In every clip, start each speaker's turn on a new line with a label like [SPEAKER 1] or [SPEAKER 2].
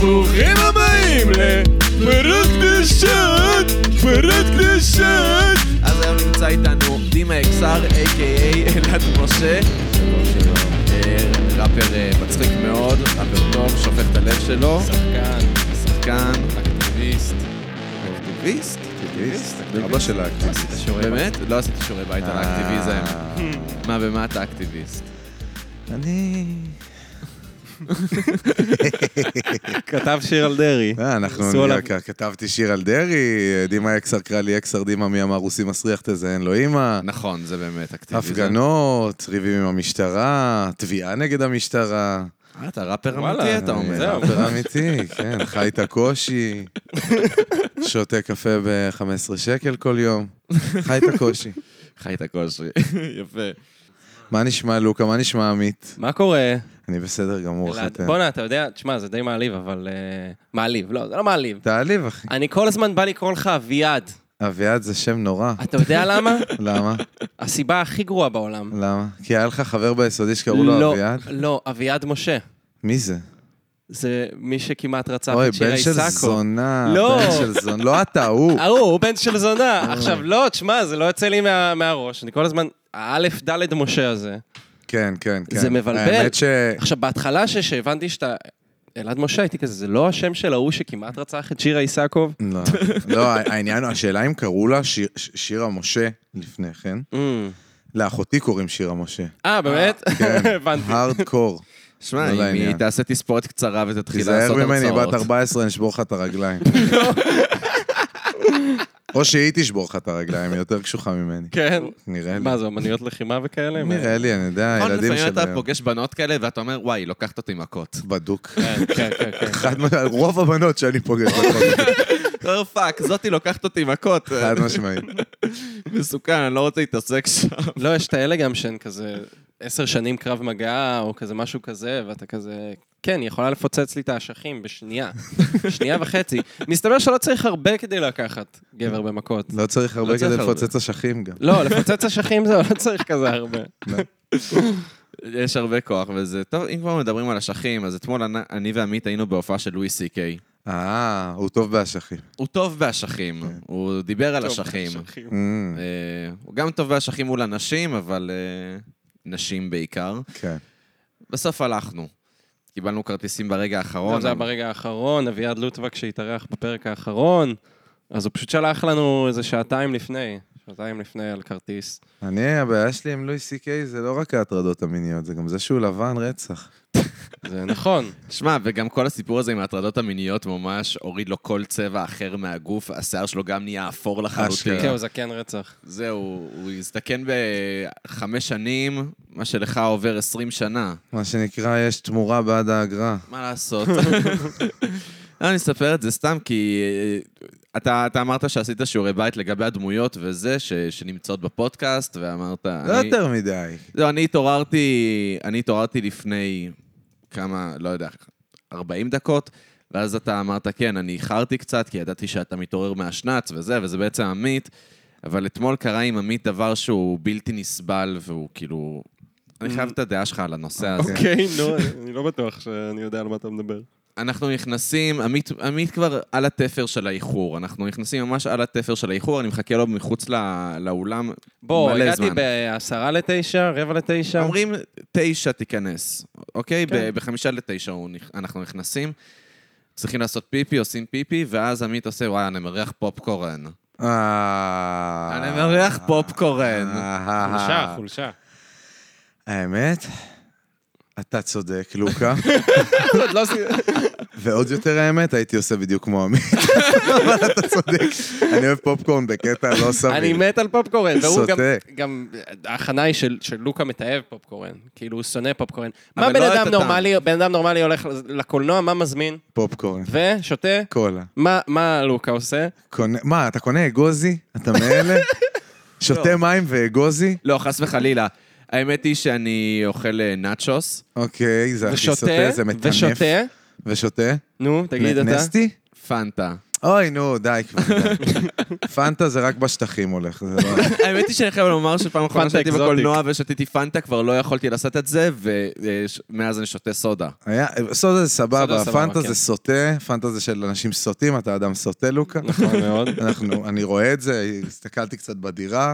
[SPEAKER 1] ברוכים הבאים לפרות קדושות, פרות קדושות.
[SPEAKER 2] אז היום נמצא איתנו דימה אקסר, a.k.a. אלעד משה. אה, ראפר אה, מצחיק מאוד, ראפר טוב, שופך את הלב שלו.
[SPEAKER 1] שחקן,
[SPEAKER 2] שחקן,
[SPEAKER 1] אקטיביסט.
[SPEAKER 2] אקטיביסט. לא
[SPEAKER 3] אקטיביסט? אבא של האקטיביסט.
[SPEAKER 2] באמת? לא עשיתי שיעורי בית על האקטיביזם.
[SPEAKER 3] האקטיביזם.
[SPEAKER 2] מה, במה אתה אקטיביסט?
[SPEAKER 3] אני...
[SPEAKER 1] כתב שיר על דרעי.
[SPEAKER 3] אה, אנחנו...
[SPEAKER 1] עשו עליו-
[SPEAKER 3] אני- כתבתי שיר על דרעי, דימה אקסר קרא לי אקסר דימה, מי אמר רוסי מסריח תזיין לו אימא.
[SPEAKER 2] נכון, זה באמת אקטיביזם.
[SPEAKER 3] הפגנות, ריבים עם המשטרה, תביעה נגד המשטרה. אה,
[SPEAKER 2] אה, אתה ראפר
[SPEAKER 1] וואלה,
[SPEAKER 2] אמיתי, אתה אומר.
[SPEAKER 1] זהו.
[SPEAKER 3] זה אמיתי, כן, חי את הקושי, שותה קפה ב-15 שקל כל יום, חי את הקושי.
[SPEAKER 2] חי את הקושי. יפה.
[SPEAKER 3] מה נשמע, לוקה? מה נשמע, עמית?
[SPEAKER 4] מה קורה?
[SPEAKER 3] אני בסדר גמור,
[SPEAKER 4] אלעד?
[SPEAKER 3] אחת...
[SPEAKER 4] בואנה, אתה יודע, תשמע, זה די מעליב, אבל... אה, מעליב, לא, זה לא מעליב.
[SPEAKER 3] תעליב, אחי.
[SPEAKER 4] אני כל הזמן בא לקרוא לך אביעד.
[SPEAKER 3] אביעד זה שם נורא.
[SPEAKER 4] אתה יודע למה?
[SPEAKER 3] למה?
[SPEAKER 4] הסיבה הכי גרועה בעולם.
[SPEAKER 3] למה? כי היה לך חבר ביסודי שקראו לו אביעד?
[SPEAKER 4] לא, אביעד משה.
[SPEAKER 3] מי זה?
[SPEAKER 4] זה מי שכמעט רצח
[SPEAKER 3] אוי,
[SPEAKER 4] את שירה
[SPEAKER 3] בן של
[SPEAKER 4] איסקו.
[SPEAKER 3] זונה.
[SPEAKER 4] לא.
[SPEAKER 3] בן של זונה. לא אתה, הוא.
[SPEAKER 4] אה, הוא בן של זונה. עכשיו, לא, תשמע, זה לא יוצא לי מה- מהראש. אני כל הזמן, האלף דלת משה הזה.
[SPEAKER 3] כן, כן, כן.
[SPEAKER 4] זה מבלבל.
[SPEAKER 3] האמת ש...
[SPEAKER 4] עכשיו, בהתחלה ש- שהבנתי שאתה... אלעד משה, הייתי כזה, זה לא השם של ההוא שכמעט רצח את שירה איסקוב?
[SPEAKER 3] לא, לא, העניין, השאלה אם קראו לה שיר- ש- שירה משה לפני כן.
[SPEAKER 4] Mm.
[SPEAKER 3] לאחותי קוראים שירה משה.
[SPEAKER 4] אה, באמת?
[SPEAKER 3] כן.
[SPEAKER 4] הבנתי.
[SPEAKER 3] הארדקור.
[SPEAKER 2] שמע,
[SPEAKER 3] לא
[SPEAKER 2] אם
[SPEAKER 3] לעניין.
[SPEAKER 2] היא תעשה תספורת קצרה ותתחיל לעשות
[SPEAKER 3] תיזהר
[SPEAKER 2] הרצאות.
[SPEAKER 3] ממני, בת 14, נשבור לך את הרגליים. או שהיא תשבור לך את הרגליים, היא יותר קשוחה ממני.
[SPEAKER 4] כן.
[SPEAKER 3] נראה לי.
[SPEAKER 4] מה זה, אמניות לחימה וכאלה?
[SPEAKER 3] נראה לי, אני יודע,
[SPEAKER 2] נכון,
[SPEAKER 3] ילדים
[SPEAKER 2] לפעמים
[SPEAKER 3] של...
[SPEAKER 2] אתה פוגש בנות כאלה ואתה אומר, וואי, היא לוקחת אותי מכות.
[SPEAKER 3] בדוק.
[SPEAKER 4] כן, כן, כן, כן.
[SPEAKER 3] חד משמעית, רוב הבנות שאני פוגש בכל
[SPEAKER 2] אומר, פאק, Oh, זאתי לוקחת אותי מכות.
[SPEAKER 3] חד משמעית.
[SPEAKER 2] מסוכן, אני לא רוצה להתעסק שם.
[SPEAKER 4] לא, יש את האלה גם שהן כזה עשר שנים קרב מגע, או כזה משהו כזה, ואתה כזה... כן, היא יכולה לפוצץ לי את האשכים בשנייה. שנייה וחצי. מסתבר שלא צריך הרבה כדי לקחת גבר במכות.
[SPEAKER 3] לא צריך הרבה
[SPEAKER 2] לא צריך
[SPEAKER 3] כדי
[SPEAKER 2] הרבה.
[SPEAKER 3] לפוצץ אשכים גם.
[SPEAKER 4] לא, לפוצץ אשכים זהו, לא צריך כזה הרבה.
[SPEAKER 2] יש הרבה כוח וזה... טוב, אם כבר מדברים על אשכים, אז אתמול אני- אני ועמית היינו בהופעה של לואי סי קיי.
[SPEAKER 3] אה, הוא טוב באשכים.
[SPEAKER 2] הוא טוב באשכים,
[SPEAKER 3] כן.
[SPEAKER 2] הוא דיבר על אשכים.
[SPEAKER 3] Mm,
[SPEAKER 2] אה, הוא גם טוב באשכים מול אנשים, אבל אה, נשים בעיקר.
[SPEAKER 3] כן.
[SPEAKER 2] בסוף הלכנו. קיבלנו כרטיסים ברגע האחרון.
[SPEAKER 4] טוב, זה היה ברגע האחרון, אביעד לוטבק שהתארח בפרק האחרון, אז הוא פשוט שלח לנו איזה שעתיים לפני, שעתיים לפני על כרטיס.
[SPEAKER 3] אני, הבעיה שלי עם לואי סי קיי זה לא רק ההטרדות המיניות, זה גם זה שהוא לבן רצח.
[SPEAKER 4] זה נכון.
[SPEAKER 2] שמע, וגם כל הסיפור הזה עם ההטרדות המיניות ממש הוריד לו כל צבע אחר מהגוף, השיער שלו גם נהיה אפור לחלוטין.
[SPEAKER 3] אשכרה.
[SPEAKER 4] כן, הוא זקן רצח.
[SPEAKER 2] זהו, הוא הזדקן בחמש שנים, מה שלך עובר עשרים שנה.
[SPEAKER 3] מה שנקרא, יש תמורה בעד האגרה.
[SPEAKER 2] מה לעשות? לא, אני אספר את זה סתם, כי אה, אתה, אתה אמרת שעשית שיעורי בית לגבי הדמויות וזה, ש, שנמצאות בפודקאסט, ואמרת...
[SPEAKER 3] לא
[SPEAKER 2] אני-
[SPEAKER 3] יותר מדי.
[SPEAKER 2] לא, אני התעוררתי, אני התעוררתי לפני כמה, לא יודע, 40 דקות, ואז אתה אמרת, כן, אני איחרתי קצת, כי ידעתי שאתה מתעורר מהשנץ וזה, וזה בעצם עמית, אבל אתמול קרה עם עמית דבר שהוא בלתי נסבל, והוא כאילו... אני חייב את הדעה שלך על הנושא הזה.
[SPEAKER 4] אוקיי, נו, אני לא בטוח שאני יודע על מה אתה מדבר.
[SPEAKER 2] אנחנו נכנסים, עמית, עמית כבר על התפר של האיחור, אנחנו נכנסים ממש על התפר של האיחור, אני מחכה לו מחוץ לא, לאולם.
[SPEAKER 4] בוא,
[SPEAKER 2] מלא
[SPEAKER 4] הגעתי
[SPEAKER 2] זמן.
[SPEAKER 4] בעשרה לתשע, רבע לתשע.
[SPEAKER 2] אומרים, תשע תיכנס, אוקיי?
[SPEAKER 4] כן.
[SPEAKER 2] ב- בחמישה לתשע הוא נכ- אנחנו נכנסים, צריכים לעשות פיפי, עושים פיפי, ואז עמית עושה, וואי, אני מריח פופקורן.
[SPEAKER 3] אה...
[SPEAKER 2] אני מריח פופקורן.
[SPEAKER 3] אה,
[SPEAKER 4] חולשה, חולשה.
[SPEAKER 3] האמת? אתה צודק, לוקה.
[SPEAKER 4] עוד לא עשי-
[SPEAKER 3] ועוד יותר האמת, הייתי עושה בדיוק כמו עמית. אבל אתה צודק. אני אוהב פופקורן בקטע לא סביר.
[SPEAKER 4] אני מת על פופקורן, והוא גם-
[SPEAKER 3] סוטה.
[SPEAKER 4] גם, ההכנה היא של של לוקה מתעב פופקורן. כאילו, הוא שונא פופקורן. מה
[SPEAKER 2] אבל
[SPEAKER 4] בן
[SPEAKER 2] לא את
[SPEAKER 4] אדם
[SPEAKER 2] הטעם.
[SPEAKER 4] נורמלי, בן אדם נורמלי הולך לקולנוע, מה מזמין?
[SPEAKER 3] פופקורן.
[SPEAKER 4] ושותה?
[SPEAKER 3] קולה.
[SPEAKER 4] מה- מה לוקה עושה?
[SPEAKER 3] קונה, מה, אתה קונה אגוזי? אתה מאלה?
[SPEAKER 4] לא.
[SPEAKER 3] שותה מים ואגוזי?
[SPEAKER 2] לא, חס וחלילה. האמת היא שאני אוכל אה, נאצ'וס,
[SPEAKER 3] אוקיי, זה הכי
[SPEAKER 4] ושותה?
[SPEAKER 3] סוטה, זה מטנף.
[SPEAKER 4] ושותה?
[SPEAKER 3] ושותה?
[SPEAKER 4] נו, תגיד
[SPEAKER 3] נ-
[SPEAKER 4] אתה.
[SPEAKER 3] נסטי?
[SPEAKER 2] פנטה.
[SPEAKER 3] אוי, נו, די כבר. די. פנטה זה רק בשטחים הולך, זה לא...
[SPEAKER 2] האמת היא שאני חייב לומר שפעם אחרונה
[SPEAKER 4] פנטה
[SPEAKER 2] שהייתי
[SPEAKER 4] אקזוטיק.
[SPEAKER 2] בקולנוע ושתיתי פנטה, כבר לא יכולתי לשאת את זה, ומאז אני שותה סודה.
[SPEAKER 3] היה, סודה זה
[SPEAKER 4] סודה
[SPEAKER 3] סבבה,
[SPEAKER 4] סבבה,
[SPEAKER 3] פנטה
[SPEAKER 4] כן.
[SPEAKER 3] זה סוטה, פנטה זה של אנשים סוטים, אתה אדם סוטה, לוקה.
[SPEAKER 4] נכון מאוד.
[SPEAKER 3] אנחנו, אני רואה את זה, הסתכלתי קצת בדירה,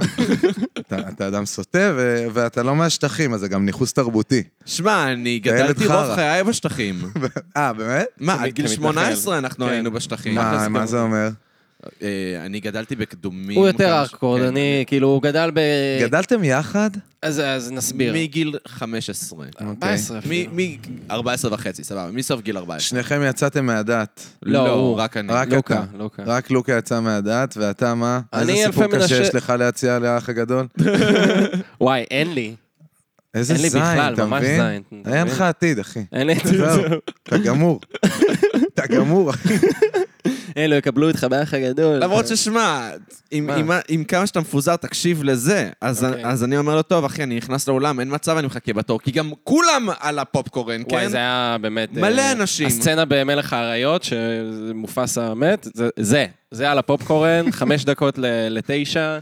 [SPEAKER 3] אתה, אתה אדם סוטה ו, ואתה לא מהשטחים, אז זה גם ניכוס תרבותי.
[SPEAKER 2] שמע, אני
[SPEAKER 3] והילד
[SPEAKER 2] גדלתי רוב
[SPEAKER 3] חרא.
[SPEAKER 2] חיי בשטחים.
[SPEAKER 3] אה, באמת?
[SPEAKER 2] מה,
[SPEAKER 4] כמ-
[SPEAKER 2] עד גיל
[SPEAKER 4] כמתנחל.
[SPEAKER 2] 18 אנחנו
[SPEAKER 4] כן.
[SPEAKER 2] היינו בשטחים.
[SPEAKER 3] מה,
[SPEAKER 2] אחרי
[SPEAKER 3] מה
[SPEAKER 2] גם-
[SPEAKER 3] זה אומר?
[SPEAKER 2] אה, אני גדלתי בקדומים.
[SPEAKER 4] הוא יותר
[SPEAKER 2] כמה ש-
[SPEAKER 4] ארקורד,
[SPEAKER 2] כן.
[SPEAKER 4] אני, כאילו, הוא גדל ב...
[SPEAKER 3] גדלתם יחד?
[SPEAKER 4] אז- אז נסביר.
[SPEAKER 2] מגיל 15.
[SPEAKER 3] אוקיי.
[SPEAKER 4] 14 אפילו.
[SPEAKER 2] מ-14 וחצי, סבבה, מסוף גיל 14.
[SPEAKER 3] שניכם יצאתם מהדת.
[SPEAKER 4] לא, הוא.
[SPEAKER 2] רק אני.
[SPEAKER 3] רק
[SPEAKER 4] לוקה,
[SPEAKER 3] אתה.
[SPEAKER 4] לוקה.
[SPEAKER 3] רק לוקה יצא מהדת, ואתה מה?
[SPEAKER 4] אני
[SPEAKER 3] איזה סיפור
[SPEAKER 4] אלפי
[SPEAKER 3] קשה
[SPEAKER 4] מנשה-
[SPEAKER 3] יש לך להציע לאח הגדול?
[SPEAKER 4] וואי, אין לי.
[SPEAKER 3] איזה
[SPEAKER 4] אין לי
[SPEAKER 3] זין,
[SPEAKER 4] בכלל,
[SPEAKER 3] אתה
[SPEAKER 4] ממש
[SPEAKER 3] מבין?
[SPEAKER 4] זין. אתה
[SPEAKER 3] אין
[SPEAKER 4] מבין?
[SPEAKER 3] לך עתיד, אחי.
[SPEAKER 4] אין לי את זה.
[SPEAKER 3] זהו, אתה גמור. אתה גמור, אחי.
[SPEAKER 4] אלו לא יקבלו אותך באח הגדול.
[SPEAKER 2] למרות ששמע, עם-
[SPEAKER 4] מה?
[SPEAKER 2] עם ה- עם כמה שאתה מפוזר, תקשיב לזה. אז
[SPEAKER 4] אוקיי.
[SPEAKER 2] אז אני אומר לו, טוב, אחי, אני נכנס לאולם, אין מצב, אני מחכה בתור, כי גם כולם על הפופקורן,
[SPEAKER 4] וואי,
[SPEAKER 2] כן?
[SPEAKER 4] זה היה באמת...
[SPEAKER 2] מלא
[SPEAKER 4] אה,
[SPEAKER 2] אנשים.
[SPEAKER 4] הסצנה במלך האריות, שמופסה מת, זה- זה. זה על הפופקורן, חמש דקות ל- לתשע,
[SPEAKER 2] אז-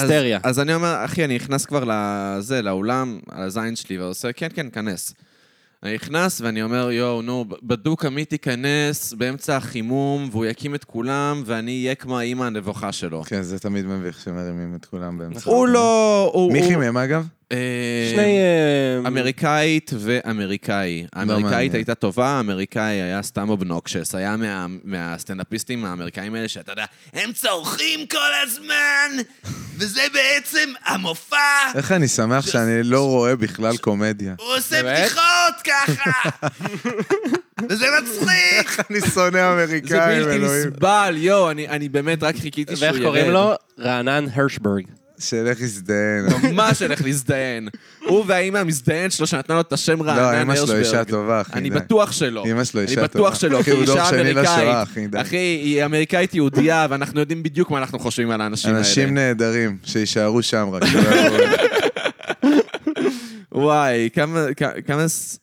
[SPEAKER 4] היסטריה.
[SPEAKER 2] אז אני אומר, אחי, אני נכנס כבר לזה, לאולם, על הזין שלי, ועושה, כן, כן, כנס. אני נכנס ואני אומר, יואו, נו, ב- בדוק עמית ייכנס באמצע החימום, והוא יקים את כולם, ואני אהיה כמו האימא הנבוכה שלו.
[SPEAKER 3] כן, זה תמיד מביך שמרימים את כולם באמצע.
[SPEAKER 2] הוא לא... הוא-
[SPEAKER 3] מי
[SPEAKER 2] הוא-
[SPEAKER 3] חימם, אגב?
[SPEAKER 2] אה,
[SPEAKER 4] שני... אה,
[SPEAKER 2] אמריקאית ואמריקאי. האמריקאית
[SPEAKER 3] מעניין.
[SPEAKER 2] הייתה טובה, האמריקאי היה סתם אובנוקשס, היה מה- מהסטנדאפיסטים האמריקאים האלה שאתה יודע, הם צורכים כל הזמן, וזה בעצם המופע,
[SPEAKER 3] איך אני שמח שאני לא רואה בכלל קומדיה.
[SPEAKER 2] הוא עושה
[SPEAKER 4] באמת?
[SPEAKER 2] בדיחות ככה, וזה מצחיק.
[SPEAKER 3] אני שונא
[SPEAKER 2] זה
[SPEAKER 3] אמריקאים,
[SPEAKER 2] בלתי
[SPEAKER 3] אלוהים.
[SPEAKER 2] נסבל, יואו, אני אני באמת רק חיכיתי שהוא
[SPEAKER 4] ואיך
[SPEAKER 2] ירד.
[SPEAKER 4] קוראים לו? רענן הרשברג.
[SPEAKER 3] שילך יזדיין.
[SPEAKER 2] ממש הולך להזדיין. הוא והאימא המזדיינת שלו שנתנה לו את השם רענן
[SPEAKER 3] לא,
[SPEAKER 2] הרשברג.
[SPEAKER 3] אמא שלו אישה טובה, אחי.
[SPEAKER 2] אני
[SPEAKER 3] די.
[SPEAKER 2] בטוח שלא.
[SPEAKER 3] אמא שלו אישה
[SPEAKER 2] אני בטוח שלא,
[SPEAKER 3] טובה. אחי,
[SPEAKER 2] כי היא
[SPEAKER 3] הוא דור
[SPEAKER 2] אישה
[SPEAKER 3] שני לשואה, אחי,
[SPEAKER 2] אמריקאית.
[SPEAKER 3] די.
[SPEAKER 2] אחי, היא אמריקאית יהודייה, ואנחנו יודעים בדיוק מה אנחנו חושבים על האנשים האלה.
[SPEAKER 3] אנשים נהדרים, שיישארו שם רק. שלא יבואו.
[SPEAKER 2] וואי, כמה- כ- כמה ס-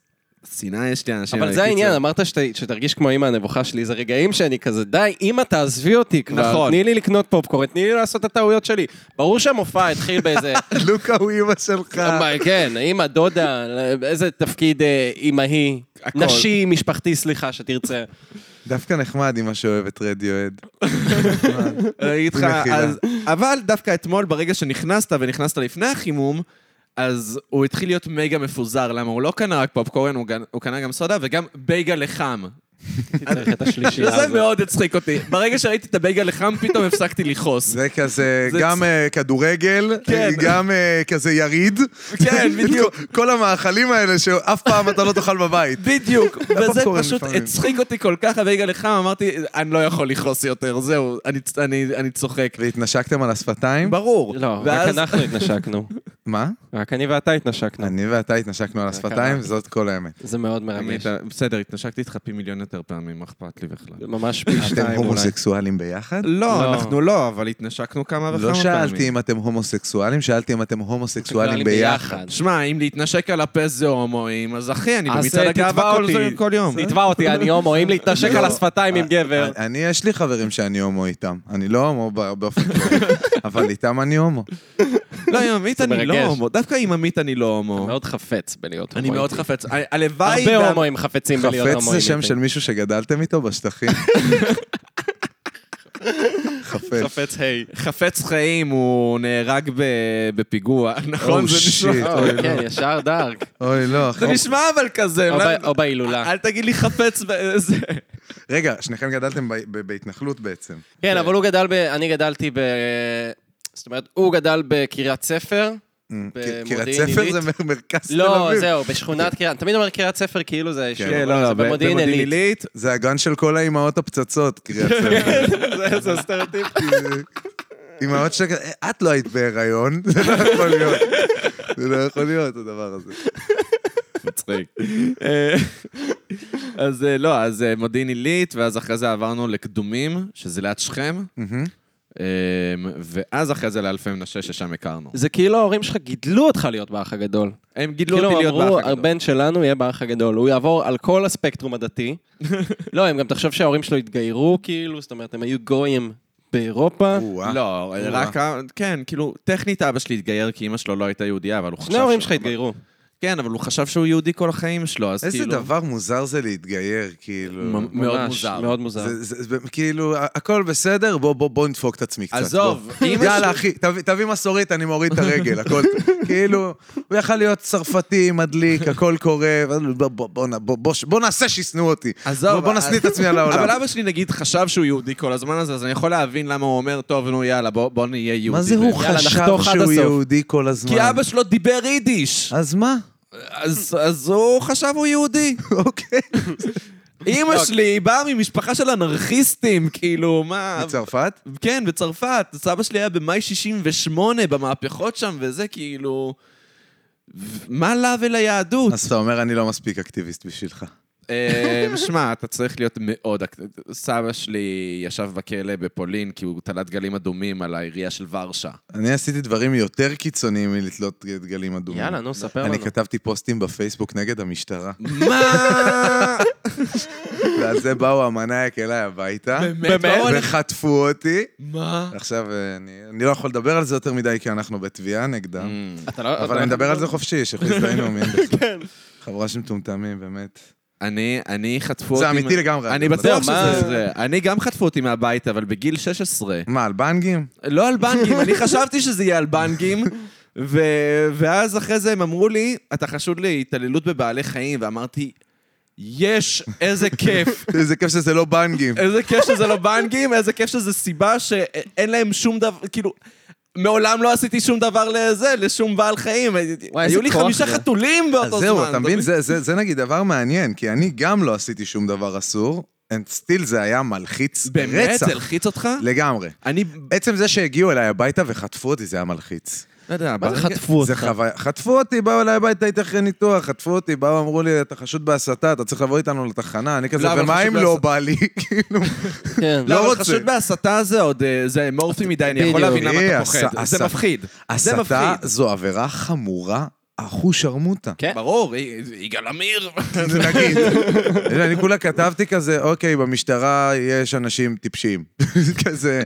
[SPEAKER 2] שנאה יש לי לאנשים
[SPEAKER 4] אבל
[SPEAKER 2] האלה,
[SPEAKER 4] זה העניין,
[SPEAKER 2] קיצור.
[SPEAKER 4] אמרת שת- שתרגיש כמו אימא הנבוכה שלי, זה רגעים שאני כזה, די, אימא תעזבי אותי כבר,
[SPEAKER 2] נכון.
[SPEAKER 4] תני לי לקנות פופקורן, תני לי לעשות את הטעויות שלי. ברור שהמופע התחיל באיזה...
[SPEAKER 3] לוקה הוא אימא שלך.
[SPEAKER 4] מה, כן, אימא, דודה, איזה תפקיד אה, אימהי,
[SPEAKER 2] הכל.
[SPEAKER 4] נשי, משפחתי, סליחה, שתרצה.
[SPEAKER 3] דווקא נחמד אימא שאוהבת רדיואד.
[SPEAKER 2] אני אגיד לך,
[SPEAKER 3] במחילה.
[SPEAKER 2] אז- אבל דווקא אתמול, ברגע שנכנסת, ונכנסת לפני החימום, אז הוא התחיל להיות מגה מפוזר, למה הוא לא קנה רק פופקורן, הוא גנ- הוא קנה גם סודה וגם בייגלה חם.
[SPEAKER 4] צריך את השלישייה
[SPEAKER 2] זה
[SPEAKER 4] הזאת.
[SPEAKER 2] מאוד הצחיק אותי. ברגע שראיתי את הבייגלה חם, פתאום הפסקתי לכעוס.
[SPEAKER 3] זה כזה,
[SPEAKER 2] זה
[SPEAKER 3] גם
[SPEAKER 2] צ-
[SPEAKER 3] אה, כדורגל,
[SPEAKER 2] כן.
[SPEAKER 3] גם אה, כזה יריד.
[SPEAKER 2] כן, בדיוק.
[SPEAKER 3] כל- כל המאכלים האלה שאף פעם אתה לא תאכל בבית.
[SPEAKER 2] בדיוק, וזה
[SPEAKER 3] הפופקורן
[SPEAKER 2] פשוט
[SPEAKER 3] לפעמים.
[SPEAKER 2] הצחיק אותי כל כך, הרגע לך, אמרתי, אני לא יכול לכעוס יותר, זהו, אני- אני אני צוחק.
[SPEAKER 3] והתנשקתם על השפתיים?
[SPEAKER 2] ברור.
[SPEAKER 4] לא, רק
[SPEAKER 2] ואז-
[SPEAKER 4] אנחנו התנשקנו.
[SPEAKER 3] מה?
[SPEAKER 4] רק אני ואתה התנשקנו.
[SPEAKER 3] אני ואתה התנשקנו על השפתיים,
[SPEAKER 4] קרה.
[SPEAKER 3] זאת כל האמת.
[SPEAKER 4] זה מאוד מרגש.
[SPEAKER 2] עמית, בסדר, התנשקתי איתך פי מיליון יותר פעמים, מה אכפת לי בכלל?
[SPEAKER 4] זה ממש פי
[SPEAKER 3] אתם
[SPEAKER 4] שתיים אולי.
[SPEAKER 3] הומוסקסואלים ביחד?
[SPEAKER 2] לא, אנחנו לא, אבל התנשקנו כמה וכמה
[SPEAKER 3] לא
[SPEAKER 2] פעמים.
[SPEAKER 3] שאלתי אם אתם הומוסקסואלים, שאלתי אם אתם הומוסקסואלים ביחד.
[SPEAKER 2] שמע, אם להתנשק על הפה זה הומואים, אז אחי, אני
[SPEAKER 4] אז
[SPEAKER 2] במצעד
[SPEAKER 4] אה, תתבע
[SPEAKER 2] הגאווה כל
[SPEAKER 4] אותי.
[SPEAKER 2] זה- כל יום. לא.
[SPEAKER 4] תתבע אותי, אני הומו, אם להתנשק על השפתיים עם גבר.
[SPEAKER 3] אני, יש לי חברים שאני הומו איתם. אני לא הומו ב- באופן כללי, אבל איתם אני הומו.
[SPEAKER 2] לא, עם עמית אני לא
[SPEAKER 4] מרגש.
[SPEAKER 2] הומו, דווקא עם עמית אני לא הומו.
[SPEAKER 4] מאוד חפץ בלהיות הומואי.
[SPEAKER 2] אני מאוד חפץ, ה- הלוואי...
[SPEAKER 4] הרבה
[SPEAKER 2] וה-
[SPEAKER 4] הומואים חפצים בלהיות הומואים.
[SPEAKER 3] חפץ זה שם
[SPEAKER 4] איתי.
[SPEAKER 3] של מישהו שגדלתם איתו בשטחים. חפץ.
[SPEAKER 4] חפץ היי.
[SPEAKER 2] חפץ חיים, הוא נהרג ב- בפיגוע, נכון?
[SPEAKER 4] Oh,
[SPEAKER 2] זה נשמע-
[SPEAKER 3] שיט, אוי לא.
[SPEAKER 4] כן, ישר דארק.
[SPEAKER 3] אוי, לא, אחי.
[SPEAKER 2] זה נשמע אבל כזה,
[SPEAKER 4] או
[SPEAKER 2] אולי-
[SPEAKER 4] ב- או בהילולה.
[SPEAKER 2] אל תגיד לי חפץ וזה.
[SPEAKER 3] רגע, שניכם גדלתם ב- ב- בהתנחלות בעצם.
[SPEAKER 4] כן, אבל הוא גדל ב... אני גדלתי ב... זאת אומרת, הוא גדל בקריית ספר.
[SPEAKER 3] כי-
[SPEAKER 4] במודיעין
[SPEAKER 3] קריית ספר
[SPEAKER 4] עילית?
[SPEAKER 3] זה מ- מרכז תל
[SPEAKER 4] לא,
[SPEAKER 3] אביב.
[SPEAKER 4] זהו, בשכונת קריית... תמיד אומר קריית ספר כאילו זה היישוב.
[SPEAKER 3] כן,
[SPEAKER 4] אבל
[SPEAKER 2] לא,
[SPEAKER 4] זה במודיעין עילית.
[SPEAKER 3] זה הגן של כל האימהות הפצצות, קריית ספר.
[SPEAKER 2] זה- זה סטריאוטיפ.
[SPEAKER 3] אימהות ש... את לא היית בהיריון, זה לא יכול להיות. זה לא יכול להיות, הדבר הזה.
[SPEAKER 2] מצחיק. אה, אז אה, לא, אז אה, מודיעין עילית, ואז אחרי זה עברנו לקדומים, שזה ליד שכם, אמ, ואז אחרי זה לאלפי מנשה, ששם הכרנו.
[SPEAKER 4] זה כאילו ההורים שלך גידלו אותך להיות באח הגדול.
[SPEAKER 2] הם גידלו
[SPEAKER 4] כאילו
[SPEAKER 2] אותי להיות
[SPEAKER 4] אמרו,
[SPEAKER 2] לא, באח הגדול.
[SPEAKER 4] הבן שלנו יהיה באח הגדול, הוא יעבור על כל הספקטרום הדתי. לא, הם גם תחשוב שההורים שלו התגיירו, כאילו, זאת אומרת, הם היו גויים באירופה.
[SPEAKER 3] או-אה.
[SPEAKER 2] לא, רק, ה- כן, כאילו, טכנית אבא שלי התגייר כי אמא שלו לא הייתה יהודייה, אבל הוא חשב...
[SPEAKER 4] שני ההורים
[SPEAKER 2] שהוא-
[SPEAKER 4] שלך התגיירו.
[SPEAKER 2] כן, אבל הוא חשב שהוא יהודי כל החיים שלו, אז כאילו...
[SPEAKER 3] איזה דבר מוזר זה להתגייר, כאילו.
[SPEAKER 2] ממ- מאוד
[SPEAKER 4] ממש,
[SPEAKER 2] מוזר.
[SPEAKER 4] מאוד מוזר.
[SPEAKER 3] זה- זה- זה- כאילו, ה- הכל בסדר, בוא- בוא בוא נדפוק את עצמי קצת.
[SPEAKER 2] עזוב,
[SPEAKER 3] בוא.
[SPEAKER 2] אמא
[SPEAKER 3] יאללה,
[SPEAKER 2] שלי-
[SPEAKER 3] אחי, תביא- תביא מסורית, אני מוריד את הרגל, הכל... כאילו, הוא יכל להיות צרפתי, מדליק, הכל קורה, אבל בוא- בוא- בוא נ- בוא- בוא- בוא נעשה שישנאו אותי. בוא- בוא נשניא את עצמי על העולם.
[SPEAKER 2] אה, אבל אבא שלי, נגיד, חשב שהוא יהודי כל הזמן הזה, אז אני יכול להבין למה הוא אומר, טוב, נו, יאללה, בוא בוא נהיה יהודי.
[SPEAKER 3] מה זה הוא
[SPEAKER 2] יאללה,
[SPEAKER 3] חשב
[SPEAKER 2] נחתוך עד
[SPEAKER 3] שהוא
[SPEAKER 2] הסוף.
[SPEAKER 3] יהודי כל הזמן?
[SPEAKER 2] כי אבא שלו דיבר יידיש.
[SPEAKER 3] אז מה?
[SPEAKER 2] אז אז הוא חשב הוא יהודי.
[SPEAKER 3] אוקיי.
[SPEAKER 2] אימא שלי היא באה ממשפחה של אנרכיסטים, כאילו, מה...
[SPEAKER 3] מצרפת?
[SPEAKER 2] כן, בצרפת. סבא שלי היה במאי 68, במהפכות שם, וזה כאילו... ו- מה לה וליהדות?
[SPEAKER 3] אז אתה אומר, אני לא מספיק אקטיביסט בשבילך.
[SPEAKER 2] אה, שמע, אתה צריך להיות מאוד... אק- סבא שלי ישב בכלא בפולין כי הוא תלה דגלים אדומים על העירייה של ורשה.
[SPEAKER 3] אני עשיתי דברים יותר קיצוניים מלתלות דגלים אדומים.
[SPEAKER 4] יאללה, נו, ספר לנו.
[SPEAKER 3] אני כתבתי פוסטים בפייסבוק נגד המשטרה,
[SPEAKER 2] מה?
[SPEAKER 3] ועל זה באו המנאייק אליי הביתה,
[SPEAKER 2] באמת? באו אליך-
[SPEAKER 3] וחטפו אותי.
[SPEAKER 2] מה?
[SPEAKER 3] עכשיו, אה, אני- אני לא יכול לדבר על זה יותר מדי, כי אנחנו בתביעה
[SPEAKER 2] Mm,
[SPEAKER 3] נגדם.
[SPEAKER 4] אתה לא-
[SPEAKER 3] אבל
[SPEAKER 4] אתה-
[SPEAKER 3] אני מדבר על זה חופשי, שחזרי נאומים.
[SPEAKER 4] כן.
[SPEAKER 3] חבורה של מטומטמים, באמת.
[SPEAKER 2] אני, אני חטפו אותי...
[SPEAKER 3] זה אמיתי
[SPEAKER 2] מה-
[SPEAKER 3] לגמרי.
[SPEAKER 2] אני
[SPEAKER 3] אבל-
[SPEAKER 2] בטוח
[SPEAKER 4] מה-
[SPEAKER 2] שזה זה. אני גם חטפו אותי מהבית, אבל בגיל 16.
[SPEAKER 3] מה, על בנגים?
[SPEAKER 2] לא על בנגים, אני חשבתי שזה יהיה על בנגים. ו... ואז אחרי זה הם אמרו לי, אתה חשוד להתעללות בבעלי חיים, ואמרתי, יש, איזה כיף.
[SPEAKER 3] איזה כיף שזה לא בנגים.
[SPEAKER 2] איזה כיף שזה לא בנגים, איזה כיף שזה סיבה שאין להם שום דבר, כאילו... מעולם לא עשיתי שום דבר לזה, לשום בעל חיים. היו
[SPEAKER 4] איזה
[SPEAKER 2] לי
[SPEAKER 4] כוח
[SPEAKER 2] חמישה
[SPEAKER 4] זה.
[SPEAKER 2] חתולים באותו
[SPEAKER 3] אז
[SPEAKER 2] זמן.
[SPEAKER 3] זהו, אתה מבין? זה- זה זה נגיד דבר מעניין, כי אני גם לא עשיתי שום דבר אסור, and still זה היה מלחיץ
[SPEAKER 2] באמת?
[SPEAKER 3] רצח.
[SPEAKER 2] זה הלחיץ אותך?
[SPEAKER 3] לגמרי.
[SPEAKER 2] אני...
[SPEAKER 3] עצם זה שהגיעו אליי הביתה וחטפו אותי, זה היה מלחיץ.
[SPEAKER 2] לא יודע,
[SPEAKER 4] מה זה חטפו
[SPEAKER 3] זה
[SPEAKER 4] אותך?
[SPEAKER 3] חוויה. חטפו אותי, באו אליי הביתה, הייתי אחרי ניתוח, חטפו אותי, באו, אמרו לי, אתה חשוד בהסתה, אתה צריך לבוא איתנו לתחנה, אני כזה,
[SPEAKER 2] לא, אבל
[SPEAKER 3] ומה
[SPEAKER 2] חשוד
[SPEAKER 3] אם לא
[SPEAKER 2] בהסתה."
[SPEAKER 3] בא לי? כאילו,
[SPEAKER 4] כן.
[SPEAKER 2] לא,
[SPEAKER 3] לא
[SPEAKER 2] אבל
[SPEAKER 3] רוצה.
[SPEAKER 2] חשוד בהסתה זה עוד, אה, זה אמורפי מדי, אני יכול להבין
[SPEAKER 4] בדיוק.
[SPEAKER 2] למה אתה
[SPEAKER 3] אה,
[SPEAKER 2] פוחד.
[SPEAKER 3] הס-
[SPEAKER 2] זה
[SPEAKER 3] הס-
[SPEAKER 2] מפחיד. זה
[SPEAKER 3] הסתה
[SPEAKER 2] מפחיד.
[SPEAKER 3] זו עבירה חמורה, אחוש שרמוטה.
[SPEAKER 4] כן.
[SPEAKER 2] ברור, אה, יגאל עמיר.
[SPEAKER 3] כן, נגיד. אני כולה כתבתי כזה, אוקיי, במשטרה יש אנשים טיפשים. כזה,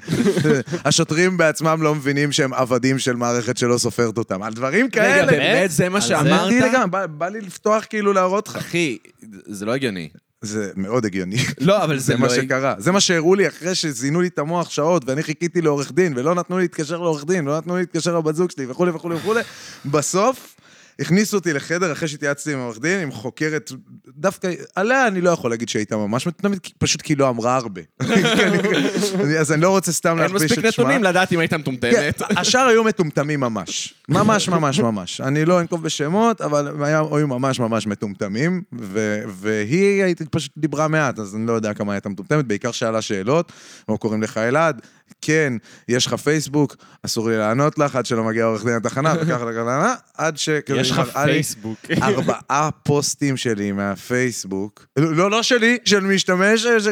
[SPEAKER 3] השוטרים בעצמם לא מבינים שהם עבדים של מערכת שלא סופרת אותם. על דברים
[SPEAKER 2] רגע,
[SPEAKER 3] כאלה.
[SPEAKER 2] באמת? זה מה
[SPEAKER 4] זה?
[SPEAKER 2] שאמרת?
[SPEAKER 3] אמרתי לגמרי, בא- בא לי לפתוח כאילו להראות לך.
[SPEAKER 2] אחי, זה לא הגיוני.
[SPEAKER 3] זה מאוד הגיוני.
[SPEAKER 2] לא, אבל
[SPEAKER 3] זה
[SPEAKER 2] זה לא...
[SPEAKER 3] מה שקרה. זה מה שהראו לי אחרי שזינו לי את המוח שעות, ואני חיכיתי לעורך דין, ולא נתנו לי להתקשר לעורך דין, ולא נתנו לי להתקשר לבת זוג שלי, וכולי וכולי וכולי. בסוף, הכניסו אותי לחדר אחרי שהתייעצתי עם עורך דין, עם חוקרת, דווקא, עליה אני לא יכול להגיד שהייתה ממש מטומטמת, כי- פשוט כי לא אמרה הרבה. אני- אז אני לא רוצה סתם
[SPEAKER 2] אין
[SPEAKER 3] להכפיש את שמה.
[SPEAKER 2] מספיק נתונים לדעת אם היית
[SPEAKER 3] כן,
[SPEAKER 2] מטומטמת.
[SPEAKER 3] השאר היו מטומטמים ממש. ממש, ממש, ממש. אני לא אנקוב בשמות, אבל הם היה- היו ממש ממש מטומטמים, ו- והיא הייתי- פשוט דיברה מעט, אז אני לא יודע כמה הייתה מטומטמת, בעיקר שאלה שאלות, מה קוראים לך אלעד, כן, יש לך פייסבוק, אסור לי לענות לך עד שלא מגיע עורך דין לתחנה, וככה וככה, עד ש... כאילו,
[SPEAKER 4] יש לך
[SPEAKER 3] מראה לי
[SPEAKER 4] פייסבוק.
[SPEAKER 3] ארבעה פוסטים שלי מהפייסבוק, לא, לא, לא שלי, של משתמש, אה, ש-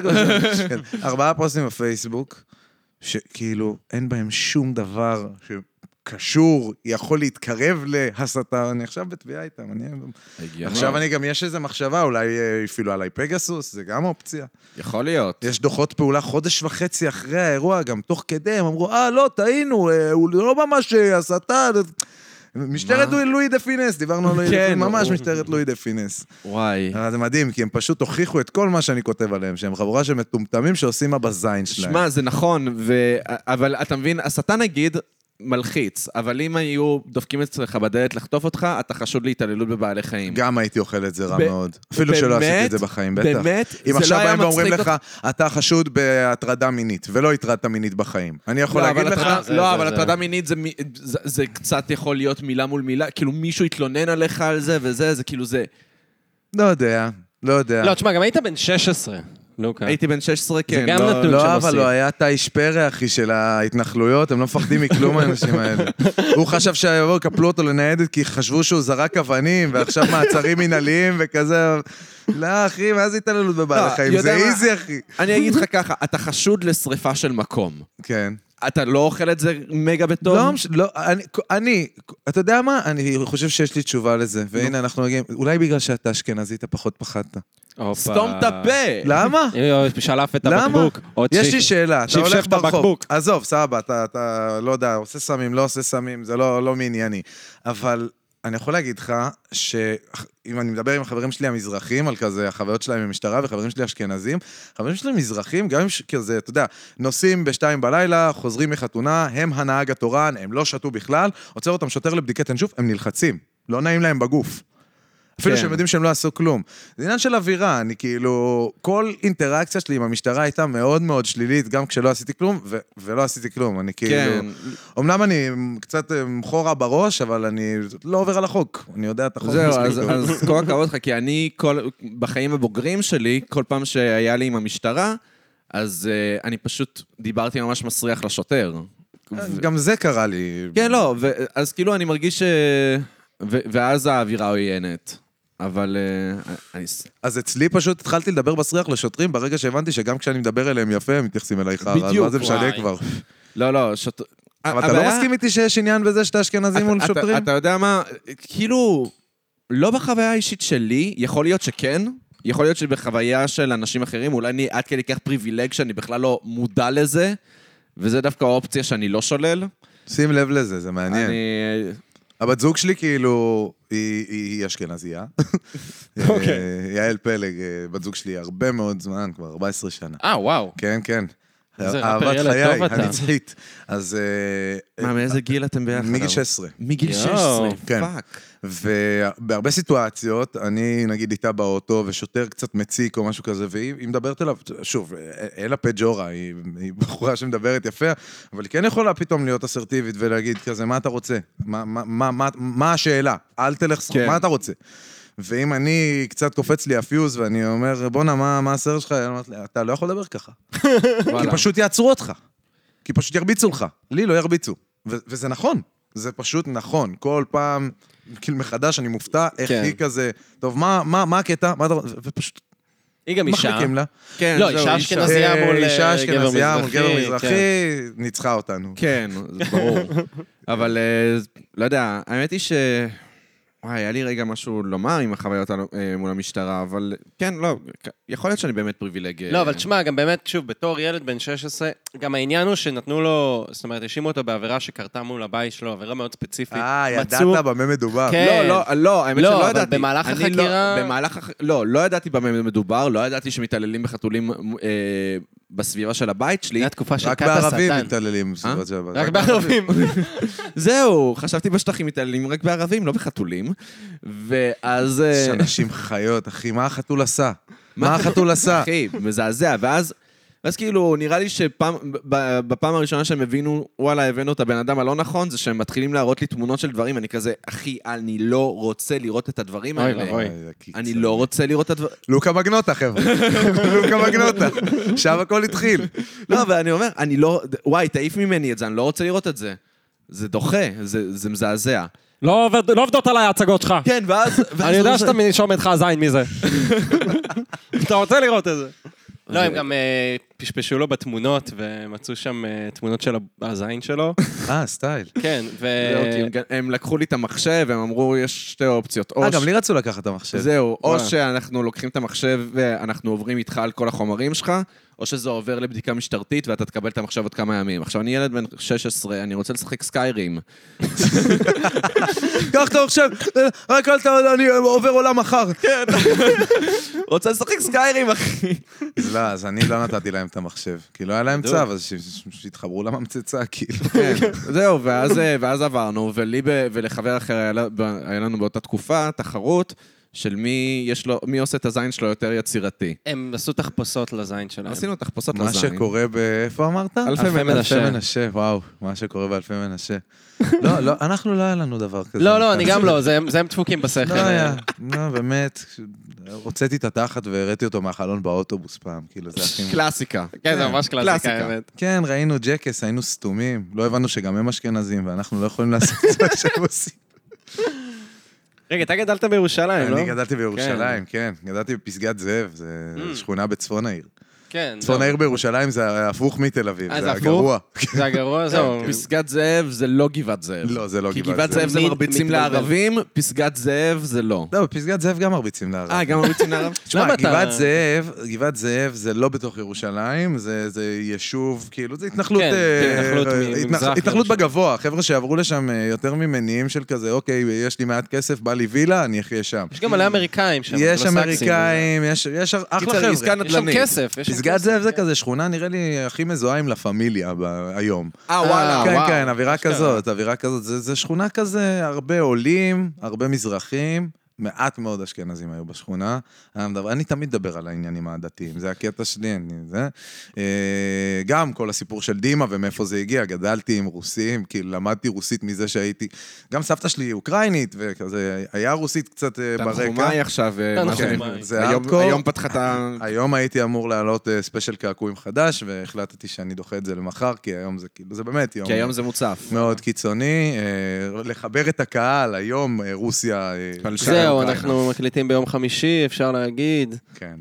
[SPEAKER 3] כן, ארבעה פוסטים בפייסבוק, שכאילו אין בהם שום דבר שקשור, יכול להתקרב להסתה, אני עכשיו בתביעה איתם, אני... עכשיו אני גם, יש איזו מחשבה, אולי אה, יפעילו עליי פגסוס, זה גם אופציה.
[SPEAKER 2] יכול להיות.
[SPEAKER 3] יש דוחות פעולה חודש וחצי אחרי האירוע, גם תוך כדי, הם אמרו, אה, לא, טעינו, אה, הוא לא ממש אה, הסתה. זה- משטרת
[SPEAKER 2] מה?
[SPEAKER 3] לואי דה פינס, דיברנו על לואי דה
[SPEAKER 2] כן,
[SPEAKER 3] פינס, ממש
[SPEAKER 2] הוא-
[SPEAKER 3] משטרת לואי דה פינס.
[SPEAKER 2] וואי.
[SPEAKER 3] אבל זה מדהים, כי הם פשוט הוכיחו את כל מה שאני כותב עליהם, שהם חבורה של מטומטמים שעושים מה בזין שלהם.
[SPEAKER 2] שמע, זה נכון, ו... אבל אתה מבין, הסתה נגיד מלחיץ, אבל אם היו דופקים אצלך בדלת לחטוף אותך, אתה חשוד להתעללות בבעלי חיים.
[SPEAKER 3] גם הייתי אוכל את זה רע
[SPEAKER 2] ב-
[SPEAKER 3] מאוד. אפילו שלא עשיתי
[SPEAKER 2] באמת?
[SPEAKER 3] את זה בחיים, בטח.
[SPEAKER 2] באמת? זה
[SPEAKER 3] אם
[SPEAKER 2] לא
[SPEAKER 3] עכשיו
[SPEAKER 2] היה
[SPEAKER 3] באים ואומרים
[SPEAKER 2] מצחיק
[SPEAKER 3] לך, אתה חשוד בהטרדה מינית, ולא הטרדת מינית בחיים. אני יכול
[SPEAKER 2] לא,
[SPEAKER 3] להגיד
[SPEAKER 2] אבל
[SPEAKER 3] לך...
[SPEAKER 2] הטרדה-
[SPEAKER 4] זה-
[SPEAKER 2] לא,
[SPEAKER 4] זה-
[SPEAKER 2] אבל
[SPEAKER 4] זה-
[SPEAKER 2] הטרדה מינית זה מי- זה- זה קצת יכול להיות מילה מול מילה, כאילו מישהו התלונן עליך על זה וזה, זה כאילו זה.
[SPEAKER 3] לא יודע, לא יודע.
[SPEAKER 4] לא, תשמע, גם היית בן 16, לוקה.
[SPEAKER 2] הייתי בן 16, כן.
[SPEAKER 4] גם
[SPEAKER 2] לא-
[SPEAKER 4] נתון.
[SPEAKER 2] לא-
[SPEAKER 4] שהם
[SPEAKER 3] לא, אבל
[SPEAKER 4] עושים.
[SPEAKER 3] הוא היה תאיש פרא, אחי, של ההתנחלויות, הם לא מפחדים מכלום האנשים האלה. הוא חשב שיבואו, יקפלו אותו לניידת, כי חשבו שהוא זרק אבנים, ועכשיו מעצרים מינהליים וכזה. לא, אחי, מה זה התעללות בבעלי
[SPEAKER 2] לא,
[SPEAKER 3] חיים?
[SPEAKER 2] יודע
[SPEAKER 3] זה
[SPEAKER 2] מה?
[SPEAKER 3] איזי, אחי.
[SPEAKER 2] אני אגיד לך ככה, אתה חשוד לשריפה של מקום.
[SPEAKER 3] כן.
[SPEAKER 2] אתה לא אוכל את זה מגה בטוב?
[SPEAKER 3] לא, מש- לא, אני, אני, אתה יודע מה? אני חושב שיש לי תשובה לזה, והנה אנחנו מגיעים, אולי בגלל שאתה אשכנזי אתה פחות פחדת.
[SPEAKER 2] אה,
[SPEAKER 4] הופה.
[SPEAKER 2] סתום את הפה!
[SPEAKER 3] למה?
[SPEAKER 4] יואו, שלף את
[SPEAKER 3] למה?
[SPEAKER 4] הבקבוק. עוד
[SPEAKER 3] יש
[SPEAKER 4] שיק.
[SPEAKER 3] לי שאלה, אתה
[SPEAKER 4] שפשף
[SPEAKER 3] הולך
[SPEAKER 4] את
[SPEAKER 3] ברחוב.
[SPEAKER 4] הבקבוק.
[SPEAKER 3] עזוב, סבא, אתה, אתה לא יודע, עושה סמים, לא עושה סמים, זה לא, לא מענייני. אבל אני יכול להגיד לך, שאם אני מדבר עם החברים שלי המזרחים, על כזה, החוויות שלהם במשטרה, וחברים שלי אשכנזים, חברים שלי מזרחים, גם אם ש- כזה, אתה יודע, נוסעים בשתיים בלילה, חוזרים מחתונה, הם הנהג התורן, הם לא שתו בכלל, עוצר אותם שוטר לבדיקת ינשוף, הם נלחצים. לא נעים להם בגוף. אפילו
[SPEAKER 2] כן.
[SPEAKER 3] שהם יודעים שהם לא עשו כלום. זה עניין של אווירה, אני כאילו... כל אינטראקציה שלי עם המשטרה הייתה מאוד מאוד שלילית, גם כשלא עשיתי כלום, ו- ולא עשיתי כלום, אני כאילו...
[SPEAKER 2] כן,
[SPEAKER 3] אמנם אני קצת אה, חורה בראש, אבל אני לא עובר על החוק. אני יודע את החוק.
[SPEAKER 2] זהו,
[SPEAKER 3] מספיק
[SPEAKER 2] אז,
[SPEAKER 3] טוב.
[SPEAKER 2] אז כל הכבוד לך, כי אני, כל, בחיים הבוגרים שלי, כל פעם שהיה לי עם המשטרה, אז uh, אני פשוט דיברתי ממש מסריח לשוטר. ו-
[SPEAKER 3] כן, גם זה קרה לי.
[SPEAKER 2] כן, לא, ו- אז כאילו אני מרגיש ש... ו- ואז האווירה עוינת. אבל אה, אני...
[SPEAKER 3] אז אצלי פשוט התחלתי לדבר בסריח לשוטרים, ברגע שהבנתי שגם כשאני מדבר אליהם יפה, הם מתייחסים אליי חרא, אז
[SPEAKER 2] בדיוק,
[SPEAKER 3] מה זה משנה
[SPEAKER 4] וואי.
[SPEAKER 3] כבר?
[SPEAKER 2] לא, לא, שוט...
[SPEAKER 3] אבל אתה לא מסכים איתי שיש עניין בזה שאתה אשכנזי מול
[SPEAKER 2] אתה-
[SPEAKER 3] שוטרים?
[SPEAKER 2] אתה יודע מה, כאילו, לא בחוויה האישית שלי, יכול להיות שכן, יכול להיות שבחוויה של אנשים אחרים, אולי אני עד כדי כך פריבילג שאני בכלל לא מודע לזה, וזה דווקא האופציה שאני לא שולל.
[SPEAKER 3] שים לב לזה, זה מעניין.
[SPEAKER 2] אני... אה,
[SPEAKER 3] הבת זוג שלי כאילו, היא, היא, היא אשכנזייה.
[SPEAKER 4] אוקיי.
[SPEAKER 3] אה, יעל פלג, אה, בת זוג שלי הרבה מאוד זמן, כבר 14 שנה.
[SPEAKER 4] אה, וואו.
[SPEAKER 3] כן, כן.
[SPEAKER 4] איזה ראפר
[SPEAKER 3] אהבת
[SPEAKER 4] ילד
[SPEAKER 3] חיי,
[SPEAKER 4] טוב אתה.
[SPEAKER 3] הנצחית. אז... אה,
[SPEAKER 2] מה, מאיזה גיל אתם ביחד?
[SPEAKER 3] מגיל
[SPEAKER 2] אבל?
[SPEAKER 3] 16.
[SPEAKER 2] מגיל
[SPEAKER 4] יואו,
[SPEAKER 2] 16,
[SPEAKER 3] כן.
[SPEAKER 2] פאק.
[SPEAKER 3] ובהרבה סיטואציות, אני נגיד איתה באוטו, ושוטר קצת מציק או משהו כזה, והיא היא מדברת אליו, שוב, אלה פג'ורה, היא, היא בחורה שמדברת יפה, אבל היא כן יכולה פתאום להיות אסרטיבית ולהגיד כזה, מה אתה רוצה? מה, מה, מה, מה, מה השאלה? אל תלך,
[SPEAKER 2] כן.
[SPEAKER 3] כן. מה אתה רוצה? ואם אני, קצת קופץ לי הפיוז, ואני אומר, בואנה, מה, מה הסרט שלך? היא אומרת לי, אתה לא יכול לדבר ככה. כי
[SPEAKER 2] וואלה.
[SPEAKER 3] פשוט יעצרו אותך. כי פשוט ירביצו לך. לי לא ירביצו. ו- וזה נכון. זה פשוט נכון. כל פעם, כאילו מחדש, אני מופתע איך
[SPEAKER 4] כן.
[SPEAKER 3] היא כזה, טוב, מה, מה, מה הקטע? מה אתה... ו- ופשוט
[SPEAKER 4] היא גם אישה.
[SPEAKER 3] מחליקים לה.
[SPEAKER 2] כן,
[SPEAKER 4] לא,
[SPEAKER 2] זהו,
[SPEAKER 4] אישה
[SPEAKER 2] אישה.
[SPEAKER 4] אשכנזית. אשכנזייה
[SPEAKER 3] אה,
[SPEAKER 4] מול, אה,
[SPEAKER 3] אישה
[SPEAKER 4] גבר
[SPEAKER 3] אשכנזייה מול גבר
[SPEAKER 4] מזרחי,
[SPEAKER 3] מזרחי, ניצחה אותנו.
[SPEAKER 2] כן, זה ברור. אבל אה, לא יודע, האמת היא ש... וואי, היה לי רגע משהו לומר עם החוויות הלא- אה, מול המשטרה, אבל כן, לא, כ- יכול להיות שאני באמת פריבילג. אה,
[SPEAKER 4] לא, אבל תשמע, גם באמת, שוב, בתור ילד בן 16, גם העניין הוא שנתנו לו, זאת אומרת, האשימו אותו בעבירה שקרתה מול הבית שלו, עבירה מאוד ספציפית.
[SPEAKER 3] אה,
[SPEAKER 4] מצאו-
[SPEAKER 3] ידעת במה מדובר.
[SPEAKER 4] כן.
[SPEAKER 2] לא, לא, לא, האמת
[SPEAKER 4] לא,
[SPEAKER 2] שלא
[SPEAKER 4] אבל
[SPEAKER 2] ידעתי.
[SPEAKER 4] במהלך
[SPEAKER 2] אני
[SPEAKER 4] החקירה-
[SPEAKER 2] לא, במהלך הח... לא, לא ידעתי במה מדובר, לא ידעתי שמתעללים בחתולים אה, בסביבה של הבית
[SPEAKER 4] זו
[SPEAKER 2] שלי.
[SPEAKER 4] הייתה תקופה של
[SPEAKER 3] רק
[SPEAKER 4] כת
[SPEAKER 3] בערבים
[SPEAKER 4] השטן.
[SPEAKER 3] מתעללים. בסביבות של-
[SPEAKER 4] רק בערבים.
[SPEAKER 2] זהו, חשבתי בשטחים מתעללים רק בערבים, לא בחתולים. ואז... אה,
[SPEAKER 3] יש אנשים חיות, אחי, מה החתול עשה? מה
[SPEAKER 2] החתול-
[SPEAKER 3] החתול עשה?
[SPEAKER 2] אחי, מזעזע. ואז, ואז כאילו, נראה לי שפעם, ב- בפעם הראשונה שהם הבינו, וואלה, הבאנו את הבן אדם הלא נכון, זה שהם מתחילים להראות לי תמונות של דברים, אני כזה, אחי, אני לא רוצה לראות את הדברים
[SPEAKER 4] אוי
[SPEAKER 2] האלה.
[SPEAKER 4] ואבוי.
[SPEAKER 3] אה, קיצר.
[SPEAKER 2] אני לא רוצה לראות את הדברים.
[SPEAKER 3] לוקה מגנוטה, חבר'ה. לוקה מגנוטה. שם הכל התחיל.
[SPEAKER 2] לא, אבל אני אומר, אני לא... וואי, תעיף ממני את זה, אני לא רוצה לראות את זה. זה דוחה, זה, זה מזעזע.
[SPEAKER 5] לא עובד- לא עובדות עליי ההצגות שלך.
[SPEAKER 2] כן, ואז... ואז
[SPEAKER 5] אני
[SPEAKER 2] זה-
[SPEAKER 5] יודע שאתה מנשום איתך הזין מזה. אתה רוצה לראות את זה.
[SPEAKER 4] לא, הם גם אה, פשפשו לו בתמונות, ומצאו שם אה, תמונות של הזין שלו.
[SPEAKER 3] אה, סטייל.
[SPEAKER 4] כן, ו...
[SPEAKER 2] זהו, כי הם גם- הם לקחו לי את המחשב, הם אמרו, יש שתי אופציות. או
[SPEAKER 3] אה,
[SPEAKER 2] ש-
[SPEAKER 3] גם לי רצו לקחת את המחשב.
[SPEAKER 2] זהו, או
[SPEAKER 4] וואלה.
[SPEAKER 2] שאנחנו לוקחים את המחשב ואנחנו עוברים איתך על כל החומרים שלך, או שזה עובר לבדיקה משטרתית ואתה תקבל את המחשב עוד כמה ימים. עכשיו, אני ילד בן 16, אני רוצה לשחק סקיירים.
[SPEAKER 3] קח את המחשב, אה, רק אל ת... אני עובר עולם מחר.
[SPEAKER 2] רוצה לשחק סקיירים, אחי.
[SPEAKER 3] אז לא, אז אני לא נתתי להם את המחשב. כי לא היה להם צו, אז ש- ש- שיתחברו לממצצה, כאילו.
[SPEAKER 2] כן, זהו, ואז, אה, ואז עברנו, ולי ב- ולחבר אחר היה, לה- ב- היה לנו באותה תקופה תחרות של מי, יש לו, מי עושה את הזין שלו יותר יצירתי.
[SPEAKER 4] הם עשו תחפושות לזין שלהם.
[SPEAKER 2] עשינו תחפושות
[SPEAKER 3] מה
[SPEAKER 2] לזין.
[SPEAKER 3] שקורה ב... איפה אמרת?
[SPEAKER 2] אלפי
[SPEAKER 4] מנשה.
[SPEAKER 3] אלפי מנשה, וואו. מה שקורה באלפי מנשה. לא, לא, אנחנו לא היה לנו דבר כזה.
[SPEAKER 4] לא, לא, אני גם לא, זה זה הם דפוקים בשכל.
[SPEAKER 3] לא היה, לא, באמת. הוצאתי את התחת והראיתי אותו מהחלון באוטובוס פעם, כאילו, זה הכי...
[SPEAKER 2] קלאסיקה.
[SPEAKER 4] כן, זה ממש קלאסיקה,
[SPEAKER 2] קלאסיקה.
[SPEAKER 4] האמת.
[SPEAKER 3] כן, ראינו ג'קס, היינו סתומים. לא הבנו שגם הם אשכנזים, ואנחנו לא יכולים לעשות את מה שהם עושים.
[SPEAKER 4] רגע, אתה גדלת בירושלים,
[SPEAKER 3] כן.
[SPEAKER 4] לא? Mm.
[SPEAKER 3] אני גדלתי בירושלים, כן. גדלתי בפסגת זאב, זו שכונה בצפון העיר.
[SPEAKER 4] כן.
[SPEAKER 3] צפון העיר בירושלים זה הפוך מתל אביב,
[SPEAKER 4] אה,
[SPEAKER 3] זה כן,
[SPEAKER 4] זה הפוך?
[SPEAKER 3] הגרוע.
[SPEAKER 4] זה הגרוע, זהו.
[SPEAKER 6] פסגת זאב זה לא גבעת זאב.
[SPEAKER 3] לא, זה לא
[SPEAKER 6] כי
[SPEAKER 3] גבעת
[SPEAKER 6] גבעת
[SPEAKER 3] זאב.
[SPEAKER 6] זאב זה
[SPEAKER 4] מי-
[SPEAKER 6] מרביצים
[SPEAKER 4] מתבלבל.
[SPEAKER 6] לערבים, פסגת זאב זה לא.
[SPEAKER 3] לא, בפסגת זאב גם מרביצים לערבים.
[SPEAKER 6] אה, גם מרביצים לערבים?
[SPEAKER 3] תשמע,
[SPEAKER 4] למה אתה-
[SPEAKER 3] גבעת זאב, גבעת זאב זה לא בתוך ירושלים, זה זה יישוב, כאילו, זה התנחלות...
[SPEAKER 4] כן,
[SPEAKER 3] אה,
[SPEAKER 4] התנחלות
[SPEAKER 3] אה, התנח-
[SPEAKER 4] ממזרח ירושלים.
[SPEAKER 3] התנחלות בגבוה, חבר'ה שעברו לשם אה, יותר ממניעים של כזה, אוקיי, יש לי מעט כסף, בא לי וילה, אני אחיה שם.
[SPEAKER 4] יש גם מלא אמריקאים שם.
[SPEAKER 3] יש
[SPEAKER 4] אנגלוסקסים.
[SPEAKER 3] אמריקאים, יש יש אחלה
[SPEAKER 6] קיצר,
[SPEAKER 3] חבר'ה.
[SPEAKER 6] עסקה
[SPEAKER 4] יש שם
[SPEAKER 6] נדל"נית.
[SPEAKER 4] כסף. יש שם
[SPEAKER 3] פסגת
[SPEAKER 4] כסף,
[SPEAKER 3] זאב זה
[SPEAKER 4] כן.
[SPEAKER 3] כזה שכונה, נראה לי, הכי מזוהה עם לה פמיליה ב- היום.
[SPEAKER 6] אה, וואלה,
[SPEAKER 3] כן,
[SPEAKER 6] וואו.
[SPEAKER 3] כן, אווירה כזאת, אווירה כזאת. זה זה שכונה כזה, הרבה עולים, הרבה מזרחים. מעט מאוד אשכנזים היו בשכונה. אני, מדבר, אני תמיד מדבר על העניינים העדתיים, זה הקטע שלי, אני זה. אה, גם כל הסיפור של דימה ומאיפה זה הגיע, גדלתי עם רוסים, כאילו למדתי רוסית מזה שהייתי... גם סבתא שלי היא אוקראינית, וכזה, היה רוסית קצת אה, ברקע.
[SPEAKER 6] תנחומיי עכשיו, אה, מה
[SPEAKER 4] תנחומיי.
[SPEAKER 6] שנקרא.
[SPEAKER 3] זה
[SPEAKER 6] היום-
[SPEAKER 3] הארדקור.
[SPEAKER 6] היום פתחה את ה...
[SPEAKER 3] היום הייתי אמור להעלות אה, ספיישל קעקועים חדש, והחלטתי שאני דוחה את זה למחר, כי היום זה כאילו, זה באמת יום
[SPEAKER 6] כי היום זה מוצף.
[SPEAKER 3] מאוד קיצוני. אה, לחבר את הקהל, היום אה, רוסיה... אה,
[SPEAKER 6] פלשה.
[SPEAKER 4] זהו,
[SPEAKER 6] אוקראינה.
[SPEAKER 4] אנחנו מקליטים ביום חמישי, אפשר להגיד.
[SPEAKER 3] כן.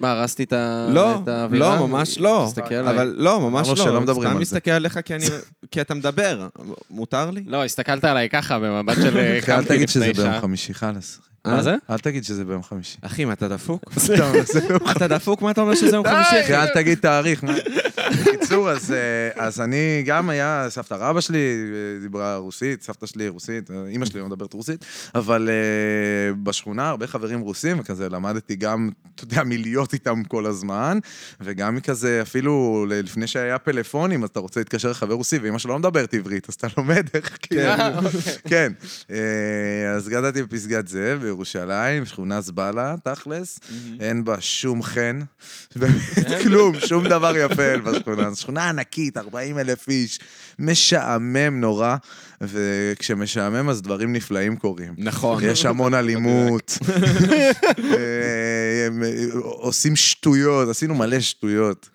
[SPEAKER 4] מה, הרסתי את ה-
[SPEAKER 6] לא,
[SPEAKER 4] את האווירה?
[SPEAKER 6] לא, ממש לא.
[SPEAKER 4] תסתכל עליי.
[SPEAKER 6] אבל לא, ממש
[SPEAKER 3] אמרנו
[SPEAKER 6] לא.
[SPEAKER 3] שלא מדברים על
[SPEAKER 6] סתם
[SPEAKER 3] זה.
[SPEAKER 6] מסתכל עליך כי אני- כי אתה מדבר. מותר לי?
[SPEAKER 4] לא, הסתכלת עליי ככה במבט של אה,
[SPEAKER 3] אוקיי, אל
[SPEAKER 4] קמתי
[SPEAKER 3] תגיד שזה
[SPEAKER 4] לפני
[SPEAKER 3] ביום
[SPEAKER 4] שעה.
[SPEAKER 3] חמישי, חלאס.
[SPEAKER 4] מה זה?
[SPEAKER 3] אל תגיד שזה ביום חמישי.
[SPEAKER 6] אחי, מה, אתה דפוק?
[SPEAKER 3] סתם, זהו.
[SPEAKER 6] אתה דפוק? מה אתה אומר שזה יום חמישי?
[SPEAKER 3] כי אל תגיד תאריך. מה? בקיצור, אז, אה, אז אני גם היה, סבתא רבא שלי אה, דיברה רוסית, סבתא שלי רוסית, אה, אימא שלי לא מדברת רוסית, אבל אה, בשכונה הרבה חברים רוסים, וכזה למדתי גם, אתה יודע, מלהיות איתם כל הזמן, וגם מכזה, אפילו ל- לפני שהיה פלאפונים, אז אתה רוצה להתקשר לחבר רוסי, ואימא שלו לא מדברת עברית, אז אתה לומד איך, כאילו. כן. אה, אז גדלתי בפסגת זאב בירושלים, שכונה זבלה, תכלס. אין בה שום חן, באמת
[SPEAKER 4] כן?
[SPEAKER 3] כלום, שום דבר יפה אין בשכונה. זו שכונה ענקית, 40 אלף איש, משעמם נורא, וכשמשעמם אז דברים נפלאים קורים.
[SPEAKER 6] נכון.
[SPEAKER 3] יש המון אלימות, אה, הם, אה, עושים שטויות, עשינו מלא שטויות.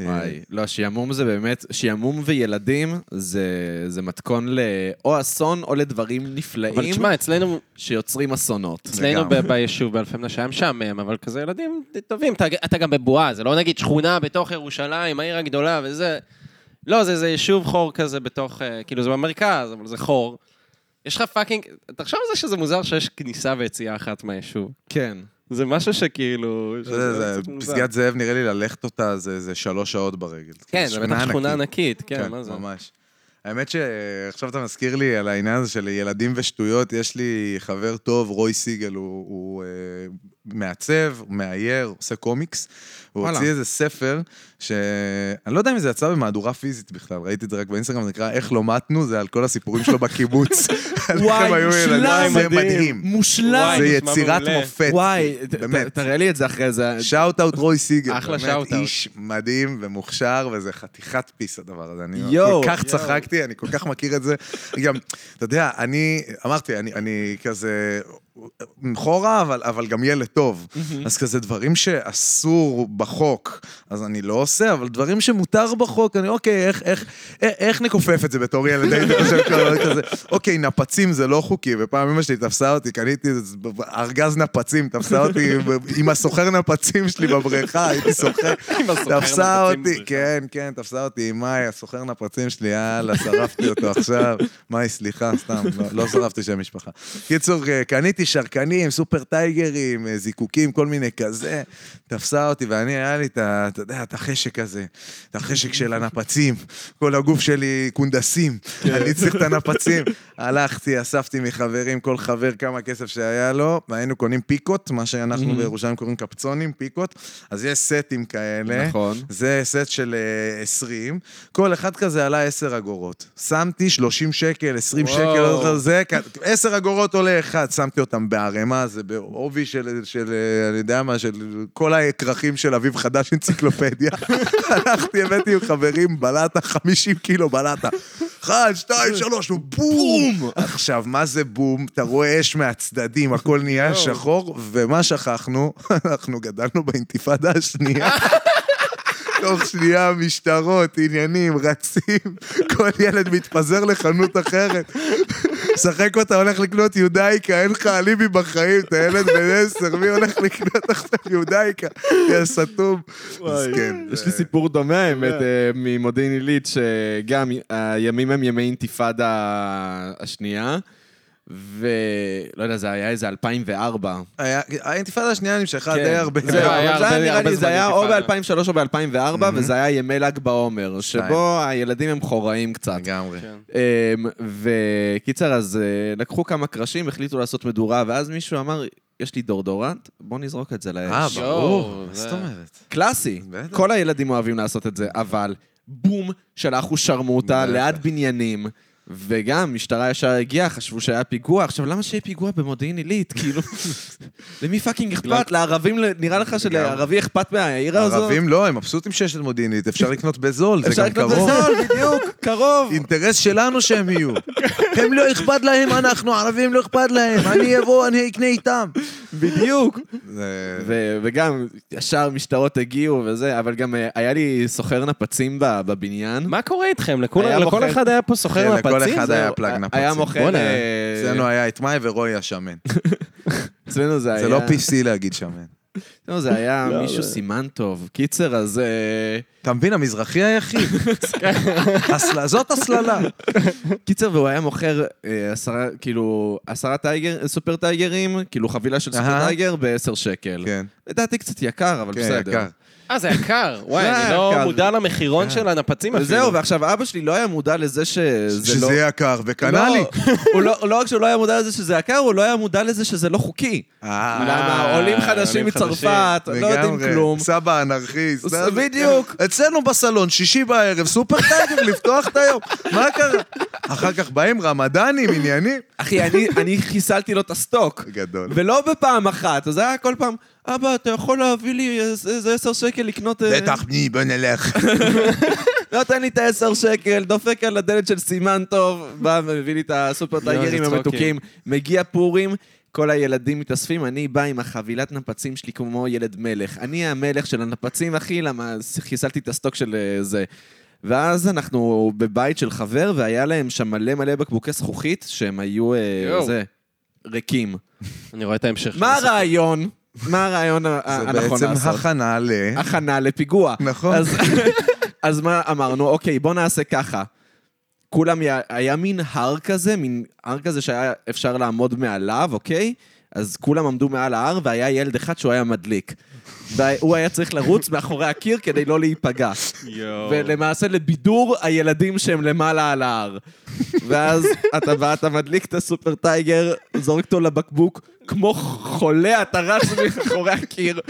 [SPEAKER 3] אה,
[SPEAKER 6] וואי, לא, שעמום זה באמת, שעמום וילדים זה, זה מתכון ל... או אסון או לדברים נפלאים
[SPEAKER 4] אבל תשמע, אצלנו
[SPEAKER 6] שיוצרים אסונות.
[SPEAKER 4] אצלנו
[SPEAKER 3] לגמרי.
[SPEAKER 4] ב- ביישוב באלפי מנשה היה משעמם, אבל כזה ילדים טובים. אתה- אתה גם בבועה, זה לא נגיד שכונה בתוך ירושלים, העיר הגדולה וזה. לא, זה זה יישוב חור כזה בתוך, אה, כאילו זה במרכז, אבל זה חור. יש לך פאקינג, תחשוב על זה שזה מוזר שיש כניסה ויציאה אחת מהיישוב.
[SPEAKER 6] כן.
[SPEAKER 4] זה משהו שכאילו...
[SPEAKER 3] זה- זה-
[SPEAKER 4] קצת מוזר.
[SPEAKER 3] פסגת זאב, נראה לי ללכת אותה זה זה שלוש שעות ברגל.
[SPEAKER 4] כן, זה בטח שכונה ענקית, כן, מה זה?
[SPEAKER 3] ממש. האמת שעכשיו אתה מזכיר לי על העניין הזה של ילדים ושטויות, יש לי חבר טוב, רוי סיגל, הוא, הוא אה, מעצב, הוא מאייר, עושה קומיקס. הוא
[SPEAKER 6] וואלה.
[SPEAKER 3] הוציא איזה ספר, שאני לא יודע אם זה יצא במהדורה פיזית בכלל, ראיתי את זה רק באינסטגרם, זה נקרא איך לא מתנו, זה על כל הסיפורים שלו בקיבוץ. על איך
[SPEAKER 6] וואי,
[SPEAKER 3] הם היו
[SPEAKER 6] מושלם.
[SPEAKER 3] ילדים, זה
[SPEAKER 4] מדהים.
[SPEAKER 3] מדהים.
[SPEAKER 6] מושלם!
[SPEAKER 3] זה
[SPEAKER 4] נשמע
[SPEAKER 3] יצירת
[SPEAKER 4] מעולה.
[SPEAKER 3] מופת.
[SPEAKER 6] וואי,
[SPEAKER 2] כאילו,
[SPEAKER 6] ת-
[SPEAKER 3] באמת.
[SPEAKER 6] ת- תראה לי את זה אחרי זה.
[SPEAKER 3] שאוט אאוט רוי סיגל.
[SPEAKER 4] אחלה
[SPEAKER 3] באמת,
[SPEAKER 4] שאוט-אאוט.
[SPEAKER 3] איש מדהים ומוכשר, וזה חתיכת פיס הדבר הזה. אני
[SPEAKER 6] יואו,
[SPEAKER 3] כל כך
[SPEAKER 6] יואו.
[SPEAKER 3] צחקתי, אני כל כך מכיר את זה. גם, אתה יודע, אני, אמרתי, אני, אני כזה חורה, אבל, אבל גם ילד טוב. אז כזה דברים שאסור בחוק, אז אני לא עושה, אבל דברים שמותר בחוק, אני אוקיי, איך, איך, איך, איך נכופף את זה בתור ילד? הייתי חושב כזה, אוקיי, נפצים זה לא חוקי, ופעם אמא שלי תפסה אותי, קניתי איזה ארגז נפצים, תפסה אותי עם הסוחר נפצים שלי בבריכה, הייתי סוחר,
[SPEAKER 4] לא
[SPEAKER 3] תפסה
[SPEAKER 4] נפצים
[SPEAKER 3] אותי,
[SPEAKER 4] בבריכה.
[SPEAKER 3] כן, כן, תפסה אותי עם מאי, הסוחר נפצים שלי, יאללה, שרפתי אותו עכשיו. מאי, סליחה, סתם, לא- לא שרפתי שם משפחה. קיצור, אה, קניתי שרקנים, סופר טייגרים, אה, זיקוקים, כל מיני כזה. תפסה אותי, ואני, היה לי את ה... אתה יודע, את החשק הזה, את החשק של הנפצים. כל הגוף שלי קונדסים, אני צריך את הנפצים. הלכתי, אספתי מחברים, כל חבר כמה כסף שהיה לו, והיינו קונים פיקות, מה שאנחנו בירושלים קוראים קפצונים, פיקות. אז יש סטים כאלה.
[SPEAKER 6] נכון.
[SPEAKER 3] זה סט של אה, 20, כל אחד כזה עלה 10 אגורות. שמתי 30 שקל, 20
[SPEAKER 6] וואו.
[SPEAKER 3] שקל, לא זוכר, זה, כ- 10 אגורות עולה אחד, שמתי אותם בערימה, זה בעובי של, של, אה, אני יודע מה, של כל הכרכים של אביב חדש אנציקלופדיה. הלכתי, הבאתי עם חברים, בלטה, 50 קילו בלטה. אחד, שתיים, שלוש, בום! עכשיו, מה זה בום? אתה רואה אש מהצדדים, הכל נהיה שחור, ומה שכחנו? אנחנו גדלנו באינתיפאדה השנייה. תוך שנייה משטרות, עניינים, רצים, כל ילד מתפזר לחנות אחרת. משחק אותה, הולך לקנות יודאיקה, אין לך אליבי בחיים, אתה ילד בן עשר, מי הולך לקנות עכשיו יודאיקה? יא סתום. אז כן.
[SPEAKER 2] יש לי סיפור דומה, האמת, אה, ממודיעין עילית, שגם הימים הם ימי אינתיפאדה השנייה, ולא יודע, זה היה איזה 2004.
[SPEAKER 3] היה- האינתיפאדה השנייה נמשכה
[SPEAKER 4] כן.
[SPEAKER 3] די הרבה.
[SPEAKER 4] זה
[SPEAKER 2] זהו,
[SPEAKER 4] היה
[SPEAKER 2] אבל זה
[SPEAKER 4] הרבה-
[SPEAKER 2] היה נראה
[SPEAKER 4] הרבה
[SPEAKER 2] לי, זה
[SPEAKER 4] זמן
[SPEAKER 2] היה או
[SPEAKER 4] אינתיפאדה.
[SPEAKER 2] ב-2003 או ב-2004, וזה היה ימי ל"ג בעומר, שבו הילדים הם חוראים קצת.
[SPEAKER 3] לגמרי.
[SPEAKER 4] כן.
[SPEAKER 2] אמ, וקיצר, אז אה, לקחו כמה קרשים, החליטו לעשות מדורה, ואז מישהו אמר, יש לי דורדורנט, בוא נזרוק את זה
[SPEAKER 3] אה,
[SPEAKER 2] לאש.
[SPEAKER 3] ברור.
[SPEAKER 4] יואו,
[SPEAKER 3] מה
[SPEAKER 4] זה-
[SPEAKER 3] זאת אומרת?
[SPEAKER 2] קלאסי.
[SPEAKER 3] בטח.
[SPEAKER 2] כל הילדים אוהבים לעשות את זה, אבל בום, שלחו שרמוטה
[SPEAKER 3] בטח.
[SPEAKER 2] ליד בניינים. וגם, משטרה ישר הגיעה, חשבו שהיה פיגוע. עכשיו, למה שיהיה פיגוע במודיעין עילית? כאילו, למי פאקינג אכפת? לערבים, ל- נראה לך שלערבי אכפת מהעיר הזאת?
[SPEAKER 3] ערבים לא, הם מבסוטים שיש את מודיעינית, אפשר לקנות בזול, זה
[SPEAKER 2] אפשר
[SPEAKER 3] גם
[SPEAKER 2] לקנות
[SPEAKER 3] קרוב.
[SPEAKER 2] בזול, בדיוק, קרוב.
[SPEAKER 3] אינטרס שלנו שהם יהיו. הם לא אכפת להם, אנחנו ערבים לא אכפת להם, אני אבוא, אני אקנה איתם.
[SPEAKER 2] בדיוק.
[SPEAKER 3] זה-
[SPEAKER 2] ו- וגם, ישר משטרות הגיעו וזה, אבל גם אה, היה לי סוחר נפצים ב- בבניין.
[SPEAKER 4] מה קורה איתכם? לכול-
[SPEAKER 2] היה
[SPEAKER 4] לכל
[SPEAKER 2] מוכר-
[SPEAKER 4] אחד היה פה סוחר
[SPEAKER 3] כן, לכל
[SPEAKER 4] נפצים?
[SPEAKER 3] אחד
[SPEAKER 4] זהו.
[SPEAKER 3] היה פלאג נפצים.
[SPEAKER 2] היה מוכר...
[SPEAKER 4] בואנה.
[SPEAKER 2] אה,
[SPEAKER 3] אצלנו היה את מאי ורוי השמן.
[SPEAKER 2] אצלנו זה היה...
[SPEAKER 3] זה לא PC להגיד שמן.
[SPEAKER 2] לא, זה היה מישהו סימן טוב. קיצר, אז... אה,
[SPEAKER 3] אתה מבין, המזרחי היחיד. הסל- זאת הסללה.
[SPEAKER 2] קיצר, והוא היה מוכר אה, עשרה, כאילו, עשרה טייגר, סופר טייגרים, כאילו חבילה של סופר
[SPEAKER 3] אהה.
[SPEAKER 2] טייגר ב-10 שקל.
[SPEAKER 3] כן,
[SPEAKER 2] לדעתי קצת יקר, אבל
[SPEAKER 3] כן,
[SPEAKER 2] בסדר.
[SPEAKER 3] יקר.
[SPEAKER 4] אה, זה יקר. וואי,
[SPEAKER 2] זה
[SPEAKER 4] אני לא
[SPEAKER 2] יקר.
[SPEAKER 4] מודע למחירון
[SPEAKER 3] כן.
[SPEAKER 4] של הנפצים אפילו.
[SPEAKER 2] וזהו, ועכשיו אבא שלי לא היה מודע לזה שזה לא...
[SPEAKER 3] שזה יקר, וקנה לי.
[SPEAKER 2] הוא לא, לא רק שהוא לא היה מודע לזה שזה יקר, הוא לא היה מודע לזה שזה לא חוקי.
[SPEAKER 3] אה,
[SPEAKER 2] למה עולים חדשים
[SPEAKER 4] עולים
[SPEAKER 2] מצרפת, לא יודעים
[SPEAKER 3] לגמרי.
[SPEAKER 2] כלום.
[SPEAKER 3] סבא אנרכיסט.
[SPEAKER 2] ס-
[SPEAKER 3] זה-
[SPEAKER 2] בדיוק.
[SPEAKER 3] אצלנו בסלון, שישי בערב, סופר טייגר, לפתוח את היום. מה קרה? אחר כך באים רמדאנים, עניינים.
[SPEAKER 2] אחי, אני, אני חיסלתי לו את הסטוק.
[SPEAKER 3] גדול.
[SPEAKER 2] ולא בפעם אחת, אז היה כל פעם, אבא, אתה יכול להביא לי איזה איזה עשר שקל לקנות... אה,
[SPEAKER 3] בטח, בני, בוא נלך.
[SPEAKER 2] לא, תן לי את העשר שקל, דופק על הדלת של סימן טוב, בא ומביא לי את הסופר טייגרים
[SPEAKER 4] איזה
[SPEAKER 2] המתוקים, מגיע פורים. כל הילדים מתאספים, אני בא עם החבילת נפצים שלי כמו ילד מלך. אני המלך של הנפצים, אחי, למה חיסלתי את הסטוק של אה, זה. ואז אנחנו בבית של חבר, והיה להם שם מלא מלא בקבוקי זכוכית, שהם היו, אה,
[SPEAKER 4] יואו.
[SPEAKER 2] זה, ריקים.
[SPEAKER 4] אני רואה את ההמשך. של
[SPEAKER 2] מה
[SPEAKER 4] הסיפור.
[SPEAKER 2] הרעיון? מה הרעיון ה-
[SPEAKER 3] זה
[SPEAKER 2] הנכון
[SPEAKER 3] בעצם
[SPEAKER 2] אה, נכון לעשות?
[SPEAKER 3] הכנה ל...
[SPEAKER 2] הכנה לפיגוע.
[SPEAKER 3] כן. נכון.
[SPEAKER 2] אז, אז מה אמרנו? אוקיי, בוא נעשה ככה. כולם, היה, היה מין הר כזה, מין הר כזה שהיה אפשר לעמוד מעליו, אוקיי? אז כולם עמדו מעל ההר, והיה ילד אחד שהוא היה מדליק. והוא היה צריך לרוץ מאחורי הקיר כדי לא להיפגע. ולמעשה לבידור הילדים שהם למעלה על ההר. ואז אתה בא, אתה מדליק את הסופר טייגר, זורק אותו לבקבוק, כמו חולה אתה רץ מאחורי הקיר,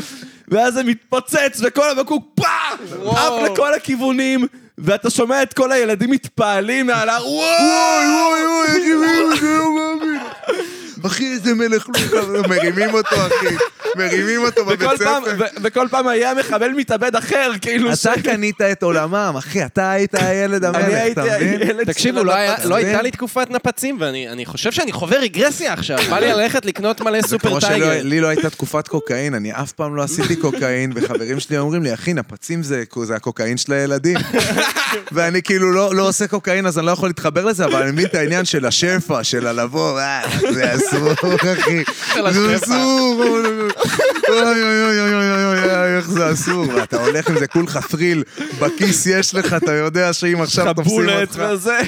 [SPEAKER 2] ואז זה מתפוצץ, וכל הבקבוק פאח! עף לכל הכיוונים, ואתה שומע את כל הילדים מתפעלים מעל ההר, וואו!
[SPEAKER 3] אוי אוי אוי, איך הביאו את זה, לא מאמין. אחי, איזה מלך לוקה. מרימים אותו, אחי. מרימים אותו
[SPEAKER 2] וכל
[SPEAKER 3] בבית
[SPEAKER 2] פעם-
[SPEAKER 3] ספר.
[SPEAKER 2] ו- וכל פעם היה מחבל מתאבד אחר, כאילו... ש-
[SPEAKER 3] אתה קנית את עולמם, אחי, אתה היית הילד
[SPEAKER 2] אני
[SPEAKER 3] המלך,
[SPEAKER 2] הייתי
[SPEAKER 3] אתה מבין?
[SPEAKER 2] הילד
[SPEAKER 4] תקשיבו,
[SPEAKER 2] של
[SPEAKER 4] לא היה-
[SPEAKER 2] הנפץ.
[SPEAKER 4] לא הייתה לי תקופת נפצים, ואני אני חושב שאני חווה רגרסיה עכשיו. בא לי ללכת לקנות מלא סופר
[SPEAKER 3] כמו
[SPEAKER 4] טייגר.
[SPEAKER 3] שלי לא הייתה תקופת קוקאין, אני אף פעם לא עשיתי קוקאין, וחברים שלי אומרים לי, אחי, נפצים זה זה הקוקאין של הילדים. ואני כאילו לא לא עושה קוקאין, אז אני לא יכול להתחבר לזה, אבל אני מבין את העניין של השפע, של הלבוא, אה, זה אסור, אחי. זה
[SPEAKER 4] השפע.
[SPEAKER 3] אסור. אוי אוי אוי אוי אוי אוי אוי, איך זה אסור. ואתה הולך עם זה כולך פריל, בכיס יש לך, אתה יודע שאם עכשיו תופסים
[SPEAKER 2] חבולת
[SPEAKER 3] אותך...
[SPEAKER 2] וזה.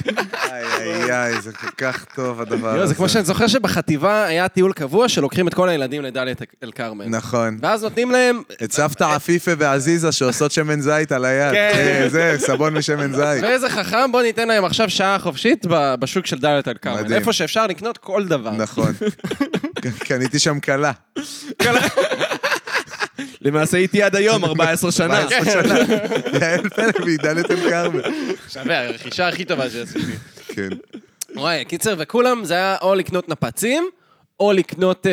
[SPEAKER 3] איי, איי, איי, זה כל כך טוב הדבר הזה.
[SPEAKER 4] לא, זה כמו שאני זוכר שבחטיבה היה טיול קבוע שלוקחים את כל הילדים לדאלית אל כרמל.
[SPEAKER 3] נכון.
[SPEAKER 4] ואז נותנים להם,
[SPEAKER 3] את סבתא עפיפה ועזיזה שעושות שמן זית על היד.
[SPEAKER 4] כן.
[SPEAKER 3] כן. זה, סבון משמן זית.
[SPEAKER 4] ואיזה חכם, בוא ניתן להם עכשיו שעה חופשית ב- בשוק של דאלית אל כרמל.
[SPEAKER 3] מדהים.
[SPEAKER 4] איפה שאפשר לקנות כל דבר.
[SPEAKER 3] נכון. ק- קניתי שם כלה.
[SPEAKER 2] למעשה איתי עד היום, 14 שנה.
[SPEAKER 3] 14 שנה. יעל פלג מדלית אל כרמל.
[SPEAKER 4] שווה, הרכישה הכי טובה שעשיתי.
[SPEAKER 3] כן.
[SPEAKER 4] וואי, קיצר, וכולם זה היה או לקנות נפצים, או לקנות... אה,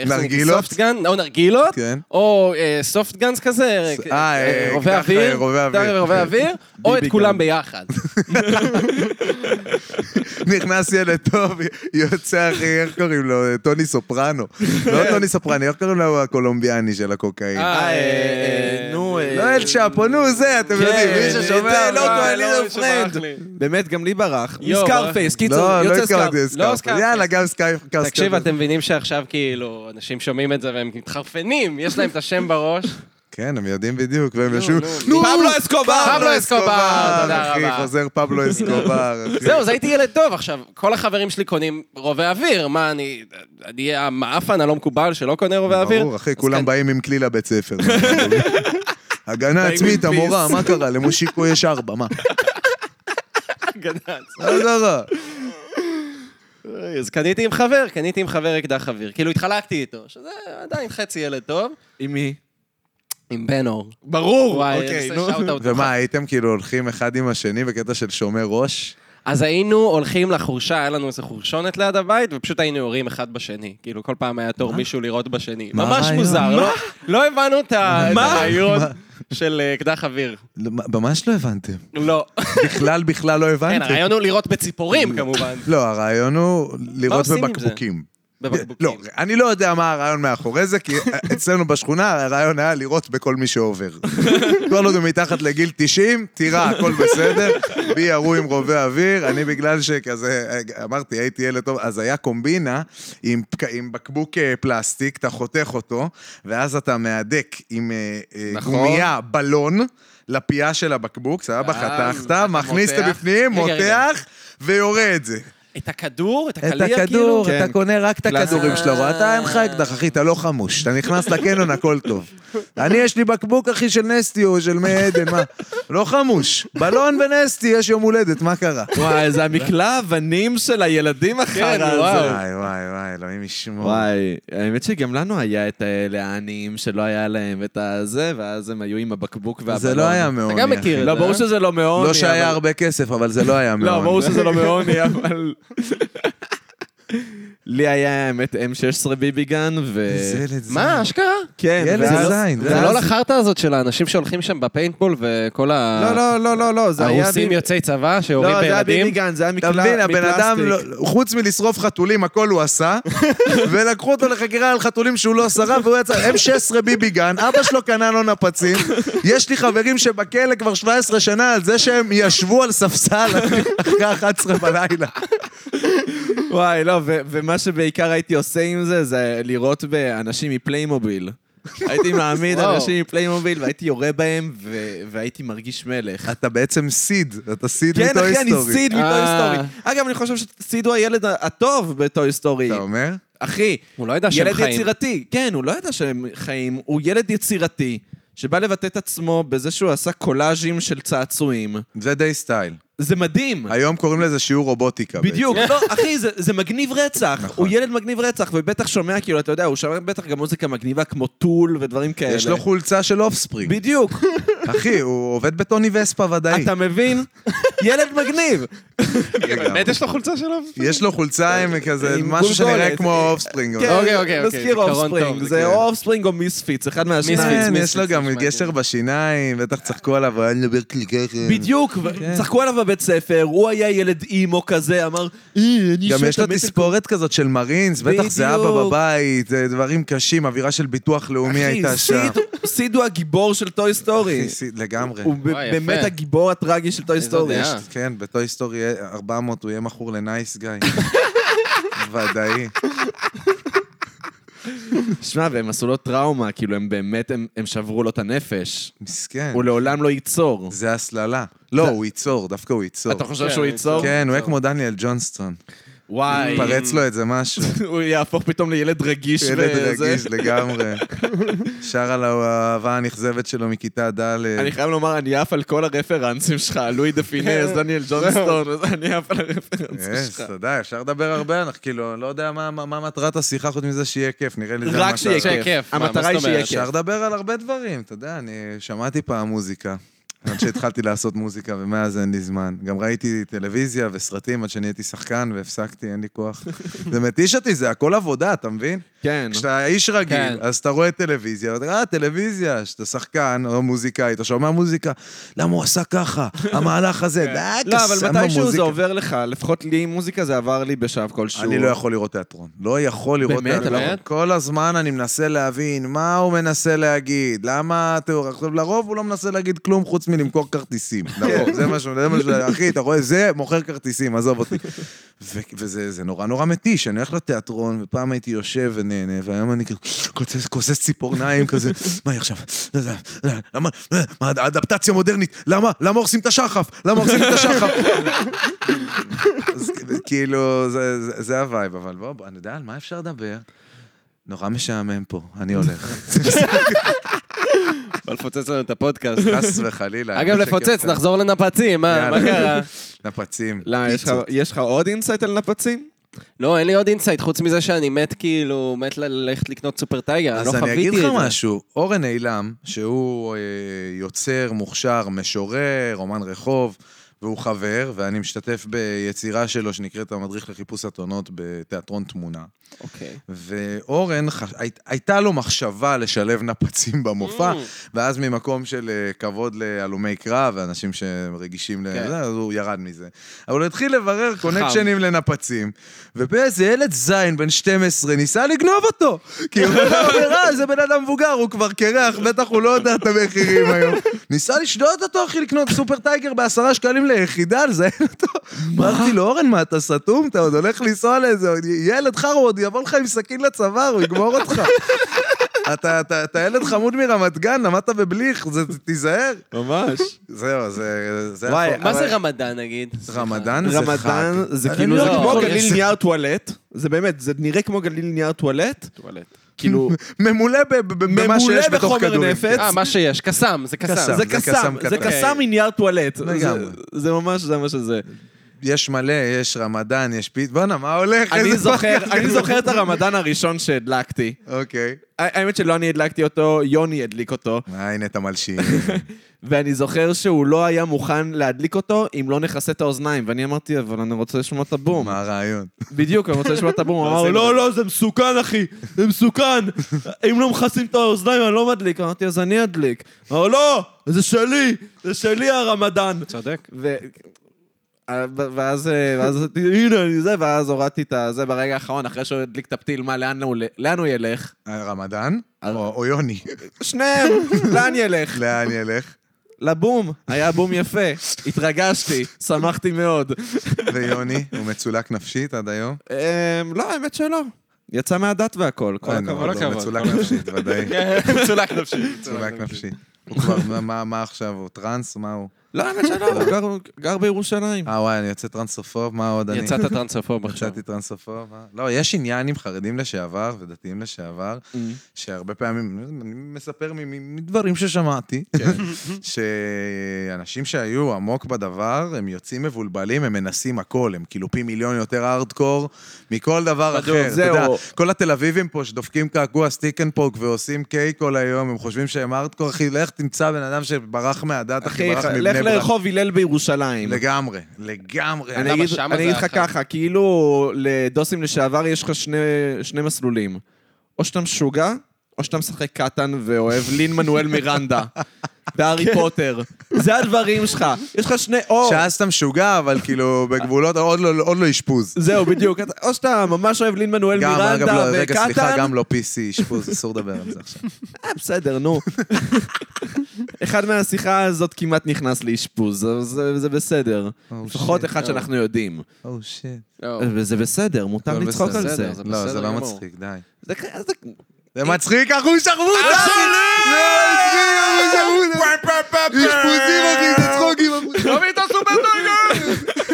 [SPEAKER 4] איך זה נקרא?
[SPEAKER 3] נרגילות?
[SPEAKER 4] סופטגן, או נרגילות,
[SPEAKER 3] כן.
[SPEAKER 4] או אה, סופטגאנס כזה,
[SPEAKER 3] ס-
[SPEAKER 4] אה,
[SPEAKER 3] אה,
[SPEAKER 4] אה,
[SPEAKER 3] אה,
[SPEAKER 4] רובה
[SPEAKER 3] אקדח, אה,
[SPEAKER 4] אוויר,
[SPEAKER 3] רובה
[SPEAKER 4] אקדח
[SPEAKER 3] אוויר.
[SPEAKER 4] ורובה אוויר, או את
[SPEAKER 3] ביבי
[SPEAKER 4] כולם
[SPEAKER 3] גם.
[SPEAKER 4] ביחד.
[SPEAKER 3] נכנס ילד טוב, יוצא אחי, איך קוראים לו? טוני סופרנו. לא טוני סופרנו, איך קוראים לו הקולומביאני של הקוקאין?
[SPEAKER 4] אה,
[SPEAKER 2] אה, אה, נו, אנחנו... אה,
[SPEAKER 3] לא אל צ'אפו, נו זה, אתם יודעים, מי ששומע...
[SPEAKER 2] זה לא
[SPEAKER 3] אבל-
[SPEAKER 2] טוען לי
[SPEAKER 4] כן, לא,
[SPEAKER 2] לא
[SPEAKER 4] שברח
[SPEAKER 2] פרנד.
[SPEAKER 4] לי.
[SPEAKER 2] באמת, גם לי ברח.
[SPEAKER 4] יואו,
[SPEAKER 2] סקארפייס, קיצור,
[SPEAKER 3] לא, לא
[SPEAKER 2] יוצא
[SPEAKER 3] התכוונתי
[SPEAKER 2] סקארפייס.
[SPEAKER 4] לא
[SPEAKER 3] לסקארפ.
[SPEAKER 4] סקארפ.
[SPEAKER 3] יאללה, גם סקארפ.
[SPEAKER 4] תקשיב, אתם מבינים שעכשיו כאילו, אנשים שומעים את זה והם מתחרפנים, יש להם את השם בראש.
[SPEAKER 3] כן, הם יודעים בדיוק,
[SPEAKER 4] לא,
[SPEAKER 3] והם יושבים...
[SPEAKER 4] נו,
[SPEAKER 2] פבלו אסקובר!
[SPEAKER 4] לא, פבלו אסקובר, תודה
[SPEAKER 3] לא אחי,
[SPEAKER 4] רבה.
[SPEAKER 3] חוזר פבלו אסקובר. אחי.
[SPEAKER 4] זהו, אז הייתי ילד טוב. עכשיו, כל החברים שלי קונים רובה אוויר. מה, אני... אני אהיה המאפן הלא מקובל שלא קונה רובה אוויר?
[SPEAKER 3] ברור, אחי,
[SPEAKER 4] אז
[SPEAKER 3] כולם
[SPEAKER 4] כן.
[SPEAKER 3] באים עם כלי לבית ספר. הגנה עצמית,
[SPEAKER 2] עם
[SPEAKER 3] המורה,
[SPEAKER 2] פיס.
[SPEAKER 3] מה קרה? למושיקו יש ארבע, מה?
[SPEAKER 4] גנץ.
[SPEAKER 3] מה קרה?
[SPEAKER 4] לא. אה, אז קניתי עם חבר, קניתי עם חבר אקדח אוויר. כאילו, התחלקתי איתו, שזה עדיין חצי ילד טוב.
[SPEAKER 2] עם מי?
[SPEAKER 4] עם בן אור.
[SPEAKER 2] ברור! אוקיי,
[SPEAKER 4] וואי, נעשה שאוט-אאוט.
[SPEAKER 3] ומה, הייתם כאילו הולכים אחד עם השני בקטע של שומר ראש?
[SPEAKER 4] אז היינו הולכים לחורשה, היה לנו איזה חורשונת ליד הבית, ופשוט היינו יורים אחד בשני. כאילו, כל פעם היה תור מישהו לירות בשני.
[SPEAKER 3] מה
[SPEAKER 4] ממש
[SPEAKER 3] הרעיון?
[SPEAKER 4] מוזר, לא- לא הבנו את ה- את
[SPEAKER 3] מה?
[SPEAKER 4] הרעיון
[SPEAKER 3] מה?
[SPEAKER 4] של אה, אקדח אוויר.
[SPEAKER 3] לא, מה- ממש לא הבנתם.
[SPEAKER 4] לא.
[SPEAKER 3] בכלל, בכלל לא
[SPEAKER 4] כן,
[SPEAKER 3] הבנתם.
[SPEAKER 4] הרעיון הוא לירות בציפורים, כמובן.
[SPEAKER 3] לא, הרעיון הוא לראות
[SPEAKER 4] עושים עם זה?
[SPEAKER 3] בבקבוקים. לא,
[SPEAKER 4] בבקבוקים.
[SPEAKER 3] אני לא יודע מה הרעיון מאחורי זה, כי אצלנו בשכונה הרעיון היה לירות בכל מי שעובר. כל עוד הוא מתחת לגיל 90, תירה, הכל בסדר. בי ירו עם רובי אוויר, אני בגלל שכזה, אמרתי, הייתי ילד טוב, אז היה קומבינה עם, פק- עם בקבוק אה, פלסטיק, אתה חותך אותו, ואז אתה מהדק עם אה, אה,
[SPEAKER 2] נכון.
[SPEAKER 3] גומייה, בלון. לפייה של הבקבוק, סבבה,
[SPEAKER 2] ואז
[SPEAKER 3] חתכת,
[SPEAKER 2] אתה
[SPEAKER 3] מכניס את
[SPEAKER 2] מותח.
[SPEAKER 3] הבפנים,
[SPEAKER 4] רגע, רגע.
[SPEAKER 3] מותח, ויורה את זה.
[SPEAKER 4] את הכדור, את
[SPEAKER 3] את
[SPEAKER 4] הקליע, כאילו?
[SPEAKER 3] הכדור, אתה
[SPEAKER 2] כן.
[SPEAKER 3] קונה רק את הכדורים
[SPEAKER 4] פלסטיק.
[SPEAKER 3] שלו, אתה אין לך אקדח, אחי, אתה לא חמוש, אתה נכנס לקניון, הכל טוב. אני, יש לי בקבוק, אחי, של נסטי או של מי עדן, מה? לא חמוש. בלון ונסטי, יש יום הולדת, מה קרה?
[SPEAKER 2] וואי, זה המקלע אבנים של
[SPEAKER 4] כן,
[SPEAKER 2] הילדים אחר הזה.
[SPEAKER 3] וואי, וואי, וואי, אלוהים ישמור.
[SPEAKER 2] אה. וואי, האמת שגם לנו היה את האלה העניים שלא היה להם את הזה, ואז הם היו עם הבקבוק והבלון.
[SPEAKER 3] זה לא היה מעוני.
[SPEAKER 4] אתה גם
[SPEAKER 3] אחי.
[SPEAKER 4] מכיר את זה.
[SPEAKER 2] לא, ברור
[SPEAKER 4] אה?
[SPEAKER 2] שזה לא מעוני.
[SPEAKER 3] לא שהיה
[SPEAKER 2] אבל-
[SPEAKER 3] הרבה כסף, אבל זה לא היה מעוני.
[SPEAKER 2] לא, ברור שזה לא מעוני, אבל... לי היה, האמת, M16 ביבי גן, ו...
[SPEAKER 3] זה ילד זין.
[SPEAKER 4] מה, אשכרה?
[SPEAKER 2] כן,
[SPEAKER 3] ילד
[SPEAKER 2] ואז-
[SPEAKER 3] זין.
[SPEAKER 4] זה
[SPEAKER 2] ואז-
[SPEAKER 4] לא לחרטא הזאת של האנשים שהולכים שם בפיינטבול וכל ה...
[SPEAKER 2] לא, לא, לא, לא, לא, זה היה...
[SPEAKER 4] הרוסים
[SPEAKER 2] ביבי-
[SPEAKER 4] יוצאי צבא שיורים
[SPEAKER 2] לא, זה היה ביבי
[SPEAKER 4] בילדים?
[SPEAKER 2] גן, זה היה
[SPEAKER 3] אתה
[SPEAKER 2] מקלע
[SPEAKER 3] מבין, הבן אדם,
[SPEAKER 2] מפלסטיק.
[SPEAKER 3] לא- חוץ מלשרוף חתולים, הכל הוא עשה, ולקחו אותו לחקירה על חתולים שהוא לא שרף, והוא יצא M16 ביבי גן, אבא שלו קנה לו נפצים, יש לי חברים שבכלא כבר 17 שנה על זה שהם ישבו על ספסל אחרי 11 בלילה.
[SPEAKER 2] וואי, לא, ו- ומה שבעיקר הייתי עושה עם זה, זה לראות באנשים מפליימוביל. הייתי מעמיד
[SPEAKER 4] וואו.
[SPEAKER 2] אנשים מפליימוביל, והייתי יורה בהם, ו- והייתי מרגיש מלך.
[SPEAKER 3] אתה בעצם סיד, אתה סיד
[SPEAKER 2] כן,
[SPEAKER 3] מטוי
[SPEAKER 2] אחי, אני
[SPEAKER 3] היסטורי.
[SPEAKER 2] סיד מטוי
[SPEAKER 4] אה.
[SPEAKER 2] סטורי. אגב, אני חושב שסיד הוא הילד ה- הטוב בטוי סטורי.
[SPEAKER 3] אתה אומר?
[SPEAKER 2] אחי,
[SPEAKER 4] הוא לא ידע שהם
[SPEAKER 2] ילד
[SPEAKER 4] חיים.
[SPEAKER 2] יצירתי. כן, הוא לא ידע שהם חיים, הוא ילד יצירתי, שבא לבטא את עצמו בזה שהוא עשה קולאז'ים של צעצועים.
[SPEAKER 3] זה די סטייל.
[SPEAKER 2] זה מדהים.
[SPEAKER 3] היום קוראים לזה שיעור רובוטיקה.
[SPEAKER 2] בדיוק, לא, אחי, זה, זה מגניב רצח.
[SPEAKER 3] נכון.
[SPEAKER 2] הוא ילד מגניב רצח, ובטח שומע, כאילו, אתה יודע, הוא שומע בטח גם מוזיקה מגניבה כמו טול ודברים כאלה.
[SPEAKER 3] בעצם. יש לו חולצה של אופספרינג.
[SPEAKER 2] בדיוק,
[SPEAKER 3] אחי, הוא עובד בטוני וספה ודאי.
[SPEAKER 2] אתה מבין? ילד מגניב.
[SPEAKER 4] באמת יש לו חולצה שלו?
[SPEAKER 3] יש לו חולצה אה, עם כזה
[SPEAKER 2] עם
[SPEAKER 3] משהו שנראה
[SPEAKER 2] גולגולת.
[SPEAKER 3] כמו אופספרינג.
[SPEAKER 2] כן,
[SPEAKER 4] אוקיי, אוקיי, אוקיי,
[SPEAKER 2] מזכיר
[SPEAKER 4] זיכרון
[SPEAKER 2] אופספרינג,
[SPEAKER 4] טוב,
[SPEAKER 2] זה
[SPEAKER 4] כן.
[SPEAKER 2] או אופספרינג או מיספיץ, אחד מהשניים.
[SPEAKER 3] כן,
[SPEAKER 4] מיספיץ,
[SPEAKER 3] יש לו גם
[SPEAKER 4] מיספיץ,
[SPEAKER 3] גשר בשיניים, בטח צחקו עליו, הוא היה מדבר כאילו כן, כלי ככה.
[SPEAKER 2] בדיוק, ו-
[SPEAKER 3] כן.
[SPEAKER 2] צחקו עליו בבית ספר, הוא היה ילד אימו כזה, אמר, "אה, אני
[SPEAKER 3] גם
[SPEAKER 2] אשאל
[SPEAKER 3] יש לו
[SPEAKER 2] את המטר-"
[SPEAKER 3] תספורת כזאת של מרינס, בטח זה אבא
[SPEAKER 2] בדיוק.
[SPEAKER 3] בבית, זה דברים קשים, אווירה של ביטוח לאומי הייתה
[SPEAKER 2] אחי,
[SPEAKER 3] שם.
[SPEAKER 2] סיד- סיד הוא הגיבור של טוי סטורי.
[SPEAKER 3] אחי, סיד, לגמרי.
[SPEAKER 2] הוא ב-
[SPEAKER 4] וואי, יפה.
[SPEAKER 2] באמת הגיבור הטרגי של טוי
[SPEAKER 4] איזו
[SPEAKER 2] סטורי.
[SPEAKER 4] דעה.
[SPEAKER 3] כן, בטוי סטורי 400 הוא יהיה מכור לנייס גיא. ודאי.
[SPEAKER 2] שמע, והם עשו לו טראומה, כאילו, הם באמת, הם, הם שברו לו את הנפש.
[SPEAKER 3] מסכן.
[SPEAKER 2] הוא לעולם לא ייצור.
[SPEAKER 3] כן. זה הסללה. לא, הוא ייצור, דווקא הוא ייצור.
[SPEAKER 2] אתה חושב
[SPEAKER 4] כן,
[SPEAKER 2] שהוא
[SPEAKER 4] הוא
[SPEAKER 2] ייצור?
[SPEAKER 3] כן, הוא יהיה כמו דניאל ג'ונסטון.
[SPEAKER 2] וואי.
[SPEAKER 3] פרץ לו איזה משהו.
[SPEAKER 2] הוא יהפוך פתאום לילד רגיש
[SPEAKER 3] ילד
[SPEAKER 2] וזה.
[SPEAKER 3] רגיש לגמרי. שר על האהבה הנכזבת שלו מכיתה ד'.
[SPEAKER 2] אני חייב לומר, אני עף על כל הרפרנסים שלך, לואי דה
[SPEAKER 3] כן.
[SPEAKER 2] פינס, דניאל ג'ונסטון, וזה, אני עף על הרפרנסים
[SPEAKER 3] יש,
[SPEAKER 2] שלך.
[SPEAKER 3] תודה, אה, אפשר לדבר הרבה, אנחנו כאילו, לא יודע מה- מה מה מטרת השיחה חוץ מזה שיהיה כיף, נראה לי זה
[SPEAKER 2] רק שיהיה
[SPEAKER 4] שיהיה
[SPEAKER 2] כיף. כן.
[SPEAKER 4] כיף, מה, מה
[SPEAKER 2] המטרה
[SPEAKER 4] זאת
[SPEAKER 2] היא שיהיה
[SPEAKER 4] אומרת?
[SPEAKER 2] כיף.
[SPEAKER 3] אפשר לדבר על הרבה דברים, אתה יודע, אני שמעתי פעם מוזיקה. עד שהתחלתי לעשות מוזיקה, ומאז אין לי זמן. גם ראיתי טלוויזיה וסרטים עד שנהייתי שחקן, והפסקתי, אין לי כוח. זה מתיש אותי, זה הכל עבודה, אתה מבין?
[SPEAKER 6] כן.
[SPEAKER 3] כשאתה איש רגיל,
[SPEAKER 4] כן.
[SPEAKER 3] אז אתה רואה טלוויזיה, ואתה אומר, אה, טלוויזיה, כשאתה שחקן או מוזיקאי, אתה שומע מוזיקה, למה הוא עשה ככה? המהלך הזה, די,
[SPEAKER 6] לא, אבל
[SPEAKER 3] קסם
[SPEAKER 6] מתישהו זה
[SPEAKER 3] המוזיקה."
[SPEAKER 6] עובר לך, לפחות לי עם מוזיקה זה עבר לי בשלב כלשהו.
[SPEAKER 3] אני לא יכול לראות תיאטרון. לא יכול לראות
[SPEAKER 6] באמת?
[SPEAKER 3] תיאטרון.
[SPEAKER 4] באמת?
[SPEAKER 3] כל הזמן אני מנסה להבין מה הוא מנסה להגיד, למה תיאור... עכשיו, לרוב הוא לא מנסה להגיד כלום חוץ מלמכור כרטיסים. לרוב, זה משהו, זה משהו, אחי, אתה רואה, זה מוכר כרטיסים, עזוב אותי. ו- וזה זה נורא נורא מתיש, אני הולך לתיאטרון, ופעם הייתי יושב ונהנה, והיום אני כאילו כוסס- כוסס ציפורניים כזה, מה היא עכשיו? לא יודע, לא, למה, אה, מה, אדפטציה מודרנית, למה, למה הורסים את השחף? למה הורסים את השחף? אז כאילו, זה- זה- זה הווייב, אבל בוא, בוא, אני יודע על מה אפשר לדבר. נורא משעמם פה, אני הולך.
[SPEAKER 4] בא לפוצץ לנו את הפודקאסט.
[SPEAKER 3] חס וחלילה.
[SPEAKER 4] אגב,
[SPEAKER 3] האמת שכיף
[SPEAKER 4] לפוצץ,
[SPEAKER 3] כאן.
[SPEAKER 4] נחזור לנפצים, מה מה
[SPEAKER 3] יאללה.
[SPEAKER 4] קרה?
[SPEAKER 3] נפצים.
[SPEAKER 6] לא, יש לך- יש לך עוד אינסייט על נפצים?
[SPEAKER 4] לא, אין לי עוד אינסייט, חוץ מזה שאני מת כאילו, מת ל- ללכת לקנות סופר טייגר, אני לא
[SPEAKER 3] אז
[SPEAKER 4] חוויתי את
[SPEAKER 3] אני
[SPEAKER 4] זה.
[SPEAKER 3] אגיד לך משהו, אורן אילם, שהוא אה, יוצר מוכשר, משורר, אומן רחוב, והוא חבר, ואני משתתף ביצירה שלו שנקראת המדריך לחיפוש אתונות בתיאטרון תמונה.
[SPEAKER 4] אוקיי.
[SPEAKER 3] ואורן, חש... היית- הייתה לו מחשבה לשלב נפצים במופע, ואז ממקום של אה, כבוד להלומי קרב ואנשים שרגישים
[SPEAKER 4] כן.
[SPEAKER 3] לזה, אז הוא ירד מזה. אבל הוא התחיל לברר קונקשנים לנפצים, ובאיזה ילד זין בן 12 ניסה לגנוב אותו. כי הוא אומר, אה, זה בן אדם מבוגר, הוא כבר קרח, בטח הוא לא יודע את המחירים היום. ניסה לשדוד אותו, אחי, לקנות סופר טייגר בעשרה שקלים ליחידה, לזיין אותו. אמרתי לו, אורן, מה, אתה סתום? אתה עוד הולך לנסוע לאיזה... ילד חרו, הוא עוד יבוא לך עם סכין לצוואר, הוא יגמור אותך. אתה, אתה, אתה ילד חמוד מרמת גן, למדת בבליך, זה, זה- תיזהר.
[SPEAKER 2] ממש.
[SPEAKER 3] זהו, זה... זה
[SPEAKER 6] וואי,
[SPEAKER 3] הפור-
[SPEAKER 4] מה
[SPEAKER 3] אבל-
[SPEAKER 4] זה רמדאן, נגיד? סליחה.
[SPEAKER 3] רמדאן זה
[SPEAKER 2] רמדאן
[SPEAKER 3] חג.
[SPEAKER 2] זה
[SPEAKER 3] אני
[SPEAKER 2] כאילו,
[SPEAKER 4] לא
[SPEAKER 2] זה
[SPEAKER 4] יכול,
[SPEAKER 2] כמו
[SPEAKER 4] יש-
[SPEAKER 2] גליל נייר טואלט, זה באמת, זה נראה כמו גליל נייר טואלט,
[SPEAKER 4] טואלט.
[SPEAKER 2] כאילו,
[SPEAKER 3] ממולא ב- ב- במה
[SPEAKER 2] ממולא
[SPEAKER 3] שיש בתוך
[SPEAKER 2] בחומר
[SPEAKER 3] כדורים.
[SPEAKER 2] נפץ.
[SPEAKER 4] אה, מה שיש, קסאם, זה
[SPEAKER 3] קסאם.
[SPEAKER 4] קסאם.
[SPEAKER 2] זה
[SPEAKER 3] זה
[SPEAKER 2] קסאם,
[SPEAKER 3] קסאם
[SPEAKER 2] זה
[SPEAKER 3] קטן.
[SPEAKER 2] קסאם מנייר טואלט.
[SPEAKER 3] לגמרי.
[SPEAKER 2] זה- זה ממש, זה מה שזה.
[SPEAKER 3] יש מלא, יש רמדאן, יש פית... בואנה, מה הולך?
[SPEAKER 2] אני
[SPEAKER 3] איזה
[SPEAKER 2] זוכר,
[SPEAKER 3] פודקאסט
[SPEAKER 2] אני
[SPEAKER 3] כזה.
[SPEAKER 2] זוכר את הרמדאן הראשון שהדלקתי.
[SPEAKER 3] אוקיי.
[SPEAKER 2] ה- האמת שלא אני הדלקתי אותו, יוני הדליק אותו,
[SPEAKER 3] אה, הנה אתה מלשין.
[SPEAKER 2] ואני זוכר שהוא לא היה מוכן להדליק אותו אם לא נכסה את האוזניים, ואני אמרתי, אבל אני רוצה לשמוע את הבום.
[SPEAKER 3] מה הרעיון?
[SPEAKER 2] בדיוק, אני רוצה לשמוע את הבום. הוא אמר,
[SPEAKER 3] עושים
[SPEAKER 2] לא, לא, זה מסוכן, אחי, זה מסוכן. אם לא מכסים את האוזניים, אני לא מדליק. אמרתי, אז אני אדליק. אמר, לא, זה שלי, זה שלי הרמדאן.
[SPEAKER 4] צודק.
[SPEAKER 2] ו... ואז, ואז עשיתי, הנה, אני זה, ואז הורדתי את הזה ברגע האחרון, אחרי שהוא הדליק את הפתיל, מה, לאן הוא, לאן הוא ילך?
[SPEAKER 3] רמדאן? או או יוני?
[SPEAKER 2] שניהם, לאן ילך?
[SPEAKER 3] לאן ילך?
[SPEAKER 2] לבום, היה בום יפה. התרגשתי, שמחתי מאוד.
[SPEAKER 3] ויוני, הוא מצולק נפשית עד היום?
[SPEAKER 2] אמ, לא, האמת שלא. יצא מהדת והכל, כל
[SPEAKER 3] אין,
[SPEAKER 2] הכבוד.
[SPEAKER 3] אבל
[SPEAKER 4] אה, הכבוד.
[SPEAKER 3] הוא אה, לא, מצולק נפשית, ודאי.
[SPEAKER 4] מצולק נפשי.
[SPEAKER 3] צולק נפשי. הוא כבר, מה- מה- מה עכשיו, הוא טרנס? מה הוא?
[SPEAKER 2] לא, האמת שלא, הוא גר- גר בירושלים.
[SPEAKER 3] אה, וואי, אני יוצא טרנסופוב, מה עוד אני?
[SPEAKER 4] יצאת טרנספוב עכשיו.
[SPEAKER 3] יצאתי טרנסופוב, אה? לא, יש עניין עם חרדים לשעבר ודתיים לשעבר,
[SPEAKER 2] Mm.
[SPEAKER 3] שהרבה פעמים, אני מספר מ- מ- מדברים ששמעתי,
[SPEAKER 2] כן.
[SPEAKER 3] שאנשים שהיו עמוק בדבר, הם יוצאים מבולבלים, הם מנסים הכל, הם כאילו פי מיליון יותר הארדקור מכל דבר
[SPEAKER 2] בדיוק,
[SPEAKER 3] אחר. אתה
[SPEAKER 2] זהו.
[SPEAKER 3] יודע, כל התל אביבים פה שדופקים קעקוע סטיק אנד פוק ועושים קיי כל היום, הם חושבים שהם הארדקור, אחי, לך תמצא בן אדם שברח מהדת, אחי,
[SPEAKER 2] אחי,
[SPEAKER 3] ברח מבני
[SPEAKER 2] לך
[SPEAKER 3] ברק.
[SPEAKER 2] לרחוב הלל בירושלים.
[SPEAKER 3] לגמרי, לגמרי.
[SPEAKER 2] אני
[SPEAKER 4] למה
[SPEAKER 2] אגיד
[SPEAKER 4] שמה
[SPEAKER 2] אני
[SPEAKER 4] זה
[SPEAKER 2] אגיד לך
[SPEAKER 4] אחת?
[SPEAKER 2] ככה, כאילו לדוסים לשעבר יש לך שני- שני מסלולים. או שאתה משוגע, או שאתה משחק קטן ואוהב לין מנואל מירנדה.
[SPEAKER 3] כן.
[SPEAKER 2] והארי פוטר. זה הדברים שלך. יש לך שני... או...
[SPEAKER 3] שאז אתה משוגע, אבל כאילו, בגבולות, עוד לא- עוד לא אשפוז.
[SPEAKER 2] זהו, בדיוק. אתה- או שאתה ממש אוהב לין מנואל
[SPEAKER 3] גם,
[SPEAKER 2] מירנדה
[SPEAKER 3] אגב,
[SPEAKER 2] וקטן.
[SPEAKER 3] לא, רגע, סליחה, גם לא PC אשפוז, אסור לדבר על זה עכשיו.
[SPEAKER 2] אה, בסדר, נו. אחד מהשיחה הזאת כמעט נכנס לאשפוז, אז זה- זה בסדר.
[SPEAKER 3] Oh,
[SPEAKER 2] לפחות אחד שאנחנו יודעים.
[SPEAKER 3] או שיט.
[SPEAKER 4] לא.
[SPEAKER 2] וזה בסדר, מותר
[SPEAKER 3] זה
[SPEAKER 2] לצחוק על
[SPEAKER 3] בסדר,
[SPEAKER 2] זה.
[SPEAKER 4] זה
[SPEAKER 3] לא, זה
[SPEAKER 4] בסדר
[SPEAKER 3] לא
[SPEAKER 4] גמור.
[SPEAKER 3] מצחיק, די.
[SPEAKER 2] זה כ- אז זה-
[SPEAKER 3] זה מצחיק, אחוש לא, שרמוט! אשפוזים, אחי, זה צחוקים, אחי.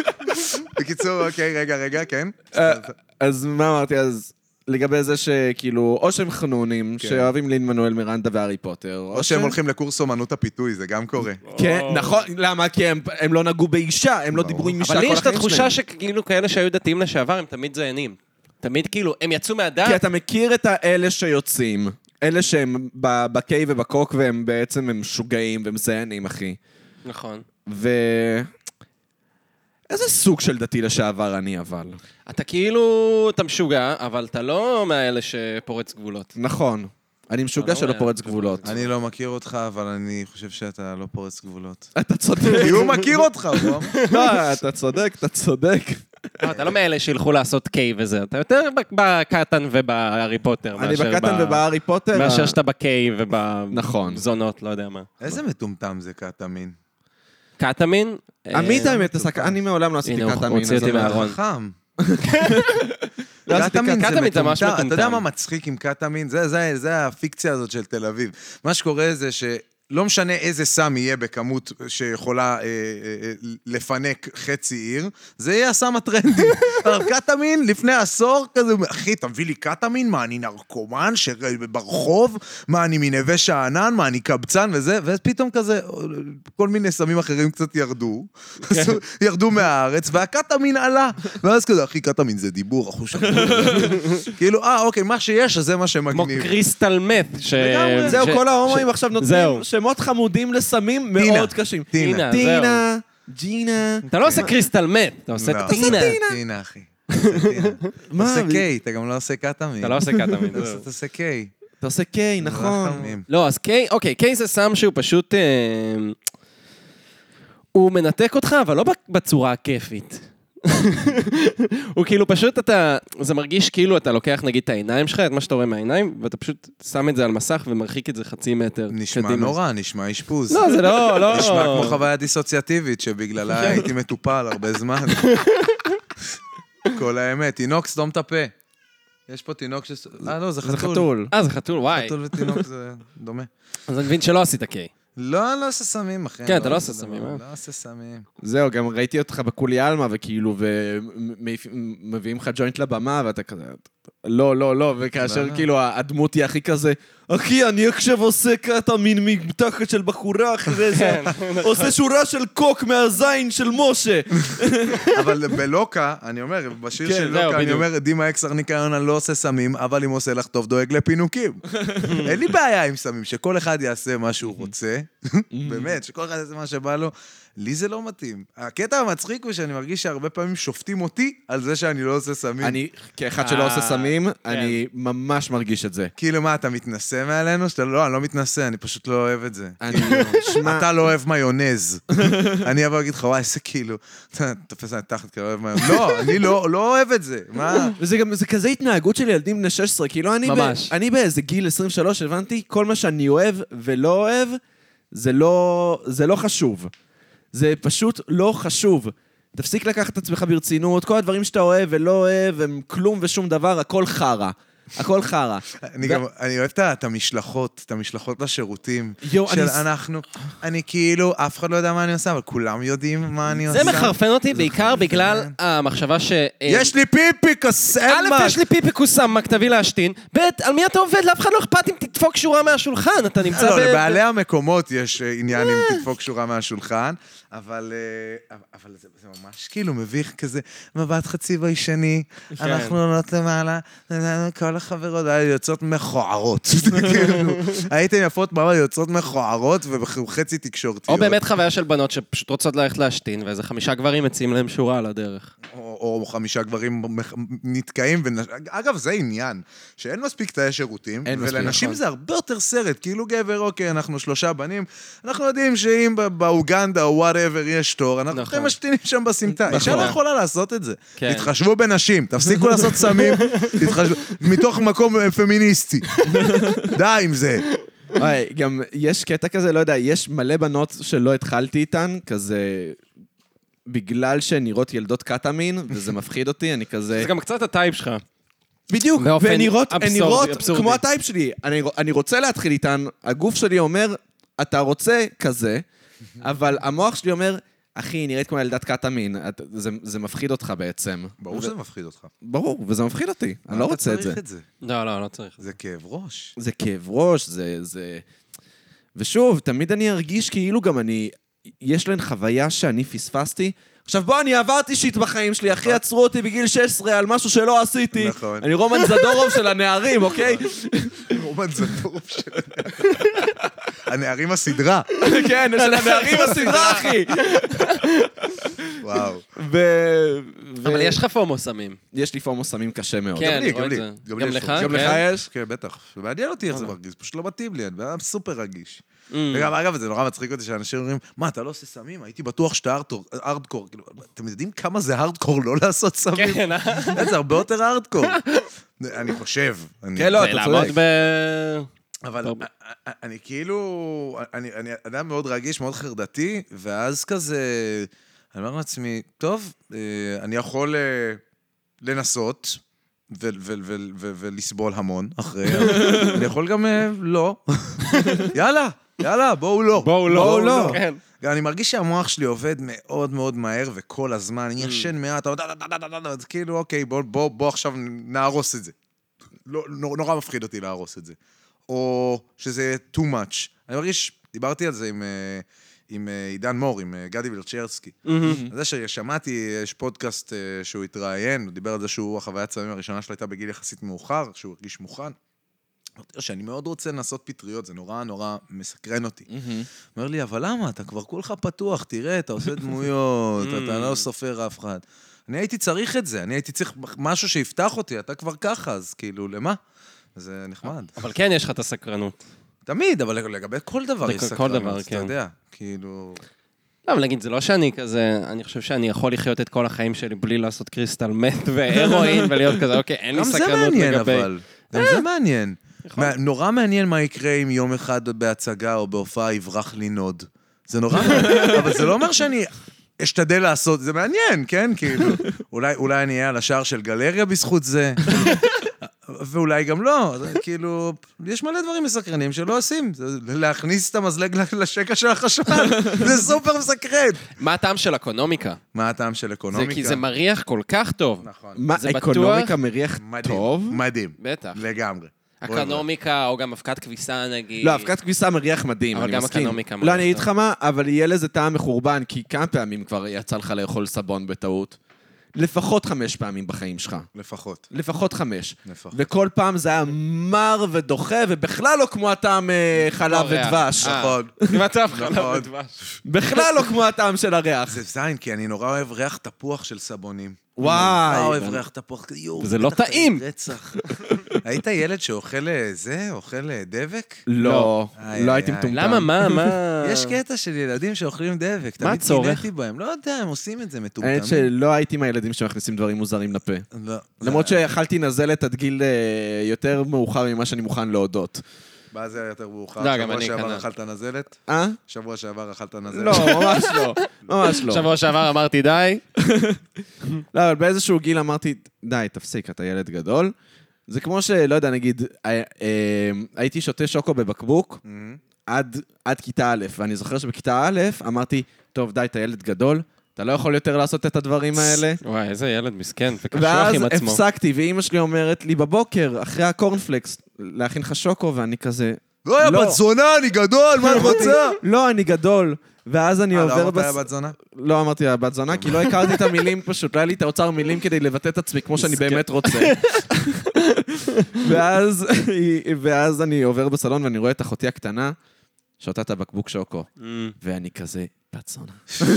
[SPEAKER 3] בקיצור, אוקיי, רגע, רגע, כן?
[SPEAKER 2] אה, אז מה אמרתי אז? לגבי זה שכאילו, או שהם חנונים,
[SPEAKER 3] כן.
[SPEAKER 2] שאוהבים לין מנואל מירנדה והארי פוטר,
[SPEAKER 3] או שהם הולכים לקורס אומנות הפיתוי, זה גם קורה.
[SPEAKER 2] כן, נכון, למה? כי הם- הם לא נגעו באישה, הם לא
[SPEAKER 3] ברור.
[SPEAKER 2] דיברו עם אישה כל
[SPEAKER 4] אבל לי
[SPEAKER 2] החיים
[SPEAKER 4] יש את
[SPEAKER 2] שלהם.
[SPEAKER 4] התחושה שכאילו כאלה שהיו דתיים לשעבר הם תמיד זיינים. תמיד כאילו, הם יצאו מהדת,
[SPEAKER 2] כי אתה מכיר את האלה שיוצאים, אלה שהם ב- בקיי ובקוק והם בעצם הם משוגעים והם זיינים, אחי.
[SPEAKER 4] נכון.
[SPEAKER 6] ו... איזה סוג של דתי לשעבר אני, אבל.
[SPEAKER 4] אתה כאילו, אתה משוגע, אבל אתה לא מהאלה שפורץ גבולות.
[SPEAKER 6] נכון. אני משוגע
[SPEAKER 4] לא
[SPEAKER 6] שלא
[SPEAKER 4] היה
[SPEAKER 6] פורץ
[SPEAKER 4] כזה.
[SPEAKER 6] גבולות.
[SPEAKER 3] אני לא מכיר אותך, אבל אני חושב שאתה לא פורץ גבולות.
[SPEAKER 6] אתה צודק.
[SPEAKER 3] כי הוא מכיר אותך, הוא אמר.
[SPEAKER 6] לא, אתה צודק, אתה צודק.
[SPEAKER 4] אה, אתה לא מאלה שילכו לעשות קיי וזה, אתה יותר ב- בקטן ובהארי פוטר.
[SPEAKER 6] אני
[SPEAKER 4] מאשר
[SPEAKER 6] בקטן
[SPEAKER 4] ב-
[SPEAKER 6] ובהארי פוטר. אה,
[SPEAKER 4] מאשר שאתה בקיי ובזונות,
[SPEAKER 6] נכון.
[SPEAKER 4] לא יודע מה.
[SPEAKER 3] איזה מטומטם זה קטמין.
[SPEAKER 4] קטמין? אה,
[SPEAKER 6] עמית האמת, עסק- אני מעולם לא עשיתי
[SPEAKER 4] הנה, הוא
[SPEAKER 6] קטמין.
[SPEAKER 4] הוציא
[SPEAKER 6] אז
[SPEAKER 4] אותי
[SPEAKER 6] אני-
[SPEAKER 4] מהארון.
[SPEAKER 3] חכם.
[SPEAKER 6] לא עשיתי
[SPEAKER 3] קטמין
[SPEAKER 4] קטמין זה ממש
[SPEAKER 3] אתה יודע
[SPEAKER 4] מטומטם.
[SPEAKER 3] מה מצחיק עם קטמין? זה- זה זה הפיקציה הזאת של תל אביב. מה שקורה זה ש... לא משנה איזה סם יהיה בכמות שיכולה אה, אה, אה, לפנק חצי עיר, זה יהיה הסם הטרנדי. אבל קטמין לפני עשור כזה, אחי, אתה מביא לי קטמין? מה, אני נרקומן שברחוב? מה, אני מנווה שאנן? מה, אני קבצן וזה? ואז פתאום כזה, כל מיני סמים אחרים קצת ירדו, אז ירדו מהארץ, והקטמין עלה. ואז כזה, אחי, קטמין זה דיבור, אחוש כאילו, אה, אוקיי, מה שיש, אז זה מה
[SPEAKER 4] כמו
[SPEAKER 3] שמגניב.
[SPEAKER 4] קריסטל מת. ש-
[SPEAKER 3] לגמרי.
[SPEAKER 4] אה, ש-
[SPEAKER 2] זהו, כל ההומואים עכשיו נותנים
[SPEAKER 4] זהו.
[SPEAKER 2] שמות חמודים לסמים מאוד קשים.
[SPEAKER 3] טינה.
[SPEAKER 4] טינה, זהו.
[SPEAKER 2] טינה, ג'ינה.
[SPEAKER 4] אתה לא עושה קריסטל מת, אתה עושה
[SPEAKER 3] לא.
[SPEAKER 4] טינה.
[SPEAKER 3] טינה, אחי. עושה טינה. אתה
[SPEAKER 2] מה,
[SPEAKER 3] עושה
[SPEAKER 2] אבל-
[SPEAKER 3] קיי, אתה גם לא עושה קטמין.
[SPEAKER 4] אתה לא עושה קטמין.
[SPEAKER 3] אתה עושה- אתה עושה קיי.
[SPEAKER 2] אתה עושה קיי, נכון.
[SPEAKER 3] רחמים.
[SPEAKER 4] לא, אז קיי, אוקיי, קיי זה סם שהוא פשוט... אה, הוא מנתק אותך, אבל לא ב- בצורה הכיפית. הוא כאילו פשוט אתה, זה מרגיש כאילו אתה לוקח נגיד את העיניים שלך, את מה שאתה רואה מהעיניים, ואתה פשוט שם את זה על מסך ומרחיק את זה חצי מטר.
[SPEAKER 3] נשמע
[SPEAKER 4] קדימה.
[SPEAKER 3] נורא, נשמע אשפוז.
[SPEAKER 4] לא, זה לא, לא. כן.
[SPEAKER 3] נשמע כמו חוויה דיסוציאטיבית, שבגללה הייתי מטופל הרבה זמן. כל האמת. תינוק, סתום את הפה. יש פה תינוק ש... אה, לא, זה חתול.
[SPEAKER 6] זה חתול.
[SPEAKER 4] אה, זה חתול, וואי.
[SPEAKER 3] חתול ותינוק זה דומה.
[SPEAKER 4] אז אני מבין שלא עשית קיי.
[SPEAKER 3] לא, אני לא עושה סמים, אחי.
[SPEAKER 4] כן,
[SPEAKER 3] אני
[SPEAKER 4] אתה לא עושה סמים, אה?
[SPEAKER 3] לא עושה סמים.
[SPEAKER 6] זהו, גם ראיתי אותך בקולי עלמה, וכאילו, ומביאים לך ג'וינט לבמה, ואתה כזה... לא, לא, לא, וכאשר
[SPEAKER 3] לא.
[SPEAKER 6] כאילו הדמות היא הכי כזה, אחי, אני עכשיו עושה קטמין מתחת של בחורה אחרי זה, עושה שורה של קוק מהזין של משה.
[SPEAKER 3] אבל בלוקה, אני אומר, בשיר
[SPEAKER 4] כן,
[SPEAKER 3] של
[SPEAKER 4] זהו,
[SPEAKER 3] לוקה, אני
[SPEAKER 4] בדיוק.
[SPEAKER 3] אומר, דימה אקסר ניקיון, אני לא עושה סמים, אבל אם עושה לך טוב, דואג לפינוקים. אין לי בעיה עם סמים, שכל אחד יעשה מה שהוא רוצה, באמת, שכל אחד יעשה מה שבא לו. לי זה לא מתאים. הקטע המצחיק הוא שאני מרגיש שהרבה פעמים שופטים אותי על זה שאני לא עושה סמים.
[SPEAKER 6] אני, כאחד שלא עושה
[SPEAKER 4] אה,
[SPEAKER 6] סמים, אני ממש מרגיש את זה.
[SPEAKER 3] כאילו, מה, אתה מתנשא מעלינו? שאתה לא, אני לא מתנשא, אני פשוט לא אוהב את זה.
[SPEAKER 6] אני, שמע,
[SPEAKER 3] אתה לא אוהב מיונז. אני אבוא להגיד לך, וואי, איזה כאילו, אתה תופס עלי תחת כי אני לא אוהב מיונז. לא, אני לא לא אוהב את זה. מה?
[SPEAKER 2] וזה גם, זה כזה התנהגות של ילדים בני 16, כאילו אני... ב-
[SPEAKER 4] ממש.
[SPEAKER 2] אני באיזה גיל 23 הבנתי, כל מה שאני אוהב ולא אוהב, זה לא, זה לא חשוב. זה פשוט לא חשוב. תפסיק לקחת את עצמך ברצינות, כל הדברים שאתה אוהב ולא אוהב הם כלום ושום דבר, הכל חרא. הכל חרא.
[SPEAKER 3] אני גם, אני אוהב את ה- את המשלחות, את המשלחות לשירותים.
[SPEAKER 2] יואו,
[SPEAKER 3] של
[SPEAKER 2] אני-
[SPEAKER 3] אנחנו, אני כאילו, אף אחד לא יודע מה אני עושה, אבל כולם יודעים מה אני עושה.
[SPEAKER 4] זה מחרפן אותי בעיקר בגלל המחשבה ש...
[SPEAKER 3] כן.
[SPEAKER 4] אה,
[SPEAKER 3] יש לי פיפי, קסם
[SPEAKER 4] א', יש לי פיפי קוסמק, תביא להשתין, ב', על מי אתה עובד? לאף אחד לא אכפת אם תדפוק שורה מהשולחן, אתה נמצא
[SPEAKER 3] לא,
[SPEAKER 4] ב...
[SPEAKER 3] לבעלי המקומות יש אה, עניין אם תדפוק שורה מהשולחן, אבל אה, אבל זה זה ממש כאילו מביך כזה, מבט חצי ביישני,
[SPEAKER 4] כן.
[SPEAKER 3] אנחנו עולות למעלה, כל החברות האלה יוצאות מכוערות. כאילו, הייתן יפות ממש יוצאות מכוערות וחצי תקשורתיות.
[SPEAKER 4] או באמת חוויה של בנות שפשוט רוצות ללכת להשתין, ואיזה חמישה גברים מציעים להם שורה על הדרך.
[SPEAKER 3] או, או חמישה גברים מח- נתקעים. ונש... אגב, זה עניין, שאין מספיק תאי שירותים, ולנשים
[SPEAKER 6] נכון.
[SPEAKER 3] זה הרבה יותר סרט. כאילו גבר, אוקיי, אנחנו שלושה בנים, אנחנו יודעים שאם ב- באוגנדה או וואטאבר יש תור, אנחנו
[SPEAKER 4] נכון.
[SPEAKER 3] נכון. משתינים שם בסמטה.
[SPEAKER 6] נכון.
[SPEAKER 3] אישה לא יכולה לעשות את זה.
[SPEAKER 4] כן.
[SPEAKER 3] תתחשבו בנשים, תפסיקו לעשות סמים, תתחשבו, מתוך מקום אה, פמיניסטי. די עם זה.
[SPEAKER 6] וואי, גם יש קטע כזה, לא יודע, יש מלא בנות שלא התחלתי איתן, כזה... בגלל שהן נראות ילדות קטמין, וזה מפחיד אותי, אני כזה...
[SPEAKER 4] זה גם קצת הטייפ שלך.
[SPEAKER 6] בדיוק,
[SPEAKER 4] באופן
[SPEAKER 6] והן נראות, הן
[SPEAKER 4] אבסורדי,
[SPEAKER 6] נראות
[SPEAKER 4] אבסורדי.
[SPEAKER 6] כמו הטייפ שלי. אני, אני רוצה להתחיל איתן, הגוף שלי אומר, אתה רוצה כזה, אבל המוח שלי אומר, אחי, היא נראית כמו ילדת קטמין, את, זה, זה מפחיד אותך בעצם.
[SPEAKER 3] ברור שזה מפחיד אותך.
[SPEAKER 6] ברור, וזה מפחיד אותי, אני לא רוצה את זה.
[SPEAKER 3] צריך את זה.
[SPEAKER 4] לא, לא, לא צריך.
[SPEAKER 3] זה כאב ראש.
[SPEAKER 6] זה כאב ראש, זה... זה... ושוב, תמיד אני ארגיש כאילו גם אני... יש להן חוויה שאני פספסתי. עכשיו בוא, אני עברתי שיט בחיים שלי, אחי, עצרו אותי בגיל 16 על משהו שלא עשיתי.
[SPEAKER 3] נכון.
[SPEAKER 6] אני רומן זדורוב של הנערים, אוקיי?
[SPEAKER 3] רומן זדורוב של... לא הנערים הסדרה.
[SPEAKER 2] כן, יש לנו נערים בסדרה, אחי.
[SPEAKER 3] וואו.
[SPEAKER 2] ו... ו-
[SPEAKER 4] אבל יש לך פומו סמים.
[SPEAKER 2] יש לי פומו סמים קשה מאוד.
[SPEAKER 4] כן,
[SPEAKER 3] גם לי,
[SPEAKER 4] רואה
[SPEAKER 3] גם
[SPEAKER 4] את
[SPEAKER 3] לי.
[SPEAKER 4] זה.
[SPEAKER 3] לי
[SPEAKER 4] גם
[SPEAKER 3] יש
[SPEAKER 4] לך? אה.
[SPEAKER 3] פומו.
[SPEAKER 2] גם לך יש?
[SPEAKER 3] כן, בטח. מעניין אותי איך זה מרגיש, פשוט לא מתאים לי, אני בן אדם סופר רגיש.
[SPEAKER 4] Mm.
[SPEAKER 3] וגם, אגב, זה נורא מצחיק אותי שאנשים אומרים, מה, אתה לא עושה סמים? הייתי בטוח שאתה הארדקור- הארדקור. כאילו, אתם יודעים כמה זה הארדקור לא לעשות סמים?
[SPEAKER 4] כן, אה?
[SPEAKER 3] זה הרבה יותר הארדקור. אני חושב. אני-
[SPEAKER 2] כן, לא, אתה
[SPEAKER 4] לעמוד
[SPEAKER 2] צודק.
[SPEAKER 4] ב...
[SPEAKER 3] אבל
[SPEAKER 4] טוב.
[SPEAKER 3] א- א- אני כאילו, אני, אני אדם מאוד רגיש, מאוד חרדתי, ואז כזה, אני אומר לעצמי, טוב, אה, אני יכול אה, לנסות ו- ו- ו- ו- ולסבול המון אחרי, אבל אני יכול גם אה, לא. יאללה, יאללה, בואו לא.
[SPEAKER 4] בואו לא.
[SPEAKER 3] בואו לא.
[SPEAKER 4] כן.
[SPEAKER 3] גם אני מרגיש שהמוח שלי עובד מאוד מאוד מהר וכל הזמן, אני ישן מעט, אתה יודע, דה, דה, דה, דה, דה, אז כאילו, אוקיי, בוא, בוא, בוא עכשיו נהרוס את זה. לא, נור- נורא מפחיד אותי להרוס את זה. או שזה יהיה too much. אני מרגיש, דיברתי על זה עם, אה, עם אה, עידן מור, עם אה, גדי וילצ'רסקי.
[SPEAKER 4] מהמם.
[SPEAKER 3] זה ששמעתי, יש פודקאסט אה, שהוא התראיין, הוא דיבר על זה שהוא, החוויית סמים הראשונה שלו הייתה בגיל יחסית מאוחר, שהוא הרגיש מוכן. אמרתי לו שאני מאוד רוצה לנסות פטריות, זה נורא נורא מסקרן אותי. אומר לי, אבל למה? אתה כבר כולך פתוח, תראה, אתה עושה דמויות, אתה לא סופר אף אחד. אני הייתי צריך את זה, אני הייתי צריך משהו שיפתח אותי, אתה כבר ככה, אז כאילו, למה? זה נחמד.
[SPEAKER 4] אבל כן יש לך את הסקרנות.
[SPEAKER 3] תמיד, אבל לגבי כל דבר יש
[SPEAKER 4] לכל- אה. כל דבר,
[SPEAKER 3] סקרנות, אתה
[SPEAKER 4] כן.
[SPEAKER 3] יודע, כאילו...
[SPEAKER 4] לא, אבל נגיד, זה לא שאני כזה, אני חושב שאני יכול לחיות את כל החיים שלי בלי לעשות קריסטל מת והרואין ולהיות כזה, אוקיי, אין לי
[SPEAKER 3] גם זה
[SPEAKER 4] סקרנות
[SPEAKER 3] מעניין,
[SPEAKER 4] לגבי...
[SPEAKER 3] אבל. גם זה מעניין. מה- נורא מעניין מה יקרה אם יום אחד בהצגה או בהופעה יברח לי נוד. זה נורא מעניין, אבל זה לא אומר שאני אשתדל לעשות, זה מעניין, כן? כאילו, אולי, אולי אני אהיה על השער של גלריה בזכות זה, ואולי גם לא. זה כאילו, יש מלא דברים מסקרנים שלא עושים. זה להכניס את המזלג לשקע של החשמל, זה סופר מסקרן.
[SPEAKER 4] מה הטעם של אקונומיקה?
[SPEAKER 3] מה הטעם של
[SPEAKER 4] זה
[SPEAKER 3] אקונומיקה?
[SPEAKER 4] כי זה מריח כל כך טוב.
[SPEAKER 3] נכון.
[SPEAKER 2] מה,
[SPEAKER 4] זה בטוח?
[SPEAKER 2] אקונומיקה מריח
[SPEAKER 3] מדהים.
[SPEAKER 2] טוב?
[SPEAKER 3] מדהים.
[SPEAKER 4] בטח.
[SPEAKER 3] לגמרי.
[SPEAKER 4] אקונומיקה, או גם אבקת כביסה נגיד.
[SPEAKER 2] לא, אבקת כביסה מריח מדהים,
[SPEAKER 4] אבל
[SPEAKER 2] אני
[SPEAKER 4] גם
[SPEAKER 2] מסכים.
[SPEAKER 4] אקונומיקה
[SPEAKER 2] לא,
[SPEAKER 4] מריח
[SPEAKER 2] אני אגיד
[SPEAKER 4] טוב.
[SPEAKER 2] לך מה, אבל יהיה לזה טעם מחורבן, כי כמה פעמים כבר יצא לך לאכול סבון בטעות? לפחות חמש פעמים בחיים שלך.
[SPEAKER 3] לפחות.
[SPEAKER 2] לפחות חמש.
[SPEAKER 3] לפחות.
[SPEAKER 2] וכל פעם זה היה מר ודוחה, ובכלל לא כמו הטעם אה, חלב
[SPEAKER 4] הריח.
[SPEAKER 2] ודבש.
[SPEAKER 4] אה.
[SPEAKER 3] נכון.
[SPEAKER 4] מצב
[SPEAKER 3] נכון.
[SPEAKER 4] חלב ודבש.
[SPEAKER 2] בכלל לא כמו הטעם של הריח.
[SPEAKER 3] זה זין, כי אני נורא אוהב ריח תפוח של סבונים.
[SPEAKER 2] וואי.
[SPEAKER 3] נורא אוהב ריח תפוח, יואו.
[SPEAKER 4] זה לא
[SPEAKER 3] בטח
[SPEAKER 4] טעים.
[SPEAKER 3] רצח. היית ילד שאוכל אה, זה? אוכל אה, דבק?
[SPEAKER 2] לא,
[SPEAKER 3] איי,
[SPEAKER 2] לא
[SPEAKER 3] איי,
[SPEAKER 2] הייתי
[SPEAKER 3] איי.
[SPEAKER 2] מטומטם.
[SPEAKER 4] למה, מה, מה...
[SPEAKER 3] יש קטע של ילדים שאוכלים דבק.
[SPEAKER 4] מה הצורך?
[SPEAKER 3] תמיד קינאתי בהם. לא יודע, הם עושים את זה מטומטמים.
[SPEAKER 2] האמת שלא הייתי מהילדים שמכניסים דברים מוזרים לפה.
[SPEAKER 3] לא.
[SPEAKER 2] למרות שאכלתי נזלת עד גיל אה, יותר מאוחר ממה שאני מוכן להודות.
[SPEAKER 3] מה זה היה יותר מאוחר?
[SPEAKER 4] לא, גם
[SPEAKER 3] שבוע
[SPEAKER 4] אני
[SPEAKER 3] שעבר
[SPEAKER 4] כנ"ל.
[SPEAKER 3] אכלת נזלת?
[SPEAKER 2] אה?
[SPEAKER 3] שבוע שעבר אכלת נזלת?
[SPEAKER 2] לא, ממש לא. ממש לא.
[SPEAKER 4] שבוע שעבר אמרתי די.
[SPEAKER 2] לא, אבל באיזשהו גיל אמרתי, די, תפסיק, אתה ילד גדול. זה כמו שלא יודע, נגיד, אה, אה, הייתי שותה שוקו בבקבוק
[SPEAKER 3] מהמם.
[SPEAKER 2] עד עד כיתה א', ואני זוכר שבכיתה א', אמרתי, טוב, די, אתה ילד גדול, אתה לא יכול יותר לעשות את הדברים האלה.
[SPEAKER 4] וואי, איזה ילד מסכן, וקשוח
[SPEAKER 2] ואז
[SPEAKER 4] עם עצמו.
[SPEAKER 2] הפסקתי, ואימא שלי אומרת לי בבוקר, אחרי הקורנפלקס, להכין לך שוקו, ואני כזה,
[SPEAKER 3] לא, יא
[SPEAKER 2] לא.
[SPEAKER 3] בת זונה, אני גדול, מה את רוצה?
[SPEAKER 2] לא, אני גדול. ואז אני
[SPEAKER 3] אה, לא
[SPEAKER 2] עובר...
[SPEAKER 3] אמרת
[SPEAKER 2] בס-
[SPEAKER 3] לה בת זונה?
[SPEAKER 2] לא אמרתי לה בת זונה, כי לא הכרתי את המילים פשוט, לא היה לי את האוצר מילים כדי לבטא את עצמי כמו שאני באמת רוצה. ואז היא- ואז אני עובר בסלון ואני רואה את אחותי הקטנה, שותה את הבקבוק שוקו,
[SPEAKER 4] אמ,
[SPEAKER 2] ואני כזה, בת זונה.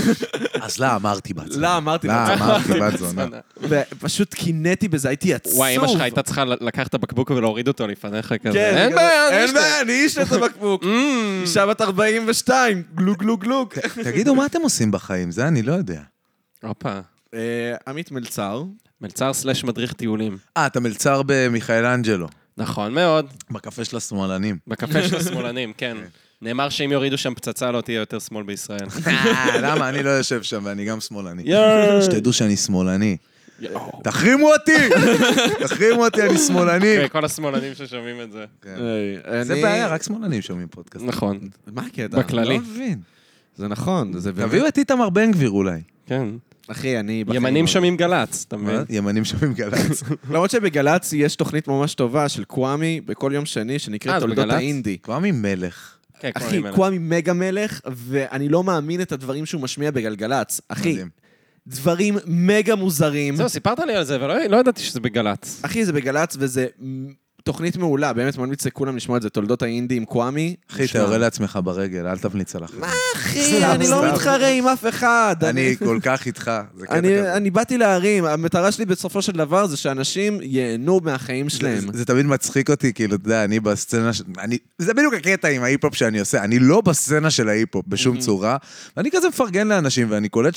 [SPEAKER 3] אז לא אמרתי בת
[SPEAKER 2] לא, אמרתי
[SPEAKER 3] לא,
[SPEAKER 2] לה.
[SPEAKER 3] אמרתי בת זונה.
[SPEAKER 2] ופשוט קינאתי בזה, הייתי עצוב.
[SPEAKER 4] וואי, אמא שלך הייתה צריכה ל- לקחת את הבקבוק ולהוריד אותו לפניך כזה.
[SPEAKER 2] כן,
[SPEAKER 4] אין
[SPEAKER 2] כזה,
[SPEAKER 4] בעיה, Mm. אני
[SPEAKER 2] אין
[SPEAKER 4] אשתה.
[SPEAKER 2] בעיה, אני איש את הבקבוק.
[SPEAKER 4] Hmm.
[SPEAKER 2] אישה בת 42, גלו גלו גלו.
[SPEAKER 3] כן. תגידו, מה אתם עושים בחיים? זה אני לא יודע.
[SPEAKER 4] הופה.
[SPEAKER 2] אה, עמית מלצר.
[SPEAKER 4] מלצר סלאש מדריך טיולים.
[SPEAKER 3] אה, אתה מלצר במיכאלנג'לו.
[SPEAKER 4] נכון מאוד.
[SPEAKER 3] בקפה של השמאלנים.
[SPEAKER 4] בקפה של השמאלנים, כן. נאמר שאם יורידו שם פצצה לא תהיה יותר שמאל בישראל.
[SPEAKER 3] למה? אני לא יושב שם ואני גם שמאלני.
[SPEAKER 4] יואו.
[SPEAKER 3] שתדעו שאני שמאלני.
[SPEAKER 4] אה,
[SPEAKER 3] תחרימו אותי! תחרימו אותי, אני שמאלני.
[SPEAKER 4] כן, כל השמאלנים ששומעים את זה.
[SPEAKER 2] כן,
[SPEAKER 3] זה בעיה, רק שמאלנים שומעים פודקאסט.
[SPEAKER 4] נכון,
[SPEAKER 2] מה הקטע?
[SPEAKER 4] בכללי.
[SPEAKER 3] לא מבין.
[SPEAKER 2] זה נכון, זה באמת...
[SPEAKER 3] תביאו את איתמר בן גביר אולי.
[SPEAKER 4] כן.
[SPEAKER 2] אחי, אני... בחיים
[SPEAKER 4] ימנים
[SPEAKER 2] לא-
[SPEAKER 4] שומעים גל"צ, אתה מבין?
[SPEAKER 3] מה? אה, ימנים שומעים גל"צ.
[SPEAKER 2] למרות שבגל"צ יש תוכנית ממש טובה של קוואמי בכל יום שני,
[SPEAKER 4] אה,
[SPEAKER 2] שנקראת
[SPEAKER 4] זה
[SPEAKER 2] תולדות
[SPEAKER 4] בגל"צ?
[SPEAKER 2] האינדי.
[SPEAKER 3] קוואמי מלך.
[SPEAKER 4] כן, כל
[SPEAKER 2] אחי,
[SPEAKER 4] המילים האלה.
[SPEAKER 2] קוואמי מגה מלך, ואני לא מאמין את הדברים שהוא משמיע בגלגלצ. אחי,
[SPEAKER 3] מדהים.
[SPEAKER 2] דברים מגה מוזרים.
[SPEAKER 4] זהו, סיפרת לי על זה, אבל לא- לא ידעתי שזה בגל"צ.
[SPEAKER 2] אחי, זה בגל"צ וזה מ- תוכנית מעולה, באמת ממליץ לכולם לשמוע את זה, תולדות האינדי עם קוואמי.
[SPEAKER 3] אחי,
[SPEAKER 2] נשמע.
[SPEAKER 3] תארה לעצמך ברגל, אל תמליץ על אחרים.
[SPEAKER 2] אחי, אני לא
[SPEAKER 3] סתם.
[SPEAKER 2] מתחרה עם אף אחד.
[SPEAKER 3] אני כל כך איתך, זה קטע
[SPEAKER 2] אני,
[SPEAKER 3] כזה.
[SPEAKER 2] אני באתי להרים, המטרה שלי בסופו של דבר זה שאנשים ייהנו מהחיים שלהם.
[SPEAKER 3] זה- זה תמיד מצחיק אותי, כאילו, אתה יודע, אני בסצנה, ש- אני- זה בדיוק הקטע עם ההיפ-הופ שאני עושה, אני לא בסצנה של ההיפ-הופ בשום צורה, ואני כזה מפרגן לאנשים, ואני קולט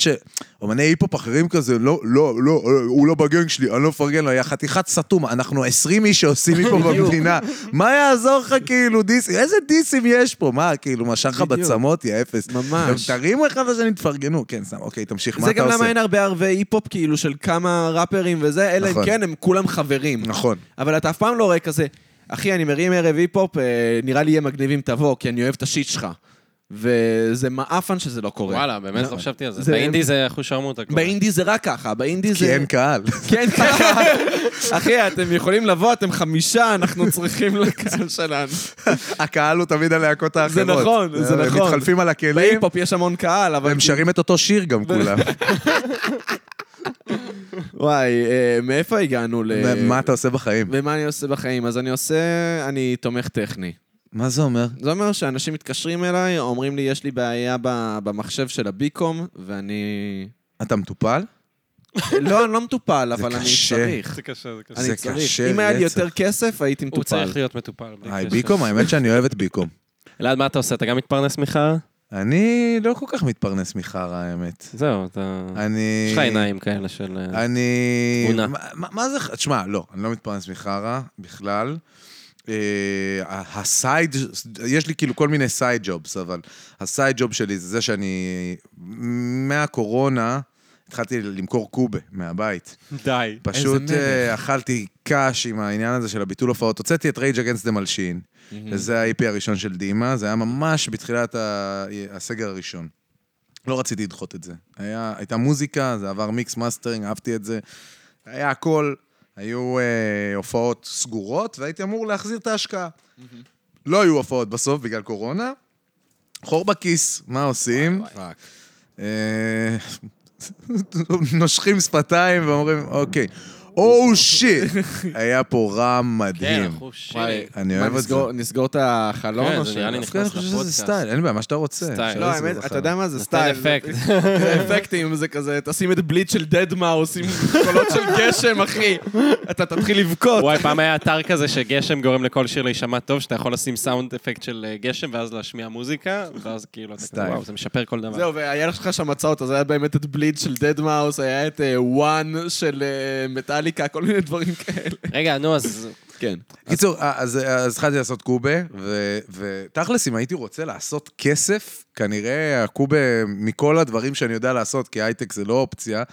[SPEAKER 3] שאומני היפ-הופ אחרים כזה, לא, לא, לא, הוא לא בגנג שלי, אני לא מפרגן לו, יא חתיכת סתום, אנחנו 20 איש שעושים היפ-הופ במדינה, מה יעזור לך כאילו דיסים, איזה דיסים יש פה, מה, כאילו, משך לך
[SPEAKER 2] בדיוק.
[SPEAKER 3] בצמות, יא אפס.
[SPEAKER 2] ממש.
[SPEAKER 3] גם תרימו אחד לשני, תפרגנו, כן, סתם, אוקיי, תמשיך, מה
[SPEAKER 2] זה
[SPEAKER 3] אתה
[SPEAKER 2] גם
[SPEAKER 3] עושה?
[SPEAKER 2] למה אין הרבה ערבי היפ-הופ כאילו של כמה ראפרים וזה, אלא
[SPEAKER 3] נכון.
[SPEAKER 2] אם כן הם כולם חברים.
[SPEAKER 3] נכון.
[SPEAKER 2] אבל אתה אף פעם לא רואה כזה, אחי, אני מרים ערב היפ-הופ, אה, נראה לי יהיה מגניב אם תבוא, כי אני אוהב את השיט שלך. וזה מעפן שזה לא קורה.
[SPEAKER 4] וואלה, באמת לא חשבתי על
[SPEAKER 2] זה-
[SPEAKER 4] זה. באינדי זה אחושרמוטה כבר.
[SPEAKER 2] באינדי זה רק ככה, באינדי זה...
[SPEAKER 3] כי אין קהל.
[SPEAKER 2] כן, ככה. אחי, אתם יכולים לבוא, אתם חמישה, אנחנו צריכים לקהל שלנו.
[SPEAKER 3] הקהל הוא תמיד הלהקות האחרות.
[SPEAKER 2] זה נכון, זה
[SPEAKER 3] הם
[SPEAKER 2] נכון.
[SPEAKER 3] מתחלפים על הכלים,
[SPEAKER 2] בהיפ-הופ יש המון קהל, אבל... כאילו-
[SPEAKER 3] והם שרים את אותו שיר גם כולם.
[SPEAKER 2] וואי, אה, מאיפה הגענו ל...
[SPEAKER 3] מה אתה עושה בחיים?
[SPEAKER 2] ומה אני עושה בחיים? אז אני עושה... אני תומך טכני.
[SPEAKER 3] מה זה אומר?
[SPEAKER 2] זה אומר שאנשים מתקשרים אליי, אומרים לי, יש לי בעיה ב- במחשב של הביקום, ואני...
[SPEAKER 3] אתה מטופל?
[SPEAKER 2] לא, אני לא מטופל, אבל אני
[SPEAKER 3] קשה.
[SPEAKER 2] צריך.
[SPEAKER 4] זה קשה, זה קשה.
[SPEAKER 2] אני
[SPEAKER 3] זה
[SPEAKER 2] צריך.
[SPEAKER 3] קשה
[SPEAKER 2] אם היה לי
[SPEAKER 3] רצח.
[SPEAKER 2] יותר כסף, הייתי
[SPEAKER 4] הוא
[SPEAKER 2] מטופל.
[SPEAKER 4] צריך להיות מטופל. בלי
[SPEAKER 3] היי,
[SPEAKER 4] קשר.
[SPEAKER 3] ביקום, האמת שאני אוהב את ביקום.
[SPEAKER 4] אלעד, מה אתה עושה? אתה גם מתפרנס מחרא?
[SPEAKER 3] אני לא כל כך מתפרנס מחרא, האמת.
[SPEAKER 4] זהו, אתה...
[SPEAKER 3] אני...
[SPEAKER 4] יש לך עיניים כאלה של... אה,
[SPEAKER 3] אני...
[SPEAKER 4] תבונה.
[SPEAKER 3] מה- מה מה זה... תשמע, לא, אני לא מתפרנס מחרא בכלל. אה, ה- הסייד, יש לי כאילו כל מיני סייד ג'ובס, אבל הסייד ג'וב שלי זה זה שאני מהקורונה התחלתי למכור קובה מהבית.
[SPEAKER 4] די.
[SPEAKER 3] פשוט אה, אכלתי קש עם העניין הזה של הביטול הופעות. הוצאתי את רייג' אגנסט דה מלשין, וזה ה-IP הראשון של דימה, זה היה ממש בתחילת ה- הסגר הראשון. לא רציתי לדחות את זה. היה, הייתה מוזיקה, זה עבר מיקס מאסטרינג, אהבתי את זה. היה הכל, היו אה, הופעות סגורות, והייתי אמור להחזיר את ההשקעה. לא היו הופעות בסוף בגלל קורונה. חור בכיס, מה עושים? אה, נושכים שפתיים ואומרים, אוקיי, או שיט. היה פה רם
[SPEAKER 4] כן,
[SPEAKER 3] מדהים.
[SPEAKER 4] אחושי.
[SPEAKER 2] וואי,
[SPEAKER 3] אני אוהב
[SPEAKER 2] מה,
[SPEAKER 3] את
[SPEAKER 2] נסגור- נסגור את החלום?
[SPEAKER 4] כן,
[SPEAKER 2] או
[SPEAKER 4] זה
[SPEAKER 2] ש-
[SPEAKER 4] נראה לי
[SPEAKER 3] דווקא אני
[SPEAKER 4] נכנס
[SPEAKER 3] חושב שזה
[SPEAKER 4] לפודקאסט.
[SPEAKER 3] סטייל, אין לי בעיה, מה שאתה רוצה.
[SPEAKER 4] סטייל.
[SPEAKER 3] אפשר
[SPEAKER 2] לא,
[SPEAKER 3] לעשות
[SPEAKER 2] האמת,
[SPEAKER 3] בחיים.
[SPEAKER 2] אתה יודע מה? זה
[SPEAKER 4] נותן
[SPEAKER 2] סטייל.
[SPEAKER 4] אפקט.
[SPEAKER 2] זה אפקטים, זה כזה, תשים את בליט של דד מאוס עם קולות של גשם, אחי. אתה תתחיל לבכות.
[SPEAKER 4] וואי, פעם היה אתר כזה שגשם גורם לכל שיר להישמע טוב, שאתה יכול לשים סאונד אפקט של אה, גשם ואז להשמיע מוזיקה, ואז כאילו, אתה כזה,
[SPEAKER 3] סטייל.
[SPEAKER 4] וואו, זה משפר כל דבר.
[SPEAKER 2] זהו, והיה לך שם מצא אותו, זה היה באמת את בליד של דד מאוס, היה את וואן של אה, מטאליקה, כל מיני דברים כאלה.
[SPEAKER 4] רגע, נו, אז...
[SPEAKER 2] כן.
[SPEAKER 3] קיצור, אה, אז אז התחלתי לעשות קובה, ו- ותכלס, אם הייתי רוצה לעשות כסף, כנראה הקובה מכל הדברים שאני יודע לעשות, כי הייטק זה לא אופציה,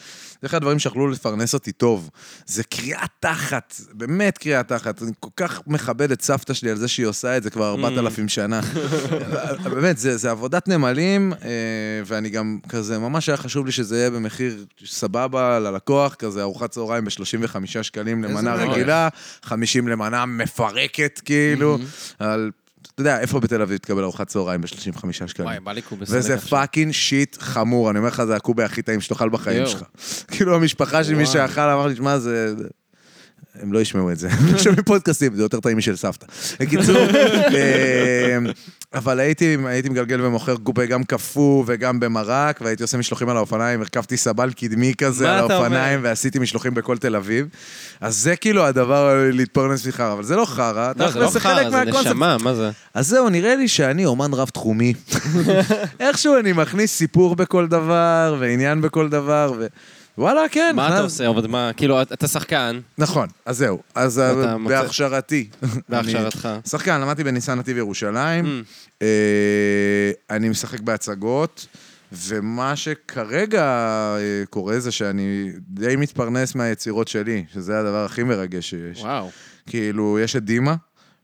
[SPEAKER 3] זה אחד הדברים שיכלו לפרנס אותי טוב. זה קריאה תחת, באמת קריאה תחת. אני כל כך מכבד את סבתא שלי על זה שהיא עושה את זה כבר 4,000 שנה. באמת, זה, זה עבודת נמלים, אה, ואני גם כזה, ממש היה חשוב לי שזה יהיה במחיר סבבה ללקוח, כזה ארוחת צהריים ב-35 שקלים למנה
[SPEAKER 2] מלך.
[SPEAKER 3] רגילה, 50 למנה מפרקת, כאילו, על, אתה יודע, איפה בתל אביב תקבל ארוחת צהריים ב-35 שקלים?
[SPEAKER 4] וואי, בא לי קובס.
[SPEAKER 3] כן. וזה פאקינג שיט חמור, אני אומר לך, זה הקובה הכי טעים שתאכל בחיים
[SPEAKER 4] יואו.
[SPEAKER 3] שלך. כאילו, המשפחה של מי שאכל אמר לי, שמע, זה... הם לא ישמעו את זה, הם שומעים פודקאסטים, זה יותר טעים משל סבתא. בקיצור, אה, אבל הייתי הייתי מגלגל ומוכר קופה גם קפוא וגם במרק, והייתי עושה משלוחים על האופניים, הרכבתי סבל קדמי כזה
[SPEAKER 4] מה
[SPEAKER 3] על
[SPEAKER 4] אתה אומר?
[SPEAKER 3] האופניים, ועשיתי משלוחים בכל תל אביב. אז זה כאילו הדבר להתפרנס מחרא, אבל זה לא חרא,
[SPEAKER 4] לא, זה לא
[SPEAKER 3] תכל'ס, חלק
[SPEAKER 4] חרא, זה
[SPEAKER 3] מהקונספט.
[SPEAKER 4] נשמה, מה זה?
[SPEAKER 3] אז זהו, נראה לי שאני אומן רב-תחומי. איכשהו אני מכניס סיפור בכל דבר, ועניין בכל דבר, ו... וואלה, כן.
[SPEAKER 4] מה אתה
[SPEAKER 3] נכנס-
[SPEAKER 4] עושה? אבל מה, כאילו, אתה- אתה שחקן,
[SPEAKER 3] נכון, אז זהו. אז
[SPEAKER 4] אתה
[SPEAKER 3] ה-
[SPEAKER 4] מוצא-
[SPEAKER 3] בהכשרתי.
[SPEAKER 4] בהכשרתך.
[SPEAKER 3] אני שחקן, למדתי בניסן נתיב ירושלים.
[SPEAKER 4] Mm.
[SPEAKER 3] אה, אני משחק בהצגות, ומה שכרגע אה, קורה זה שאני די מתפרנס מהיצירות שלי, שזה הדבר הכי מרגש שיש.
[SPEAKER 4] וואו.
[SPEAKER 3] כאילו, יש את דימה,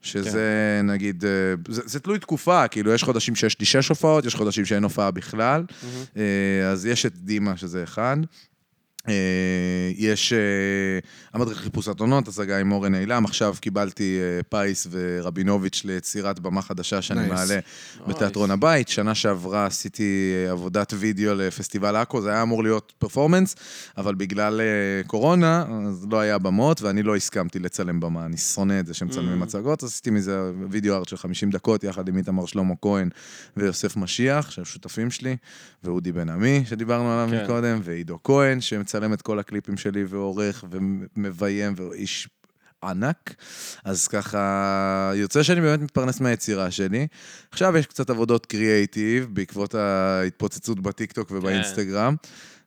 [SPEAKER 3] שזה נגיד, אה, זה, זה תלוי תקופה, כאילו, יש חודשים שיש לי שש הופעות, יש חודשים שאין הופעה בכלל, אה, אז יש את דימה, שזה אחד. אה, יש אה, המדריך חיפוש אתונות, הצגה עם אורן אילם, עכשיו קיבלתי אה, פיס ורבינוביץ' ליצירת במה חדשה שאני
[SPEAKER 2] Nice.
[SPEAKER 3] מעלה בתיאטרון הבית. שנה שעברה עשיתי אה, עבודת וידאו לפסטיבל עכו, זה היה אמור להיות פרפורמנס, אבל בגלל אה, קורונה, אז לא היה במות, ואני לא הסכמתי לצלם במה, אני שונא את זה שמצלמים הצגות, אז עשיתי מזה וידאו ארט של 50 דקות, יחד עם איתמר שלמה כהן ויוסף משיח, שהם שותפים שלי, ואודי בן עמי, שדיברנו עליו
[SPEAKER 4] כן.
[SPEAKER 3] מקודם, ועידו כהן, שמצלם את כל הקליפים שלי ועורך ומביים, ואיש ענק. אז ככה, יוצא שאני באמת מתפרנס מהיצירה שלי. עכשיו יש קצת עבודות קריאייטיב, בעקבות ההתפוצצות בטיקטוק ובאינסטגרם.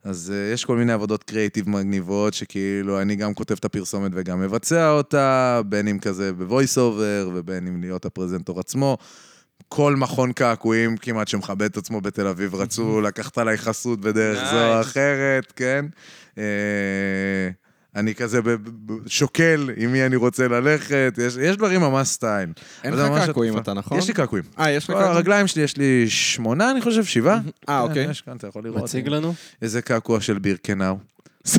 [SPEAKER 3] אז uh, יש כל מיני עבודות קריאיטיב מגניבות, שכאילו אני גם כותב את הפרסומת וגם מבצע אותה, בין אם כזה בוויס אובר ובין אם להיות הפרזנטור עצמו. כל מכון קעקועים כמעט שמכבד את עצמו בתל אביב רצו לקחת עליי חסות בדרך זו או
[SPEAKER 4] Nice.
[SPEAKER 3] אחרת, כן? אה, אני כזה ב- ב- ב- שוקל עם מי אני רוצה ללכת, יש, יש דברים ממש סטייל.
[SPEAKER 2] אין
[SPEAKER 3] אבל זה ממש
[SPEAKER 2] לך קעקועים
[SPEAKER 3] התקופה.
[SPEAKER 2] אתה, נכון?
[SPEAKER 3] יש לי קעקועים.
[SPEAKER 2] אה, יש לך קעקועים?
[SPEAKER 3] הרגליים שלי, יש לי שמונה, אני חושב, שבעה.
[SPEAKER 2] אה,
[SPEAKER 3] כן,
[SPEAKER 2] אוקיי.
[SPEAKER 3] יש כאן, אתה יכול לראות.
[SPEAKER 4] מציג לנו?
[SPEAKER 3] איזה קעקוע של בירקנאו.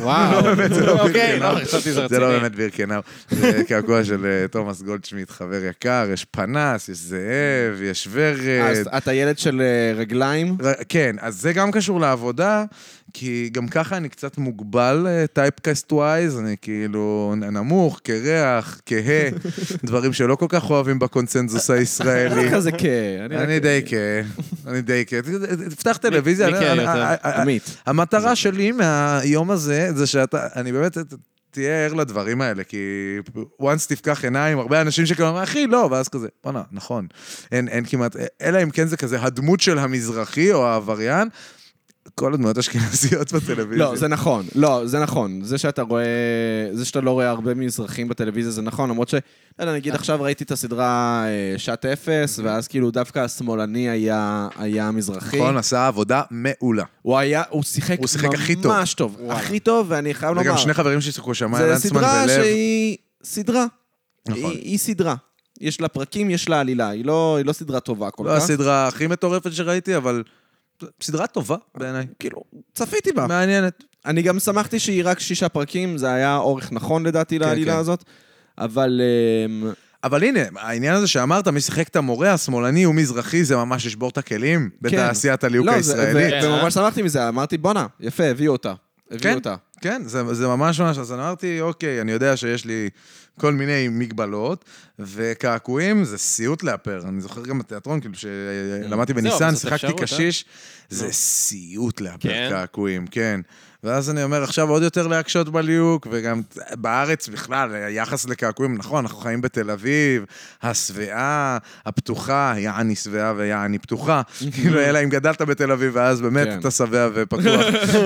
[SPEAKER 4] וואו.
[SPEAKER 3] זה לא
[SPEAKER 4] אוקיי,
[SPEAKER 3] בירקנאו.
[SPEAKER 4] לא, חשבתי זה
[SPEAKER 3] זה לא
[SPEAKER 4] רציני.
[SPEAKER 3] באמת בירקנאו. זה קעקוע של אה, תומאס גולדשמיט, חבר יקר, יש פנס, יש זאב, יש
[SPEAKER 2] אה,
[SPEAKER 3] ורד.
[SPEAKER 2] אז אתה ילד של אה, רגליים?
[SPEAKER 3] ר- כן, אז זה גם קשור לעבודה, כי גם ככה אני קצת מוגבל טייפקאסט ווייז, אני כאילו נ- נמוך, קרח, כהה, דברים שלא כל כך אוהבים בקונצנזוס הישראלי.
[SPEAKER 2] ככה זה כ... אני
[SPEAKER 3] אני די כהה, אני די כהה. תפתח טלוויזיה.
[SPEAKER 4] מי
[SPEAKER 3] אני-
[SPEAKER 4] כהה
[SPEAKER 3] אני-
[SPEAKER 4] יותר?
[SPEAKER 3] ה- ה- ה-
[SPEAKER 2] עמית.
[SPEAKER 3] המטרה שלי מהיום הזה, זה שאתה, אני באמת, ת- תהיה ער לדברים האלה, כי once תפקח עיניים, הרבה אנשים שכאילו אומרים, אחי, לא, ואז כזה, בואנה, נכון. אין, אין כמעט, אלא אם כן זה כזה הדמות של המזרחי או העבריין, כל הדמויות האשכנזיות בטלוויזיה.
[SPEAKER 2] לא, זה נכון. לא, זה נכון. זה שאתה רואה... זה שאתה לא רואה הרבה מזרחים בטלוויזיה זה נכון, למרות ש... לא יודע, נגיד עכשיו ראיתי את הסדרה אה, שעת אפס, ואז כאילו דווקא השמאלני היה היה המזרחי.
[SPEAKER 3] נכון, עשה עבודה מעולה.
[SPEAKER 2] הוא היה... הוא שיחק
[SPEAKER 3] הוא שיחק הכי טוב.
[SPEAKER 2] ממש טוב. הכי טוב, ואני חייב
[SPEAKER 3] וגם
[SPEAKER 2] לומר...
[SPEAKER 3] שני חברים ששיחקו שם, מאיה
[SPEAKER 2] זו
[SPEAKER 3] לנצמן
[SPEAKER 2] סדרה
[SPEAKER 3] ולב.
[SPEAKER 2] שהיא סדרה.
[SPEAKER 3] נכון.
[SPEAKER 2] היא היא סדרה. יש לה פרקים, יש לה עלילה. היא לא היא לא סדרה טובה כל
[SPEAKER 3] לא
[SPEAKER 2] כך.
[SPEAKER 3] הסדרה הכי מטורפת שראיתי, אבל סדרה טובה בעיניי.
[SPEAKER 2] כאילו, צפיתי בה.
[SPEAKER 3] מעניינת.
[SPEAKER 2] אני גם שמחתי שהיא רק שישה פרקים, זה היה אורך נכון לדעתי לעלילה
[SPEAKER 3] כן.
[SPEAKER 2] הזאת. אבל... אמ,
[SPEAKER 3] אבל הנה, העניין הזה שאמרת, מי שיחק את המורה השמאלני הוא מזרחי, זה ממש לשבור את הכלים בתעשיית הליהוק
[SPEAKER 2] כן. לא, זה-
[SPEAKER 3] הישראלית.
[SPEAKER 4] כן.
[SPEAKER 2] ו- וממש שמחתי מזה, אמרתי, בואנה, יפה, הביאו אותה. הביאו
[SPEAKER 3] כן.
[SPEAKER 2] אותה.
[SPEAKER 3] כן, זה, זה ממש ממש, אז אמרתי, אוקיי, אני יודע שיש לי כל מיני מגבלות, וקעקועים זה סיוט לאפר. אני זוכר גם בתיאטרון, כאילו, כשלמדתי
[SPEAKER 4] כן. זהו,
[SPEAKER 3] בניסן,
[SPEAKER 4] אבל זאת
[SPEAKER 3] שיחקתי
[SPEAKER 4] אפשרות, אה?
[SPEAKER 3] קשיש, זה סיוט לאפר
[SPEAKER 4] כן?
[SPEAKER 3] קעקועים, כן. ואז אני אומר, עכשיו עוד יותר להקשות בליהוק, וגם בארץ בכלל, היחס לקעקועים, נכון, אנחנו חיים בתל אביב, השבעה, הפתוחה, יעני שבעה ויעני פתוחה. כאילו, אלא אם גדלת בתל אביב, ואז באמת
[SPEAKER 2] כן.
[SPEAKER 3] אתה שבע ופתוח.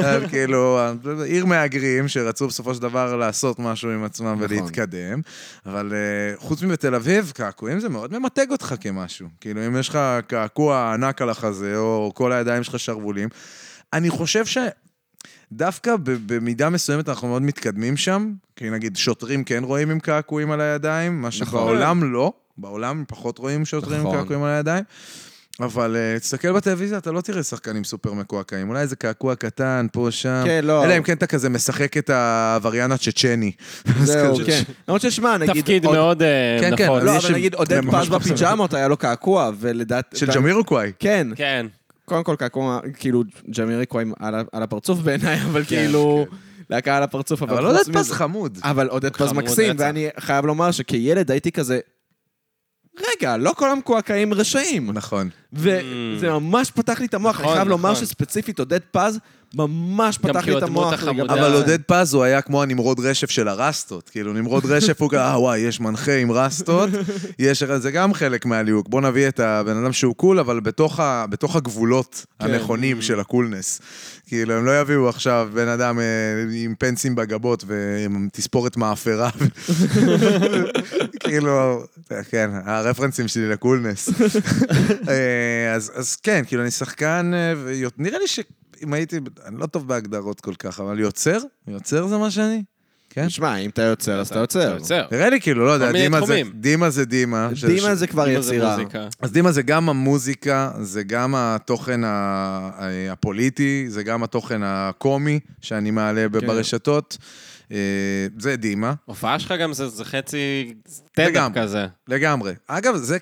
[SPEAKER 3] אבל כאילו, עיר מהגרים שרצו בסופו של דבר לעשות משהו עם עצמם ולהתקדם, אבל אה, חוץ מבתל אביב, קעקועים זה מאוד ממתג אותך כמשהו. כאילו, אם יש לך קעקוע ענק על החזה, או כל הידיים שלך שרוולים, אני חושב ש... דווקא ב- במידה מסוימת אנחנו מאוד מתקדמים שם, כי נגיד שוטרים כן רואים עם קעקועים על הידיים, מה שבעולם לא, בעולם פחות רואים שוטרים עם
[SPEAKER 2] נכון.
[SPEAKER 3] קעקועים על הידיים. אבל אה, תסתכל בטלוויזיה, אתה לא תראה שחקנים סופר מקועקעים. אולי איזה קעקוע קטן, פה, שם.
[SPEAKER 2] כן, לא.
[SPEAKER 3] אלא אם כן אתה כזה משחק את העבריין הצ'צ'ני.
[SPEAKER 2] זהו, כן. למרות ששמע, נגיד...
[SPEAKER 4] תפקיד
[SPEAKER 2] עוד-
[SPEAKER 4] מאוד אה,
[SPEAKER 3] כן, כן,
[SPEAKER 4] נכון.
[SPEAKER 2] לא,
[SPEAKER 3] יש
[SPEAKER 2] אבל נגיד עודד
[SPEAKER 3] זה ממש
[SPEAKER 2] פז
[SPEAKER 3] פחות.
[SPEAKER 2] בפיג'מות היה לו קעקוע, ולדעת...
[SPEAKER 3] של
[SPEAKER 2] ואני-
[SPEAKER 3] ג'מירוקוואי.
[SPEAKER 2] כן.
[SPEAKER 4] כן.
[SPEAKER 2] קודם כל קעקוע, כאילו, ג'מיריקו עם- על ה- על הפרצוף בעיניי,
[SPEAKER 4] כן,
[SPEAKER 2] אבל כאילו... להקה על הפרצוף, אבל
[SPEAKER 3] אבל לא
[SPEAKER 2] חוץ
[SPEAKER 3] יודעת פז
[SPEAKER 2] מזה-
[SPEAKER 3] חמוד.
[SPEAKER 2] אבל עודד פז
[SPEAKER 4] חמוד
[SPEAKER 2] מקסים,
[SPEAKER 4] רצח.
[SPEAKER 2] ואני חייב לומר שכילד הייתי כזה... רגע, לא כל המקועקעים רשעים.
[SPEAKER 3] נכון.
[SPEAKER 2] וזה ממש פתח לי את המוח. אני
[SPEAKER 4] Mm. נכון,
[SPEAKER 2] חייב לומר
[SPEAKER 4] נכון.
[SPEAKER 2] שספציפית עודד פז ממש
[SPEAKER 4] גם
[SPEAKER 2] פתח
[SPEAKER 4] כי
[SPEAKER 2] לי
[SPEAKER 4] הוא
[SPEAKER 2] את
[SPEAKER 4] הדמות
[SPEAKER 2] המוח.
[SPEAKER 4] החמודה.
[SPEAKER 2] לגבי-
[SPEAKER 3] אבל עודד פז הוא היה כמו הנמרוד רשף של הרסטות. כאילו, נמרוד רשף הוא כזה, אה, וואי, יש מנחה עם רסטות. יש, זה גם חלק מהליהוק. בוא נביא את הבן אדם שהוא קול, אבל בתוך, ה, בתוך הגבולות
[SPEAKER 4] כן.
[SPEAKER 3] הנכונים של הקולנס. כאילו, הם לא יביאו עכשיו בן אדם אה, עם פנסים בגבות ועם תספורת מאפרה. כאילו, כן, הרפרנסים שלי לקולנס. אה, אז, אז כן, כאילו, אני שחקן, אה, ויוצ-
[SPEAKER 4] אה.
[SPEAKER 3] נראה לי שאם הייתי, אני לא טוב בהגדרות כל כך, אבל יוצר, יוצר זה מה שאני. כן.
[SPEAKER 6] תשמע, אם אתה יוצר, אז אתה יוצר.
[SPEAKER 4] יוצר.
[SPEAKER 3] נראה לי כאילו, לא יודע,
[SPEAKER 4] מיני
[SPEAKER 3] דימה זה,
[SPEAKER 4] תחומים.
[SPEAKER 3] דימה זה דימה.
[SPEAKER 6] דימה זה כבר
[SPEAKER 4] אם כאילו, זה
[SPEAKER 6] יצירה.
[SPEAKER 4] מוזיקה.
[SPEAKER 3] אז דימה זה גם המוזיקה, זה גם התוכן ה- ה- הפוליטי, זה גם התוכן הקומי שאני מעלה
[SPEAKER 4] כן.
[SPEAKER 3] ב- ברשתות. אה, זה דימה,
[SPEAKER 4] הופעה שלך גם זה זה חצי סטנדאפ
[SPEAKER 3] לגמרי.
[SPEAKER 4] כזה.
[SPEAKER 3] לגמרי. אגב, זה,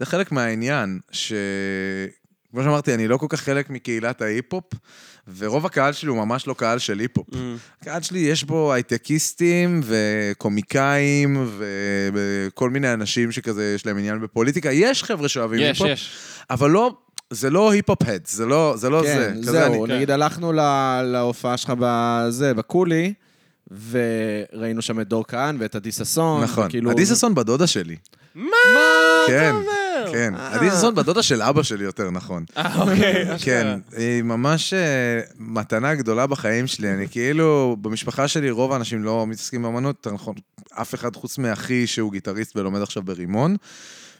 [SPEAKER 3] זה חלק מהעניין, ש... כמו שאמרתי, אני לא כל כך חלק מקהילת ההיפ-הופ, ורוב הקהל שלי הוא ממש לא קהל של היפ-הופ.
[SPEAKER 4] Mm.
[SPEAKER 3] הקהל שלי יש בו הייטקיסטים וקומיקאים וכל מיני אנשים שכזה יש להם עניין בפוליטיקה. יש חבר'ה שאוהבים
[SPEAKER 4] יש,
[SPEAKER 3] היפ-הופ,
[SPEAKER 4] יש.
[SPEAKER 3] אבל לא, זה לא היפ-הופ הד, זה לא זה. לא זה.
[SPEAKER 6] כן,
[SPEAKER 3] כזה
[SPEAKER 6] זהו,
[SPEAKER 3] אני-
[SPEAKER 6] נגיד הלכנו לה- להופעה שלך בזה, בקולי, וראינו שם את דור כהן ואת עדי ששון.
[SPEAKER 3] נכון.
[SPEAKER 2] כאילו-
[SPEAKER 6] וכאילו-
[SPEAKER 3] עדי ששון בדודה שלי.
[SPEAKER 4] מה
[SPEAKER 3] כן,
[SPEAKER 4] אתה אומר?
[SPEAKER 3] כן. עדי ששון בדודה של אבא שלי, יותר נכון.
[SPEAKER 4] אה, אוקיי.
[SPEAKER 3] כן, היא ממש אה, מתנה גדולה בחיים שלי. אני כאילו, במשפחה שלי רוב האנשים לא מתעסקים באמנות, יותר נכון, אף אחד חוץ מאחי שהוא גיטריסט ולומד עכשיו ברימון,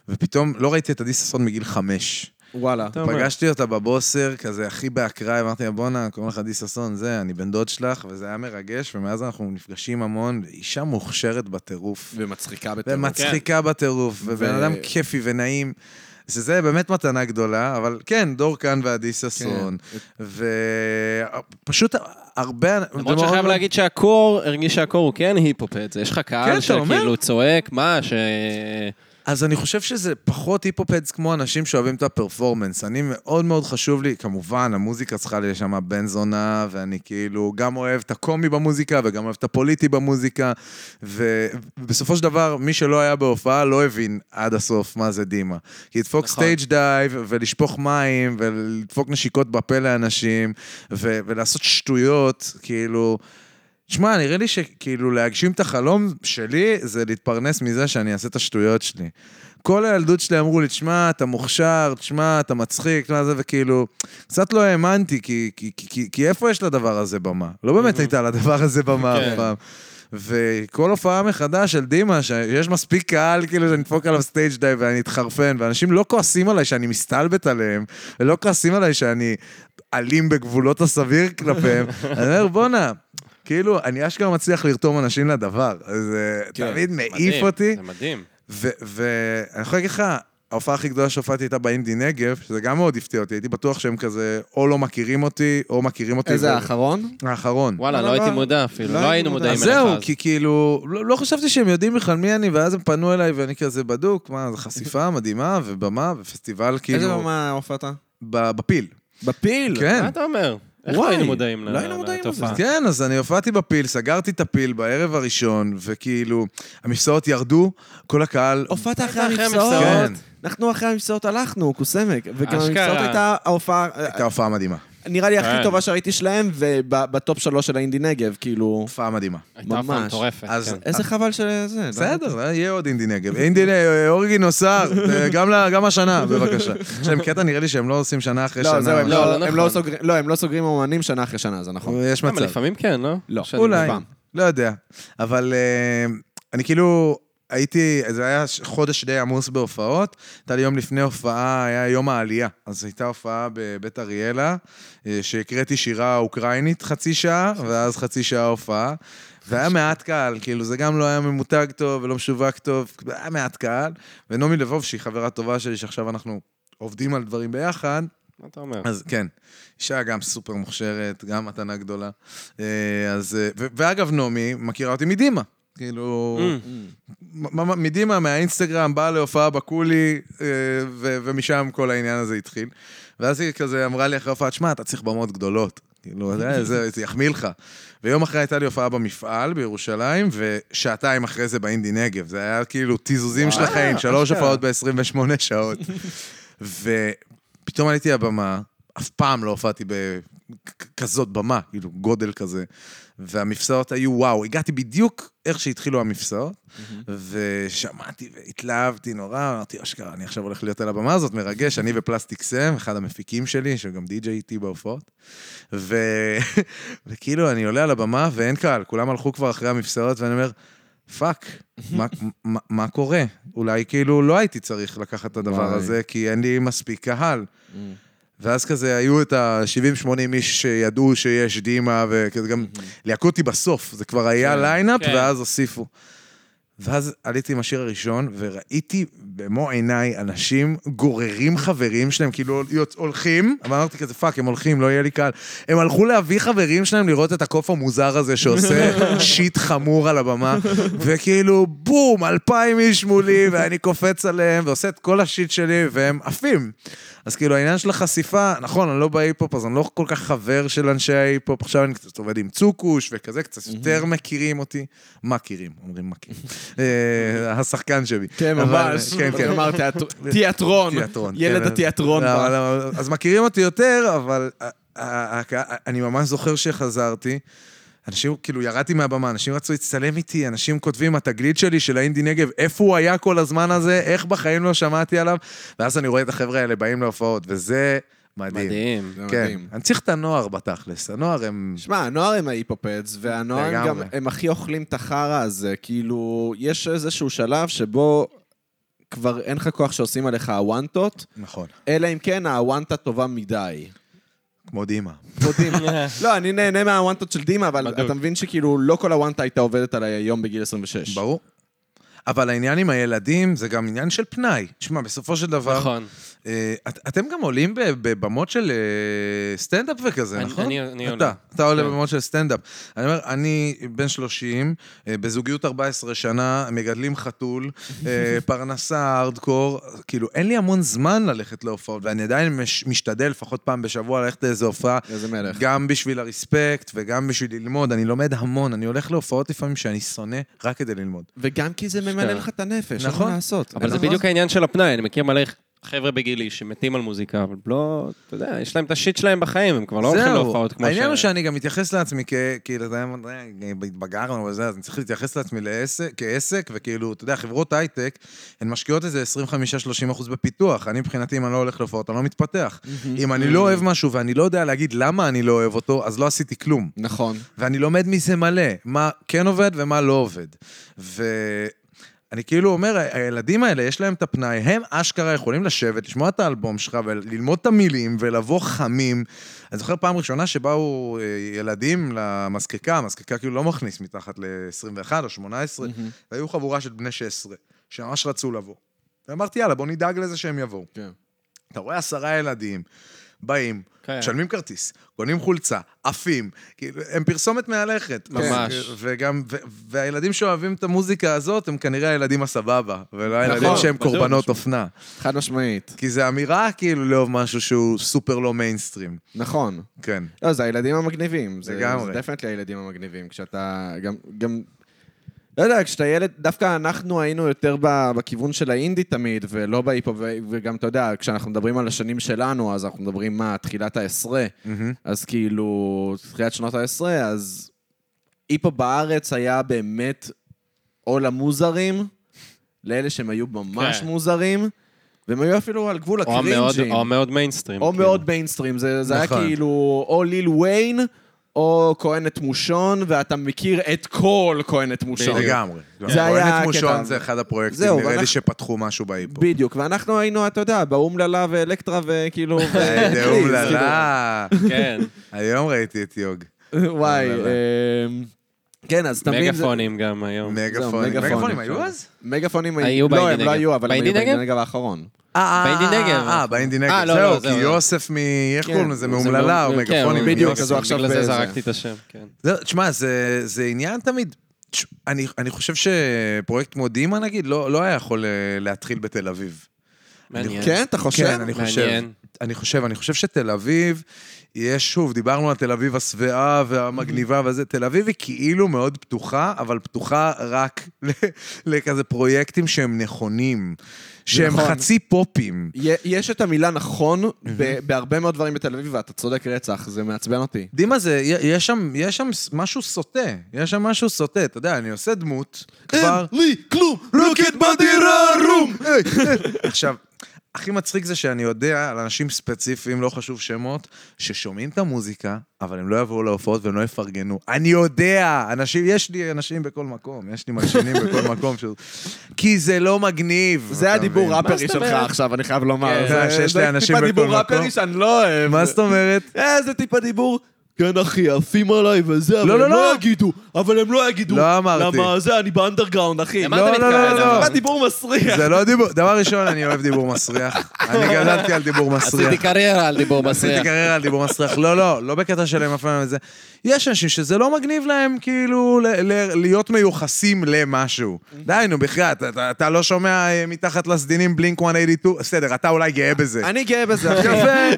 [SPEAKER 3] ופתאום לא ראיתי את עדי ששון מגיל חמש.
[SPEAKER 6] וואלה.
[SPEAKER 3] פגשתי אותה בבוסר, כזה הכי באקראי, אמרתי לה, בואנה, קוראים לך עדי ששון, זה, אני בן דוד שלך, וזה היה מרגש, ומאז אנחנו נפגשים המון, אישה מוכשרת בטירוף.
[SPEAKER 6] ומצחיקה בטרור.
[SPEAKER 4] כן.
[SPEAKER 3] ומצחיקה בטירוף, ובן אדם כיפי ונעים. שזה באמת מתנה גדולה, אבל כן, דור כאן ועדי ששון. ופשוט הרבה...
[SPEAKER 4] כן. למרות שחייב להגיד שהקור, הרגיש שהקור הוא כן היפ-הופד, יש לך
[SPEAKER 3] כן,
[SPEAKER 4] קהל
[SPEAKER 3] אתה אומר.
[SPEAKER 4] שכאילו צועק, מה, ש...
[SPEAKER 3] אז אני חושב שזה פחות היפ-הופדס כמו אנשים שאוהבים את הפרפורמנס. אני מאוד מאוד חשוב לי, כמובן, המוזיקה צריכה לי שם בן זונה, ואני כאילו גם אוהב את הקומי במוזיקה וגם אוהב את הפוליטי במוזיקה, ובסופו של דבר, מי שלא היה בהופעה לא הבין עד הסוף מה זה דימה. כי לדפוק
[SPEAKER 4] נכון.
[SPEAKER 3] סטייג' דייב, ולשפוך מים, ולדפוק נשיקות בפה לאנשים, ו- ולעשות שטויות, כאילו... תשמע, נראה לי שכאילו להגשים את החלום שלי זה להתפרנס מזה שאני אעשה את השטויות שלי. כל הילדות שלי אמרו לי, תשמע, אתה מוכשר, תשמע, אתה מצחיק, תשמע זה, וכאילו, קצת לא האמנתי, כי, כי, כי, כי, כי איפה יש לדבר הזה במה? לא באמת הייתה לדבר הזה במה
[SPEAKER 4] כן.
[SPEAKER 3] אף פעם. וכל הופעה מחדש של דימה, שיש מספיק קהל, כאילו, שאני אדפוק עליו סטייג' דייב ואני אתחרפן, ואנשים לא כועסים עליי שאני מסתלבט עליהם, ולא כועסים עליי שאני אלים בגבולות הסביר כלפיהם. אני אומר, בואנה, כאילו, אני אשכרה מצליח לרתום אנשים לדבר. זה תמיד מעיף
[SPEAKER 4] מדהים,
[SPEAKER 3] אותי.
[SPEAKER 4] זה מדהים.
[SPEAKER 3] ו- ואני יכול להגיד לך, ההופעה הכי גדולה שהופעתי הייתה באינדי נגב, שזה גם מאוד הפתיע אותי, הייתי בטוח שהם כזה או לא מכירים אותי, או מכירים אותי.
[SPEAKER 6] איזה
[SPEAKER 3] ו-
[SPEAKER 6] האחרון?
[SPEAKER 3] האחרון.
[SPEAKER 4] וואלה, לא
[SPEAKER 6] אבל-
[SPEAKER 4] הייתי מודע אפילו,
[SPEAKER 6] לא
[SPEAKER 4] לא
[SPEAKER 6] הייתי
[SPEAKER 4] היינו
[SPEAKER 6] מודע.
[SPEAKER 4] מודעים
[SPEAKER 3] אז
[SPEAKER 4] אליך
[SPEAKER 3] זהו,
[SPEAKER 4] אז.
[SPEAKER 3] כי כאילו, לא, לא חשבתי שהם יודעים בכלל מי אני, ואז הם פנו אליי ואני כזה בדוק, מה, זו חשיפה מדהימה, ובמה, ופסטיבל
[SPEAKER 6] איזה
[SPEAKER 3] כאילו,
[SPEAKER 6] במה הופעת?
[SPEAKER 3] ב- בפיל.
[SPEAKER 2] לא
[SPEAKER 6] בפיל.
[SPEAKER 3] כן.
[SPEAKER 4] מה אתה אומר? איך לא
[SPEAKER 6] וואי,
[SPEAKER 4] היינו מודעים ל-
[SPEAKER 6] לא היינו מודעים לזה.
[SPEAKER 4] לתופעה?
[SPEAKER 3] כן, אז אני הופעתי בפיל, סגרתי את הפיל בערב הראשון, וכאילו, המפסעות ירדו, כל הקהל...
[SPEAKER 6] הופעת אחרי
[SPEAKER 4] אחרי
[SPEAKER 6] המבצעות?
[SPEAKER 3] כן.
[SPEAKER 6] אנחנו אחרי המבצעות הלכנו, קוסמק. וגם
[SPEAKER 4] אשכרה.
[SPEAKER 6] המבצעות הייתה ההופעה,
[SPEAKER 3] הייתה הופעה מדהימה.
[SPEAKER 6] נראה לי הכי
[SPEAKER 4] כן.
[SPEAKER 6] טובה שראיתי שלהם, ובטופ שלוש של האינדי נגב, כאילו...
[SPEAKER 3] הופעה מדהימה.
[SPEAKER 4] הייתה הופעה
[SPEAKER 6] ממש.
[SPEAKER 4] מטורפת,
[SPEAKER 3] אז-
[SPEAKER 4] כן.
[SPEAKER 6] איזה חבל של זה. לא?
[SPEAKER 3] אה. בסדר, יהיה עוד אינדי נגב. אינדי נגב, אורגי נוסר, אה, גם ל- גם השנה, בבקשה. יש להם קטע, נראה לי שהם לא עושים שנה אחרי שנה.
[SPEAKER 6] לא, זהו, הם
[SPEAKER 4] לא,
[SPEAKER 6] לא-
[SPEAKER 4] לא
[SPEAKER 6] הם לא
[SPEAKER 4] נכון.
[SPEAKER 6] סוגרים- לא, הם לא סוגרים אומנים שנה אחרי שנה, זה נכון.
[SPEAKER 3] יש
[SPEAKER 4] אבל
[SPEAKER 3] מצב.
[SPEAKER 4] לפעמים כן, לא?
[SPEAKER 6] לא.
[SPEAKER 4] שאני
[SPEAKER 3] אולי,
[SPEAKER 4] מבין.
[SPEAKER 3] לא יודע. אבל אה, אני כאילו, הייתי, זה היה ש- חודש די עמוס בהופעות. הייתה לי יום לפני הופעה, היה יום העלייה. אז הייתה הופעה בבית אריאלה, אה, שהקראתי שירה אוקראינית חצי שעה, ואז חצי שעה הופעה. והיה מעט קהל, כאילו זה גם לא היה ממותג טוב ולא משווק טוב, היה מעט קהל. ונעמי לבוב, שהיא חברה טובה שלי, שעכשיו אנחנו עובדים על דברים ביחד,
[SPEAKER 4] מה אתה אומר?
[SPEAKER 3] אז כן, אישה גם סופר מוכשרת, גם מתנה גדולה. אה, אז... אה, ו- ואגב, נעמי מכירה אותי מדימה. כאילו,
[SPEAKER 2] כן,
[SPEAKER 3] מ- מ- מדימה מהאינסטגרם, באה להופעה בקולי, אה, ו- ומשם כל העניין הזה התחיל. ואז היא כזה אמרה לי אחרי ההופעה, שמע, אתה צריך במות גדולות. כאילו, זה, זה, זה יחמיא לך. ויום אחרי הייתה לי הופעה במפעל בירושלים, ושעתיים אחרי זה באינדי נגב. זה היה כאילו תיזוזים של החיים, שלוש הופעות ב-28 שעות. ופתאום עליתי לבמה, אף פעם לא הופעתי בכזאת במה, כאילו גודל כזה, והמפסעות היו וואו, הגעתי בדיוק איך שהתחילו המפסעות, ושמעתי והתלהבתי נורא, אמרתי, אשכרה, אני עכשיו הולך להיות על הבמה הזאת, מרגש, אני ופלסטיק סם, אחד המפיקים שלי, שגם די-ג'יי איתי בהופעות, ו... וכאילו, אני עולה על הבמה ואין קהל, כולם הלכו כבר אחרי המפסעות, ואני אומר, פאק, מה, מה, מה קורה? אולי כאילו לא הייתי צריך לקחת את הדבר
[SPEAKER 6] וואי.
[SPEAKER 3] הזה, כי אין לי מספיק קהל. ואז כזה היו את ה-70-80 איש שידעו שיש דימה, וכזה גם ליהקו אותי בסוף, זה כבר היה ליינאפ,
[SPEAKER 4] כן.
[SPEAKER 3] ואז הוסיפו. ואז עליתי עם השיר הראשון, וראיתי במו עיניי אנשים גוררים חברים שלהם, כאילו יוצ- הולכים, אבל אמרתי כזה, פאק, הם הולכים, לא יהיה לי קל. הם הלכו להביא חברים שלהם לראות את הקוף המוזר הזה שעושה שיט חמור על הבמה, וכאילו, בום, אלפיים איש מולי, ואני קופץ עליהם, ועושה את כל השיט שלי, והם עפים. אז כאילו, העניין של החשיפה, נכון, אני לא בהיפ-הופ, אז אני לא כל כך חבר של אנשי ההיפ-הופ, עכשיו אני קצת עובד עם צוקוש וכזה, קצת יותר מכירים אותי. מכירים, אומרים מכירים. אה, השחקן שלי.
[SPEAKER 2] כן,
[SPEAKER 3] אבל-
[SPEAKER 2] ממש.
[SPEAKER 3] כן, כן.
[SPEAKER 2] כלומר, תיאטרון.
[SPEAKER 3] תיאטרון,
[SPEAKER 2] ילד
[SPEAKER 3] כן.
[SPEAKER 2] התיאטרון.
[SPEAKER 3] לא,
[SPEAKER 2] פה.
[SPEAKER 3] אבל- אבל- אז מכירים אותי יותר, אבל אה, ה- ה- ה- אה, אני ממש זוכר שחזרתי. אנשים, כאילו, ירדתי מהבמה, אנשים רצו להצטלם איתי, אנשים כותבים, התגלית שלי של האינדי נגב, איפה הוא היה כל הזמן הזה, איך בחיים לא שמעתי עליו, ואז אני רואה את החבר'ה האלה באים להופעות, וזה מדהים.
[SPEAKER 4] מדהים.
[SPEAKER 2] זה
[SPEAKER 3] כן,
[SPEAKER 2] מדהים.
[SPEAKER 3] אני צריך את הנוער בתכלס, הנוער הם...
[SPEAKER 2] שמע, הנוער הם ההיפופדס, והנוער הם גם,
[SPEAKER 3] לגמרי.
[SPEAKER 2] הם הכי אוכלים את החרא הזה. כאילו, יש איזשהו שלב שבו כבר אין לך כוח שעושים עליך הוואנטות,
[SPEAKER 3] נכון.
[SPEAKER 2] אלא אם כן הוואנטה טובה מדי.
[SPEAKER 3] כמו דימה.
[SPEAKER 2] כמו דימה. לא, אני נהנה מהוואנטות של דימה, אבל
[SPEAKER 4] בדוק.
[SPEAKER 2] אתה מבין שכאילו לא כל הוואנטה הייתה עובדת עליי היום בגיל 26.
[SPEAKER 3] ברור. אבל העניין עם הילדים זה גם עניין של פנאי. תשמע, בסופו של דבר,
[SPEAKER 4] נכון.
[SPEAKER 3] אה, את, אתם גם עולים ב- בבמות של אה, סטנדאפ וכזה,
[SPEAKER 4] אני-
[SPEAKER 3] נכון?
[SPEAKER 4] אני- אני
[SPEAKER 3] אתה,
[SPEAKER 4] עולה.
[SPEAKER 3] אתה עולה
[SPEAKER 4] כן.
[SPEAKER 3] בבמות של סטנדאפ. אני אומר, אני בן 30, אה, בזוגיות 14 שנה, מגדלים חתול, אה, פרנסה הארדקור, כאילו, אין לי המון זמן ללכת להופעות, ואני עדיין מש, משתדל לפחות פעם בשבוע ללכת לאיזו הופעה,
[SPEAKER 2] איזה מלך.
[SPEAKER 3] גם בשביל הרספקט וגם בשביל ללמוד. אני לומד המון, אני הולך להופעות לפעמים שאני שונא רק כדי ללמוד.
[SPEAKER 2] וגם כי זה ממלא
[SPEAKER 4] שטר.
[SPEAKER 2] לך את הנפש, אין
[SPEAKER 3] נכון.
[SPEAKER 2] מה לעשות.
[SPEAKER 4] אבל זה
[SPEAKER 3] נכון.
[SPEAKER 4] בדיוק העניין של הפנאי, אני מכיר מלא חבר'ה בגילי שמתים על מוזיקה, אבל לא, אתה יודע, יש להם את השיט שלהם בחיים, הם כבר לא הולכים להופעות כמו ש...
[SPEAKER 3] העניין הוא שאני גם מתייחס לעצמי כ... כאילו, אתה יודע, התבגרנו וזה, אז אני צריך להתייחס לעצמי לעסק, כעסק, וכאילו, אתה יודע, חברות הייטק, הן משקיעות איזה 25-30 אחוז בפיתוח. אני מבחינתי, אם אני לא הולך להופעות, אני לא מתפתח. אם אני לא אוהב משהו ואני לא יודע להגיד למה אני לא אוהב אותו, אז לא עשיתי כלום.
[SPEAKER 2] נכון.
[SPEAKER 3] ואני לומד מזה מלא, מה כן עובד ומה לא עובד. ואני כאילו אומר, ה- הילדים האלה, יש להם את הפנאי, הם אשכרה יכולים לשבת, לשמוע את האלבום שלך וללמוד את המילים ולבוא חמים. אני זוכר פעם ראשונה שבאו אה, ילדים למזקקה, המזקקה כאילו לא מכניס מתחת ל-21 או 18, והיו חבורה של בני 16, שממש רצו לבוא. ואמרתי, יאללה, בוא נדאג לזה שהם יבואו.
[SPEAKER 2] כן.
[SPEAKER 3] אתה רואה עשרה ילדים, באים,
[SPEAKER 4] כן.
[SPEAKER 3] משלמים כרטיס, קונים חולצה, עפים, כאילו, הם פרסומת מהלכת.
[SPEAKER 4] ממש.
[SPEAKER 3] אז, וגם, ו- והילדים שאוהבים את המוזיקה הזאת, הם כנראה הילדים הסבבה, ולא
[SPEAKER 2] נכון.
[SPEAKER 3] הילדים שהם
[SPEAKER 4] בדיוק.
[SPEAKER 3] קורבנות אופנה.
[SPEAKER 2] חד משמעית.
[SPEAKER 3] כי זה אמירה כאילו לאהוב משהו שהוא סופר לא מיינסטרים.
[SPEAKER 2] נכון.
[SPEAKER 3] כן.
[SPEAKER 2] לא, זה הילדים המגניבים. זה-
[SPEAKER 3] לגמרי.
[SPEAKER 2] זה דפנטלי הילדים המגניבים. כשאתה גם... גם... לא יודע, כשאתה ילד, דווקא אנחנו היינו יותר ב- בכיוון של האינדי תמיד, ולא בהיפו, ו- וגם, אתה יודע, כשאנחנו מדברים על השנים שלנו, אז אנחנו מדברים, מה, תחילת העשרה.
[SPEAKER 3] מהמם.
[SPEAKER 2] אז כאילו, תחילת שנות העשרה, אז היפו בארץ היה באמת או למוזרים, לאלה שהם היו ממש
[SPEAKER 4] כן.
[SPEAKER 2] מוזרים, והם היו אפילו על גבול
[SPEAKER 4] או המאוד-
[SPEAKER 2] הקרינג'ים.
[SPEAKER 4] או המאוד מיינסטרים.
[SPEAKER 2] או
[SPEAKER 4] כאילו.
[SPEAKER 2] מאוד מיינסטרים, זה, זה היה
[SPEAKER 3] נכון.
[SPEAKER 2] כאילו או ליל וויין, או כהנת מושון, ואתה מכיר את כל כהנת מושון.
[SPEAKER 3] לגמרי.
[SPEAKER 2] זה היה
[SPEAKER 3] כהנת
[SPEAKER 2] הקטע.
[SPEAKER 3] מושון זה אחד הפרויקטים,
[SPEAKER 2] זהו,
[SPEAKER 3] נראה לי
[SPEAKER 2] ואנחנו-
[SPEAKER 3] שפתחו משהו בהיפו.
[SPEAKER 2] בדיוק, ואנחנו היינו, אתה יודע, באומללה ואלקטרה וכאילו... ו-
[SPEAKER 3] איזה
[SPEAKER 2] גליז,
[SPEAKER 3] אומללה.
[SPEAKER 4] כן,
[SPEAKER 3] היום ראיתי את יוג.
[SPEAKER 2] כאילו. וואי,
[SPEAKER 3] אומללה.
[SPEAKER 2] אמ, כן, אז תמיד...
[SPEAKER 4] מגפונים גם היום.
[SPEAKER 3] מגפונים.
[SPEAKER 2] מגפונים.
[SPEAKER 3] מגפונים היו אז?
[SPEAKER 2] מגפונים
[SPEAKER 4] היו
[SPEAKER 2] לא,
[SPEAKER 4] באינדי
[SPEAKER 2] הם לא
[SPEAKER 4] נגב.
[SPEAKER 2] היו, אבל הם היו
[SPEAKER 4] באינדי
[SPEAKER 2] באינדי
[SPEAKER 4] נגב?
[SPEAKER 2] נגב האחרון.
[SPEAKER 4] באינדי נגב.
[SPEAKER 3] אה, באינדי
[SPEAKER 4] אה,
[SPEAKER 3] נגב.
[SPEAKER 4] לא, לא,
[SPEAKER 3] זהו, כי
[SPEAKER 4] זהו, לא.
[SPEAKER 3] יוסף מ... איך
[SPEAKER 2] כן,
[SPEAKER 3] קוראים לזה?
[SPEAKER 4] זה
[SPEAKER 3] מאומללה או
[SPEAKER 4] מאוד- כן,
[SPEAKER 3] מגפונים?
[SPEAKER 2] בדיוק,
[SPEAKER 3] יוסף.
[SPEAKER 2] אז הוא עכשיו
[SPEAKER 4] בגלל זה
[SPEAKER 2] בזה.
[SPEAKER 4] זרקתי את השם, כן.
[SPEAKER 3] זהו, תשמע, זה, זה עניין תמיד... תש- אני, אני חושב שפרויקט כמו דימה, נגיד, לא, לא היה יכול אה, להתחיל בתל אביב.
[SPEAKER 4] מעניין.
[SPEAKER 2] כן, אתה חושב?
[SPEAKER 3] כן, אני חושב.
[SPEAKER 4] מעניין.
[SPEAKER 3] אני חושב, אני חושב שתל אביב, יש, שוב, דיברנו על תל אביב השבעה והמגניבה וזה, תל אביב היא כאילו מאוד פתוחה, אבל פתוחה רק ל- לכזה פרויקטים שהם נכונים, שהם
[SPEAKER 2] נכון.
[SPEAKER 3] חצי פופים.
[SPEAKER 2] יה- יש את המילה נכון ב- בהרבה מאוד דברים בתל אביב, ואתה צודק רצח, זה מעצבן אותי.
[SPEAKER 3] דימה זה, י- יש שם, יש שם ס- משהו סוטה, יש שם משהו סוטה, אתה יודע, אני עושה
[SPEAKER 2] כן.
[SPEAKER 3] דמות, כבר...
[SPEAKER 2] לי כלום, כן.
[SPEAKER 3] רוקט בדירה, רום! עכשיו, הכי מצחיק זה שאני יודע על אנשים ספציפיים, לא חשוב שמות, ששומעים את המוזיקה, אבל הם לא יבואו להופעות והם לא יפרגנו. אני יודע! אנשים, יש לי אנשים בכל מקום, יש לי מלשינים בכל מקום. ש... כי זה לא מגניב.
[SPEAKER 2] זה
[SPEAKER 3] אתה
[SPEAKER 2] הדיבור
[SPEAKER 3] מבין?
[SPEAKER 2] ראפרי
[SPEAKER 4] זאת
[SPEAKER 2] שלך
[SPEAKER 4] אומרת?
[SPEAKER 2] עכשיו, אני חייב לומר.
[SPEAKER 4] כן.
[SPEAKER 2] זה-
[SPEAKER 3] זה שיש
[SPEAKER 2] זה
[SPEAKER 3] לאנשים
[SPEAKER 2] טיפה
[SPEAKER 3] בכל
[SPEAKER 2] דיבור
[SPEAKER 3] מקום.
[SPEAKER 2] ראפרי שאני לא אוהב.
[SPEAKER 3] מה זאת אומרת?
[SPEAKER 2] אה, זה טיפה דיבור. כן, אחי, עפים עליי וזה, אבל
[SPEAKER 3] לא,
[SPEAKER 2] הם לא
[SPEAKER 3] לא.
[SPEAKER 2] יגידו. אבל הם לא יגידו.
[SPEAKER 3] לא אמרתי.
[SPEAKER 2] למה זה, אני באנדרגראונד, אחי.
[SPEAKER 4] למה
[SPEAKER 3] לא,
[SPEAKER 4] אתה
[SPEAKER 3] לא,
[SPEAKER 4] מתכוון?
[SPEAKER 3] לא, לא.
[SPEAKER 2] מה דיבור מסריח?
[SPEAKER 3] זה לא דיבור. דבר ראשון, אני אוהב דיבור מסריח. אני גדלתי על דיבור מסריח.
[SPEAKER 4] עשיתי קריירה על דיבור
[SPEAKER 3] עשיתי
[SPEAKER 4] מסריח.
[SPEAKER 3] קריירה על דיבור מסריח. לא, לא, לא בקטע שלהם אף פעם את זה. יש אנשים שזה לא מגניב להם, כאילו, ל- ל- להיות מיוחסים למשהו. די, נו, בחייאת, אתה- אתה- אתה לא שומע אה, מתחת לסדינים בלינק 182, בסדר, אתה אולי גאה בזה.
[SPEAKER 2] אני גאה בזה, אחי.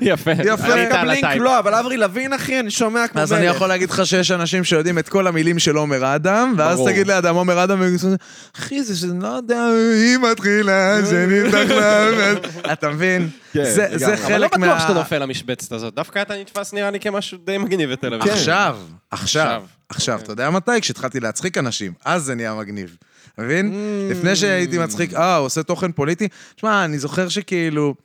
[SPEAKER 7] יפה.
[SPEAKER 3] יפה.
[SPEAKER 7] עלית על
[SPEAKER 2] בלינק
[SPEAKER 7] הטייפ.
[SPEAKER 2] לא, אבל אברי לוין, אחי, אני שומע כמו מלך.
[SPEAKER 3] אז אני יכול להגיד לך שיש אנשים שיודעים את כל המילים של עומר אדם, ואז תגיד לאדם עומר אדם, והם יגידו, אחי, זה שזה לא יודע, היא מתחילה, זה נפתח לה, ואז-" אתה מבין? זה זה
[SPEAKER 4] אבל לא
[SPEAKER 3] חלק מה...
[SPEAKER 4] בטוח שאתה נופל למשבצת הזאת. דווקא אתה נתפס נראה לי כמשהו די מגניב בתל אביב.
[SPEAKER 3] כן, עכשיו, עכשיו,
[SPEAKER 4] כן. עכשיו. אוקיי.
[SPEAKER 3] עכשיו, אתה יודע מתי? כשהתחלתי להצחיק אנשים, אז זה נהיה מגניב. מבין?
[SPEAKER 4] Mm.
[SPEAKER 3] לפני שהייתי מצחיק, אה, הוא עושה תוכן פוליטי. שמע, אני זוכר שכאילו,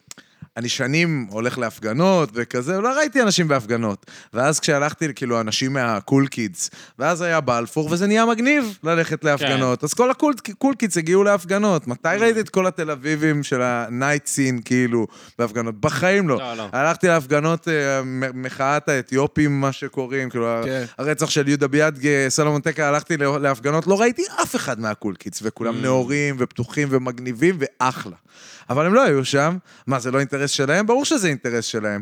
[SPEAKER 3] אני שנים הולך להפגנות וכזה, לא ראיתי אנשים בהפגנות. ואז כשהלכתי, כאילו, אנשים מהקול קידס, ואז היה בלפור, וזה נהיה מגניב ללכת
[SPEAKER 4] כן.
[SPEAKER 3] להפגנות. אז כל הקול קול קידס הגיעו להפגנות. מתי ראיתי את כל התל אביבים של הנייט סין, כאילו, בהפגנות? בחיים לא.
[SPEAKER 4] לא, לא.
[SPEAKER 3] הלכתי להפגנות אה, מ- מחאת האתיופים, מה שקוראים, כאילו,
[SPEAKER 2] כן.
[SPEAKER 3] הרצח של יהודה ביאדגה, סלומון טקה, הלכתי לה- להפגנות, לא ראיתי אף אחד מהקול קידס,
[SPEAKER 2] Mm.
[SPEAKER 3] וכולם נאורים ופתוחים ומגניבים ואחלה. אבל הם לא היו שם. מה, זה לא אינטרס שלהם? ברור שזה אינטרס שלהם.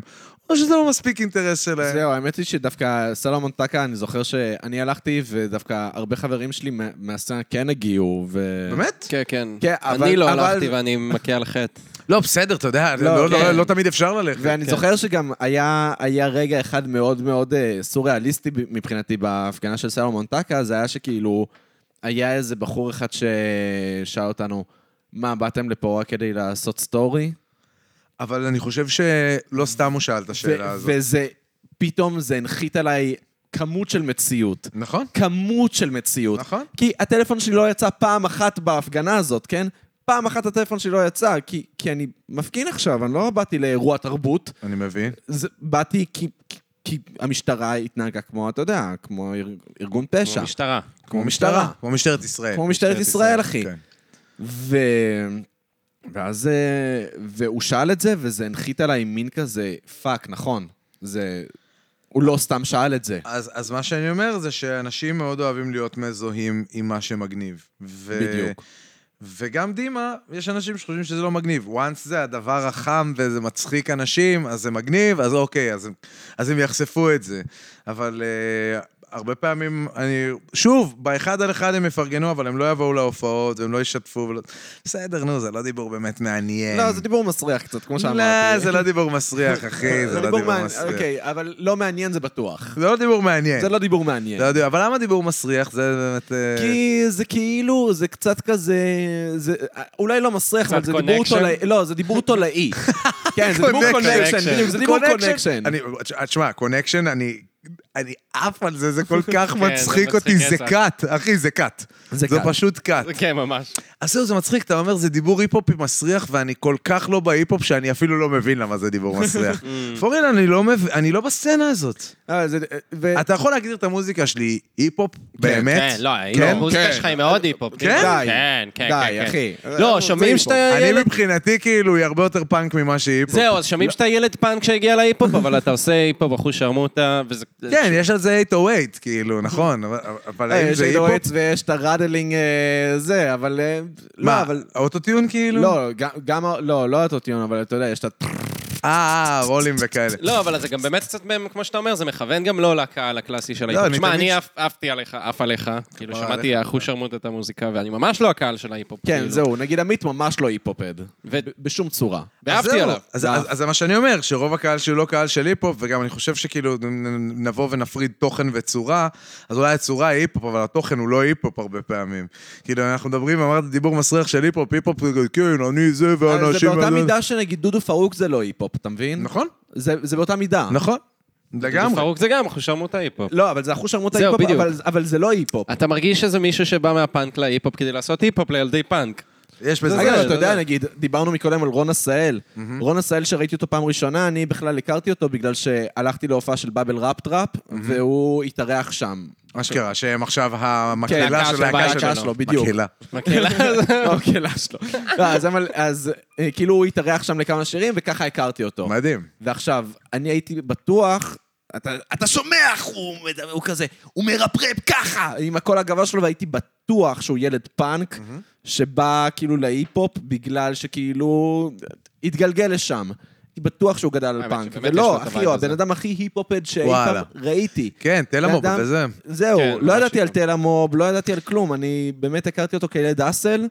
[SPEAKER 3] או שזה לא מספיק אינטרס שלהם.
[SPEAKER 2] זהו, האמת היא שדווקא סלומון טקה, אני זוכר שאני הלכתי, ודווקא הרבה חברים שלי מה- מהסצנה כן הגיעו, ו...
[SPEAKER 3] באמת?
[SPEAKER 4] כן, כן.
[SPEAKER 2] כן, אבל-
[SPEAKER 4] אני לא
[SPEAKER 2] אבל-
[SPEAKER 4] הלכתי ואני מכה על חטא.
[SPEAKER 3] לא, בסדר, אתה יודע, לא- לא-
[SPEAKER 2] כן.
[SPEAKER 3] לא תמיד אפשר ללכת.
[SPEAKER 2] ואני זוכר שגם היה, היה רגע אחד מאוד מאוד אה, סוריאליסטי ב- מבחינתי בהפגנה של סלומון טקה, זה היה שכאילו, היה איזה בחור אחד ששאל אותנו, מה, באתם לפה רק כדי לעשות סטורי?
[SPEAKER 3] אבל אני חושב שלא סתם הוא שאל את השאלה
[SPEAKER 2] ו-
[SPEAKER 3] הזאת.
[SPEAKER 2] וזה, פתאום זה הנחית עליי כמות של מציאות.
[SPEAKER 3] נכון?
[SPEAKER 2] כמות של מציאות.
[SPEAKER 3] נכון.
[SPEAKER 2] כי הטלפון שלי לא יצא פעם אחת בהפגנה הזאת, כן? פעם אחת הטלפון שלי לא יצא, כי, כי אני מפגין עכשיו, אני לא באתי לאירוע תרבות,
[SPEAKER 3] אני מבין.
[SPEAKER 2] זה, באתי כי, כי, כי המשטרה התנהגה כמו, אתה יודע, כמו אר, ארגון פשע.
[SPEAKER 4] משטרה.
[SPEAKER 2] כמו משטרה.
[SPEAKER 3] כמו משטרת ישראל.
[SPEAKER 2] כמו משטרת ישראל, אחי.
[SPEAKER 3] כן.
[SPEAKER 2] ו... ואז... אה, והוא שאל את זה, וזה הנחית עליי מין כזה, פאק, נכון. זה... הוא לא סתם שאל את זה.
[SPEAKER 3] אז, אז מה שאני אומר זה שאנשים מאוד אוהבים להיות מזוהים עם מה שמגניב. ו...
[SPEAKER 2] בדיוק.
[SPEAKER 3] וגם דימה, יש אנשים שחושבים שזה לא מגניב. once זה הדבר החם וזה מצחיק אנשים, אז זה מגניב, אז אוקיי, אז הם, אז הם יחשפו את זה. אבל אה, הרבה פעמים אני... שוב, באחד על אחד הם יפרגנו, אבל הם לא יבואו להופעות והם לא ישתפו. ולא... בסדר, נו, זה לא דיבור באמת מעניין.
[SPEAKER 2] לא, זה דיבור מסריח קצת, כמו שאמרתי.
[SPEAKER 3] כן. לא, זה לא דיבור מסריח, אחי, זה לא דיבור
[SPEAKER 2] מעניין,
[SPEAKER 3] מסריח.
[SPEAKER 2] אוקיי, אבל לא מעניין זה בטוח.
[SPEAKER 3] זה לא דיבור מעניין.
[SPEAKER 2] זה לא דיבור מעניין.
[SPEAKER 3] לא יודע, אבל למה דיבור מסריח? זה באמת... אה,
[SPEAKER 2] כי זה כאילו, זה קצת כזה, זה אה, אולי לא מסריח, אבל זה דיבור
[SPEAKER 4] connection?
[SPEAKER 2] תולעי, לא, זה דיבור תולעי. כן, זה דיבור
[SPEAKER 3] Connection.
[SPEAKER 2] קונקשן, בדיוק, זה דיבור קונקשן.
[SPEAKER 3] אני, תשמע, קונקשן, אני... אני עף על זה, זה כל כך
[SPEAKER 4] כן, זה
[SPEAKER 3] מצחיק
[SPEAKER 4] מצחיק
[SPEAKER 3] אותי, זה
[SPEAKER 4] רצח.
[SPEAKER 3] קאט, אחי, זה קאט.
[SPEAKER 2] זה
[SPEAKER 3] זה
[SPEAKER 2] קאט.
[SPEAKER 3] פשוט קאט.
[SPEAKER 4] כן, ממש.
[SPEAKER 3] אז זהו, זה מצחיק, אתה אומר, זה דיבור היפ-הופי מסריח, ואני כל כך לא בהיפ-הופ שאני אפילו לא מבין למה זה דיבור מסריח. פוריל, אני לא מבין, אני לא בסצנה הזאת.
[SPEAKER 2] אה, זה- ו-
[SPEAKER 3] אתה יכול להגדיר את המוזיקה שלי היפ-הופ, באמת?
[SPEAKER 4] כן, לא,
[SPEAKER 3] כן?
[SPEAKER 4] המוזיקה שלך היא מאוד היפ-הופ.
[SPEAKER 3] כן?
[SPEAKER 2] די.
[SPEAKER 4] כן, כן,
[SPEAKER 2] די,
[SPEAKER 4] כן, כן.
[SPEAKER 2] אחי. אה,
[SPEAKER 4] לא, שומעים שאתה
[SPEAKER 3] אני
[SPEAKER 2] לא-
[SPEAKER 4] ילד...
[SPEAKER 3] מבחינתי, כאילו, היא הרבה יותר פאנק ממה שהיא היפ-הופ.
[SPEAKER 4] זהו, אז שומעים שאתה ילד פאנק שהגיע להיפ-הופ, אבל אתה עושה היפ-הופ אחוז שרמוטה, וזה...
[SPEAKER 3] כן, יש על זה 808, כאילו, נכון, אבל- אבל
[SPEAKER 2] אה,
[SPEAKER 3] האם
[SPEAKER 2] יש
[SPEAKER 3] זה
[SPEAKER 2] את
[SPEAKER 3] היפ-הופ?
[SPEAKER 2] הרועץ ויש את הרדלינג אה, זה, אבל... אה, לא,
[SPEAKER 3] מה,
[SPEAKER 2] אבל...
[SPEAKER 3] האוטוטיון כאילו?
[SPEAKER 2] לא, גם- גם... ה- לא, לא הטוטיון, אבל אתה יודע, יש את ה...
[SPEAKER 3] אה, רולים וכאלה.
[SPEAKER 4] לא, אבל זה גם באמת קצת, מהם, כמו שאתה אומר, זה מכוון גם לא לקהל הקלאסי של ההיפ-הופ.
[SPEAKER 3] אני
[SPEAKER 4] שמע,
[SPEAKER 3] תמיד-
[SPEAKER 4] אני עף- עפתי עליך, עף עליך. כאילו,
[SPEAKER 3] עליך.
[SPEAKER 4] שמעתי אחוז שרמוט את המוזיקה, ואני ממש לא הקהל של ההיפ-הופ.
[SPEAKER 2] כן,
[SPEAKER 4] כאילו.
[SPEAKER 2] זהו, נגיד עמית ממש לא היפופד.
[SPEAKER 4] ו-
[SPEAKER 2] בשום צורה.
[SPEAKER 3] אז
[SPEAKER 4] ועפתי
[SPEAKER 3] זהו,
[SPEAKER 4] עליו.
[SPEAKER 3] אז-
[SPEAKER 2] לא.
[SPEAKER 3] אז אז זה מה שאני אומר, שרוב הקהל שהוא לא קהל של היפ-הופ, וגם אני חושב שכאילו נ- נ- נבוא ונפריד תוכן וצורה, אז אולי הצורה היא היפ-הופ, אבל התוכן הוא לא היפ-הופ הרבה פעמים. כאילו, אנחנו מדברים, אמרת דיבור מסריח של היפ-הופ, היפ-הופ, זה כאילו, כן, אני זה
[SPEAKER 2] אה, זה
[SPEAKER 3] ואנשים...
[SPEAKER 2] באותה
[SPEAKER 3] וזה."
[SPEAKER 2] מידה שנגיד דודו פרוק זה לא היפופ, אתה מבין?
[SPEAKER 3] נכון,
[SPEAKER 2] זה זה באותה מידה.
[SPEAKER 3] נכון, לגמרי.
[SPEAKER 4] פרוק זה גם אחוז שרמוט ההיפ-הופ.
[SPEAKER 2] לא, אבל זה אחוז שרמוטה
[SPEAKER 4] זהו,
[SPEAKER 2] היפ-הופ,
[SPEAKER 4] בדיוק.
[SPEAKER 2] אבל- אבל זה לא היפ-הופ.
[SPEAKER 4] אתה מרגיש שזה מישהו שבא מהפאנק להיפ-הופ כדי לעשות היפ-הופ לילדי פאנק.
[SPEAKER 3] יש בזה...
[SPEAKER 2] אגב, אתה
[SPEAKER 3] משהו.
[SPEAKER 2] יודע, נגיד, דיברנו מקודם על רון עשהאל. רון עשהאל, שראיתי אותו פעם ראשונה, אני בכלל הכרתי אותו בגלל שהלכתי להופעה של באבל ראפ טראפ, והוא התארח שם.
[SPEAKER 3] אשכרה, שהם עכשיו המקהלה
[SPEAKER 4] כן,
[SPEAKER 3] של
[SPEAKER 4] הלהקה
[SPEAKER 3] להקה
[SPEAKER 2] שלו,
[SPEAKER 3] שלו.
[SPEAKER 2] בדיוק.
[SPEAKER 3] מקהלה.
[SPEAKER 4] מקהלה
[SPEAKER 2] המקהלה שלו. לא, אז אבל- אז אה, כאילו הוא התארח שם לכמה שירים, וככה הכרתי אותו.
[SPEAKER 3] מדהים.
[SPEAKER 2] ועכשיו, אני הייתי בטוח... אתה, אתה שומע, הוא, מדבר- הוא כזה, הוא מרפרפ ככה, עם הקול הגבוה שלו, והייתי בטוח שהוא ילד פאנק, שבא כאילו להיפ-הופ בגלל שכאילו התגלגל לשם. הייתי בטוח שהוא גדל על
[SPEAKER 4] האמת
[SPEAKER 2] פאנק.
[SPEAKER 4] שבאמת יש לו
[SPEAKER 2] ולא,
[SPEAKER 4] את
[SPEAKER 2] אחי,
[SPEAKER 4] הווייב
[SPEAKER 2] הוא
[SPEAKER 4] הזה.
[SPEAKER 2] הבן אדם הכי היפ-הופד שאי
[SPEAKER 3] וואלה.
[SPEAKER 2] פעם ראיתי.
[SPEAKER 3] כן, תל אביב
[SPEAKER 2] לאדם-
[SPEAKER 3] וזה.
[SPEAKER 2] זהו,
[SPEAKER 4] כן,
[SPEAKER 2] לא
[SPEAKER 4] ממש
[SPEAKER 2] ידעתי על
[SPEAKER 4] שכן.
[SPEAKER 2] תל המוב, לא ידעתי על כלום, אני באמת הכרתי אותו כילד אסל,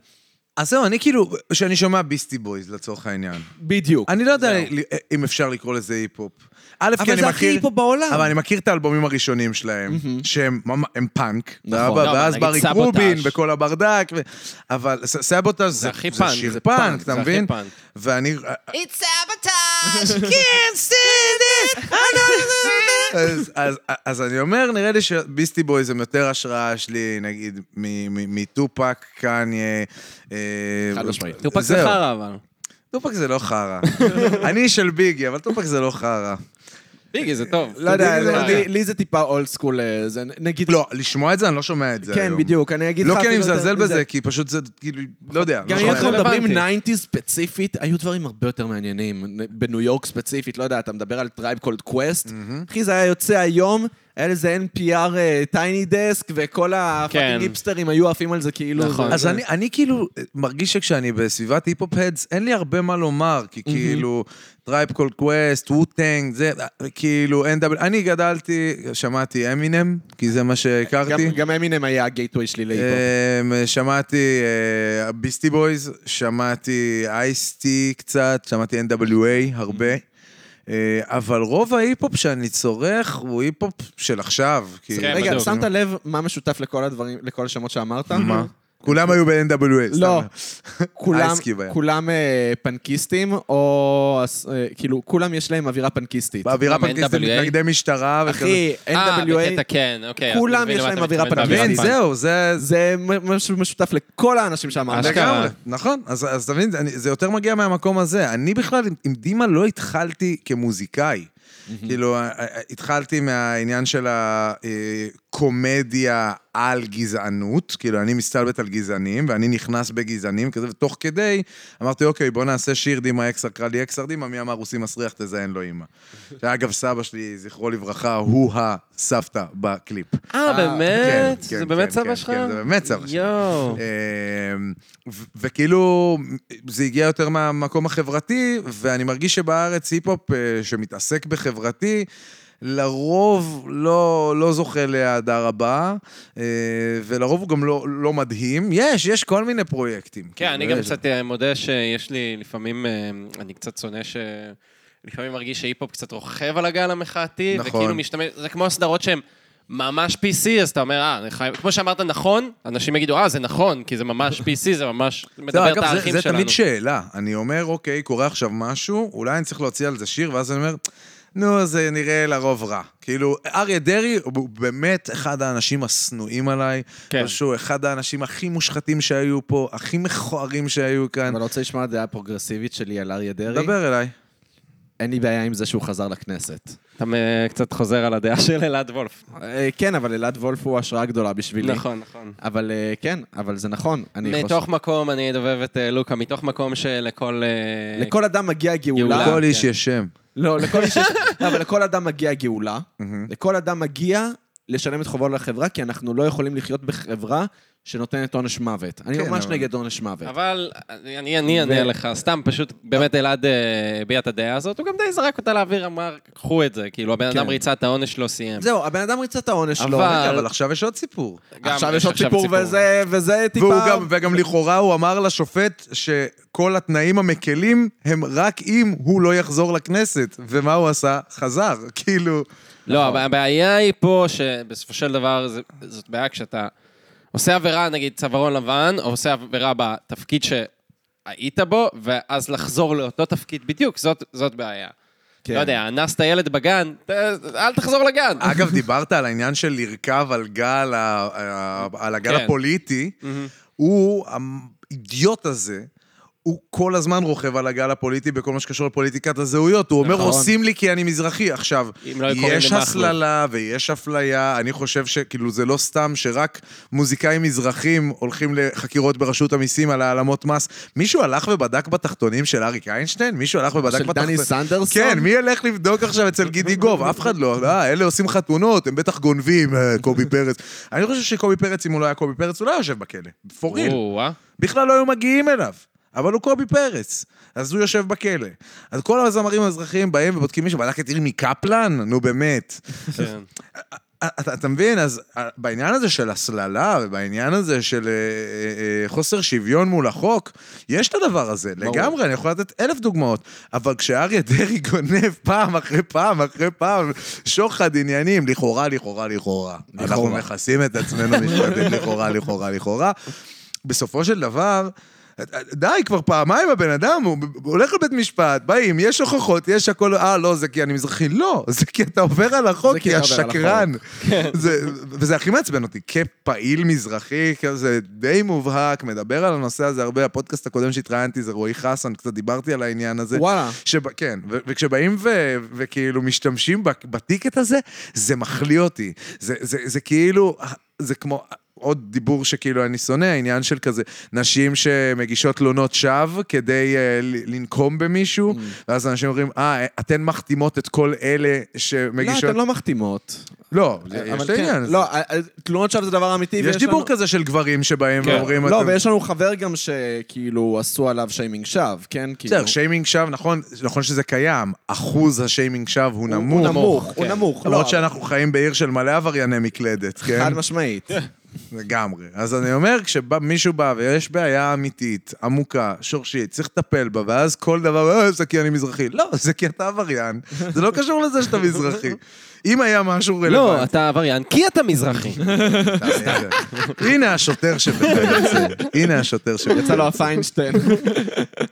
[SPEAKER 3] אז זהו, אני כאילו, כשאני שומע ביסטי בויז, לצורך העניין.
[SPEAKER 2] בדיוק.
[SPEAKER 3] אני לא יודע לי- אם אפשר לקרוא לזה היפ-הופ. א', כי
[SPEAKER 2] אבל
[SPEAKER 3] אני
[SPEAKER 2] זה הכי
[SPEAKER 3] מכיר...
[SPEAKER 2] היפ-הופ בעולם.
[SPEAKER 3] אבל אני מכיר את האלבומים הראשונים שלהם, שהם ממ- הם פאנק,
[SPEAKER 2] נכון.
[SPEAKER 3] סבבה,
[SPEAKER 4] לא, אבל
[SPEAKER 3] ואז
[SPEAKER 4] נגיד
[SPEAKER 3] בארי
[SPEAKER 4] סבוטאז'.
[SPEAKER 3] גרובין וכל הברדק, ו- אבל ס- סבוטאז' זה
[SPEAKER 4] הכי
[SPEAKER 3] זה
[SPEAKER 4] פאנק,
[SPEAKER 3] שיר
[SPEAKER 4] זה
[SPEAKER 3] פאנק,
[SPEAKER 4] פאנק,
[SPEAKER 3] אתה
[SPEAKER 4] זה הכי
[SPEAKER 3] מבין?
[SPEAKER 4] פאנק.
[SPEAKER 3] ואני...
[SPEAKER 8] It's sabotage!
[SPEAKER 3] אז- אז- אז אני אומר, נראה לי שביסטי בויז הם יותר השראה שלי, נגיד, מ- מ- מטופק, קניה. אה,
[SPEAKER 6] חד משמעית.
[SPEAKER 4] טופק זה
[SPEAKER 3] זהו.
[SPEAKER 4] חרא, אבל.
[SPEAKER 3] טופק זה לא חרא. אני של ביגי, אבל טופק זה לא חרא.
[SPEAKER 4] ביגי, זה טוב.
[SPEAKER 2] לא יודע,
[SPEAKER 3] זה-
[SPEAKER 2] לי- לי זה טיפה אולד סקול, אה, זה נגיד...
[SPEAKER 3] לא, לשמוע את זה, אני לא שומע את זה היום.
[SPEAKER 2] כן, בדיוק, אני אגיד לך...
[SPEAKER 3] לא כי אני
[SPEAKER 2] אפילו יותר
[SPEAKER 3] מזלזל
[SPEAKER 2] מזה.
[SPEAKER 3] בזה, כי פשוט זה, כאילו, לא יודע. לא
[SPEAKER 2] גם אם
[SPEAKER 3] שומע את
[SPEAKER 2] אנחנו
[SPEAKER 3] זה.
[SPEAKER 2] מדברים
[SPEAKER 4] רלוונטי.
[SPEAKER 2] 90 ספציפית, היו דברים הרבה יותר מעניינים. בניו יורק ספציפית, לא יודע, אתה מדבר על טרייב קולד קווסט, אחי, זה היה יוצא היום, היה לזה NPR טייני דסק, אה, וכל
[SPEAKER 4] כן.
[SPEAKER 2] הפאקינג היפסטרים היו עפים על זה כאילו...
[SPEAKER 4] נכון.
[SPEAKER 2] זה-
[SPEAKER 3] אז
[SPEAKER 2] זה-
[SPEAKER 3] אני, אני כאילו מרגיש שכשאני בסביבת היפ-הופ-הדס, אין לי הרבה מה לומר, כי כאילו, טרייב קול קווסט, ווטנג, זה, כאילו, NW, אני גדלתי, שמעתי אמינם, כי זה מה שהכרתי.
[SPEAKER 2] גם- גם אמינם היה הגייטווי שלי להיפ-הופ.
[SPEAKER 3] אמ, שמעתי ביסטי בויז, שמעתי אייסטי קצת, שמעתי NWA הרבה. אה, אבל רוב ההיפ-הופ שאני צורך הוא היפ-הופ של עכשיו. כאילו.
[SPEAKER 4] כן,
[SPEAKER 2] רגע,
[SPEAKER 4] בדיוק.
[SPEAKER 2] שמת לב מה משותף לכל הדברים, לכל השמות שאמרת?
[SPEAKER 3] מה? כולם היו ב-NWA. סתם.
[SPEAKER 2] לא, כולם,
[SPEAKER 3] אייסקיוב היה.
[SPEAKER 2] כולם אה, פנקיסטים, או אה, כאילו, כולם יש להם אווירה פנקיסטית.
[SPEAKER 3] באווירה
[SPEAKER 4] למה,
[SPEAKER 3] פנקיסטית,
[SPEAKER 4] NWA?
[SPEAKER 3] מתנגדי משטרה וכזה.
[SPEAKER 2] אחי,
[SPEAKER 4] אה,
[SPEAKER 2] NWA,
[SPEAKER 4] בקטע כן, אוקיי. אז
[SPEAKER 2] כולם
[SPEAKER 4] מבין
[SPEAKER 2] יש
[SPEAKER 4] למה
[SPEAKER 2] להם
[SPEAKER 4] אתה
[SPEAKER 2] אווירה
[SPEAKER 4] מתכוון,
[SPEAKER 2] פנקיסטית.
[SPEAKER 3] כן,
[SPEAKER 4] הבנתי.
[SPEAKER 3] זהו, זה...
[SPEAKER 2] זה מ- משהו משותף לכל האנשים שאמרת.
[SPEAKER 4] אשכרה.
[SPEAKER 3] לגמרי, נכון. אז אז אתה מבין, אני- זה יותר מגיע מהמקום הזה. אני בכלל עם- עם דימה לא התחלתי כמוזיקאי. כאילו, אה, אה, התחלתי מהעניין של הקומדיה על גזענות, כאילו, אני מסתלבט על גזענים, ואני נכנס בגזענים כזה, ותוך כדי אמרתי, אוקיי, בוא נעשה שיר דימה אקסר, קרא לי אקסר דימה, מי אמר רוסי מסריח, תזיין לו אימא. שאגב, סבא שלי, זכרו לברכה, הוא הסבתא בקליפ.
[SPEAKER 4] אה, באמת?
[SPEAKER 3] כן,
[SPEAKER 4] זה
[SPEAKER 3] כן,
[SPEAKER 4] באמת
[SPEAKER 3] כן,
[SPEAKER 4] סבא
[SPEAKER 3] כן,
[SPEAKER 4] שלך?
[SPEAKER 3] כן, זה באמת סבא שלי.
[SPEAKER 4] יואו.
[SPEAKER 3] אמ, ו- וכאילו, זה הגיע יותר מהמקום החברתי, ואני מרגיש שבארץ היפ-הופ אה, שמתעסק בחברתי, לרוב לא, לא זוכה להדר הבא, אה, ולרוב הוא גם לא, לא מדהים. יש, יש כל מיני פרויקטים.
[SPEAKER 4] כן, אני
[SPEAKER 3] כאילו,
[SPEAKER 4] גם
[SPEAKER 3] יש.
[SPEAKER 4] קצת אה, מודה שיש לי לפעמים, אה, אני קצת שונא ש... לפעמים מרגיש שהיפ-הופ קצת רוכב על הגל המחאתי,
[SPEAKER 3] נכון.
[SPEAKER 4] וכאילו משתמש, זה כמו הסדרות שהן ממש PC, אז אתה אומר, אה, אני חייב, כמו שאמרת נכון, אנשים יגידו, אה, זה נכון, כי זה ממש PC, זה ממש מדבר את
[SPEAKER 3] לא, אגב,
[SPEAKER 4] הערכים
[SPEAKER 3] זה, זה
[SPEAKER 4] שלנו.
[SPEAKER 3] תמיד שאלה. אני אומר, אוקיי, קורה עכשיו משהו, אולי אני צריך להוציא על זה שיר, ואז אני אומר, נו, זה נראה לרוב רע. כאילו, אריה דרעי הוא באמת אחד האנשים השנואים עליי.
[SPEAKER 4] כן.
[SPEAKER 3] כן. שהוא אחד האנשים הכי מושחתים שהיו פה, הכי מכוערים שהיו כאן.
[SPEAKER 2] אבל אני רוצה לשמוע דעה פרוגרסיבית שלי על אריה דרעי.
[SPEAKER 3] דבר אליי.
[SPEAKER 2] אין לי בעיה עם זה שהוא חזר לכנסת.
[SPEAKER 4] אתה אה, קצת חוזר על הדעה של אלעד וולף.
[SPEAKER 2] אה, כן, אבל אלעד וולף הוא השראה גדולה בשבילי.
[SPEAKER 4] נכון, נכון.
[SPEAKER 2] אבל אה, כן, אבל זה נכון. אני חושב...
[SPEAKER 4] מתוך מקום, אני אדובב את אה, לוקה, מתוך מקום שלכל... אה,
[SPEAKER 2] לכל אדם מגיעה גאולה.
[SPEAKER 4] גאולה.
[SPEAKER 3] לכל איש יש שם.
[SPEAKER 2] לא, לכל איש יש... לא, אבל לכל אדם מגיעה גאולה. לכל אדם מגיע לשלם את חובו לחברה, כי אנחנו לא יכולים לחיות בחברה שנותנת עונש מוות. אני
[SPEAKER 3] כן,
[SPEAKER 2] ממש
[SPEAKER 3] אבל-
[SPEAKER 2] נגד עונש מוות.
[SPEAKER 4] אבל אני- אני אני אענה לך, סתם פשוט, באמת אלעד אה, הביע את הדעה הזאת, הוא גם די זרק אותה לאוויר, אמר, קחו את זה, כאילו, הבן אדם ריצה את העונש, לא סיים.
[SPEAKER 2] זהו, הבן אדם ריצה את העונש שלו.
[SPEAKER 4] אבל-
[SPEAKER 3] רגע, אבל עכשיו יש עוד סיפור.
[SPEAKER 4] גם
[SPEAKER 2] עכשיו יש עוד סיפור, וזה- וזה טיפה...
[SPEAKER 3] והוא גם, וגם לכאורה הוא אמר לשופט שכל התנאים המקלים הם רק אם הוא לא יחזור לכנסת. ומה הוא עשה? חזר. כאילו...
[SPEAKER 4] לא, הבע- הבעיה היא פה שבסופו של דבר, זה- זאת בעיה כשאתה עושה עבירה, נגיד צווארון לבן, או עושה עבירה בתפקיד שהיית בו, ואז לחזור לאותו תפקיד בדיוק, זאת- זאת בעיה. לא יודע, אנסת ילד בגן, ת- אל תחזור לגן.
[SPEAKER 3] אגב, דיברת על העניין של לרכב על גל, ה- ה- על הגל
[SPEAKER 4] כן.
[SPEAKER 3] הפוליטי. הוא אמ- האידיוט הזה, הוא כל הזמן רוכב על הגל הפוליטי בכל מה שקשור לפוליטיקת הזהויות. הוא אומר,
[SPEAKER 4] נכון.
[SPEAKER 3] עושים לי כי אני מזרחי. עכשיו,
[SPEAKER 4] אם לא היו קוראים
[SPEAKER 3] יש
[SPEAKER 4] למכלוף.
[SPEAKER 3] הסללה ויש אפליה, אני חושב שכאילו זה לא סתם שרק מוזיקאים מזרחים הולכים לחקירות ברשות המיסים על העלמות מס. מישהו הלך ובדק בתחתונים של אריק איינשטיין? מישהו הלך ובדק
[SPEAKER 2] של דני סנדרסון?
[SPEAKER 3] כן, מי ילך לבדוק עכשיו אצל גידי גוב? אף אחד לא. אה, אלה עושים חתונות, הם בטח גונבים, אה, קובי פרץ. אני חושב שקובי פרץ, אם הוא לא היה קובי פרץ, הוא לא היה יושב בכלא. for real.
[SPEAKER 4] או-אה.
[SPEAKER 3] בכלל לא היו מגיעים אליו. אבל הוא קובי פרץ, אז הוא יושב בכלא. אז כל הזמרים האזרחיים באים ובודקים מישהו, בדק את ירמי קפלן? נו באמת.
[SPEAKER 4] כן.
[SPEAKER 3] אתה, אתה מבין? אז אה, בעניין הזה של הסללה, ובעניין הזה של אה, אה, אה, חוסר שוויון מול החוק, יש את הדבר הזה, לגמרי, אני יכול לתת אלף דוגמאות. אבל כשאריה דרעי גונב פעם אחרי פעם אחרי פעם, שוחד עניינים, לכאורה, לכאורה, לכאורה. אנחנו מכסים את עצמנו משפטית, לכאורה, לכאורה, לכאורה. בסופו של דבר... אה, די, כבר פעמיים הבן אדם, הוא הולך לבית משפט, באים, יש הוכחות, יש הכל, אה, לא, זה כי אני מזרחי. לא, זה כי אתה עובר על החוק, כי
[SPEAKER 2] אתה עובר על
[SPEAKER 3] השקרן. כן.
[SPEAKER 2] כן.
[SPEAKER 3] זה- וזה הכי מעצבן אותי, כפעיל מזרחי כזה די מובהק, מדבר על הנושא הזה הרבה, הפודקאסט הקודם שהתראיינתי זה רועי חסן, קצת דיברתי על העניין הזה.
[SPEAKER 2] וואלה.
[SPEAKER 3] שב, כן, ו- וכשבאים ו- וכאילו משתמשים בק- בטיקט הזה, זה מחליא אותי. זה, זה, זה כאילו, זה כמו... עוד דיבור שכאילו אני שונא, העניין של כזה נשים שמגישות תלונות שווא כדי uh, לנקום במישהו,
[SPEAKER 2] Mm.
[SPEAKER 3] ואז אנשים אומרים, אה, אתן מחתימות את כל אלה
[SPEAKER 2] לא,
[SPEAKER 3] שמגישות...
[SPEAKER 2] אתן לא מחתימות.
[SPEAKER 3] לא, זה- יש את
[SPEAKER 2] אבל
[SPEAKER 3] העניין
[SPEAKER 2] כן,
[SPEAKER 3] הזה.
[SPEAKER 2] לא, אה, אה, תלונות שווא זה דבר אמיתי.
[SPEAKER 3] יש
[SPEAKER 2] ויש
[SPEAKER 3] דיבור
[SPEAKER 2] לנו-
[SPEAKER 3] כזה של גברים שבאים
[SPEAKER 4] כן.
[SPEAKER 3] ואומרים...
[SPEAKER 2] לא,
[SPEAKER 3] אתם-
[SPEAKER 2] ויש לנו חבר גם שכאילו עשו עליו שיימינג שווא, כן? כאילו-
[SPEAKER 3] בסדר, שיימינג שווא, נכון, נכון שזה קיים, אחוז השיימינג שווא הוא נמוך.
[SPEAKER 2] הוא נמוך, הוא
[SPEAKER 4] כן.
[SPEAKER 2] נמוך. לא,
[SPEAKER 3] למרות
[SPEAKER 2] אבל-
[SPEAKER 3] שאנחנו חיים בעיר של מלא עברייני מקלדת, כן?
[SPEAKER 2] חד משמעית.
[SPEAKER 3] לגמרי. אז אני אומר, כשמישהו בא ויש בעיה אמיתית, עמוקה, שורשית, צריך לטפל בה, ואז כל דבר, אה, זה כי אני מזרחי. לא, זה כי אתה עבריין. זה לא קשור לזה שאתה מזרחי. אם היה משהו
[SPEAKER 4] לא,
[SPEAKER 3] רלוונטי...
[SPEAKER 4] אתה עבריין, כי אתה מזרחי.
[SPEAKER 3] הנה השוטר שבחייצר. הנה השוטר שבחייצר.
[SPEAKER 2] יצא לו הפיינשטיין.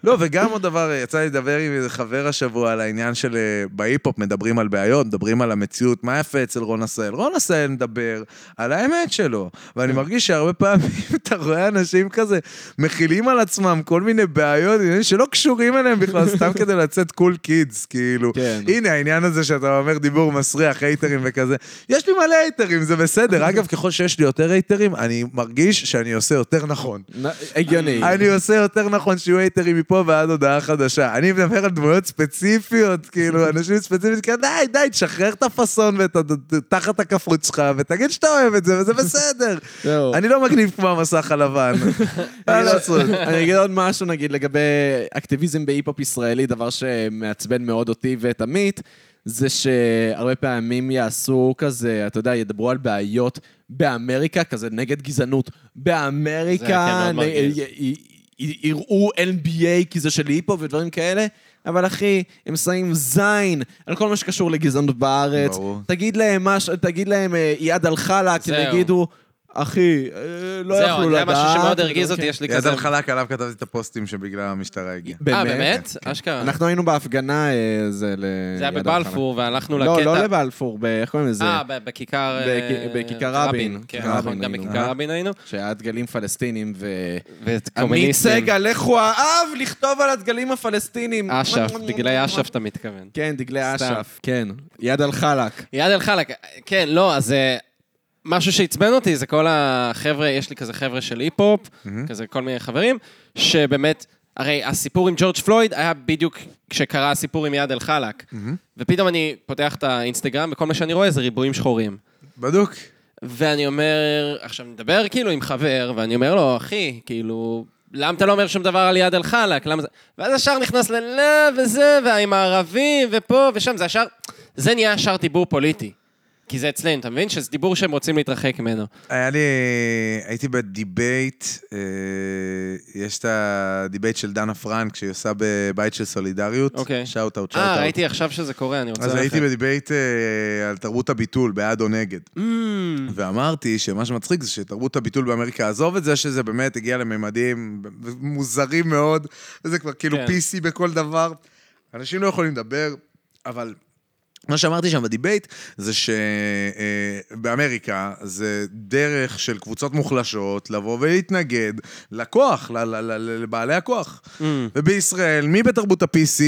[SPEAKER 3] לא, וגם עוד דבר, יצא לי לדבר עם איזה חבר השבוע על העניין של אה, בהיפ-הופ, מדברים על בעיות, מדברים על המציאות, מה יפה אצל רון עשהאל. רון עשהאל מדבר על האמת שלו, ואני מרגיש שהרבה פעמים אתה רואה אנשים כזה מכילים על עצמם כל מיני בעיות עניינים שלא קשורים אליהם בכלל, סתם כדי לצאת קול קידס, כאילו.
[SPEAKER 2] כן.
[SPEAKER 3] הנה העניין הזה שאתה אומר דיבור מסריח, הייטרים וכזה. יש לי מלא הייטרים, זה בסדר. אגב, ככל שיש לי יותר הייטרים, אני מרגיש שאני עושה יותר נכון.
[SPEAKER 2] הגיוני.
[SPEAKER 3] אני עושה יותר נכון שיהיו הייטרים מפה ועד הודעה חדשה. אני מדבר על דמויות ספציפיות, כאילו, אנשים ספציפיים, כאילו, די, די, תשחרר את הפאסון ואת ה- תחת הכפרות שלך, ותגיד שאתה אוהב את זה, וזה בסדר.
[SPEAKER 2] זהו.
[SPEAKER 3] אני לא מגניב כמו המסך הלבן. מה לעשות?
[SPEAKER 2] אני לא- אגיד עוד משהו, נגיד, לגבי אקטיביזם בהיפ-הופ ישראלי, דבר שמעצבן מאוד אותי ואת עמית, זה שהרבה פעמים יעשו כזה, אתה יודע, ידברו על בעיות באמריקה, כזה נגד גזענות.
[SPEAKER 4] זה, כן,
[SPEAKER 2] באמריקה,
[SPEAKER 4] מאוד
[SPEAKER 2] נ-
[SPEAKER 4] מרגיז.
[SPEAKER 2] י- י- י- יראו NBA כי זה של היפ-הופ ודברים כאלה. אבל אחי, הם שמים זין על כל מה שקשור לגזענות בארץ.
[SPEAKER 3] ברור.
[SPEAKER 2] תגיד להם מה ש... תגיד להם אה, איאד אלחלאק, הם
[SPEAKER 4] זהו.
[SPEAKER 2] יגידו, אחי, אה, לא
[SPEAKER 4] זהו,
[SPEAKER 2] יכלו
[SPEAKER 4] זה היה
[SPEAKER 2] לדעת. כן.
[SPEAKER 4] משהו שמאוד הרגיז אותי, יש לי
[SPEAKER 3] יד
[SPEAKER 4] כזה...
[SPEAKER 3] על חלק, עליו כתבתי את הפוסטים שבגללם המשטרה הגיעה.
[SPEAKER 4] אה, באמת?
[SPEAKER 2] כן.
[SPEAKER 4] אשכרה.
[SPEAKER 2] אנחנו היינו בהפגנה, אה, זה ל...
[SPEAKER 4] זה היה
[SPEAKER 2] ליד
[SPEAKER 4] בבלפור, והלכנו
[SPEAKER 2] הרחבה. לא,
[SPEAKER 4] לקטע...
[SPEAKER 2] לא לבלפור, ב- איך קוראים לזה?
[SPEAKER 4] אה, ב- בכיכר... אה,
[SPEAKER 2] בכ- בכיכר רבין.
[SPEAKER 4] כן,
[SPEAKER 2] בכיכר
[SPEAKER 4] נכון,
[SPEAKER 2] רבין
[SPEAKER 4] גם
[SPEAKER 2] היינו.
[SPEAKER 4] בכיכר רבין היינו.
[SPEAKER 2] שהיה דגלים פלסטינים ו... עמית
[SPEAKER 4] וקומוניסטים.
[SPEAKER 2] סגל, איך הוא אהב לכתוב על הדגלים הפלסטינים.
[SPEAKER 4] אש"ף, דגלי אש"ף אתה מתכוון.
[SPEAKER 2] כן, דגלי
[SPEAKER 4] סתם.
[SPEAKER 2] אש"ף. כן, יד על חלק.
[SPEAKER 4] יד אל חלק, כן, לא, אז אה, משהו שעצבן אותי זה כל החבר'ה, יש לי כזה חבר'ה של היפ-הופ, כזה כל מיני חברים, שבאמת, הרי הסיפור עם ג'ורג' פלויד היה בדיוק כשקרה הסיפור עם יד אל חלק. ופתאום אני פותח את האינסטגרם, וכל מה שאני רואה זה ריבועים שחורים.
[SPEAKER 3] בדוק.
[SPEAKER 4] ואני אומר, עכשיו נדבר כאילו עם חבר, ואני אומר לו, אחי, כאילו, למה אתה לא אומר שום דבר על יד אל-חלאק? למה זה... ואז ישר נכנס ל... לא, וזה, ועם הערבים, ופה ושם, זה ישר... זה נהיה ישר דיבור פוליטי. כי זה אצלנו, אתה מבין? שזה דיבור שהם רוצים להתרחק ממנו.
[SPEAKER 3] היה לי, הייתי בדיבייט, אה, יש את הדיבייט של דנה פרנק, שהיא עושה בבית של סולידריות.
[SPEAKER 4] אוקיי.
[SPEAKER 3] שאוט אאוט, שאוט
[SPEAKER 4] אה,
[SPEAKER 3] אאוט.
[SPEAKER 4] ראיתי עכשיו שזה קורה, אני רוצה...
[SPEAKER 3] אז הייתי
[SPEAKER 4] ללכת.
[SPEAKER 3] בדיבייט אה, על תרבות הביטול, בעד או נגד.
[SPEAKER 4] אמ,
[SPEAKER 3] ואמרתי שמה שמצחיק זה שתרבות הביטול באמריקה, עזוב את זה שזה באמת הגיע לממדים מוזרים מאוד, וזה כבר כאילו
[SPEAKER 4] כן.
[SPEAKER 3] PC בכל דבר. אנשים לא יכולים לדבר, אבל מה שאמרתי שם בדיבייט, זה שבאמריקה זה דרך של קבוצות מוחלשות לבוא ולהתנגד לכוח, ל- ל- ל- ל- לבעלי הכוח. ובישראל, מי בתרבות ה-PC?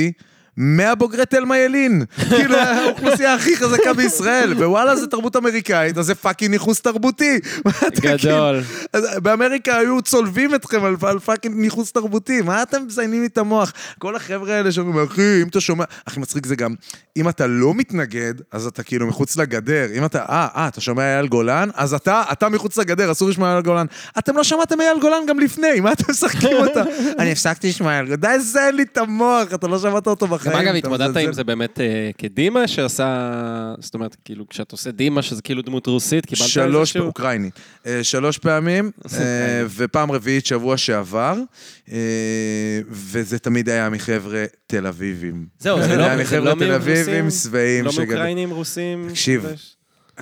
[SPEAKER 3] מהבוגרי תלמה ילין. כאילו, האוכלוסייה הכי חזקה בישראל. ווואלה, זה תרבות אמריקאית, אז זה פאקינג ניכוס תרבותי. מה אתה כאילו-
[SPEAKER 4] כן. גדול.
[SPEAKER 3] אז באמריקה היו צולבים אתכם על, על פאקינג ניכוס תרבותי, מה אתם מזיינים לי את המוח? כל החבר'ה האלה שאומרים, אחי, אם אתה שומע... הכי מצחיק זה גם, אם אתה לא מתנגד, אז אתה כאילו מחוץ לגדר. אם אתה, אה, אה, אתה שומע אייל גולן? אז אתה, אתה מחוץ לגדר, אסור לשמוע אייל גולן. אתם לא שמעתם אייל גולן גם לפני, מה אתם משחקים אותה? אני הפסקתי לשמוע אייל גולן, די זיין לי את המוח, אתה לא שמעת אותו בחיים.
[SPEAKER 4] גם אגב,
[SPEAKER 3] אתה
[SPEAKER 4] התמודדת
[SPEAKER 3] מזלזל.
[SPEAKER 4] עם זה באמת אה, כדימה שעשה... זאת אומרת, כאילו, כשאתה עושה דימה, שזה כאילו דמות רוסית, קיבלת
[SPEAKER 3] שלוש,
[SPEAKER 4] איזשהו...
[SPEAKER 3] פעמים, אוקראינית. אה, שלוש פעמים, אה, ופעם רביעית שבוע שעבר, אה, וזה תמיד היה מחבר'ה תל אביבים.
[SPEAKER 4] זהו, זה
[SPEAKER 3] זה היה
[SPEAKER 4] לא זה
[SPEAKER 3] מחבר'ה
[SPEAKER 4] לא
[SPEAKER 3] תל אביבים
[SPEAKER 4] מרוסים,
[SPEAKER 3] שבעים.
[SPEAKER 4] לא
[SPEAKER 3] שגדלו-
[SPEAKER 4] מאוקראינים, רוסים.
[SPEAKER 3] תקשיב.
[SPEAKER 4] יש-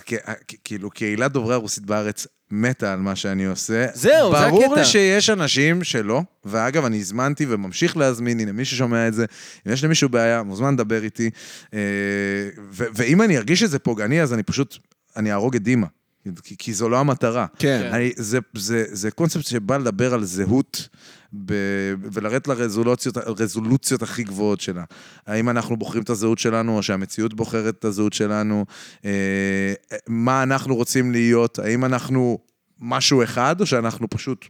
[SPEAKER 3] כ- כ- כאילו, קהילת דוברי הרוסית בארץ מתה על מה שאני עושה.
[SPEAKER 4] זהו, זה
[SPEAKER 3] ברור
[SPEAKER 4] הקטע.
[SPEAKER 3] לי שיש אנשים שלא, ואגב, אני הזמנתי וממשיך להזמין, הנה, מי ששומע את זה, אם יש למישהו בעיה, מוזמן לדבר איתי. אה, ו- ואם אני ארגיש שזה פוגעני, אז אני פשוט, אני אהרוג את דימה. כי, כי זו לא המטרה.
[SPEAKER 2] כן.
[SPEAKER 3] אני, זה, זה, זה קונספט שבא לדבר על זהות ב, ולרדת לרזולוציות הרזולוציות הכי גבוהות שלה. האם אנחנו בוחרים את הזהות שלנו, או שהמציאות בוחרת את הזהות שלנו, אה, מה אנחנו רוצים להיות, האם אנחנו משהו אחד, או שאנחנו פשוט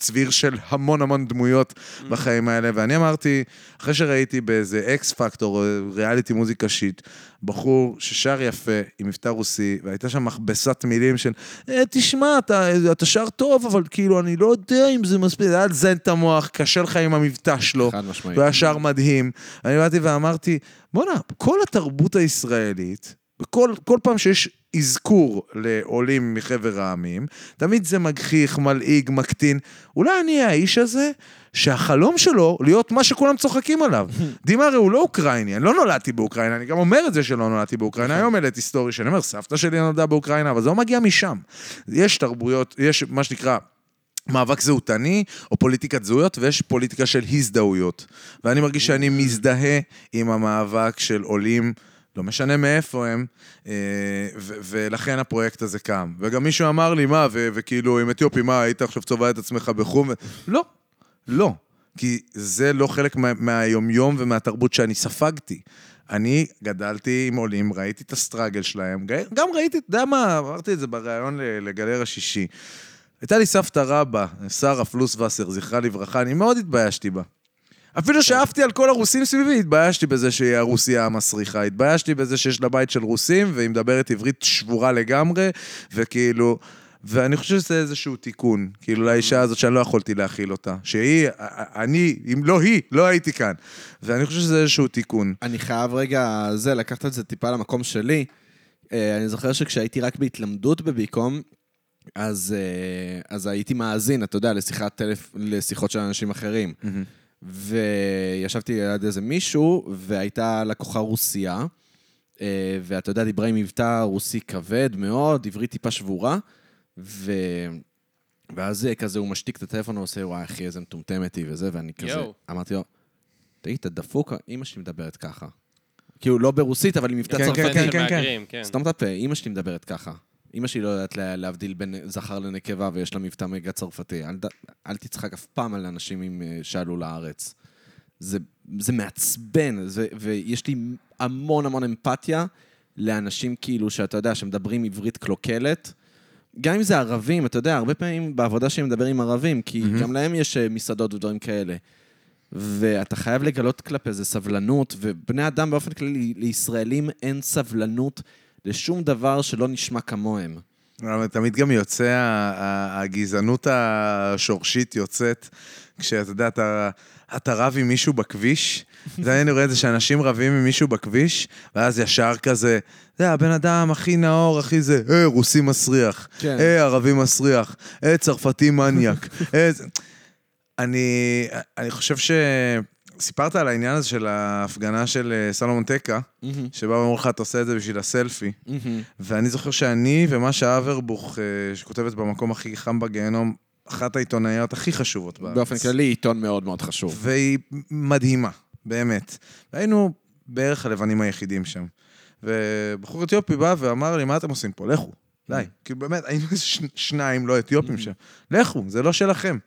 [SPEAKER 3] צביר של המון המון דמויות בחיים האלה. ואני אמרתי, אחרי שראיתי באיזה אקס פקטור, או ריאליטי מוזיקה שיט, בחור ששר יפה עם מבטא רוסי, והייתה שם מכבסת מילים של, "אה, תשמע, אתה, אתה שר טוב, אבל כאילו, אני לא יודע אם זה מספיק, זה היה לזיין את המוח, קשה לך עם המבטא שלו.
[SPEAKER 6] חד משמעית.
[SPEAKER 3] הוא היה שר מדהים. אני באתי ואמרתי, בואנה, כל התרבות הישראלית, כל, כל פעם שיש אזכור לעולים מחבר העמים, תמיד זה מגחיך, מלעיג, מקטין. אולי אני האיש הזה שהחלום שלו להיות מה שכולם צוחקים עליו. דימה הרי הוא לא אוקראיני, אני לא נולדתי באוקראינה, אני גם אומר את זה שלא נולדתי באוקראינה, היום העליתי היסטורי שאני אומר, סבתא שלי נולדה באוקראינה, אבל זה לא מגיע משם. יש תרבויות, יש מה שנקרא... מאבק זהותני, או פוליטיקת זהויות, ויש פוליטיקה של הזדהויות. ואני מרגיש שאני מזדהה עם המאבק של עולים, לא משנה מאיפה הם, אה, ו- ולכן הפרויקט הזה קם. וגם מישהו אמר לי, מה, ו- וכאילו, עם אתיופי, מה, היית עכשיו צובע את עצמך בחום? לא, לא. כי זה לא חלק מה- מהיומיום ומהתרבות שאני ספגתי. אני גדלתי עם עולים, ראיתי את הסטראגל שלהם, ג- גם ראיתי, אתה יודע מה, אמרתי את זה בריאיון ל- לגלר השישי. הייתה לי סבתא רבא, שרה פלוסווסר, זכרה לברכה, אני מאוד התביישתי בה. אפילו שאפתי על כל הרוסים סביבי, התביישתי בזה שהיא הרוסיה המסריחה. התביישתי בזה שיש לה בית של רוסים, והיא מדברת עברית שבורה לגמרי, וכאילו... ואני חושב שזה איזשהו תיקון, כאילו, לאישה הזאת שאני לא יכולתי להכיל אותה. שהיא, אני, אם לא היא, לא הייתי כאן. ואני חושב שזה איזשהו תיקון.
[SPEAKER 2] אני חייב רגע, זה, לקחת את זה טיפה למקום שלי. אה, אני זוכר שכשהייתי רק בהתלמדות בביקום, אז, אה, אז הייתי מאזין, אתה יודע, לשיחת טלפ... לשיחות של אנשים אחרים. וישבתי ליד איזה מישהו, והייתה לקוחה רוסייה, אה, ואתה יודע, דיברה עם מבטא רוסי כבד מאוד, עברית טיפה שבורה, ו... ואז אה, כזה הוא משתיק את הטלפון, הוא עושה, וואי, אחי, איזה מטומטמת היא וזה, ואני כזה...
[SPEAKER 4] יואו.
[SPEAKER 2] אמרתי לו, תגיד, אתה דפוק? אימא שלי מדברת ככה. כאילו, לא ברוסית, אבל עם מבטא
[SPEAKER 3] כן,
[SPEAKER 2] צרפתי.
[SPEAKER 3] כן, כן, כן, כן.
[SPEAKER 4] מהגרים, כן.
[SPEAKER 2] סתם את הפה, אימא שלי מדברת ככה. אימא שלי לא יודעת לה- להבדיל בין זכר לנקבה ויש לה מבטא מגה צרפתי. אל, ת- אל תצחק אף פעם על אנשים עם, אה, שעלו לארץ. זה, זה מעצבן, זה, ויש לי המון המון אמפתיה לאנשים כאילו, שאתה יודע, שמדברים עברית קלוקלת. גם אם זה ערבים, אתה יודע, הרבה פעמים בעבודה שלי מדבר עם ערבים, כי mm-hmm. גם להם יש אה, מסעדות ודברים כאלה. ואתה חייב לגלות כלפי זה סבלנות, ובני אדם באופן כללי, לישראלים אין סבלנות לשום דבר שלא נשמע כמוהם.
[SPEAKER 3] אבל תמיד גם יוצא, ה- ה- הגזענות השורשית יוצאת, כשאתה יודע, אתה, אתה רב עם מישהו בכביש, זה אני רואה את זה שאנשים רבים עם מישהו בכביש, ואז ישר כזה, זה הבן אדם הכי נאור, הכי זה, אה, רוסי מסריח,
[SPEAKER 2] כן.
[SPEAKER 3] אה, ערבי מסריח, אה, צרפתי מניאק, אה, זה... אני, אני חושב ש... סיפרת על העניין הזה של ההפגנה של אה, סלומון טקה,
[SPEAKER 2] Mm-hmm,
[SPEAKER 3] שבה אמרו לך, אתה עושה את זה בשביל הסלפי. ואני זוכר שאני ומשה אברבוך, אה, שכותבת במקום הכי חם בגיהנום, אחת העיתונאיות הכי חשובות בארץ.
[SPEAKER 2] באופן כללי, עיתון מאוד מאוד חשוב.
[SPEAKER 3] והיא מדהימה, באמת. היינו בערך הלבנים היחידים שם. ובחור אתיופי בא ואמר לי, מה אתם עושים פה? לכו, די.
[SPEAKER 2] Mm-hmm.
[SPEAKER 3] כאילו באמת, היינו איזה ש- שניים לא אתיופים שם. לכו, זה לא שלכם.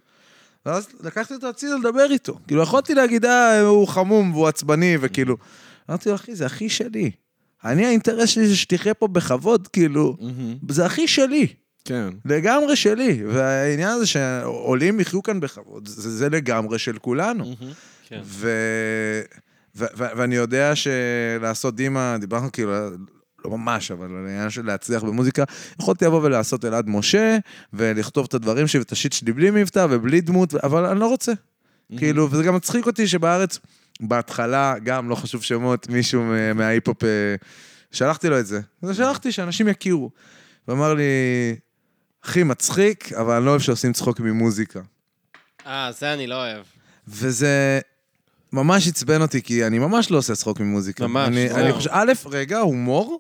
[SPEAKER 3] ואז לקחתי אותו הצידה לדבר איתו. כאילו, יכולתי להגיד, אה, הוא חמום והוא עצבני, וכאילו...
[SPEAKER 2] Mm-hmm.
[SPEAKER 3] אמרתי לו, אחי, זה אחי שלי. אני, האינטרס שלי זה שתחיה פה בכבוד, כאילו,
[SPEAKER 2] Mm-hmm.
[SPEAKER 3] זה אחי שלי.
[SPEAKER 2] כן.
[SPEAKER 3] לגמרי שלי, והעניין הזה שעולים יחיו כאן בכבוד, זה, זה לגמרי של כולנו.
[SPEAKER 4] כן.
[SPEAKER 3] ו... ו... ו... ואני יודע שלעשות דימה, דיברנו כאילו, לא ממש, אבל על העניין של להצליח במוזיקה, יכולתי לבוא ולעשות אלעד משה, ולכתוב את הדברים שלי ואת השיט שלי בלי מבטא ובלי דמות, אבל אני לא רוצה. כאילו, וזה גם מצחיק אותי שבארץ, בהתחלה, גם, לא חשוב שמות, מישהו מה- מההיפ-הופ, אה, שלחתי לו את זה. אז שלחתי שאנשים יכירו. ואמר לי, הכי מצחיק, אבל אני לא אוהב שעושים צחוק ממוזיקה.
[SPEAKER 4] אה, זה אני לא אוהב.
[SPEAKER 3] וזה ממש עצבן אותי, כי אני ממש לא עושה צחוק ממוזיקה.
[SPEAKER 4] ממש, לא.
[SPEAKER 3] אני,
[SPEAKER 4] זהו.
[SPEAKER 3] אני חושב, א', רגע, הומור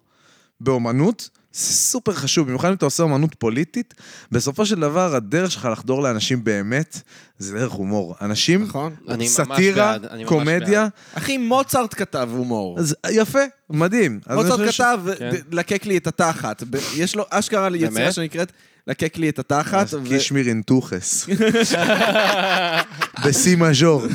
[SPEAKER 3] באומנות זה סופר חשוב, במיוחד אם אתה עושה אומנות פוליטית. בסופו של דבר, הדרך שלך לחדור לאנשים באמת, זה דרך הומור. אנשים,
[SPEAKER 2] נכון.
[SPEAKER 4] אני ממש
[SPEAKER 3] סאטירה,
[SPEAKER 4] בעד, אני ממש
[SPEAKER 3] קומדיה,
[SPEAKER 2] אחי, מוצרט כתב הומור.
[SPEAKER 3] אז יפה, מדהים. אז אני
[SPEAKER 2] מוצרט
[SPEAKER 3] חושב ש-
[SPEAKER 2] כתב,
[SPEAKER 4] כן.
[SPEAKER 2] "ד- לקק לי את התחת. ב- יש לו אשכרה לי יצירה
[SPEAKER 4] באמת? אה,
[SPEAKER 2] שנקראת לקק לי את התחת. ו-
[SPEAKER 3] קישמיר אינטוחס. בשיא מז'ור.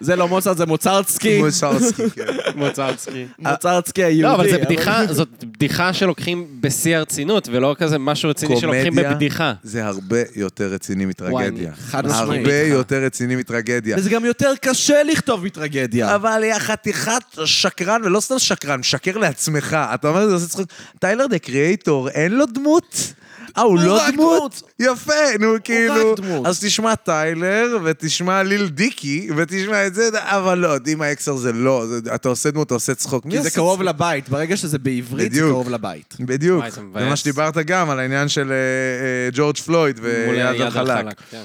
[SPEAKER 2] זה לא מוצרט, זה מוצרצקי.
[SPEAKER 3] כמו שרסקי, כן.
[SPEAKER 4] מוצרצקי.
[SPEAKER 2] מוצרצקי היהודי.
[SPEAKER 4] לא, אבל זה בדיחה, זאת בדיחה שלוקחים בשיא הרצינות, ולא כזה משהו רציני שלוקחים
[SPEAKER 3] קומדיה
[SPEAKER 4] בבדיחה.
[SPEAKER 3] זה הרבה יותר רציני מטרגדיה.
[SPEAKER 4] וואי,
[SPEAKER 2] חד משמעית.
[SPEAKER 3] הרבה יותר רציני מטרגדיה.
[SPEAKER 2] וזה גם יותר קשה לכתוב מטרגדיה.
[SPEAKER 3] אבל יא חתיכת שקרן, ולא סתם שקרן, משקר לעצמך. אתה אומר, זה עושה צחוק. טיילר דה קריאייטור, אין לו דמות? אה, הוא לא
[SPEAKER 2] רק
[SPEAKER 3] דמות? יפה, נו, כאילו...
[SPEAKER 2] דמות.
[SPEAKER 3] אז תשמע טיילר, ותשמע ליל דיקי, ותשמע את זה, אבל לא, דימה אקסר זה לא. זה- אתה עושה דמות, אתה עושה צחוק. מי
[SPEAKER 2] כי זה
[SPEAKER 3] עושה
[SPEAKER 2] קרוב
[SPEAKER 3] צחוק?
[SPEAKER 2] לבית. ברגע שזה בעברית, זה
[SPEAKER 3] בדיוק.
[SPEAKER 2] קרוב לבית.
[SPEAKER 3] בדיוק.
[SPEAKER 4] וואי, זה מבאס.
[SPEAKER 3] זה מה שדיברת גם, על העניין של אה, אה, ג'ורג' פלויד
[SPEAKER 4] מול
[SPEAKER 3] ויד
[SPEAKER 4] יד על
[SPEAKER 3] החלק.
[SPEAKER 4] חלק, כן.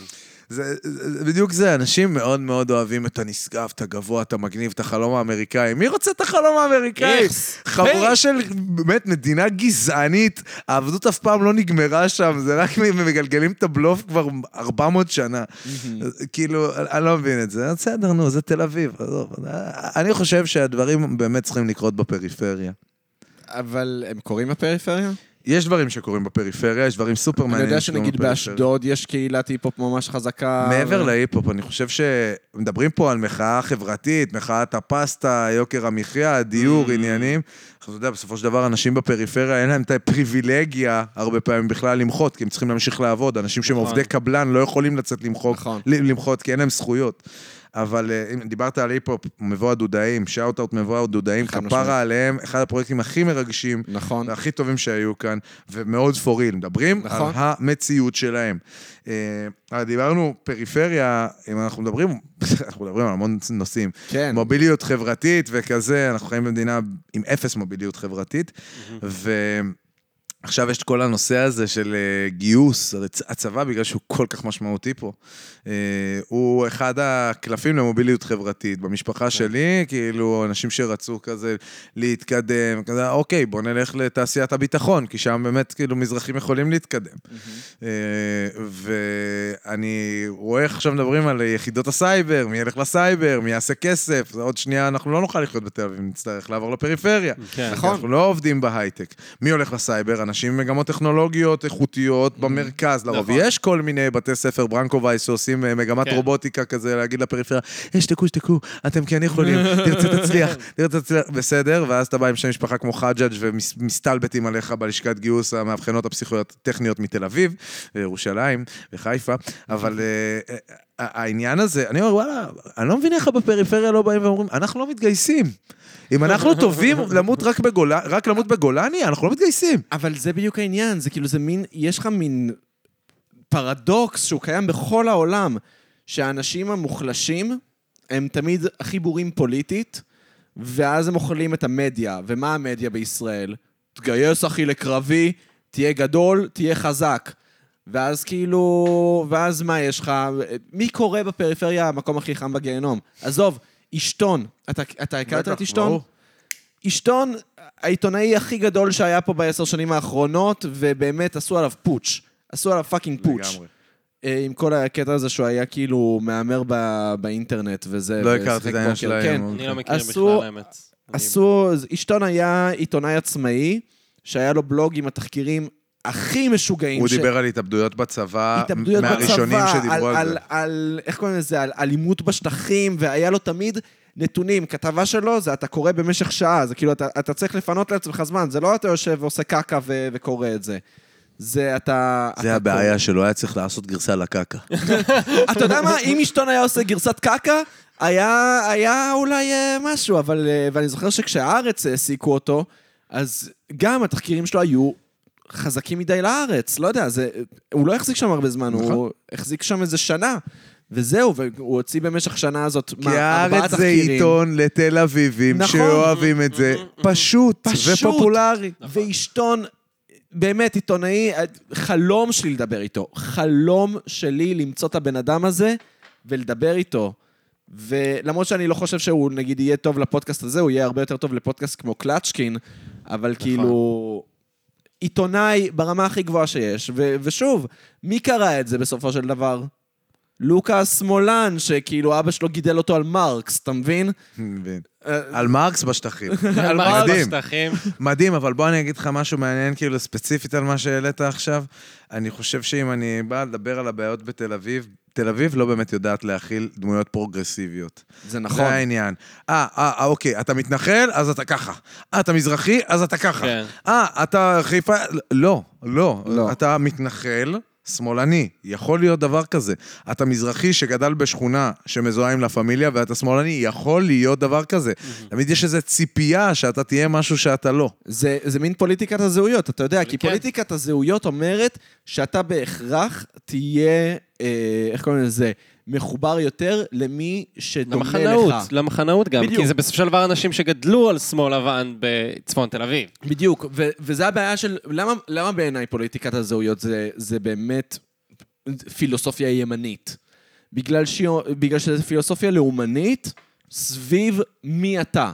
[SPEAKER 3] זה, זה, זה בדיוק זה, אנשים מאוד מאוד אוהבים את הנשגב, את הגבוה, את המגניב, את החלום האמריקאי. מי רוצה את החלום האמריקאי?
[SPEAKER 4] איכס.
[SPEAKER 3] חבורה של באמת מדינה גזענית, העבדות אף פעם לא נגמרה שם, זה רק מ- מגלגלים את הבלוף כבר 400 שנה. אז כאילו, אני- אני לא מבין את זה. בסדר, נו, זה תל אביב, עזוב. אני חושב שהדברים באמת צריכים לקרות בפריפריה.
[SPEAKER 2] אבל הם קוראים בפריפריה?
[SPEAKER 3] יש דברים שקורים בפריפריה, יש דברים סופר
[SPEAKER 2] אני
[SPEAKER 3] מעניינים.
[SPEAKER 2] יודע
[SPEAKER 3] שקורים
[SPEAKER 2] שנגיד
[SPEAKER 3] בפריפריה.
[SPEAKER 2] באשדוד יש קהילת היפ-הופ ממש חזקה.
[SPEAKER 3] מעבר
[SPEAKER 2] ו-
[SPEAKER 3] להיפ-הופ, אני חושב שמדברים פה על מחאה חברתית, מחאת הפסטה, יוקר המחיה,
[SPEAKER 2] Mm.
[SPEAKER 3] הדיור, עניינים. אתה יודע, בסופו של דבר, אנשים בפריפריה, אין להם את הפריבילגיה הרבה פעמים בכלל למחות, כי הם צריכים להמשיך לעבוד. אנשים שהם עובדי קבלן לא יכולים לצאת למחוק,
[SPEAKER 2] נכון.
[SPEAKER 3] ל- למחות, כי אין להם זכויות. אבל אה, אם דיברת על היפ-הופ, מבוא הדודאים, שאוט-אאוט מבוא הדודאים,
[SPEAKER 2] חד
[SPEAKER 3] כפרה
[SPEAKER 2] משמעית.
[SPEAKER 3] עליהם, אחד הפרויקטים הכי מרגשים,
[SPEAKER 2] נכון.
[SPEAKER 3] והכי טובים שהיו כאן, ומאוד פוריל. מדברים על
[SPEAKER 2] נכון.
[SPEAKER 3] המציאות שלהם. אה, אבל דיברנו פריפריה, אם אנחנו מדברים, אנחנו מדברים על המון נושאים.
[SPEAKER 2] כן.
[SPEAKER 3] מוביליות חברתית וכזה, אנחנו חיים במדינה עם אפס מוביליות חברתית, ועכשיו יש את כל הנושא הזה של אה, גיוס, הרי צ- הצבא, בגלל שהוא כל כך משמעותי פה, אה, הוא אחד הקלפים למוביליות חברתית.
[SPEAKER 4] כן.
[SPEAKER 3] במשפחה שלי, כאילו, אנשים שרצו כזה להתקדם, כזה, אוקיי, בוא נלך לתעשיית הביטחון, כי שם באמת, כאילו, מזרחים יכולים להתקדם. אה, ואני רואה איך עכשיו מדברים על יחידות הסייבר, מי ילך לסייבר, מי יעשה כסף, זה עוד שנייה אנחנו לא נוכל לחיות בתל אביב, נצטרך לעבור לפריפריה.
[SPEAKER 4] כן.
[SPEAKER 3] נכון. אנחנו לא עובדים בהייטק. מי הולך לסייבר? אנשים עם מגמות טכנולוגיות איכותיות במרכז, לרוב.
[SPEAKER 4] נכון.
[SPEAKER 3] יש כל מיני בתי ספר, ברנקו וייס, שעושים אה, מגמת
[SPEAKER 4] כן.
[SPEAKER 3] רובוטיקה כזה, להגיד לפריפריה, "אה, שתקו, שתקו, אתם כן יכולים, תרצה תצליח, תרצה תצליח, בסדר, ואז אתה בא עם שם משפחה כמו חג'אג' ומסתלבטים עליך בלשכת גיוס המאבחנות הפסיכוטכניות מתל אביב, וירושלים וחיפה, אבל... אה, אה, העניין הזה, אני אומר, וואלה, אני לא מבין איך בפריפריה לא באים ואומרים, אנחנו לא מתגייסים. אם אנחנו טובים למות רק, בגול... רק למות בגולני, אנחנו לא מתגייסים.
[SPEAKER 2] אבל זה בדיוק העניין, זה כאילו, זה מין, יש לך מין פרדוקס שהוא קיים בכל העולם, שהאנשים המוחלשים הם תמיד הכי בורים פוליטית, ואז הם אוכלים את המדיה. ומה המדיה בישראל? תגייס אחי לקרבי, תהיה גדול, תהיה חזק. ואז כאילו, ואז מה יש לך? מי קורא בפריפריה המקום הכי חם בגיהנום? עזוב, אשתון. אתה, אתה הכרת את
[SPEAKER 3] בטח,
[SPEAKER 2] אשתון?
[SPEAKER 3] ברור.
[SPEAKER 2] אשתון, העיתונאי הכי גדול שהיה פה בעשר שנים האחרונות, ובאמת עשו עליו פוטש. עשו עליו פאקינג פוטש.
[SPEAKER 3] לגמרי.
[SPEAKER 2] אה, עם כל הקטע הזה שהוא היה כאילו מהמר ב- באינטרנט וזה.
[SPEAKER 3] לא
[SPEAKER 2] ושיחק
[SPEAKER 3] הכרתי את העניין
[SPEAKER 2] פוקר.
[SPEAKER 3] שלהם.
[SPEAKER 2] כן,
[SPEAKER 3] אוקיי.
[SPEAKER 4] אני לא מכיר
[SPEAKER 2] עשו-
[SPEAKER 4] בכלל, האמת.
[SPEAKER 2] עשו, עישתון היה עיתונאי עצמאי, שהיה לו בלוג עם התחקירים הכי משוגעים.
[SPEAKER 3] הוא
[SPEAKER 2] ש-
[SPEAKER 3] דיבר על התאבדויות בצבא,
[SPEAKER 2] התאבדויות
[SPEAKER 3] מהראשונים
[SPEAKER 2] בצבא,
[SPEAKER 3] שדיברו על זה.
[SPEAKER 2] על, איך קוראים לזה? על אלימות בשטחים, והיה לו תמיד נתונים. כתבה שלו, זה אתה קורא במשך שעה, זה כאילו, אתה, אתה צריך לפנות לעצמך זמן, זה לא אתה יושב ועושה קקה ו, וקורא את זה. זה אתה...
[SPEAKER 3] זה
[SPEAKER 2] אתה
[SPEAKER 3] הבעיה שלו, היה צריך לעשות גרסה לקקה.
[SPEAKER 2] קורא. אתה יודע מה? אם אשתון היה עושה גרסת קקה, היה, היה אולי אה, משהו, אבל... אה, ואני זוכר שכשהארץ העסיקו אותו, אז גם התחקירים שלו היו חזקים מדי לארץ, לא יודע, זה, הוא לא החזיק שם הרבה זמן, נכון. הוא החזיק שם איזה שנה, וזהו, והוא הוציא במשך שנה הזאת,
[SPEAKER 3] כי הארץ זה עיתון לתל אביבים
[SPEAKER 2] נכון.
[SPEAKER 3] שאוהבים את זה. פשוט
[SPEAKER 2] פשוט.
[SPEAKER 3] ופופולרי.
[SPEAKER 2] ועישתון, באמת עיתונאי, חלום שלי לדבר איתו, חלום שלי למצוא את הבן אדם הזה ולדבר איתו. ולמרות שאני לא חושב שהוא נגיד יהיה טוב לפודקאסט הזה, הוא יהיה הרבה יותר טוב לפודקאסט כמו קלצ'קין, אבל כאילו... עיתונאי ברמה הכי גבוהה שיש, ו- ושוב, מי קרא את זה בסופו של דבר? לוקה השמאלן, שכאילו אבא שלו גידל אותו על מרקס, אתה מבין?
[SPEAKER 3] מבין.
[SPEAKER 2] אה,
[SPEAKER 3] על מרקס בשטחים.
[SPEAKER 4] על מה
[SPEAKER 3] מדהים.
[SPEAKER 4] בשטחים?
[SPEAKER 3] מדהים, אבל בוא אני אגיד לך משהו מעניין, כאילו, ספציפית על מה שהעלית עכשיו. אני חושב שאם אני בא לדבר על הבעיות בתל אביב, תל אביב לא באמת יודעת להכיל דמויות פרוגרסיביות.
[SPEAKER 2] זה
[SPEAKER 3] נכון. זה העניין. אה, אה, אה, אוקיי, אתה מתנחל, אז אתה ככה. אה, אתה מזרחי, אז אתה ככה.
[SPEAKER 4] כן.
[SPEAKER 3] אה, אתה חיפה... לא, לא.
[SPEAKER 2] לא.
[SPEAKER 3] אתה מתנחל, שמאלני. יכול להיות דבר כזה. אתה מזרחי שגדל בשכונה שמזוהה עם לה פמיליה, ואתה שמאלני, יכול להיות דבר כזה. תמיד יש איזו ציפייה שאתה תהיה משהו שאתה לא.
[SPEAKER 2] זה, זה מין פוליטיקת הזהויות, אתה יודע, כי
[SPEAKER 4] כן.
[SPEAKER 2] פוליטיקת הזהויות אומרת שאתה בהכרח תהיה, אה, איך קוראים לזה, מחובר יותר למי שדומה לך.
[SPEAKER 4] למחנאות, למחנאות גם,
[SPEAKER 2] בדיוק.
[SPEAKER 4] כי זה בסופו של דבר אנשים שגדלו על שמאל לבן בצפון תל אביב.
[SPEAKER 2] בדיוק, ו- וזה הבעיה של... למה, למה בעיניי פוליטיקת הזהויות זה, זה באמת פילוסופיה ימנית? בגלל, שהיא- בגלל שזו פילוסופיה לאומנית סביב מי אתה.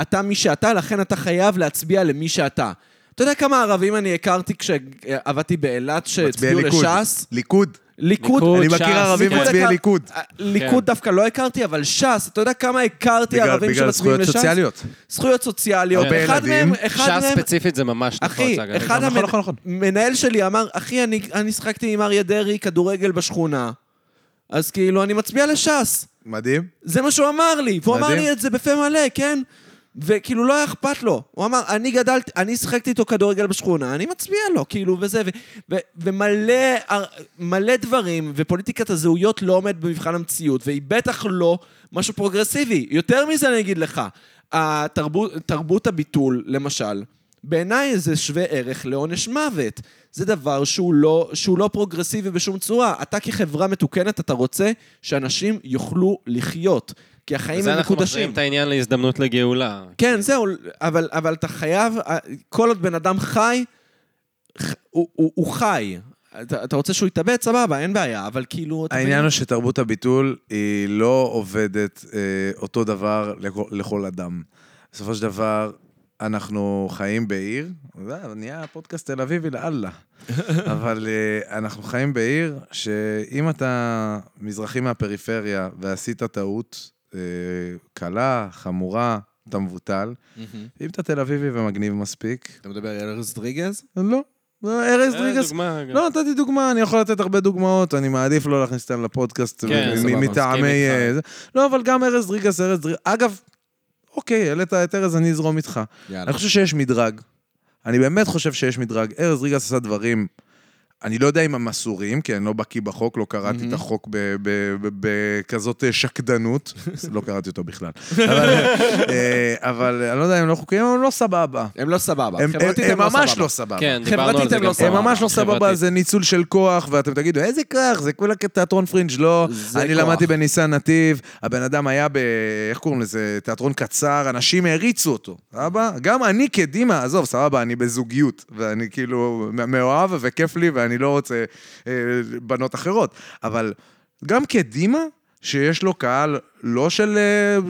[SPEAKER 2] אתה מי שאתה, לכן אתה חייב להצביע למי שאתה. אתה יודע כמה ערבים אני הכרתי כשעבדתי באילת
[SPEAKER 3] מצביעי
[SPEAKER 2] שהצביעו
[SPEAKER 3] ליכוד.
[SPEAKER 2] לש"ס?
[SPEAKER 3] ליכוד.
[SPEAKER 2] ליכוד.
[SPEAKER 3] אני
[SPEAKER 4] ש"ס,
[SPEAKER 3] מכיר ערבים
[SPEAKER 4] כן.
[SPEAKER 3] מצביעי ליכוד.
[SPEAKER 2] ליכוד דווקא לא הכרתי, אבל ש"ס, אתה יודע כמה הכרתי
[SPEAKER 3] בגלל
[SPEAKER 2] ערבים
[SPEAKER 3] בגלל
[SPEAKER 2] שמצביעים
[SPEAKER 3] זכויות
[SPEAKER 2] לש"ס?
[SPEAKER 3] סוציאליות.
[SPEAKER 2] זכויות סוציאליות.
[SPEAKER 4] הרבה
[SPEAKER 2] אחד
[SPEAKER 3] ילדים.
[SPEAKER 2] מהם, אחד
[SPEAKER 4] ש"ס
[SPEAKER 2] מהם...
[SPEAKER 4] ספציפית זה ממש
[SPEAKER 2] אחי,
[SPEAKER 4] נפוץ, אגב.
[SPEAKER 2] אחד
[SPEAKER 3] נכון, נכון, נכון.
[SPEAKER 2] המנהל שלי אמר, אחי, אני, אני שחקתי עם אריה דרעי כדורגל בשכונה, אז כאילו, אני מצביע לש"ס.
[SPEAKER 3] מדהים.
[SPEAKER 2] זה מה שהוא אמר לי, והוא אמר
[SPEAKER 3] מדהים.
[SPEAKER 2] לי את זה בפה מלא, כן? וכאילו, לא היה אכפת לו. הוא אמר, אני גדלתי, אני שחקתי איתו כדורגל בשכונה, אני מצביע לו, כאילו, וזה, ו, ו, ומלא הר- מלא דברים, ופוליטיקת הזהויות לא עומדת במבחן המציאות, והיא בטח לא משהו פרוגרסיבי. יותר מזה אני אגיד לך, התרבות, תרבות הביטול, למשל, בעיניי זה שווה ערך לעונש מוות. זה דבר שהוא לא, שהוא לא פרוגרסיבי בשום צורה. אתה כחברה מתוקנת, אתה רוצה שאנשים יוכלו לחיות, כי החיים
[SPEAKER 4] בזה
[SPEAKER 2] הם
[SPEAKER 4] אנחנו מחזירים
[SPEAKER 2] מקודשים.
[SPEAKER 4] את העניין להזדמנות לגאולה.
[SPEAKER 2] כן, זהו, אבל, אבל אתה חייב, אה, כל עוד בן אדם חי, ח- הוא, הוא, הוא חי. אתה, אתה רוצה שהוא יתאבד, סבבה, אין בעיה, אבל כאילו... אתה
[SPEAKER 3] העניין הוא שתרבות הביטול היא לא עובדת אה, אותו דבר לכל, לכל אדם. בסופו של דבר, אנחנו חיים בעיר, זה נהיה פודקאסט תל אביבי לאללה, אבל אה, אנחנו חיים בעיר שאם אתה מזרחי מהפריפריה ועשית טעות אה, קלה, חמורה, אתה מבוטל, אם אתה תל אביבי ומגניב מספיק,
[SPEAKER 6] אתה מדבר על ארז דריגז?
[SPEAKER 3] לא. ארז דריגס
[SPEAKER 4] אה, דוגמה, אגב.
[SPEAKER 3] לא, נתתי דוגמה, אני יכול לתת הרבה דוגמאות, אני מעדיף לא להכניס אותן לפודקאסט
[SPEAKER 4] כן,
[SPEAKER 3] מ-
[SPEAKER 4] סבבה,
[SPEAKER 3] מ- מטעמי...
[SPEAKER 4] מסכים
[SPEAKER 3] אה, זה. לא, אבל גם ארז דריגס, ארז דריגס... אגב, אוקיי, העלית את ארז, אני אזרום איתך.
[SPEAKER 6] יאללה.
[SPEAKER 3] אני חושב שיש מדרג. אני באמת חושב שיש מדרג. ארז דריגס עשה דברים, אני לא יודע אם הם אסורים, כי אני לא בקיא בחוק, לא
[SPEAKER 4] Mhm.
[SPEAKER 3] קראתי את החוק ב- ב- ב- בכזאת אה, שקדנות. לא קראתי אותו בכלל. אבל, אה, אבל אני לא יודע אם הם לא חוקיים, אבל הם לא סבבה.
[SPEAKER 2] הם לא סבבה.
[SPEAKER 4] אוקיי,
[SPEAKER 3] הם- הם
[SPEAKER 2] חברתית
[SPEAKER 3] הם ממש
[SPEAKER 2] סבבה.
[SPEAKER 3] לא סבבה.
[SPEAKER 4] כן, דיברנו על
[SPEAKER 2] חברתית
[SPEAKER 4] זה
[SPEAKER 2] הם
[SPEAKER 4] גם
[SPEAKER 2] לא
[SPEAKER 4] פעם.
[SPEAKER 3] הם ממש לא סבבה,
[SPEAKER 4] חברתית.
[SPEAKER 3] זה ניצול של כוח, ואתם תגידו, איזה כוח? זה כולה תיאטרון פרינג', לא.
[SPEAKER 2] זה
[SPEAKER 3] אני
[SPEAKER 2] כוח.
[SPEAKER 3] למדתי בניסן נתיב, הבן אדם היה ב... איך קוראים לזה? תיאטרון קצר, אנשים העריצו אותו, סבבה? גם אני קדימה, עזוב, סבבה, אני בזוגיות, ואני כאילו מא- מאוהב וכיף לי, ואני לא רוצה אה, בנות אחרות. אבל גם קדימה, שיש לו קהל לא של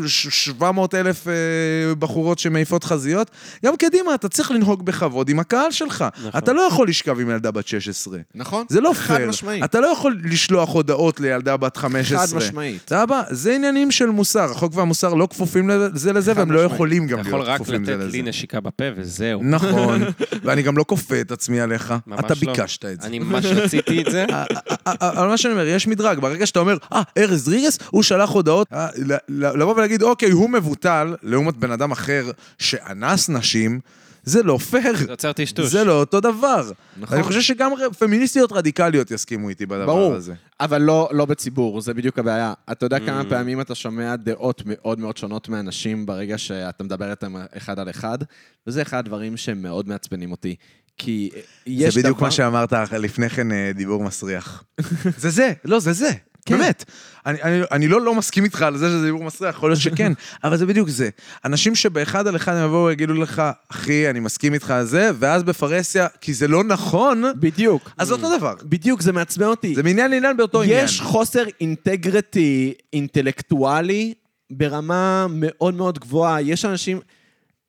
[SPEAKER 3] 700 אלף אה, בחורות שמעיפות חזיות, גם קדימה, אתה צריך לנהוג בכבוד עם הקהל שלך.
[SPEAKER 4] נכון.
[SPEAKER 3] אתה לא יכול לשכב עם ילדה בת 16.
[SPEAKER 2] נכון?
[SPEAKER 3] זה לא
[SPEAKER 2] חד
[SPEAKER 3] פייר.
[SPEAKER 2] משמעית.
[SPEAKER 3] אתה לא יכול לשלוח הודעות לילדה בת 15.
[SPEAKER 2] חד משמעית.
[SPEAKER 3] סבבה, זה עניינים של מוסר. החוק והמוסר לא כפופים לזה לזה,
[SPEAKER 2] חד
[SPEAKER 3] והם לא
[SPEAKER 2] משמעית.
[SPEAKER 3] יכולים גם
[SPEAKER 4] אתה יכול
[SPEAKER 3] להיות
[SPEAKER 4] רק
[SPEAKER 3] כפופים זה
[SPEAKER 4] לתת
[SPEAKER 3] לזה.
[SPEAKER 4] לי נשיקה בפה וזהו.
[SPEAKER 3] נכון, ואני גם לא כופה את עצמי עליך.
[SPEAKER 4] ממש
[SPEAKER 3] אתה
[SPEAKER 4] לא.
[SPEAKER 3] ביקשת את זה. אה,
[SPEAKER 4] אני ממש רציתי את זה.
[SPEAKER 3] אבל מה שאני אומר, יש מדרג. ברגע שאתה אומר, אה, ארז ריגס, הוא שלח הודעות, אה, ל- ל- לבוא ולהגיד, אוקיי, הוא מבוטל, לעומת בן אדם אחר שאנס נשים, זה לא פייר.
[SPEAKER 4] זה יוצר טשטוש.
[SPEAKER 3] זה לא אותו דבר.
[SPEAKER 2] נכון.
[SPEAKER 3] אני חושב שגם ר- פמיניסטיות רדיקליות יסכימו איתי בדבר
[SPEAKER 2] ברור.
[SPEAKER 3] הזה.
[SPEAKER 2] אבל לא, לא בציבור, זה בדיוק הבעיה. אתה יודע כמה פעמים אתה שומע דעות מאוד מאוד שונות מאנשים ברגע שאתה מדבר איתם אחד על אחד, וזה אחד הדברים שמאוד מעצבנים אותי. כי אה, יש
[SPEAKER 3] זה בדיוק
[SPEAKER 2] דבר...
[SPEAKER 3] מה שאמרת אח- לפני כן, אה, דיבור מסריח. זה זה, לא, זה זה, באמת. אני- אני- אני לא לא מסכים איתך על זה שזה דיבור מסריח, יכול להיות שכן, אבל זה בדיוק זה. אנשים שבאחד על אחד הם יבואו ויגידו לך, אחי, אני מסכים איתך על זה, ואז בפרהסיה, כי זה לא נכון,
[SPEAKER 2] בדיוק.
[SPEAKER 3] אז אותו דבר.
[SPEAKER 2] בדיוק, זה מעצבן אותי.
[SPEAKER 3] זה מעניין לעניין באותו עניין.
[SPEAKER 2] יש חוסר אינטגריטי אינטלקטואלי ברמה מאוד מאוד גבוהה. יש אנשים...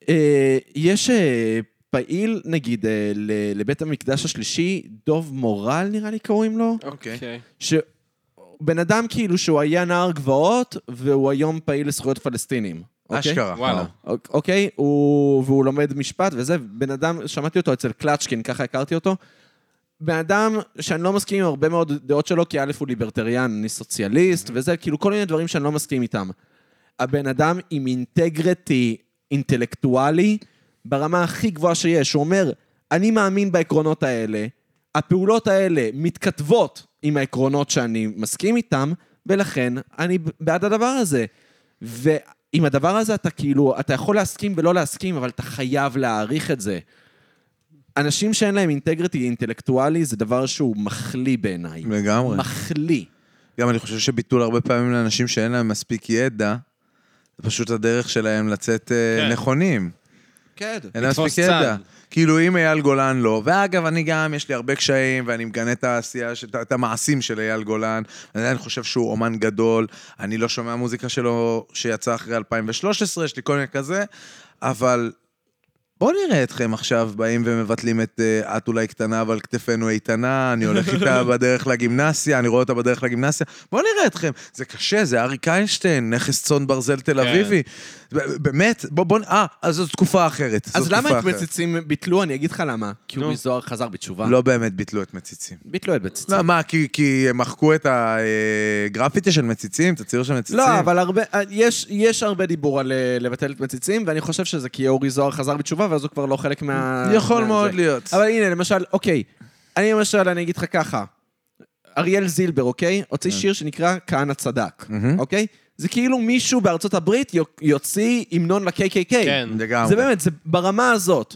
[SPEAKER 2] אה, יש אה, פעיל, נגיד, אה, ל- לבית המקדש השלישי, דוב מורל, נראה לי קוראים לו.
[SPEAKER 3] אוקיי.
[SPEAKER 4] אוקיי.
[SPEAKER 2] שבן אדם כאילו שהוא היה נער גבעות, והוא היום פעיל לזכויות פלסטינים. אוקיי?
[SPEAKER 3] אשכרה.
[SPEAKER 4] וואלה.
[SPEAKER 2] אוק- אוקיי, הוא, והוא לומד משפט וזה, בן אדם, שמעתי אותו אצל קלצ'קין, ככה הכרתי אותו. בן אדם שאני לא מסכים עם הרבה מאוד דעות שלו, כי א' הוא ליברטריאן, אני סוציאליסט וזה, כאילו כל מיני דברים שאני לא מסכים איתם. הבן אדם עם אינטגריטי אינטלקטואלי ברמה הכי גבוהה שיש. הוא אומר, אני מאמין בעקרונות האלה, הפעולות האלה מתכתבות עם העקרונות שאני מסכים איתם, ולכן אני בעד הדבר הזה. ועם הדבר הזה אתה כאילו, אתה יכול להסכים ולא להסכים, אבל אתה חייב להעריך את זה. אנשים שאין להם אינטגריטי אינטלקטואלי זה דבר שהוא מחליא בעיניי.
[SPEAKER 3] לגמרי.
[SPEAKER 2] מחליא.
[SPEAKER 3] גם אני חושב שביטול הרבה פעמים לאנשים שאין להם מספיק ידע, זה פשוט הדרך שלהם לצאת אה,
[SPEAKER 4] כן.
[SPEAKER 3] נכונים.
[SPEAKER 2] כן.
[SPEAKER 3] אין להם
[SPEAKER 4] לתפוס
[SPEAKER 3] מספיק ידע.
[SPEAKER 4] צד.
[SPEAKER 3] כאילו, אם אייל גולן לא, ואגב, אני גם, יש לי הרבה קשיים, ואני מגנה את העשייה, ש- את- את המעשים של אייל גולן, אני עדיין חושב שהוא אומן גדול, אני לא שומע מוזיקה שלו שיצאה אחרי 2013, יש לי כל מיני כזה, אבל בואו נראה אתכם עכשיו באים ומבטלים את אה, את אולי קטנה, אבל כתפינו איתנה, אני הולך איתה בדרך לגימנסיה, אני רואה אותה בדרך לגימנסיה, בואו נראה אתכם. זה קשה, זה אריק איינשטיין, נכס צאן ברזל תל
[SPEAKER 4] כן.
[SPEAKER 3] אביבי. ב- באמת, בואו, בוא, אה, אז זו תקופה אחרת. זו
[SPEAKER 2] אז למה את
[SPEAKER 3] תקופה אחרת.
[SPEAKER 2] מציצים ביטלו? אני אגיד לך למה. כי אורי זוהר חזר בתשובה.
[SPEAKER 3] לא באמת ביטלו את מציצים.
[SPEAKER 2] ביטלו את מציצים.
[SPEAKER 3] לא, מה, כי, כי הם מחקו את הגרפיטי של מציצים, את הציור של מציצים?
[SPEAKER 2] לא, אבל הרבה, יש, יש הרבה דיבור על אה, לבטל את מציצים, ואני חושב שזה כי אורי זוהר חזר בתשובה, ואז הוא כבר לא חלק מה...
[SPEAKER 3] יכול
[SPEAKER 2] מה-
[SPEAKER 3] מאוד
[SPEAKER 2] זה.
[SPEAKER 3] להיות.
[SPEAKER 2] אבל הנה, למשל, אוקיי, אני למשל, אני אגיד לך ככה, אריאל זילבר, אוקיי? הוציא שיר שנקרא "כהנא צדק",
[SPEAKER 3] כן. מהמם.
[SPEAKER 2] אוקיי? זה כאילו מישהו בארצות הברית יו- יוציא המנון ל-KKK.
[SPEAKER 4] כן.
[SPEAKER 3] לגמרי.
[SPEAKER 2] זה באמת, זה ברמה הזאת.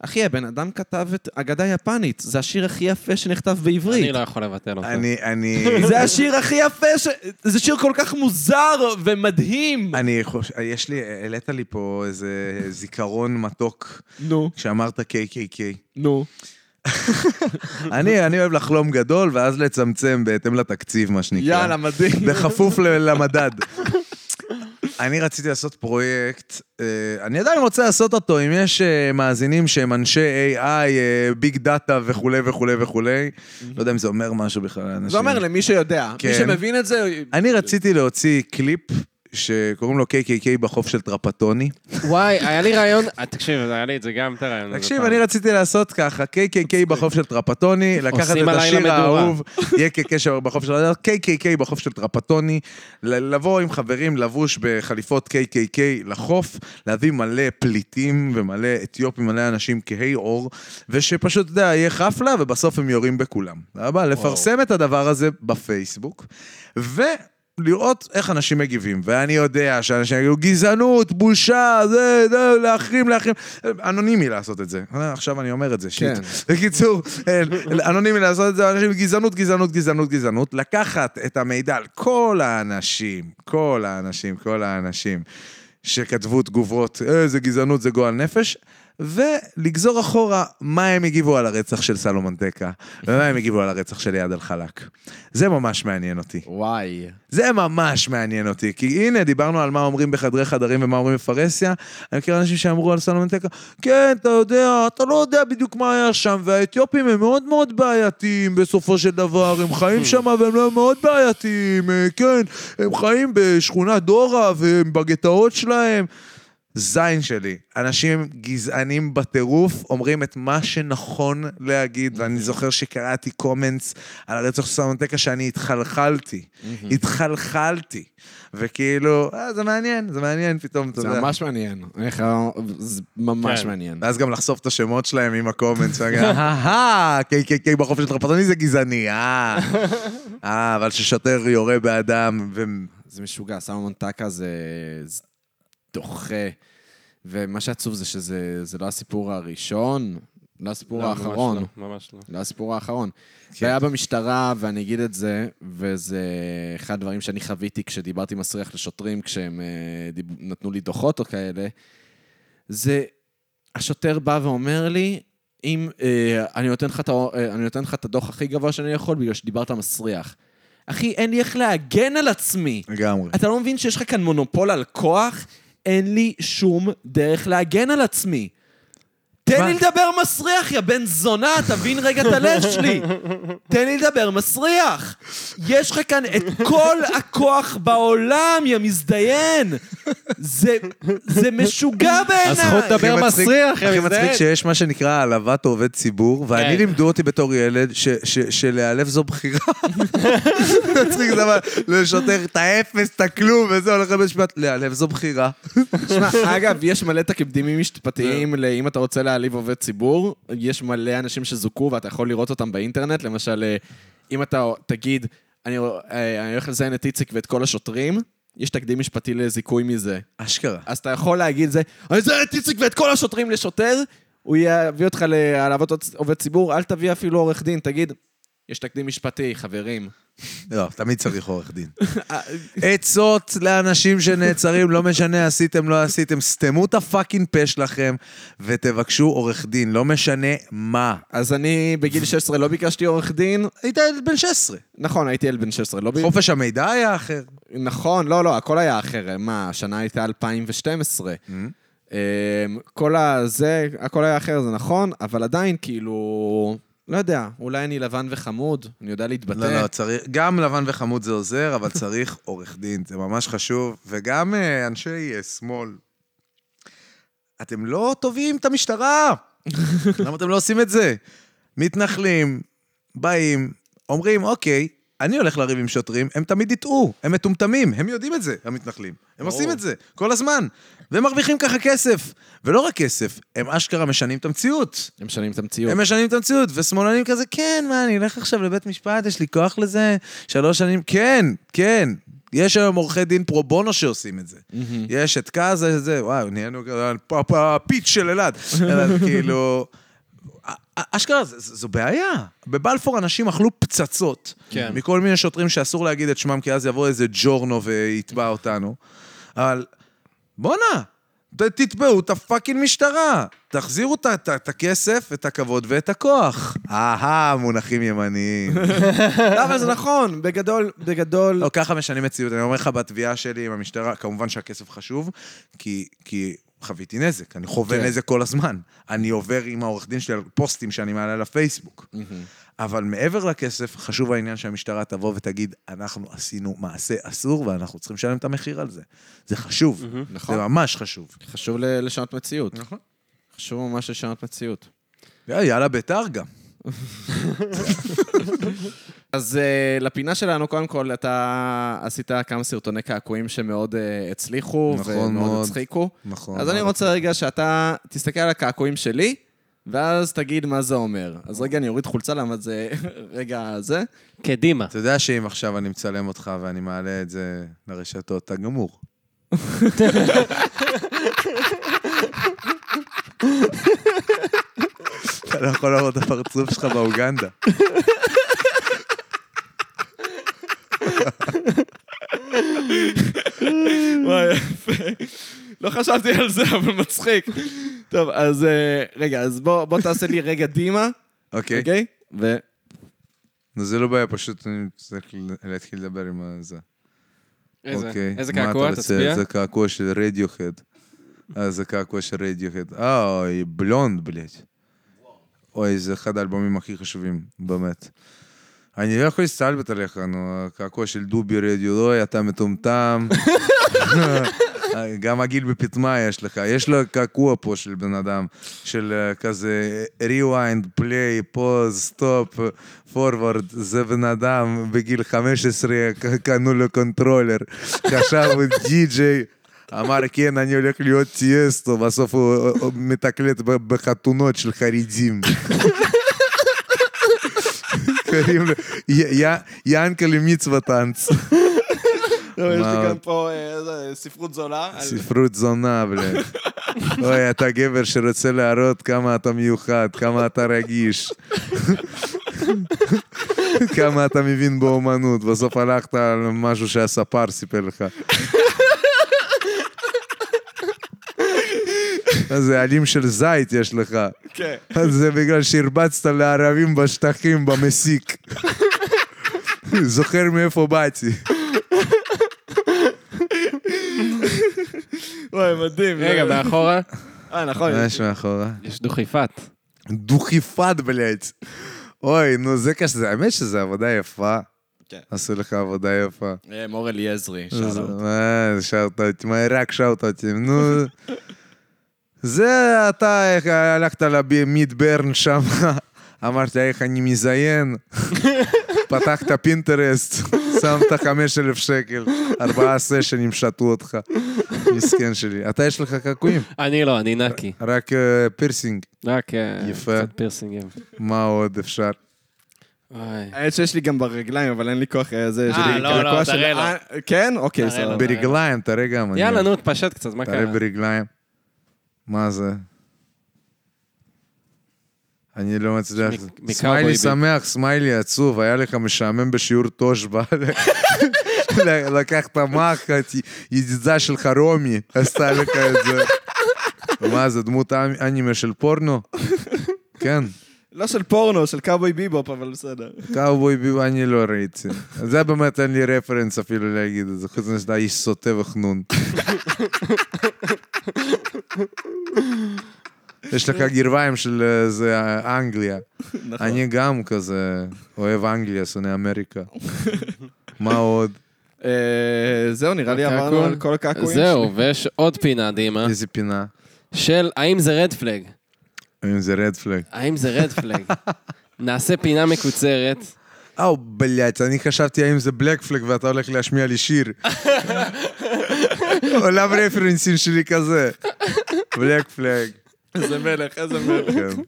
[SPEAKER 2] אחי, הבן אדם כתב את אגדה יפנית, זה השיר הכי יפה שנכתב בעברית.
[SPEAKER 4] אני לא יכול לבטל אותו.
[SPEAKER 3] אני, אני,
[SPEAKER 4] לא-
[SPEAKER 2] זה השיר הכי יפה, ש... זה שיר כל כך מוזר ומדהים.
[SPEAKER 3] אני חושב, יש לי, העלית לי פה איזה זיכרון מתוק
[SPEAKER 2] נו,
[SPEAKER 3] כשאמרת KKK.
[SPEAKER 2] נו.
[SPEAKER 3] אני, אני אוהב לחלום גדול ואז לצמצם בהתאם לתקציב, מה שנקרא.
[SPEAKER 2] יאללה, מדהים.
[SPEAKER 3] בכפוף ל- למדד. אני רציתי לעשות פרויקט, אה, אני עדיין רוצה לעשות אותו, אם יש אה, מאזינים שהם אנשי AI, ביג דאטה וכולי וכולי וכולי, לא יודע אם זה אומר משהו בכלל לאנשים.
[SPEAKER 2] זה אומר למי שיודע. מי
[SPEAKER 3] כן.
[SPEAKER 2] שמבין את זה...
[SPEAKER 3] אני רציתי להוציא קליפ שקוראים לו KKK בחוף של טרפטוני.
[SPEAKER 4] וואי, היה לי רעיון, אה, תקשיב, היה לי את זה גם את הרעיון. הזה
[SPEAKER 3] תקשיב,
[SPEAKER 4] פעם.
[SPEAKER 3] אני רציתי לעשות ככה, KKK בחוף של טרפטוני, לקחת
[SPEAKER 4] עושים
[SPEAKER 3] את
[SPEAKER 4] עליי
[SPEAKER 3] השיר
[SPEAKER 4] למדורה.
[SPEAKER 3] האהוב, YKK שבחוף של KKK בחוף של טרפטוני, ל- לבוא עם חברים לבוש בחליפות KKK לחוף, להביא מלא פליטים ומלא אתיופים, מלא אנשים כהי עור, ושפשוט, אתה יודע, יהיה חפלה, ובסוף הם יורים בכולם. סבבה? לפרסם את הדבר הזה בפייסבוק, ו... לראות איך אנשים מגיבים, ואני יודע שאנשים יגידו גזענות, בושה, זה, זה, להחרים, להחרים. אנונימי לעשות את זה. אה, עכשיו אני אומר את זה, שיט.
[SPEAKER 2] כן.
[SPEAKER 3] בקיצור, אה, אנונימי לעשות את זה, אנשים, גזענות, גזענות, גזענות, גזענות. לקחת את המידע על כל האנשים, כל האנשים, כל האנשים שכתבו תגובות, אה, זה גזענות, זה גועל נפש, ולגזור אחורה מה הם הגיבו על הרצח של סלומנטקה, ומה הם הגיבו על הרצח של איאד אלחלאק. זה ממש מעניין אותי.
[SPEAKER 2] וואי.
[SPEAKER 3] זה ממש מעניין אותי, כי הנה, דיברנו על מה אומרים בחדרי חדרים ומה אומרים בפרהסיה. אני מכיר אנשים שאמרו על סלומנטקה, כן, אתה יודע, אתה לא יודע בדיוק מה היה שם, והאתיופים הם מאוד מאוד בעייתיים בסופו של דבר, הם חיים שם והם לא מאוד בעייתיים, אה, כן, הם חיים בשכונת דורה והם בגטאות שלהם. זין שלי, אנשים גזענים בטירוף אומרים את מה שנכון להגיד,
[SPEAKER 2] Mhm.
[SPEAKER 3] ואני זוכר שקראתי קומנטס על הרצח של סלומנטקה שאני התחלחלתי.
[SPEAKER 2] Mhm.
[SPEAKER 3] התחלחלתי. וכאילו, אה, זה מעניין, זה מעניין פתאום, אתה
[SPEAKER 2] זה
[SPEAKER 3] יודע.
[SPEAKER 2] ממש מעניין. אני חייב- זה ממש
[SPEAKER 4] כן.
[SPEAKER 2] מעניין.
[SPEAKER 3] ואז גם לחשוף את השמות שלהם עם הקומנטס, ואגיד, אהה, KKK בחופש הטרפטוני זה גזעני, אה. אה, אבל ששוטר יורה באדם, ו...
[SPEAKER 2] זה משוגע, סלומון טקה זה זה דוחה. ומה שעצוב זה שזה זה לא הסיפור הראשון, לא הסיפור
[SPEAKER 4] לא, ממש
[SPEAKER 2] האחרון.
[SPEAKER 4] לא, ממש לא.
[SPEAKER 2] לא הסיפור האחרון. זה היה במשטרה, ואני אגיד את זה, וזה אחד הדברים שאני חוויתי כשדיברתי מסריח לשוטרים, כשהם אה, דיב... נתנו לי דוחות או כאלה, זה השוטר בא ואומר לי, אם אה, אני, נותן לך את, הא- אה, אני נותן לך את הדוח הכי גבוה שאני יכול בגלל שדיברת מסריח. אחי, אין לי איך להגן על עצמי.
[SPEAKER 3] לגמרי.
[SPEAKER 9] נכון.
[SPEAKER 2] אתה לא מבין שיש לך כאן מונופול על כוח? אין לי שום דרך להגן על עצמי. תן לי לדבר מסריח, יא בן זונה, תבין רגע את הלב שלי. תן לי לדבר מסריח. יש לך כאן את כל הכוח בעולם, יא מזדיין. זה, זה משוגע
[SPEAKER 9] הזכות
[SPEAKER 2] בעיניי.
[SPEAKER 9] לדבר
[SPEAKER 3] הכי מצחיק-
[SPEAKER 9] מסריח,
[SPEAKER 3] הכי
[SPEAKER 9] יא
[SPEAKER 3] מצחיק
[SPEAKER 9] מזדיין.
[SPEAKER 3] שיש מה שנקרא העלבת עובד ציבור, ואני
[SPEAKER 4] כן.
[SPEAKER 3] לימדו אותי בתור ילד ש- ש- שלהיעלב זו בחירה. מצחיק זה אבל לשוטר את האפס, את הכלום, וזה הולך לבית משפט, להיעלב זו בחירה.
[SPEAKER 2] תשמע, אגב, יש מלא תקדימים משפטיים לאם אתה רוצה להעליב עובד ציבור, יש מלא אנשים שזוכו ואתה יכול לראות אותם באינטרנט, למשל, אה, אם אתה תגיד, אני רוא- אה, אני הולך לזיין את איציק ואת כל השוטרים, יש תקדים משפטי לזיכוי מזה.
[SPEAKER 3] אשכרה.
[SPEAKER 2] אז אתה יכול להגיד זה, אני זיין את איציק ואת כל השוטרים לשוטר, הוא יביא אותך להעלבת עובד ציבור, אל תביא אפילו עורך דין, תגיד, יש תקדים משפטי, חברים.
[SPEAKER 3] לא, תמיד צריך עורך דין. עצות לאנשים שנעצרים, לא משנה, עשיתם, לא עשיתם, סתמו את הפאקינג פה שלכם ותבקשו עורך דין, לא משנה מה.
[SPEAKER 2] אז אני בגיל 16 לא ביקשתי עורך דין,
[SPEAKER 3] היית ילד בן 16.
[SPEAKER 2] נכון, הייתי ילד בן 16, לא ב...
[SPEAKER 3] חופש המידע היה אחר.
[SPEAKER 2] נכון, לא, לא, הכל היה אחר. מה, השנה הייתה 2012.
[SPEAKER 3] Mm-hmm.
[SPEAKER 2] אמ, כל הזה, הכל היה אחר, זה נכון, אבל עדיין, כאילו, לא יודע, אולי אני לבן וחמוד, אני יודע להתבטא.
[SPEAKER 3] לא, לא, צריך, גם לבן וחמוד זה עוזר, אבל צריך עורך דין, זה ממש חשוב. וגם אה, אנשי אה, שמאל, אתם לא תובעים את המשטרה. למה אתם לא עושים את זה? מתנחלים, באים, אומרים, אוקיי, אני הולך לריב עם שוטרים, הם תמיד יטעו, הם מטומטמים, הם יודעים את זה, המתנחלים. הם עושים את זה, כל הזמן. והם מרוויחים ככה כסף. ולא רק כסף, הם אשכרה משנים את המציאות.
[SPEAKER 2] הם משנים את המציאות.
[SPEAKER 3] הם משנים את המציאות, ושמאלנים כזה, כן, מה, אני אלך עכשיו לבית משפט, יש לי כוח לזה? שלוש שנים, כן, כן. יש היום עורכי דין פרו בונו שעושים את זה. יש את קאזה, יש את זה, וואו, נהיינו כזה, פה- פה הפיץ של אלעד. אלא כאילו... א- א- אשכרה, ז- ז- זו בעיה. בבלפור אנשים אכלו פצצות.
[SPEAKER 4] כן.
[SPEAKER 3] מכל מיני שוטרים שאסור להגיד את שמם, כי אז יבוא איזה ג'ורנו ויתבע אותנו. אבל בואנה, ת- תתבעו את הפאקינג משטרה. תחזירו את ה- את ה- את הכסף, את הכבוד ואת הכוח. אהה, מונחים ימניים.
[SPEAKER 2] לא, אבל זה נכון, בגדול, בגדול...
[SPEAKER 3] לא, ככה משנים מציאות. אני אומר לך, בתביעה שלי עם המשטרה, כמובן שהכסף חשוב, כי... כי... חוויתי נזק, אני חווה
[SPEAKER 2] כן.
[SPEAKER 3] נזק כל הזמן. אני עובר עם העורך דין שלי על פוסטים שאני מעלה לפייסבוק. אבל מעבר לכסף, חשוב העניין שהמשטרה תבוא ותגיד, אנחנו עשינו מעשה אסור ואנחנו צריכים לשלם את המחיר על זה. זה חשוב,
[SPEAKER 2] נכון.
[SPEAKER 3] זה ממש חשוב.
[SPEAKER 2] חשוב ל- לשנות מציאות.
[SPEAKER 3] נכון.
[SPEAKER 2] חשוב ממש לשנות מציאות.
[SPEAKER 3] יאללה, ביתר גם.
[SPEAKER 2] אז אה, לפינה שלנו, קודם כל, אתה עשית כמה סרטוני קעקועים שמאוד אה, הצליחו,
[SPEAKER 3] נכון
[SPEAKER 2] ומאוד
[SPEAKER 3] מאוד.
[SPEAKER 2] הצחיקו.
[SPEAKER 3] נכון.
[SPEAKER 2] אז אני רוצה רגע שאתה תסתכל על הקעקועים שלי, ואז תגיד מה זה אומר. אז רגע, אני אוריד חולצה, למה זה... רגע, זה.
[SPEAKER 4] קדימה.
[SPEAKER 3] אתה יודע שאם עכשיו אני מצלם אותך ואני מעלה את זה לרשתות, אתה גמור. אתה לא יכול לראות את הפרצוף שלך באוגנדה.
[SPEAKER 2] וואי, יפה. לא חשבתי על זה, אבל מצחיק. טוב, אז אה, רגע, אז בוא בוא תעשה לי רגע דימה,
[SPEAKER 3] אוקיי.
[SPEAKER 2] אוקיי? ו...
[SPEAKER 3] נו, זה לא בעיה, פשוט אני צריך ל- להתחיל לדבר עם ה- זה.
[SPEAKER 4] איזה-
[SPEAKER 3] אוקיי.
[SPEAKER 4] איזה
[SPEAKER 3] מה אתה
[SPEAKER 4] קעקוע,
[SPEAKER 3] רוצה?
[SPEAKER 4] תצביע.
[SPEAKER 3] זה קעקוע של רדיוהד. אה, זה קעקוע של רדיוהד. אה, אוי, בלונד, בלית. אוי, זה אחד האלבומים הכי חשובים, באמת. אני לא יכול להסתלבט עליך, נו, הקעקוע של דובי רדיו, אוי, אתה מטומטם. גם הגיל בפטמה יש לך, יש לו קעקוע פה של בן אדם, של אה, כזה rewind, play, pause, stop, forward, זה בן אדם בגיל 15, ק- קנו לו קונטרולר, חשב הוא די-ג'יי. אמר, כן, אני הולך להיות טיאסטו, בסוף הוא אה, אה, מתקלט ב- בחתונות של חרדים. קוראים לו י- י- ינקלה מצווה טאנץ.
[SPEAKER 2] לא, יש לי
[SPEAKER 3] וואו.
[SPEAKER 2] גם פה אה, זה, ספרות זולה. על-
[SPEAKER 3] ספרות זונה, בלד. אוי, אתה גבר שרוצה להראות כמה אתה מיוחד, כמה אתה רגיש. כמה אתה מבין באומנות, בסוף הלכת על משהו שהספר סיפר לך. איזה עלים של זית יש לך.
[SPEAKER 2] כן.
[SPEAKER 3] אז זה בגלל שהרבצת לערבים בשטחים במסיק. זוכר מאיפה באתי.
[SPEAKER 2] וואי, מדהים.
[SPEAKER 4] רגע,
[SPEAKER 2] לא-
[SPEAKER 4] מאחורה?
[SPEAKER 2] אה, נכון.
[SPEAKER 3] מה יש מאחורה?
[SPEAKER 4] יש דוכיפת.
[SPEAKER 3] דוכיפת, בלייץ. אוי, נו, זה קשה, האמת שזה עבודה יפה.
[SPEAKER 2] כן.
[SPEAKER 3] עשו לך עבודה יפה.
[SPEAKER 2] אה, מור אליעזרי,
[SPEAKER 3] אז-
[SPEAKER 2] שאלה.
[SPEAKER 3] אה, שאוטאוטים, אה, רק שאוטאוטים, נו. זה אתה, איך הלכת למיד ברן שם, אמרת איך אני מזיין, פתחת פינטרסט, שמת 5,000 שקל, ארבעה סשנים שתו אותך, מסכן שלי. אתה יש לך קעקועים,
[SPEAKER 4] אני לא, אני נקי.
[SPEAKER 3] רק אה, פירסינג,
[SPEAKER 4] רק אה,
[SPEAKER 3] יפה.
[SPEAKER 4] קצת פירסינגים.
[SPEAKER 3] מה עוד אפשר? אה,
[SPEAKER 4] וואי.
[SPEAKER 2] האמת שיש לי גם ברגליים, אבל אין לי כוח אה, זה. יש
[SPEAKER 4] אה,
[SPEAKER 2] לי
[SPEAKER 4] לא,
[SPEAKER 2] קעקוע
[SPEAKER 4] לא,
[SPEAKER 2] של-
[SPEAKER 4] תראה לו.
[SPEAKER 2] אה, כן? אוקיי,
[SPEAKER 4] תראה
[SPEAKER 2] סבבה.
[SPEAKER 4] לו.
[SPEAKER 3] ברגליים, תראה גם. אני-
[SPEAKER 4] יאללה, נו, תפשט קצת, מה
[SPEAKER 3] תראה
[SPEAKER 4] קרה?
[SPEAKER 3] ברגליים. מה זה? אני לא מצליח.
[SPEAKER 4] מ- מקאובוי
[SPEAKER 3] סמיילי
[SPEAKER 4] ביט.
[SPEAKER 3] שמח, סמיילי עצוב, היה לך משעמם בשיעור תושבע. לקחת מחט, ידידה שלך רומי עשתה לך את זה. מה זה, דמות אנ- אנימה של פורנו? כן,
[SPEAKER 2] לא של פורנו, של קאבוי ביבופ, אבל בסדר.
[SPEAKER 3] קאובוי ביב אני לא ראיתי. זה באמת אין לי רפרנס אפילו להגיד את זה, חוץ מזה שאתה איש סוטה וחנון. יש לך גרביים של אה, זה אה, אנגליה. אני גם כזה אוהב אנגליה, שונא אמריקה. מה עוד?
[SPEAKER 2] אה, זהו, נראה לי
[SPEAKER 4] הקעקוע?
[SPEAKER 2] עברנו על כל הקעקועים.
[SPEAKER 4] זהו, ויש עוד פינה מדהימה,
[SPEAKER 3] איזה פינה?
[SPEAKER 4] של האם זה רד פלג?
[SPEAKER 3] אם זה רד פלג.
[SPEAKER 4] האם זה רד פלג? נעשה פינה מקוצרת.
[SPEAKER 3] או, בלאט, אני חשבתי האם זה בלק פלג ואתה הולך להשמיע לי שיר. עולם רפרנסים שלי כזה. בלק פלג.
[SPEAKER 2] איזה מלך, איזה מלך.
[SPEAKER 3] כן.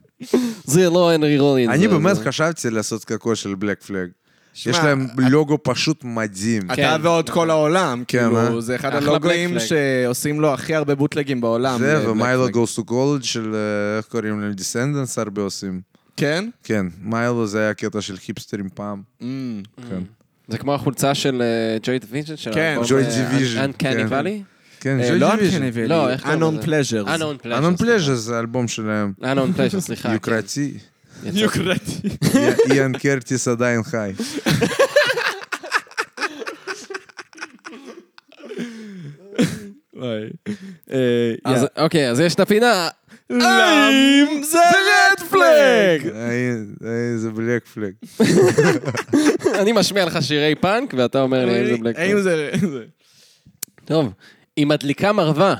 [SPEAKER 4] זה לא הנרי רולינס.
[SPEAKER 3] אני
[SPEAKER 4] זה-
[SPEAKER 3] באמת
[SPEAKER 4] זה-
[SPEAKER 3] חשבתי לעשות קעקוע של בלק פלג.
[SPEAKER 2] שמע,
[SPEAKER 3] יש להם לוגו פשוט מדהים.
[SPEAKER 2] אתה
[SPEAKER 4] כן.
[SPEAKER 2] ועוד כל העולם,
[SPEAKER 3] כן,
[SPEAKER 2] כאילו,
[SPEAKER 3] אה?
[SPEAKER 2] זה אחד
[SPEAKER 4] אחלה
[SPEAKER 2] הלוגויים
[SPEAKER 4] בלק פלג.
[SPEAKER 2] שעושים לו הכי הרבה בוטלגים בעולם. אה,
[SPEAKER 3] זה
[SPEAKER 2] לבלק
[SPEAKER 3] ומיילו
[SPEAKER 2] פלג.
[SPEAKER 3] גוס טו קולג' של אה, איך קוראים להם? דיסנדנס הרבה עושים.
[SPEAKER 2] כן?
[SPEAKER 3] כן, מיילו זה היה קטע של היפסטרים פעם.
[SPEAKER 2] אמ,
[SPEAKER 3] כן.
[SPEAKER 4] זה כמו החולצה של ג'וי דיוויז'ן של אה,
[SPEAKER 2] כן,
[SPEAKER 3] Joy Division,
[SPEAKER 4] אנקני
[SPEAKER 3] כן.
[SPEAKER 4] ואלי?
[SPEAKER 3] כן,
[SPEAKER 2] אה, לא אנקנבי,
[SPEAKER 4] לא, איך קוראים
[SPEAKER 2] אנון
[SPEAKER 4] לזה?
[SPEAKER 2] פלז'ר.
[SPEAKER 4] אנון פלאז'ר.
[SPEAKER 3] אנון פלז'ה זה אלבום שלהם.
[SPEAKER 4] אנון פלאז'ר, סליחה. כן.
[SPEAKER 3] יוקרתי.
[SPEAKER 4] יצא-
[SPEAKER 3] יא- איאן קרטיס עדיין חי.
[SPEAKER 2] אה,
[SPEAKER 4] אז אוקיי, אז יש את הפינה.
[SPEAKER 2] האם זה רד פלג?
[SPEAKER 3] אה, אה, זה בלק פלג.
[SPEAKER 4] אני משמיע לך שירי פאנק, ואתה אומר לי איזה בלק.
[SPEAKER 2] האם זה...
[SPEAKER 4] טוב, היא מדליקה מרווה.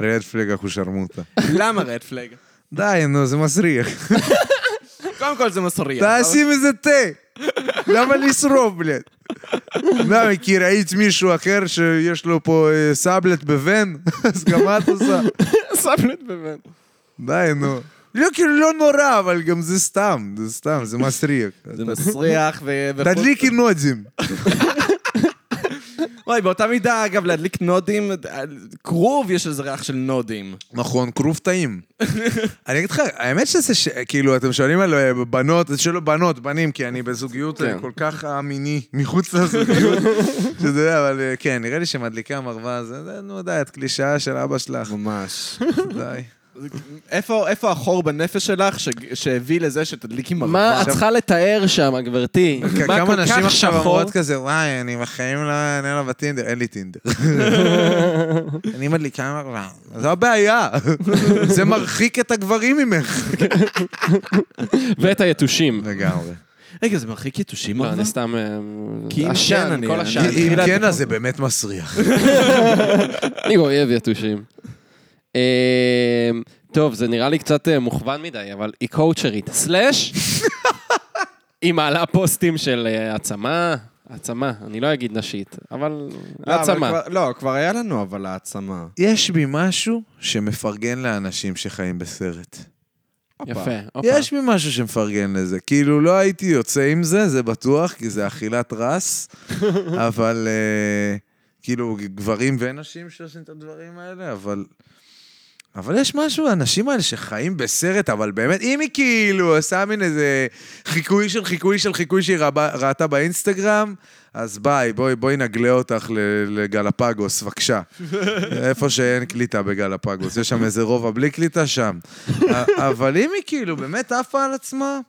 [SPEAKER 3] רד פלג אחושרמוטה.
[SPEAKER 2] למה רד פלג?
[SPEAKER 3] די, נו, זה מסריח.
[SPEAKER 2] קודם כל זה מסריח.
[SPEAKER 3] תעשי מזה תה. למה לשרוף, בלד? למה, כי ראית מישהו אחר שיש לו פה אה, סאבלט בבן? אז גם את עושה.
[SPEAKER 4] סבלט בבן.
[SPEAKER 3] די, נו. לא, כאילו, לא נורא, אבל גם זה סתם, זה סתם, זה מסריח.
[SPEAKER 2] זה מסריח ו... וחוץ-
[SPEAKER 3] תדליקי נודים.
[SPEAKER 2] וואי, באותה מידה, אגב, להדליק נודים, כרוב יש איזה ריח של נודים.
[SPEAKER 3] נכון, כרוב טעים. אני אגיד לך, האמת שזה, ש- כאילו, אתם שואלים על אה, בנות, אז שלא בנות, בנים, כי אני בזוגיות אה,
[SPEAKER 4] כן.
[SPEAKER 3] כל כך א-מיני, מחוץ לזוגיות. שזה, אבל אה, כן, נראה לי שמדליקה מרווה, זה, זה, נו, די, את קלישאה של אבא שלך,
[SPEAKER 2] ממש.
[SPEAKER 3] די.
[SPEAKER 2] איפה איפה החור בנפש שלך ש- שהביא לזה שתדליקי מרווה?
[SPEAKER 4] מה את צריכה לתאר שם, גברתי? מה
[SPEAKER 3] כמה
[SPEAKER 4] כל
[SPEAKER 3] נשים
[SPEAKER 4] כך
[SPEAKER 3] עכשיו
[SPEAKER 4] שחור?
[SPEAKER 3] אומרות כזה, וואי, אני בחיים לא אענה לה בטינדר, אין לי טינדר. אני מדליקה מרווה. זו הבעיה. זה מרחיק את הגברים ממך.
[SPEAKER 4] ואת היתושים.
[SPEAKER 3] לגמרי.
[SPEAKER 2] רגע, זה מרחיק יתושים
[SPEAKER 4] לא, אני סתם... אה,
[SPEAKER 2] כי אם כן,
[SPEAKER 4] עשן,
[SPEAKER 2] אני-
[SPEAKER 4] כל
[SPEAKER 2] אני-
[SPEAKER 4] עשן.
[SPEAKER 3] אם
[SPEAKER 2] תחילת
[SPEAKER 3] כן, אז זה באמת מסריח.
[SPEAKER 4] אני אוהב יתושים. אה, טוב, זה נראה לי קצת אה, מוכוון מדי, אבל היא קואוצ'רית. סלאש, היא מעלה פוסטים של אה, העצמה. העצמה, אני לא אגיד נשית, אבל העצמה.
[SPEAKER 2] לא, כבר היה לנו, אבל העצמה.
[SPEAKER 3] יש בי משהו שמפרגן לאנשים שחיים בסרט.
[SPEAKER 4] יפה. הופה.
[SPEAKER 3] יש בי משהו שמפרגן לזה. כאילו, לא הייתי יוצא עם זה, זה בטוח, כי זה אכילת רס, אבל אה, כאילו, גברים ונשים שעושים את הדברים האלה, אבל... אבל יש משהו, האנשים האלה שחיים בסרט, אבל באמת, אם היא כאילו עושה מין איזה חיקוי של חיקוי של חיקוי שהיא רבה- ראתה באינסטגרם, אז ביי, בואי, בואי נגלה אותך ל- לגלפגוס, בבקשה. איפה שאין קליטה בגלפגוס, יש שם איזה רובע בלי קליטה שם. א- אבל אם היא כאילו באמת עפה על עצמה,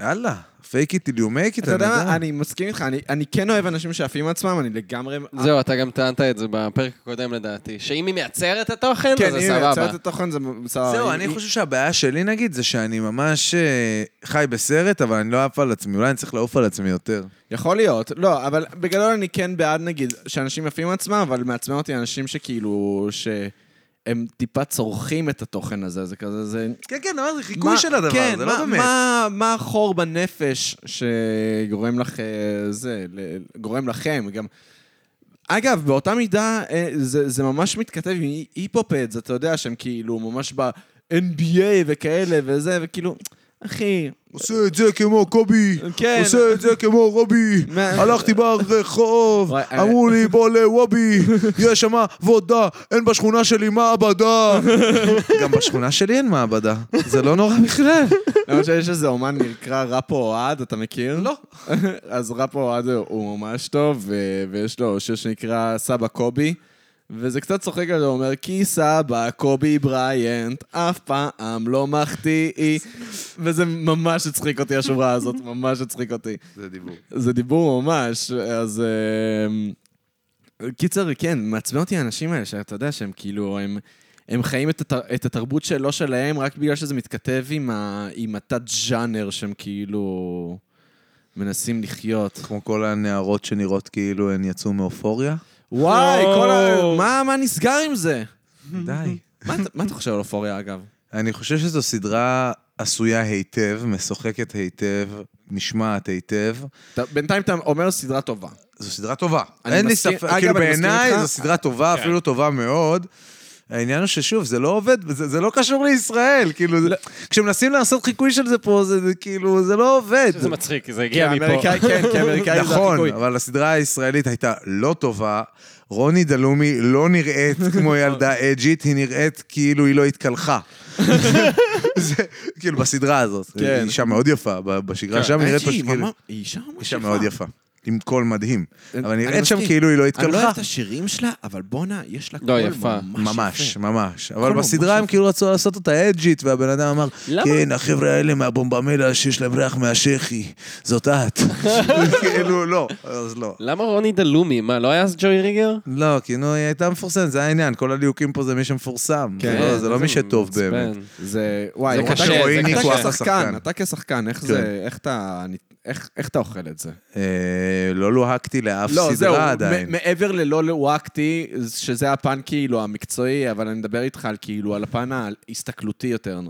[SPEAKER 3] יאללה, fake it till you make it,
[SPEAKER 2] אתה יודע מה,
[SPEAKER 3] אני
[SPEAKER 2] אני מסכים איתך, אני- אני כן אוהב אנשים שעפים על עצמם, אני לגמרי... אה,
[SPEAKER 4] זהו, אתה גם טענת את זה בפרק הקודם לדעתי, שאם היא מייצרת את התוכן,
[SPEAKER 2] כן,
[SPEAKER 4] אז זה
[SPEAKER 2] אם היא
[SPEAKER 4] סבבה.
[SPEAKER 2] יוצרת את התוכן, זה סבבה.
[SPEAKER 3] זהו,
[SPEAKER 2] אם-
[SPEAKER 3] אני
[SPEAKER 2] אם-
[SPEAKER 3] חושב שהבעיה שלי נגיד זה שאני ממש אה, חי בסרט, אבל אני לא עף על עצמי, אולי אני צריך לעוף על עצמי יותר.
[SPEAKER 2] יכול להיות, לא, אבל בגדול אני כן בעד, נגיד, שאנשים יפים עצמם, אבל מעצבן אותי אנשים שכאילו, שהם טיפה צורכים את התוכן הזה, זה כזה, זה...
[SPEAKER 3] כן, כן, אבל זה
[SPEAKER 2] מה-
[SPEAKER 3] חיקוי של הדבר,
[SPEAKER 2] כן,
[SPEAKER 3] זה
[SPEAKER 2] מה-
[SPEAKER 3] לא באמת.
[SPEAKER 2] מה- מה החור בנפש שגורם לך, אה, זה, ל- גורם לכם, גם... אגב, באותה מידה, אה, זה, זה ממש מתכתב עם היפ-הופ-אדס, אתה יודע, שהם כאילו ממש ב-NBA וכאלה וזה, וכאילו, אחי,
[SPEAKER 3] עושה את זה כמו קובי,
[SPEAKER 2] כן.
[SPEAKER 3] עושה את זה כמו רובי,
[SPEAKER 2] מה-
[SPEAKER 3] הלכתי ברחוב,
[SPEAKER 2] וואי, אה.
[SPEAKER 3] אמרו לי בוא לוובי, יש שם עבודה, אין בשכונה שלי מעבדה. גם בשכונה שלי אין מעבדה, זה לא נורא בכלל.
[SPEAKER 2] למרות שיש איזה אומן נקרא ראפו אוהד, אתה מכיר? לא. אז ראפו אוהד הוא ממש טוב, ו- ויש לו שיר שנקרא סבא קובי, וזה קצת צוחק עליו, הוא אומר, כי סבא קובי בריינט אף פעם לא מחטיא, וזה ממש הצחיק אותי, השורה הזאת, ממש הצחיק אותי.
[SPEAKER 3] זה דיבור.
[SPEAKER 2] זה דיבור ממש, אז... אה, קיצר, כן, מעצבן אותי האנשים האלה, שאתה יודע שהם כאילו, הם, הם חיים את, התר, את התרבות שלא שלהם, רק בגלל שזה מתכתב עם, ה- עם התת-ז'אנר שהם כאילו מנסים לחיות.
[SPEAKER 3] כמו כל הנערות שנראות כאילו הן יצאו מאופוריה.
[SPEAKER 2] וואי, כל ה... מה, מה נסגר עם זה?
[SPEAKER 3] די.
[SPEAKER 2] מה, אתה- מה אתה חושב על אופוריה, אגב?
[SPEAKER 3] אני חושב שזו סדרה עשויה היטב, משוחקת היטב, נשמעת היטב.
[SPEAKER 2] אתה, בינתיים אתה אומר סדרה טובה.
[SPEAKER 3] זו סדרה טובה.
[SPEAKER 2] אני
[SPEAKER 3] אין לי
[SPEAKER 2] מסכים-
[SPEAKER 3] ספק,
[SPEAKER 2] אגב,
[SPEAKER 3] כאילו
[SPEAKER 2] אני מסכים
[SPEAKER 3] בעיניי
[SPEAKER 2] איתך.
[SPEAKER 3] זו סדרה טובה, אפילו טובה מאוד. העניין הוא ששוב, זה לא עובד, זה זה לא קשור לישראל, כאילו,
[SPEAKER 2] לא.
[SPEAKER 3] זה- כשמנסים לעשות חיקוי של זה פה, זה זה כאילו, זה לא עובד.
[SPEAKER 4] זה מצחיק, זה הגיע מפה.
[SPEAKER 2] האמריקאי- כן, כי האמריקאים זה
[SPEAKER 3] נכון,
[SPEAKER 2] החיקוי.
[SPEAKER 3] אבל הסדרה הישראלית הייתה לא טובה. רוני דלומי לא נראית כמו ילדה אג'ית, היא נראית כאילו היא לא התקלחה. זה, כאילו, בסדרה הזאת.
[SPEAKER 2] כן.
[SPEAKER 3] היא אישה מאוד יפה, ב- בשגרה שם היא נראית פשוט כאילו...
[SPEAKER 2] היא אישה ממש
[SPEAKER 3] אישה מאוד יפה. עם קול מדהים.
[SPEAKER 2] אני-
[SPEAKER 3] אבל
[SPEAKER 2] אני
[SPEAKER 3] נראית שם
[SPEAKER 2] מסכים.
[SPEAKER 3] כאילו היא לא
[SPEAKER 2] אני לא
[SPEAKER 3] התקלחה.
[SPEAKER 2] אוהב את השירים שלה, אבל בואנה, יש לה קול
[SPEAKER 4] לא,
[SPEAKER 2] ממש
[SPEAKER 4] יפה.
[SPEAKER 3] ממש,
[SPEAKER 2] יפה.
[SPEAKER 3] ממש.
[SPEAKER 2] קול
[SPEAKER 3] אבל
[SPEAKER 2] ממש
[SPEAKER 3] בסדרה הם
[SPEAKER 2] יפה.
[SPEAKER 3] כאילו רצו לעשות אותה אג'ית, והבן אדם אמר,
[SPEAKER 4] למה?
[SPEAKER 3] כן, החבר'ה האלה מהבומבמלה שיש להם ריח מהשחי, זאת את. כאילו, לא, אז לא.
[SPEAKER 4] למה רוני דלומי? מה, לא היה אז ג'וי ריגר?
[SPEAKER 3] לא, כי נו, היא הייתה מפורסמת, זה העניין. כל הליהוקים פה זה מי שמפורסם.
[SPEAKER 2] כן.
[SPEAKER 3] זה לא- זה לא מי שטוב
[SPEAKER 4] מעצבן.
[SPEAKER 3] באמת.
[SPEAKER 2] זה, וואי,
[SPEAKER 4] זה
[SPEAKER 2] אתה-
[SPEAKER 4] קשה, זה
[SPEAKER 2] אתה
[SPEAKER 4] קשה.
[SPEAKER 2] כשחקן, אתה כשחקן, איך זה, איך אתה, איך- איך אתה אוכל את זה?
[SPEAKER 3] אה, לא לוהקתי לאף
[SPEAKER 2] לא, זהו,
[SPEAKER 3] סדרה
[SPEAKER 2] מ-
[SPEAKER 3] עדיין.
[SPEAKER 2] מעבר ללא לוואקטי, שזה הפן כאילו המקצועי, אבל אני מדבר איתך על כאילו, על הפן ההסתכלותי יותר,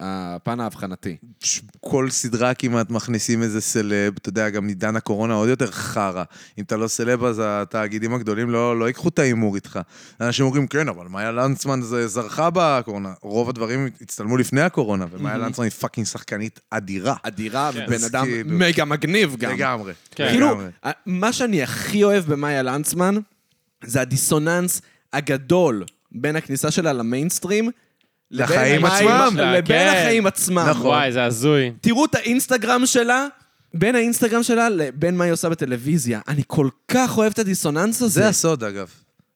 [SPEAKER 2] הפן האבחנתי.
[SPEAKER 3] ש- כל סדרה כמעט מכניסים איזה סלב, אתה יודע, גם עידן הקורונה עוד יותר חרא. אם אתה לא סלב, אז התאגידים הגדולים לא, לא ייקחו את ההימור איתך. אנשים אומרים, כן, אבל מאיה לנצמן זה זרחה בקורונה. רוב הדברים הצטלמו לפני הקורונה, ומאיה לנצמן היא פאקינג שחקנית אדירה.
[SPEAKER 2] אדירה, בן
[SPEAKER 3] אז
[SPEAKER 2] אדם
[SPEAKER 3] כאילו-
[SPEAKER 2] מגה מגניב גם.
[SPEAKER 3] לגמרי.
[SPEAKER 4] כן.
[SPEAKER 2] כאילו,
[SPEAKER 3] לגמרי.
[SPEAKER 2] מה שאני הכי אוהב במאיה לנצמן, זה הדיסוננס הגדול בין הכניסה שלה למיינסטרים, לבין
[SPEAKER 3] לחיים
[SPEAKER 2] המים-
[SPEAKER 3] עצמם.
[SPEAKER 2] לבין
[SPEAKER 4] כן.
[SPEAKER 2] החיים עצמם.
[SPEAKER 3] נכון.
[SPEAKER 4] וואי, זה הזוי.
[SPEAKER 2] תראו את האינסטגרם שלה, בין האינסטגרם שלה לבין מה היא עושה בטלוויזיה. אני כל כך אוהב את הדיסוננס הזה.
[SPEAKER 3] זה הסוד, אגב.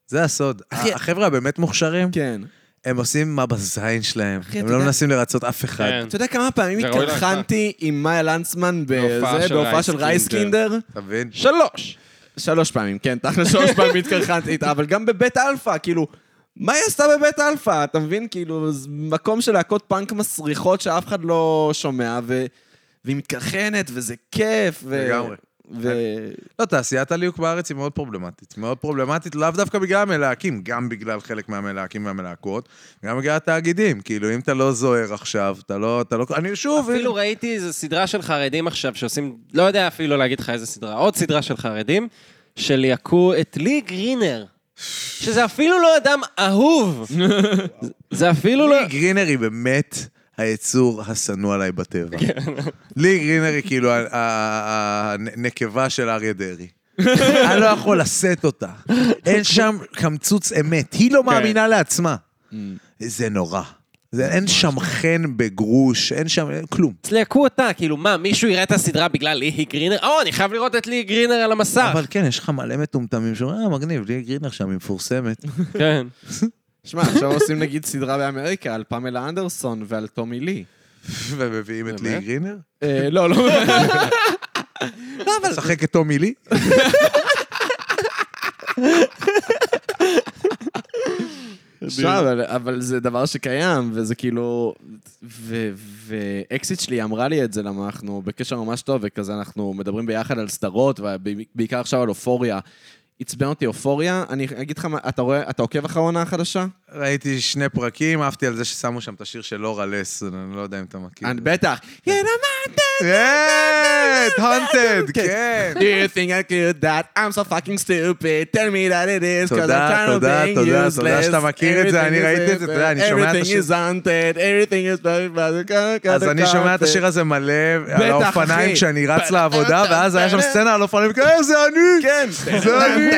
[SPEAKER 3] זה הסוד.
[SPEAKER 2] אחי-
[SPEAKER 3] החבר'ה הבאמת מוכשרים,
[SPEAKER 2] כן.
[SPEAKER 3] הם עושים מה בזין שלהם.
[SPEAKER 2] אחי,
[SPEAKER 3] הם
[SPEAKER 2] אתה
[SPEAKER 3] לא
[SPEAKER 2] יודע-
[SPEAKER 3] מנסים לרצות אף אחד.
[SPEAKER 4] כן.
[SPEAKER 2] אתה יודע כמה פעמים
[SPEAKER 4] זה ראוי להערכה.
[SPEAKER 2] התקלחנתי עם מאיה לנצמן
[SPEAKER 4] בהופעה
[SPEAKER 2] בזה,
[SPEAKER 4] של
[SPEAKER 2] בהופעה של
[SPEAKER 4] רייסקינדר?
[SPEAKER 2] רייסקינדר?
[SPEAKER 3] אתה מבין?
[SPEAKER 2] לא.
[SPEAKER 4] שלוש.
[SPEAKER 2] שלוש פעמים, כן, תכל'ס שלוש פעמים התקרחנתי איתה, אבל גם בבית אלפא, כאילו, מה היא עשתה בבית אלפא? אתה מבין? כאילו, זה מקום של להקות פאנק מסריחות שאף אחד לא שומע, ו... והיא מתקרחנת, וזה כיף, ו...
[SPEAKER 3] לגמרי.
[SPEAKER 2] ו...
[SPEAKER 3] לא, תעשיית הליהוק בארץ היא מאוד פרובלמטית. מאוד פרובלמטית לאו דווקא בגלל המלהקים, גם בגלל חלק מהמלהקים והמלהקות, גם בגלל התאגידים. כאילו, אם אתה לא זוהר עכשיו, אתה לא... אתה לא... אני שוב...
[SPEAKER 4] אפילו ראיתי איזו סדרה של חרדים עכשיו שעושים, לא יודע אפילו להגיד לך איזה סדרה, עוד סדרה של חרדים, שליהקו את לי גרינר, שזה אפילו לא אדם אהוב. זה- זה אפילו לא...
[SPEAKER 3] לי גרינר היא באמת היצור השנוא עליי בטבע. לי גרינר היא כאילו ה- ה- ה- הנקבה של אריה דרעי. אני לא יכול לשאת אותה. אין שם קמצוץ אמת. היא לא מאמינה לעצמה. זה נורא. זה, אין שם חן בגרוש, אין שם אין כלום.
[SPEAKER 4] תסלקו אותה, כאילו מה, מישהו יראה את הסדרה בגלל לי גרינר? או, אני חייב לראות את לי גרינר על המסך.
[SPEAKER 3] אבל כן, יש לך מלא מטומטמים שאומרים, אה, מגניב, לי גרינר שם, היא מפורסמת.
[SPEAKER 4] כן.
[SPEAKER 2] שמע, עכשיו עושים נגיד סדרה באמריקה על פמלה אנדרסון ועל טומי לי.
[SPEAKER 3] ומביאים את לי
[SPEAKER 4] באמת?
[SPEAKER 3] גרינר?
[SPEAKER 2] אה, לא, לא.
[SPEAKER 3] לא, לשחק את טומי לי?
[SPEAKER 2] שמע, אבל, אבל זה דבר שקיים, וזה כאילו... ו- ואקסיט שלי אמרה לי את זה, למה אנחנו בקשר ממש טוב, וכזה אנחנו מדברים ביחד על סדרות, ובעיקר עכשיו על אופוריה. עצבן אותי אופוריה, אני אגיד לך, מה- אתה רואה, אתה עוקב אחר העונה החדשה?
[SPEAKER 3] ראיתי שני פרקים, עפתי על זה ששמו שם את השיר של לורה לס, אני לא יודע אם אתה מכיר.
[SPEAKER 2] אני- בטח. You know my
[SPEAKER 3] כן, haunted, כן.
[SPEAKER 2] Do you think I could that? I'm so fucking stupid. Tell me that it is, because I'm
[SPEAKER 3] תודה,
[SPEAKER 2] tired of
[SPEAKER 3] תודה,
[SPEAKER 2] being
[SPEAKER 3] תודה,
[SPEAKER 2] useless.
[SPEAKER 3] תודה שאתה מכיר את זה, אני
[SPEAKER 2] Everything
[SPEAKER 3] ראיתי
[SPEAKER 2] is-
[SPEAKER 3] את זה, אתה יודע, אני שומע את השיר.
[SPEAKER 2] Everything is haunted, everything is...
[SPEAKER 3] אז אני שומע את השיר הזה מלא על האופניים
[SPEAKER 2] כן. אחי.
[SPEAKER 3] כשאני רץ לעבודה, ואז היה שם סצנה על אופניים, כן, זה אני!
[SPEAKER 2] כן.
[SPEAKER 3] זה אני.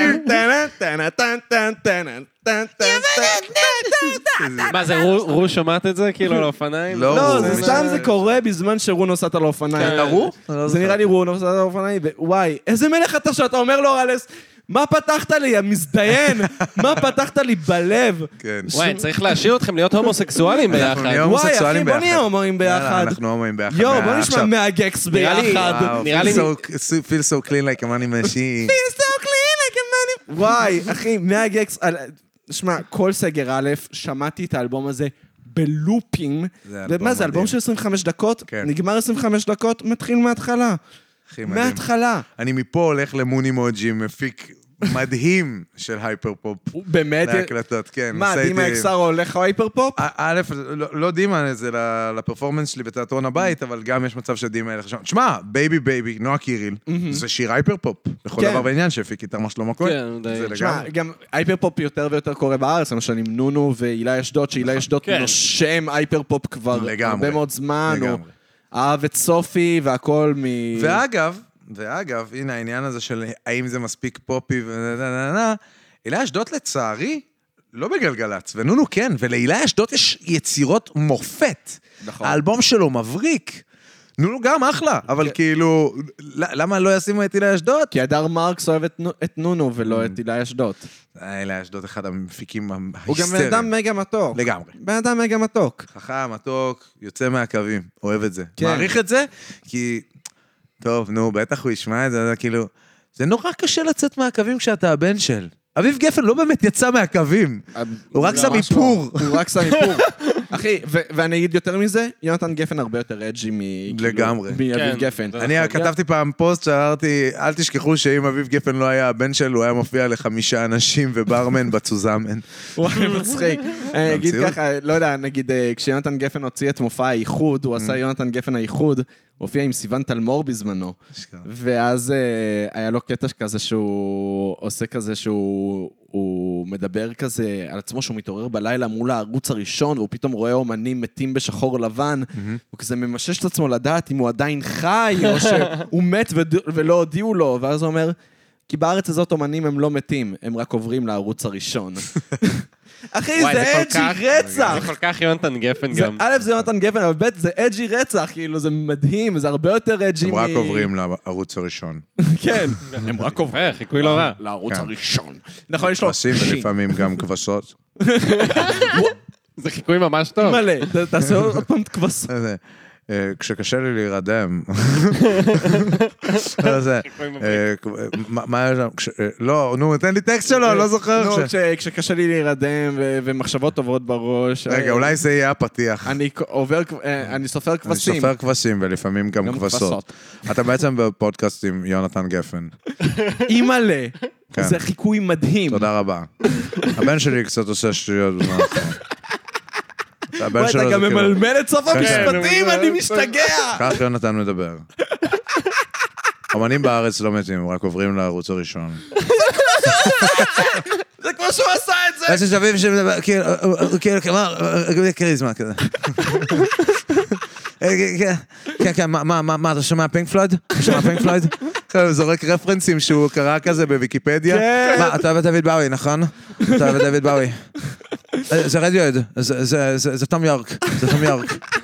[SPEAKER 4] מה זה, רו- רו שומעת את זה? כאילו על האופניים?
[SPEAKER 3] לא,
[SPEAKER 2] לא,
[SPEAKER 3] הוא
[SPEAKER 2] זה
[SPEAKER 3] מי
[SPEAKER 2] סתם
[SPEAKER 3] ש-
[SPEAKER 2] זה קורה בזמן שרו נוסעת על האופניים.
[SPEAKER 4] אתה רו?
[SPEAKER 2] זה נראה לי רו נוסעת על האופניים, ווואי, איזה מלך אתה שאתה אומר לו, אלס, מה פתחת לי, המזדיין? מה פתחת לי בלב?
[SPEAKER 3] כן.
[SPEAKER 4] וואי, צריך להשאיר אתכם להיות הומוסקסואלים
[SPEAKER 3] אנחנו נהיה
[SPEAKER 4] ביחד.
[SPEAKER 2] וואי, אחי,
[SPEAKER 3] הומוסקסואלים
[SPEAKER 2] בוא
[SPEAKER 3] ביחד.
[SPEAKER 2] נהיה הומואים
[SPEAKER 3] יאללה,
[SPEAKER 2] ביחד.
[SPEAKER 3] אנחנו הומואים ביחד.
[SPEAKER 2] יואו,
[SPEAKER 3] מה-
[SPEAKER 2] בוא נשמע
[SPEAKER 3] עכשיו.
[SPEAKER 2] מהגקס
[SPEAKER 4] נראה לי-
[SPEAKER 2] ביחד.
[SPEAKER 3] וואו,
[SPEAKER 4] נראה
[SPEAKER 3] feel
[SPEAKER 4] לי-
[SPEAKER 3] so- feel so clean like a money machine.
[SPEAKER 2] וואי, אחי, מהגקס... על- שמע, כל סגר א', שמעתי את האלבום הזה בלופים.
[SPEAKER 3] זה אלבום
[SPEAKER 2] ומה זה, אלבום
[SPEAKER 3] מדהים.
[SPEAKER 2] של 25 דקות?
[SPEAKER 3] כן.
[SPEAKER 2] נגמר 25 דקות, מתחיל מההתחלה.
[SPEAKER 3] הכי מדהים.
[SPEAKER 2] מההתחלה.
[SPEAKER 3] אני מפה הולך למוני מוג'י, מפיק מדהים של הייפר פופ.
[SPEAKER 2] באמת?
[SPEAKER 3] להקלטות, כן.
[SPEAKER 2] מה,
[SPEAKER 3] עושה
[SPEAKER 2] דימה
[SPEAKER 3] איתי-
[SPEAKER 2] אקסר הולך הייפרפופ?
[SPEAKER 3] א- א', לא לא דימה זה ל- לפרפורמנס שלי בתיאטרון
[SPEAKER 2] Mm.
[SPEAKER 3] הבית, אבל גם יש מצב שדימה ילך שם. תשמע, בייבי בייבי, נועה קיריל, זה שיר הייפר פופ. לכל
[SPEAKER 2] Mm-hmm. כן.
[SPEAKER 3] דבר בעניין שהפיק איתר מה שלמה כהן.
[SPEAKER 4] כן, די.
[SPEAKER 3] זה
[SPEAKER 2] תשמע,
[SPEAKER 3] לגמרי.
[SPEAKER 2] גם הייפרפופ יותר ויותר קורה בארץ, למשל עם נונו והילה אשדוד, שהילה אשדוד
[SPEAKER 4] כן.
[SPEAKER 2] נושם הייפרפופ כבר
[SPEAKER 3] לגמרי.
[SPEAKER 2] הרבה מאוד זמן. הוא
[SPEAKER 3] לגמרי.
[SPEAKER 2] אהב את סופי והכל מ...
[SPEAKER 3] ואגב, ואגב, הנה העניין הזה של האם זה מספיק פופי ו... נה, נה, נה. הילה אשדוד לצערי, לא בגלגלצ, ונונו כן, ולהילה אשדוד יש יצירות מופת.
[SPEAKER 2] נכון.
[SPEAKER 3] האלבום שלו מבריק. נונו גם אחלה, אבל כאילו, ל- למה לא ישימו את הילה אשדוד?
[SPEAKER 2] כי הדר מרקס אוהב את נו- את נונו ולא
[SPEAKER 3] Mm.
[SPEAKER 2] את הילה אשדוד.
[SPEAKER 3] הילה אשדוד אחד המפיקים ההיסטריים.
[SPEAKER 2] הוא גם בן אדם מגה מתוק.
[SPEAKER 3] לגמרי.
[SPEAKER 2] בן אדם מגה מתוק.
[SPEAKER 3] חכם, מתוק, יוצא מהקווים, אוהב את זה.
[SPEAKER 2] כן.
[SPEAKER 3] מעריך את זה, כי... טוב, נו, בטח הוא ישמע את זה, זה כאילו... זה נורא קשה לצאת מהקווים כשאתה הבן של. אביב גפן לא באמת יצא מהקווים. הוא רק שם
[SPEAKER 2] ממש לא.
[SPEAKER 3] איפור.
[SPEAKER 2] הוא רק שם איפור. אחי, ו- ואני אגיד יותר מזה, יונתן גפן הרבה יותר אג'י מ... כאילו,
[SPEAKER 3] לגמרי.
[SPEAKER 2] מאביב
[SPEAKER 4] כן.
[SPEAKER 2] גפן.
[SPEAKER 3] אני כתבתי פעם פוסט שאמרתי, אל תשכחו שאם אביב גפן לא היה הבן של, הוא היה מופיע לחמישה אנשים וברמן בצוזמן.
[SPEAKER 2] וואי, מצחיק. אני אגיד
[SPEAKER 3] במציאות?
[SPEAKER 2] ככה, לא יודע, נגיד, אה, כשיונתן גפן הוציא את מופע האיחוד, הוא עשה יונתן גפן האיחוד, הוא הופיע עם סיון תלמור בזמנו. ואז אה, היה לו קטע כזה שהוא עושה כזה שהוא הוא מדבר כזה על עצמו שהוא מתעורר בלילה מול הערוץ הראשון, והוא פתאום רואה אומנים מתים בשחור לבן, הוא כזה ממשש את עצמו לדעת אם הוא עדיין חי, או שהוא מת וד... ולא הודיעו לו, ואז הוא אומר, כי בארץ הזאת אומנים הם לא מתים, הם רק עוברים לערוץ הראשון. אחי,
[SPEAKER 4] וואי,
[SPEAKER 2] זה
[SPEAKER 4] כל כך-
[SPEAKER 2] אג'י רצח!
[SPEAKER 4] זה כל כך יונתן גפן
[SPEAKER 2] זה-
[SPEAKER 4] גם.
[SPEAKER 2] א', זה יונתן גפן, אבל ב', זה אג'י רצח, כאילו, זה מדהים, זה הרבה יותר אג'י
[SPEAKER 3] הם רק עוברים לערוץ הראשון.
[SPEAKER 2] כן.
[SPEAKER 4] הם רק עובר, חיקוי לא רע.
[SPEAKER 2] לערוץ
[SPEAKER 3] כן.
[SPEAKER 2] לא. הראשון. נכון, יש לו
[SPEAKER 3] עושים ולפעמים גם כבשות.
[SPEAKER 7] זה חיקוי ממש טוב.
[SPEAKER 2] מלא. ת- תעשה עוד פעם את כבש.
[SPEAKER 3] זה, אה, כשקשה לי להירדם. לא, זה, אה, מה- מה היה שם? כש- אה, לא, נו, תן לי טקסט שלו, אני לא זוכר.
[SPEAKER 2] נו,
[SPEAKER 3] כש-
[SPEAKER 2] כש- כשקשה לי להירדם ו- ומחשבות עוברות בראש.
[SPEAKER 3] רגע,
[SPEAKER 2] אה,
[SPEAKER 3] אולי זה יהיה הפתיח.
[SPEAKER 2] אני כ- עובר, כב- אה, אני סופר
[SPEAKER 3] אני
[SPEAKER 2] כבשים.
[SPEAKER 3] סופר כבשים ולפעמים גם
[SPEAKER 2] גם
[SPEAKER 3] כבשות.
[SPEAKER 2] כבשות.
[SPEAKER 3] אתה בעצם בפודקאסט עם יונתן גפן.
[SPEAKER 2] אימא'לה.
[SPEAKER 3] כן.
[SPEAKER 2] זה חיקוי מדהים.
[SPEAKER 3] תודה רבה. הבן שלי קצת עושה שטויות בזמן האחרון. הבן
[SPEAKER 2] וואי,
[SPEAKER 3] שלו
[SPEAKER 2] אתה
[SPEAKER 3] זה
[SPEAKER 2] גם
[SPEAKER 3] כאילו-
[SPEAKER 2] ממלמל את סוף
[SPEAKER 3] כן.
[SPEAKER 2] המשפטים, אני משתגע!
[SPEAKER 3] כך יונתן מדבר. אמנים בארץ לא מתים, הם רק עוברים לערוץ הראשון.
[SPEAKER 2] זה כמו שהוא עשה את זה!
[SPEAKER 3] יש שווים שמדבר, כאילו, הוא כאילו כלומר, בלי כריזמה כאילו, כזה. אה, כן, כן, מה, מה, מה, מה, אתה שומע פינק פלויד? אתה שומע פינק פלויד? הוא זורק רפרנסים שהוא קרא כזה בוויקיפדיה.
[SPEAKER 2] כן.
[SPEAKER 3] מה, אתה אוהב את דוד באוי, נכון? אתה אוהב את דוד באוי. אה, זה רדיואד, זה- זה- זה זה תום יורק, זה תום יורק.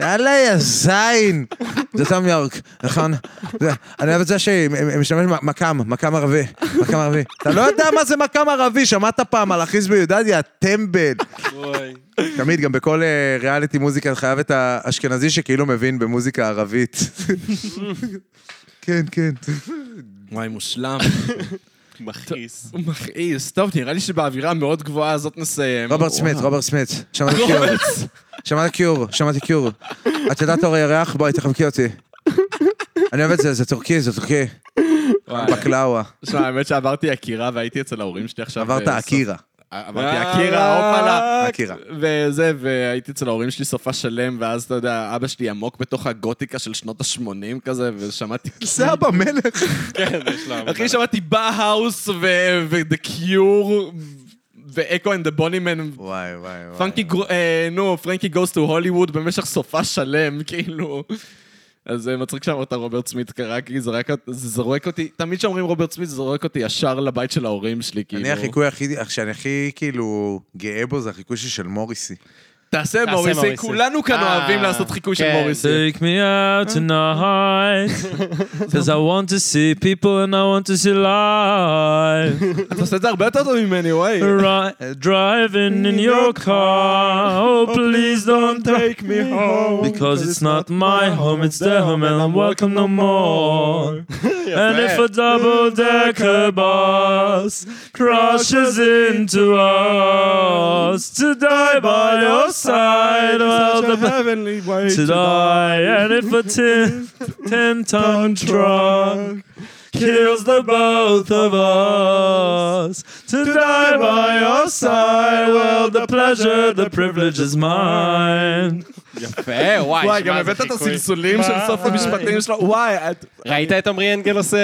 [SPEAKER 3] יאללה, יא זין! זה תום יורק, נכון? זה- אני אוהב את זה שהיא משתמשת במכ"ם, מכ"ם ערבי, מכ"ם ערבי. אתה לא יודע מה זה מכ"ם ערבי, שמעת פעם על אחיז ביודד, יא טמבל. תמיד, גם בכל אה, ריאליטי מוזיקה, אתה חייב את האשכנזי שכאילו מבין במוזיקה ערבית. כן, כן.
[SPEAKER 2] וואי, מושלם.
[SPEAKER 4] מכעיס.
[SPEAKER 2] מכעיס. טוב, נראה לי שבאווירה המאוד גבוהה הזאת נסיים.
[SPEAKER 3] רוברט סמית, רוברט סמית. שמעתי קיור. שמעתי קיור, שמעתי קיור. את יודעת אור הירח? בואי, תחבקי אותי. אני אוהב את זה, זה טורקי, זה טורקי.
[SPEAKER 2] וואי.
[SPEAKER 3] בקלאווה.
[SPEAKER 2] שמע, האמת שעברתי עקירה והייתי אצל ההורים שלי עכשיו.
[SPEAKER 3] עברת
[SPEAKER 2] בסוף-
[SPEAKER 3] אקירה.
[SPEAKER 2] עברתי אקירה, הופלה.
[SPEAKER 3] אקירה.
[SPEAKER 2] וזה, והייתי אצל ההורים שלי סופה שלם, ואז אתה יודע, אבא שלי עמוק בתוך הגותיקה של שנות ה-80 כזה, ושמעתי...
[SPEAKER 3] זה אבא מלך.
[SPEAKER 4] כן, יש לה...
[SPEAKER 2] אחי, שמעתי בהאוס ו-The Cure ואקו אנד דה בונימן.
[SPEAKER 3] וואי, וואי, וואי.
[SPEAKER 2] פרנקי, גרו- אה, נו, פרנקי גוס טו הוליווד במשך סופה שלם, כאילו. אז זה מצחיק שאמרת רוברט סמית קרה, כי זה רק- זה זורק אותי, תמיד כשאומרים רוברט סמית, זה זורק אותי ישר לבית של ההורים שלי, כאילו.
[SPEAKER 3] אני החיקוי הכי, שאני הכי כאילו גאה בו, זה החיקוי שלי של מוריסי.
[SPEAKER 2] תעשה מוריסי,
[SPEAKER 4] מוריסי.
[SPEAKER 2] כולנו כאן
[SPEAKER 4] אה,
[SPEAKER 2] אוהבים לעשות חיקוי של
[SPEAKER 4] כן.
[SPEAKER 2] מוריסי.
[SPEAKER 10] Take me out tonight, cause I want to see people and I want to see life.
[SPEAKER 2] אתה עושה את זה הרבה יותר טוב ממני, וואי.
[SPEAKER 10] Ri- driving in your car, oh please don't take me home, because it's not my home, it's their home and I'm welcome no more. And if a double decker bus crashes into us, to die by your side, well, the to die. And if a ten, ten ton truck kills the both of us, to die by your side, well, the pleasure, the privilege is mine.
[SPEAKER 4] יפה, וואי,
[SPEAKER 2] וואי,
[SPEAKER 4] שמע,
[SPEAKER 2] גם
[SPEAKER 4] זה
[SPEAKER 2] הבאת את
[SPEAKER 4] חיקוי.
[SPEAKER 2] הסלסולים של
[SPEAKER 4] אה,
[SPEAKER 2] סוף המשפטים שלו, וואי, את-
[SPEAKER 4] ראית את עמרי אנגל עושה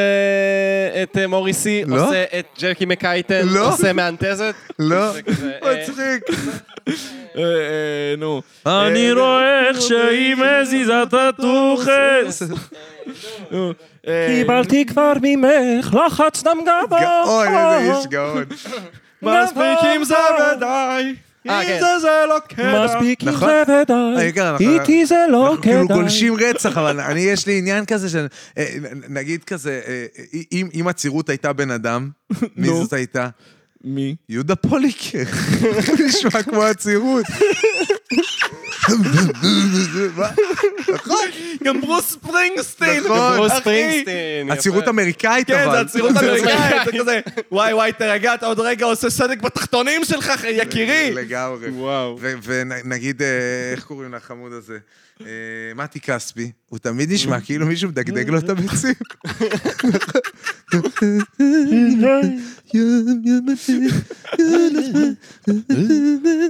[SPEAKER 4] את אה, מוריסי?
[SPEAKER 3] לא.
[SPEAKER 4] עושה את ג'קי מקייטן?
[SPEAKER 3] לא.
[SPEAKER 4] עושה מאנטזת?
[SPEAKER 3] לא,
[SPEAKER 4] זה כזה, אה,
[SPEAKER 3] מצחיק.
[SPEAKER 2] אה, אה, נו.
[SPEAKER 10] אני רואה איך שהיא מזיזה את הטוחס.
[SPEAKER 2] אה,
[SPEAKER 7] קיבלתי כבר ממך לחץ דם
[SPEAKER 3] גאון, איזה
[SPEAKER 4] אה,
[SPEAKER 3] איש גאון.
[SPEAKER 2] מספיק עם זה ודאי.
[SPEAKER 4] אה,
[SPEAKER 2] אם
[SPEAKER 4] כן.
[SPEAKER 2] זה זה לא כדאי.
[SPEAKER 7] מספיק עם
[SPEAKER 3] נכון.
[SPEAKER 7] זה
[SPEAKER 3] אני
[SPEAKER 7] ודי,
[SPEAKER 3] ככה, אנחנו-
[SPEAKER 7] איתי זה לא
[SPEAKER 3] אנחנו כאילו
[SPEAKER 7] כדאי.
[SPEAKER 3] גולשים רצח, אבל אני, יש לי עניין כזה, ש- אה, נ- נגיד כזה, אה, אה, אם- אם עצירות הייתה בן אדם, מי
[SPEAKER 2] נו.
[SPEAKER 3] זאת הייתה?
[SPEAKER 2] מי?
[SPEAKER 3] יהודה פוליקר. נשמע כמו עצירות. מה?
[SPEAKER 2] אה, גם ברוס ספרינגסטין.
[SPEAKER 3] נכון.
[SPEAKER 4] ברוס
[SPEAKER 2] אחי.
[SPEAKER 4] ספרינגסטין. יפה.
[SPEAKER 3] עצירות אמריקאית, אבל.
[SPEAKER 2] כן, זה עצירות
[SPEAKER 3] זה-
[SPEAKER 2] אמריקאית, זה כזה, וואי וואי, תרגע, אתה עוד רגע עושה סדק בתחתונים שלך, אחי, יקירי.
[SPEAKER 3] לגמרי.
[SPEAKER 4] וואו.
[SPEAKER 3] ונגיד, אה, איך קוראים לחמוד הזה? אה, מתי כספי, הוא תמיד נשמע כאילו מישהו מדגדג לו את הביצים.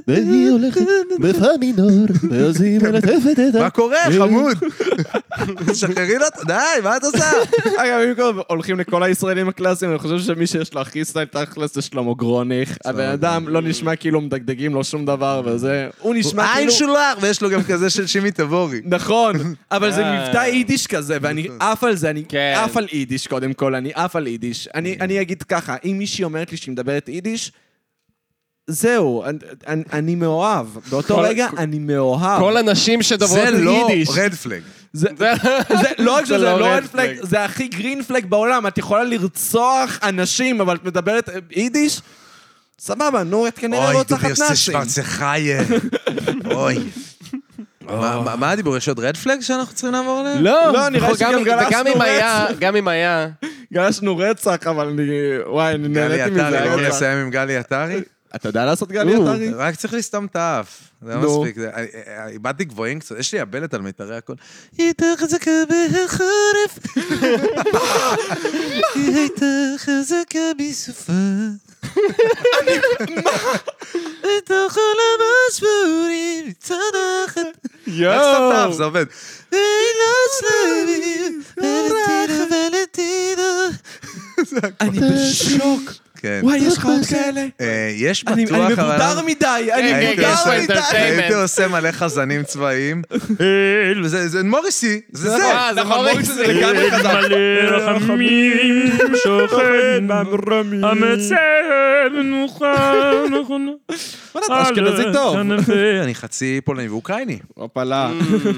[SPEAKER 11] והיא הולכת בפה מינור, ואז היא מלטפת את ה...
[SPEAKER 3] מה קורה, חמוד? שחררי לו, אותו, די, מה את עושה?
[SPEAKER 2] אגב, אם כבר הולכים לכל הישראלים הקלאסיים, אני חושב שמי שיש לו הכי סטייל תכלס זה שלמה גרוניך. הבן אדם לא נשמע כאילו מדגדגים לו שום דבר וזה. הוא נשמע
[SPEAKER 3] עין
[SPEAKER 2] כאילו...
[SPEAKER 3] שולח, ויש לו גם כזה של שימי תבורי.
[SPEAKER 2] נכון, אבל זה
[SPEAKER 4] אה.
[SPEAKER 2] מבטא יידיש כזה, ואני עף על זה, אני
[SPEAKER 4] כן.
[SPEAKER 2] עף על יידיש קודם כל, אני עף על יידיש. אני אני אגיד ככה, אם מישהי אומרת לי שהיא מדברת יידיש, זהו, אני- אני- אני מאוהב. באותו
[SPEAKER 4] כל-
[SPEAKER 2] רגע אני מאוהב.
[SPEAKER 4] כל הנשים שדוברות
[SPEAKER 3] זה לא
[SPEAKER 4] יידיש.
[SPEAKER 3] רד פלג.
[SPEAKER 2] זה זה- לא רק
[SPEAKER 4] זה
[SPEAKER 2] שזה
[SPEAKER 4] לא
[SPEAKER 2] לא
[SPEAKER 4] red
[SPEAKER 2] רד פלג,
[SPEAKER 4] flag.
[SPEAKER 2] זה הכי גרין פלג בעולם. את יכולה לרצוח אנשים, אבל את מדברת אה, יידיש? סבבה, נו, את כנראה
[SPEAKER 3] אוי,
[SPEAKER 2] רוצחת
[SPEAKER 3] דוביוסטי
[SPEAKER 2] לא נאצים.
[SPEAKER 3] שוורצחייר. אוי. מה- מה- מה הדיבור? יש עוד רדפלג שאנחנו צריכים לעבור עליהם?
[SPEAKER 2] אה. לא, נראה
[SPEAKER 4] וגם-
[SPEAKER 2] שגם גלסנו
[SPEAKER 4] וגם אם היה, גם אם היה,
[SPEAKER 2] אה, גלשנו רצח, אבל אני... וואי, אני
[SPEAKER 3] גלי
[SPEAKER 2] נהניתי מזה. לא
[SPEAKER 3] עטרי,
[SPEAKER 2] היה
[SPEAKER 4] לא
[SPEAKER 3] בואו
[SPEAKER 2] רצח.
[SPEAKER 3] נסיים עם גלי עטרי.
[SPEAKER 2] אתה יודע לעשות גלי
[SPEAKER 7] או.
[SPEAKER 4] אה,
[SPEAKER 2] עטרי?
[SPEAKER 3] רק צריך לסתום את האף. זה לא מספיק. זה- אני- אני- איבדתי גבוהים קצת, יש לי הבלת על מיתרי הקול. היא יותר חזקה בחורף. היא הייתה חזקה בסופה. את החול המשמעותי מצד אחת. רק סתום את האף, זה עובד. אין לה סלבים, ולטינה ולטינה.
[SPEAKER 2] אני בשוק.
[SPEAKER 3] כן.
[SPEAKER 2] וואי, יש לך עוד כאלה?
[SPEAKER 3] אה, יש בטוח,
[SPEAKER 2] אני אני מבודר מדי, אני
[SPEAKER 3] הייתי עושה-
[SPEAKER 2] מבודר מדי.
[SPEAKER 4] entertainment.
[SPEAKER 3] הייתי עושה מלא חזנים צבאיים. אה, זה זה מוריסי, זה זה.
[SPEAKER 4] אה,
[SPEAKER 2] נכון,
[SPEAKER 4] זה אה, מוריסי.
[SPEAKER 10] מלא רחמים שוכן המצער מנוחה נכונה.
[SPEAKER 2] אתה אשכנזי
[SPEAKER 4] אה,
[SPEAKER 2] טוב. נכון.
[SPEAKER 3] אני חצי פולני ואוקראיני.
[SPEAKER 2] הופלה.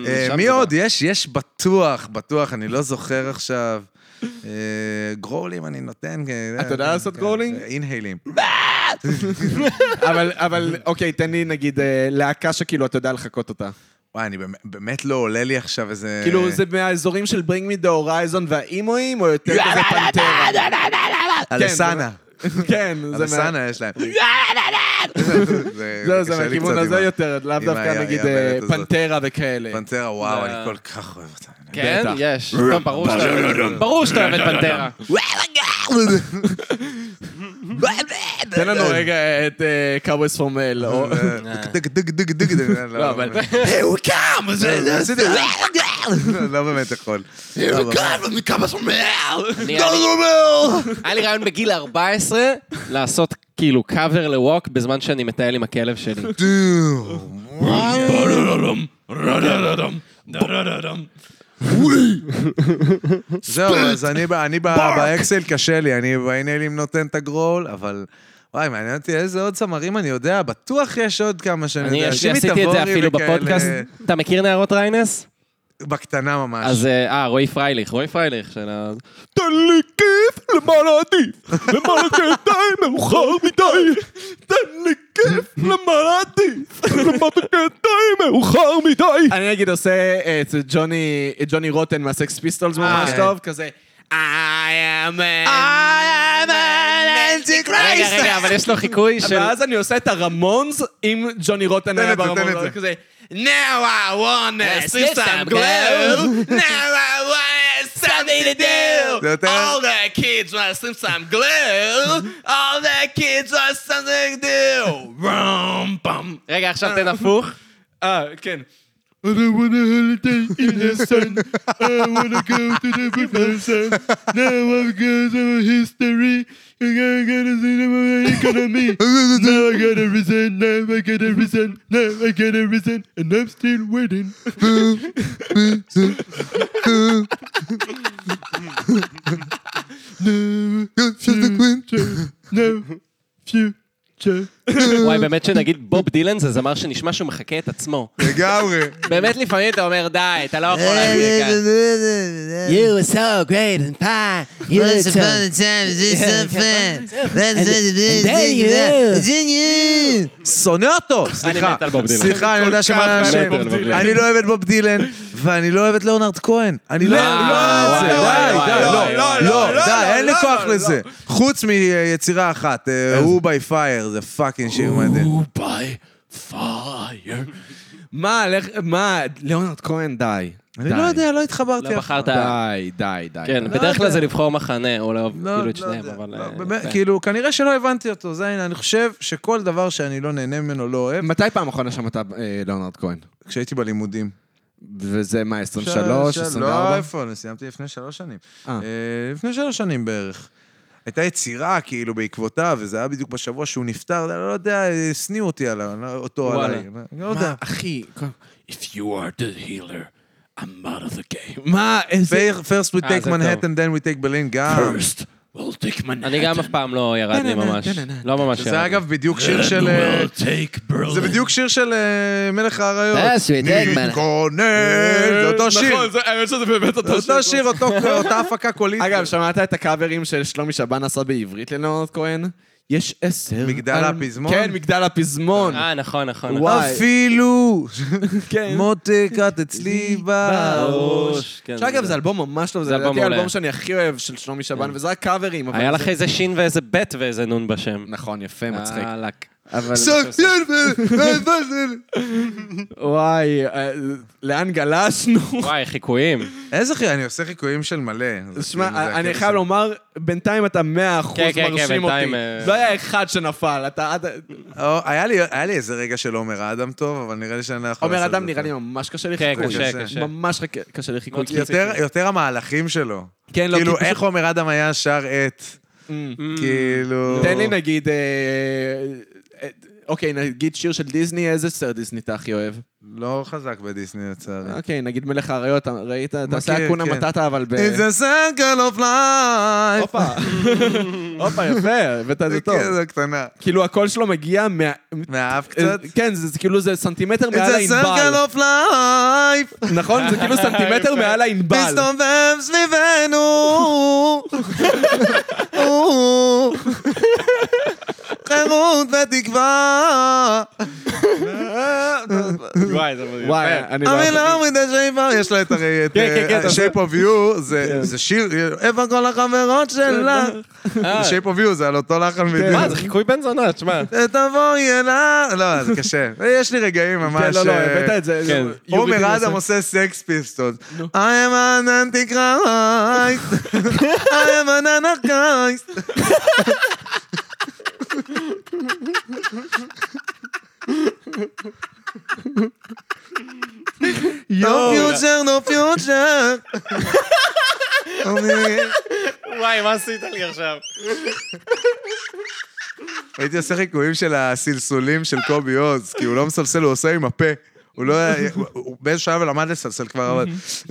[SPEAKER 3] אה, מי עוד? יש, יש בטוח, בטוח, אני לא זוכר עכשיו. אה, גרולים אני נותן. אה,
[SPEAKER 2] אתה יודע
[SPEAKER 3] אה,
[SPEAKER 2] לעשות
[SPEAKER 3] כן,
[SPEAKER 2] גרולינג?
[SPEAKER 3] אה, אינהיילים.
[SPEAKER 2] אבל, אבל, אוקיי, תן לי נגיד אה, להקה שכאילו אתה יודע לחקות אותה.
[SPEAKER 3] וואי, אני באמת- באמת לא עולה לי עכשיו איזה...
[SPEAKER 4] אה.
[SPEAKER 2] כאילו, זה מהאזורים של Bring Me the Horizon והאימויים, או יותר
[SPEAKER 4] אה,
[SPEAKER 2] כזה פנטרה?
[SPEAKER 3] אלסנה.
[SPEAKER 2] כן, זה מה...
[SPEAKER 3] אלסנה יש להם.
[SPEAKER 2] זהו,
[SPEAKER 3] קשה
[SPEAKER 2] זה
[SPEAKER 3] לי
[SPEAKER 2] מהכיוון
[SPEAKER 3] קצת עם
[SPEAKER 2] הזה
[SPEAKER 3] ה-
[SPEAKER 2] יותר, לאו
[SPEAKER 3] עם ה-
[SPEAKER 2] דווקא נגיד
[SPEAKER 3] עם הבלט
[SPEAKER 2] אה,
[SPEAKER 3] הזאת.
[SPEAKER 2] פנטרה וכאלה.
[SPEAKER 3] פנתרה, וואו,
[SPEAKER 4] זה-
[SPEAKER 3] אני כל כך אוהב אותה.
[SPEAKER 4] כן,
[SPEAKER 2] בטח.
[SPEAKER 4] יש. טוב, ברור שאתה אוהב- ברור שאתה אוהב את פנטרה.
[SPEAKER 2] תן לנו רגע את קאוויס פורמל.
[SPEAKER 3] דג דג דג דג דג.
[SPEAKER 2] לא, אבל...
[SPEAKER 3] עשיתי... לא באמת יכול.
[SPEAKER 4] אני- היה לי רעיון בגיל 14 לעשות כאילו קאבר לווק בזמן שאני מטייל עם הכלב שלי.
[SPEAKER 3] זהו, אז אני ב- אני ב- באקסל קשה לי, אני באינלים נותן את הגרול, אבל... וואי, מעניין אותי איזה עוד צמרים אני יודע, בטוח יש עוד כמה שאני
[SPEAKER 4] אני
[SPEAKER 3] יודע.
[SPEAKER 4] יש לי-
[SPEAKER 3] שימי
[SPEAKER 4] עשיתי את זה
[SPEAKER 3] תבורי
[SPEAKER 4] אפילו
[SPEAKER 3] וכאלה,
[SPEAKER 4] בפודקאסט. אתה מכיר נערות ריינס?
[SPEAKER 3] בקטנה ממש.
[SPEAKER 4] אז אה, אה, רועי פרייליך, רועי פרייליך של ה...
[SPEAKER 2] תן לי כיף, למעלה עדיף. למעלה כדאי, מאוחר מדי. תן לי כיף, למעלה עדיף. למעלה כדאי, מאוחר מדי. אני נגיד עושה את ג'וני ג'וני רוטן מהסקס פיסטולס ממש
[SPEAKER 3] כן.
[SPEAKER 2] טוב, כזה... I am a... I am an
[SPEAKER 4] רגע, רגע, אבל יש לו חיקוי של...
[SPEAKER 2] ואז אני עושה את הרמונס עם ג'וני רוטן היה
[SPEAKER 3] את זה, תן
[SPEAKER 2] ברמונס.
[SPEAKER 3] את זה.
[SPEAKER 2] כזה, Now I wanna see some glue. Now I wanna something to
[SPEAKER 3] זה
[SPEAKER 2] do.
[SPEAKER 3] יותר-
[SPEAKER 2] All the kids wanna see some glue. All the kids want something to do. רום פם.
[SPEAKER 4] רגע, עכשיו תן הפוך.
[SPEAKER 2] אה, כן. I don't want a holiday in the sun. I want to go to the football sun. Now I've got some history. I gotta see the money economy. Now I gotta resign. Now I gotta resign. Now I gotta resign. And I'm still waiting. No future.
[SPEAKER 4] וואי, באמת שנגיד בוב דילן זה זמר שנשמע שהוא מחקה את עצמו.
[SPEAKER 3] לגמרי.
[SPEAKER 4] באמת לפעמים אתה אומר, די, אתה לא יכול להגיד ככה. You were so great and fine. You were
[SPEAKER 8] Once upon
[SPEAKER 4] so...
[SPEAKER 8] a time, this is so fun. That's
[SPEAKER 4] then you know.
[SPEAKER 8] you.
[SPEAKER 3] שונא אותו! סליחה.
[SPEAKER 4] מת על בוב דילן.
[SPEAKER 3] סליחה, אני יודע שמה
[SPEAKER 4] מת על בוב
[SPEAKER 3] השם.
[SPEAKER 4] דילן.
[SPEAKER 3] אני לא אוהב את בוב דילן, ואני לא אוהב את ליאונרד כהן. אני לא
[SPEAKER 2] לא,
[SPEAKER 4] אה,
[SPEAKER 3] אני לא אוהב את
[SPEAKER 2] לא,
[SPEAKER 3] זה. די, די,
[SPEAKER 2] לא,
[SPEAKER 3] לא,
[SPEAKER 2] לא, לא,
[SPEAKER 3] לא,
[SPEAKER 2] לא,
[SPEAKER 3] די, אין לי
[SPEAKER 2] לא,
[SPEAKER 3] כוח
[SPEAKER 2] לא.
[SPEAKER 3] לזה. חוץ מיצירה אחת, אה, הוא ביי פייר, זה פאקינג שיר מדהים.
[SPEAKER 2] by fire. מה, לך, מה, ליאונרד כהן, די.
[SPEAKER 3] אני
[SPEAKER 2] די.
[SPEAKER 3] לא יודע, לא התחברתי.
[SPEAKER 4] לא
[SPEAKER 3] אף
[SPEAKER 4] בחרת...
[SPEAKER 2] די, די, די.
[SPEAKER 4] כן,
[SPEAKER 2] די.
[SPEAKER 4] בדרך כלל זה לבחור מחנה, או לא,
[SPEAKER 3] לא,
[SPEAKER 4] כאילו את
[SPEAKER 3] לא
[SPEAKER 4] שניהם,
[SPEAKER 3] יודע.
[SPEAKER 4] אבל...
[SPEAKER 3] לא,
[SPEAKER 4] אה,
[SPEAKER 3] באמת,
[SPEAKER 4] כן.
[SPEAKER 3] כאילו, כנראה שלא הבנתי אותו, זה העניין. אני חושב שכל דבר שאני לא נהנה ממנו לא אוהב,
[SPEAKER 2] מתי פעם אחרונה שמעת אה, ליאונרד כהן?
[SPEAKER 3] כשהייתי בלימודים.
[SPEAKER 2] וזה מה, 23,
[SPEAKER 3] לא,
[SPEAKER 2] 24?
[SPEAKER 3] איפה? אני סיימתי לפני שלוש שנים.
[SPEAKER 2] אה.
[SPEAKER 3] אה, לפני שלוש שנים בערך. הייתה יצירה, כאילו, בעקבותיו, וזה היה בדיוק בשבוע שהוא נפטר, לא יודע, השניאו אותי עליו, לא- אותו
[SPEAKER 4] וואלה.
[SPEAKER 3] עליי. לא יודע.
[SPEAKER 2] אחי, כל- If you are the healer, I'm out of the game. מה, איזה...
[SPEAKER 3] First we
[SPEAKER 4] אה,
[SPEAKER 3] take
[SPEAKER 4] זה טוב.
[SPEAKER 3] Manhattan, then we take Berlin, גם.
[SPEAKER 2] First, we'll take Manhattan.
[SPEAKER 4] אני גם אף פעם לא ירד לי ממש. לא ממש ירד.
[SPEAKER 3] זה
[SPEAKER 4] לי.
[SPEAKER 3] אגב בדיוק שיר של... אה,
[SPEAKER 2] We'll take Berlin.
[SPEAKER 3] זה בדיוק שיר של אה, מלך האריות.
[SPEAKER 8] First we take Manhattan.
[SPEAKER 3] נתגונן. זה אותו שיר.
[SPEAKER 2] נכון, זה- האמת שזה באמת אותו
[SPEAKER 3] זה
[SPEAKER 2] שיר.
[SPEAKER 3] אותו שיר, אותו- אותה הפקה קולית.
[SPEAKER 2] אגב, שמעת את הקאברים של שלומי שבן עשה בעברית ללאונרד כהן? יש עשר.
[SPEAKER 3] מגדל
[SPEAKER 2] על-
[SPEAKER 3] הפזמון?
[SPEAKER 2] כן, מגדל הפזמון.
[SPEAKER 4] אה, נכון, נכון. נכון.
[SPEAKER 2] וואי.
[SPEAKER 3] אפילו
[SPEAKER 2] כן.
[SPEAKER 3] מותק את אצלי בראש.
[SPEAKER 4] בראש, כן,
[SPEAKER 2] שאגב, זה אלבום ממש טוב,
[SPEAKER 4] זה
[SPEAKER 2] זה
[SPEAKER 4] אלבום
[SPEAKER 2] לדעתי
[SPEAKER 4] מעולה.
[SPEAKER 2] האלבום שאני הכי אוהב של שלומי שבן, וזה רק קאברים, אבל...
[SPEAKER 4] לא- היה
[SPEAKER 2] זה-
[SPEAKER 4] לך איזה שין ואיזה בית ואיזה נון בשם.
[SPEAKER 2] נכון, יפה, מצחיק.
[SPEAKER 4] אהלק.
[SPEAKER 2] אבל...
[SPEAKER 3] סקסל.
[SPEAKER 2] וואי, אה, לאן גלשנו?
[SPEAKER 4] וואי, חיקויים.
[SPEAKER 3] איזה חי... אני עושה חיקויים של מלא. זה כאילו, זה
[SPEAKER 2] שמע, אני
[SPEAKER 3] הקטע
[SPEAKER 2] חייב
[SPEAKER 3] שלי.
[SPEAKER 2] לומר, בינתיים אתה 100%
[SPEAKER 4] כן, כן,
[SPEAKER 2] מרשים אותי.
[SPEAKER 4] בינתיים, אה,
[SPEAKER 2] לא היה אחד שנפל, אתה עד...
[SPEAKER 3] או, היה לי- היה לי איזה רגע של עומר אדם טוב, אבל נראה לי שאני לא יכול
[SPEAKER 2] עומר
[SPEAKER 3] לעשות
[SPEAKER 2] אדם
[SPEAKER 3] את
[SPEAKER 2] נראה
[SPEAKER 3] זה.
[SPEAKER 2] לי ממש קשה
[SPEAKER 4] כן,
[SPEAKER 2] לחיקוי.
[SPEAKER 4] קשה, קשה.
[SPEAKER 2] ממש חק- קשה לחיקוי.
[SPEAKER 4] מאוד
[SPEAKER 2] כי-
[SPEAKER 3] יותר, יותר המהלכים שלו.
[SPEAKER 2] כן, לא,
[SPEAKER 3] כאילו,
[SPEAKER 2] כי
[SPEAKER 3] איך עומר אדם היה שר את...
[SPEAKER 4] Mm.
[SPEAKER 3] כאילו...
[SPEAKER 2] תן לי נגיד... אה, אה, אוקיי, נגיד שיר של דיסני, איזה סרט דיסני אתה הכי אוהב?
[SPEAKER 3] לא חזק בדיסני, לצערי.
[SPEAKER 2] אוקיי, נגיד מלך האריות, ראית? תעשה
[SPEAKER 3] מכיר,
[SPEAKER 2] אקונה
[SPEAKER 3] כן.
[SPEAKER 2] מטאטה, אבל ב...
[SPEAKER 3] It's a circle of life.
[SPEAKER 2] הופה, הופה, יפה, הבאת את אוקיי, זה טוב.
[SPEAKER 3] כן, זה קטנה.
[SPEAKER 2] כאילו הקול שלו מגיע מה...
[SPEAKER 3] מהאף קצת?
[SPEAKER 2] כן, זה זה כאילו זה סנטימטר
[SPEAKER 3] It's
[SPEAKER 2] מעל
[SPEAKER 3] a circle
[SPEAKER 2] הענבל.
[SPEAKER 3] of life.
[SPEAKER 2] נכון? זה כאילו סנטימטר מעל הענבל.
[SPEAKER 3] מסתובב סביבנו. חירות ותקווה.
[SPEAKER 4] וואי, זה מדהים.
[SPEAKER 2] וואי, אני לא...
[SPEAKER 3] אני
[SPEAKER 2] יכול.
[SPEAKER 3] לא מדי שייפה, יש לה את הרי את אה,
[SPEAKER 2] כן, כן, אתה כן. עושה-
[SPEAKER 3] שייפ אוף יו, זה שיר, אה, איפה כל החברות שלה?
[SPEAKER 2] אה.
[SPEAKER 3] שייפ אוף יו זה על אותו
[SPEAKER 2] כן.
[SPEAKER 3] לחן בדיוק.
[SPEAKER 4] מה, זה חיקוי בן זונה, תשמע.
[SPEAKER 3] תבואי אליי, לא, זה קשה. יש לי רגעים ממש...
[SPEAKER 2] כן, לא, לא,
[SPEAKER 3] אה,
[SPEAKER 2] הבאת את זה. זה-
[SPEAKER 4] כן.
[SPEAKER 2] You Begin
[SPEAKER 3] עומר אדם
[SPEAKER 2] Yourself.
[SPEAKER 3] עושה סקס פיסטון. I am an antichrist. I am an anarchist. No future, no future. אני-
[SPEAKER 4] וואי, מה עשית לי עכשיו?
[SPEAKER 3] הייתי עושה חיקויים של הסלסולים של קובי עוז, כי הוא לא מסלסל, הוא עושה עם הפה. הוא לא... הוא- הוא באיזה שלב למד לסלסל כבר, אבל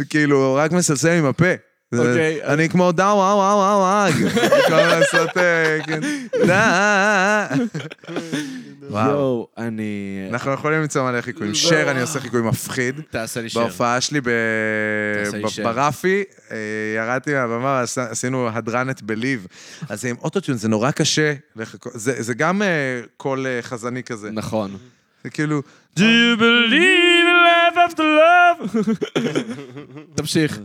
[SPEAKER 3] כאילו, הוא רק מסלסל עם הפה. זה-
[SPEAKER 2] אוקיי.
[SPEAKER 3] אני כמו דאו, וואו, וואו, וואו, וואו. במקום לעשות... אה, כן, דא. אה. וואו.
[SPEAKER 2] יואו, לא. אני...
[SPEAKER 3] אנחנו יכולים למצוא מלא חיקויים. שר, אני עושה חיקוי מפחיד.
[SPEAKER 2] תעשה לי שיר.
[SPEAKER 3] בהופעה שלי ב...
[SPEAKER 2] תעשה לי
[SPEAKER 3] ב-
[SPEAKER 2] שם.
[SPEAKER 3] ברפי, אה, ירדתי מהבמה, עש- עשינו הדרן את בליב. אז עם אוטוטיון זה נורא קשה. לחכות- זה זה גם אה, קול אה, חזני כזה.
[SPEAKER 2] נכון.
[SPEAKER 3] זה כאילו,
[SPEAKER 10] Do you believe in life after love?
[SPEAKER 2] תמשיך.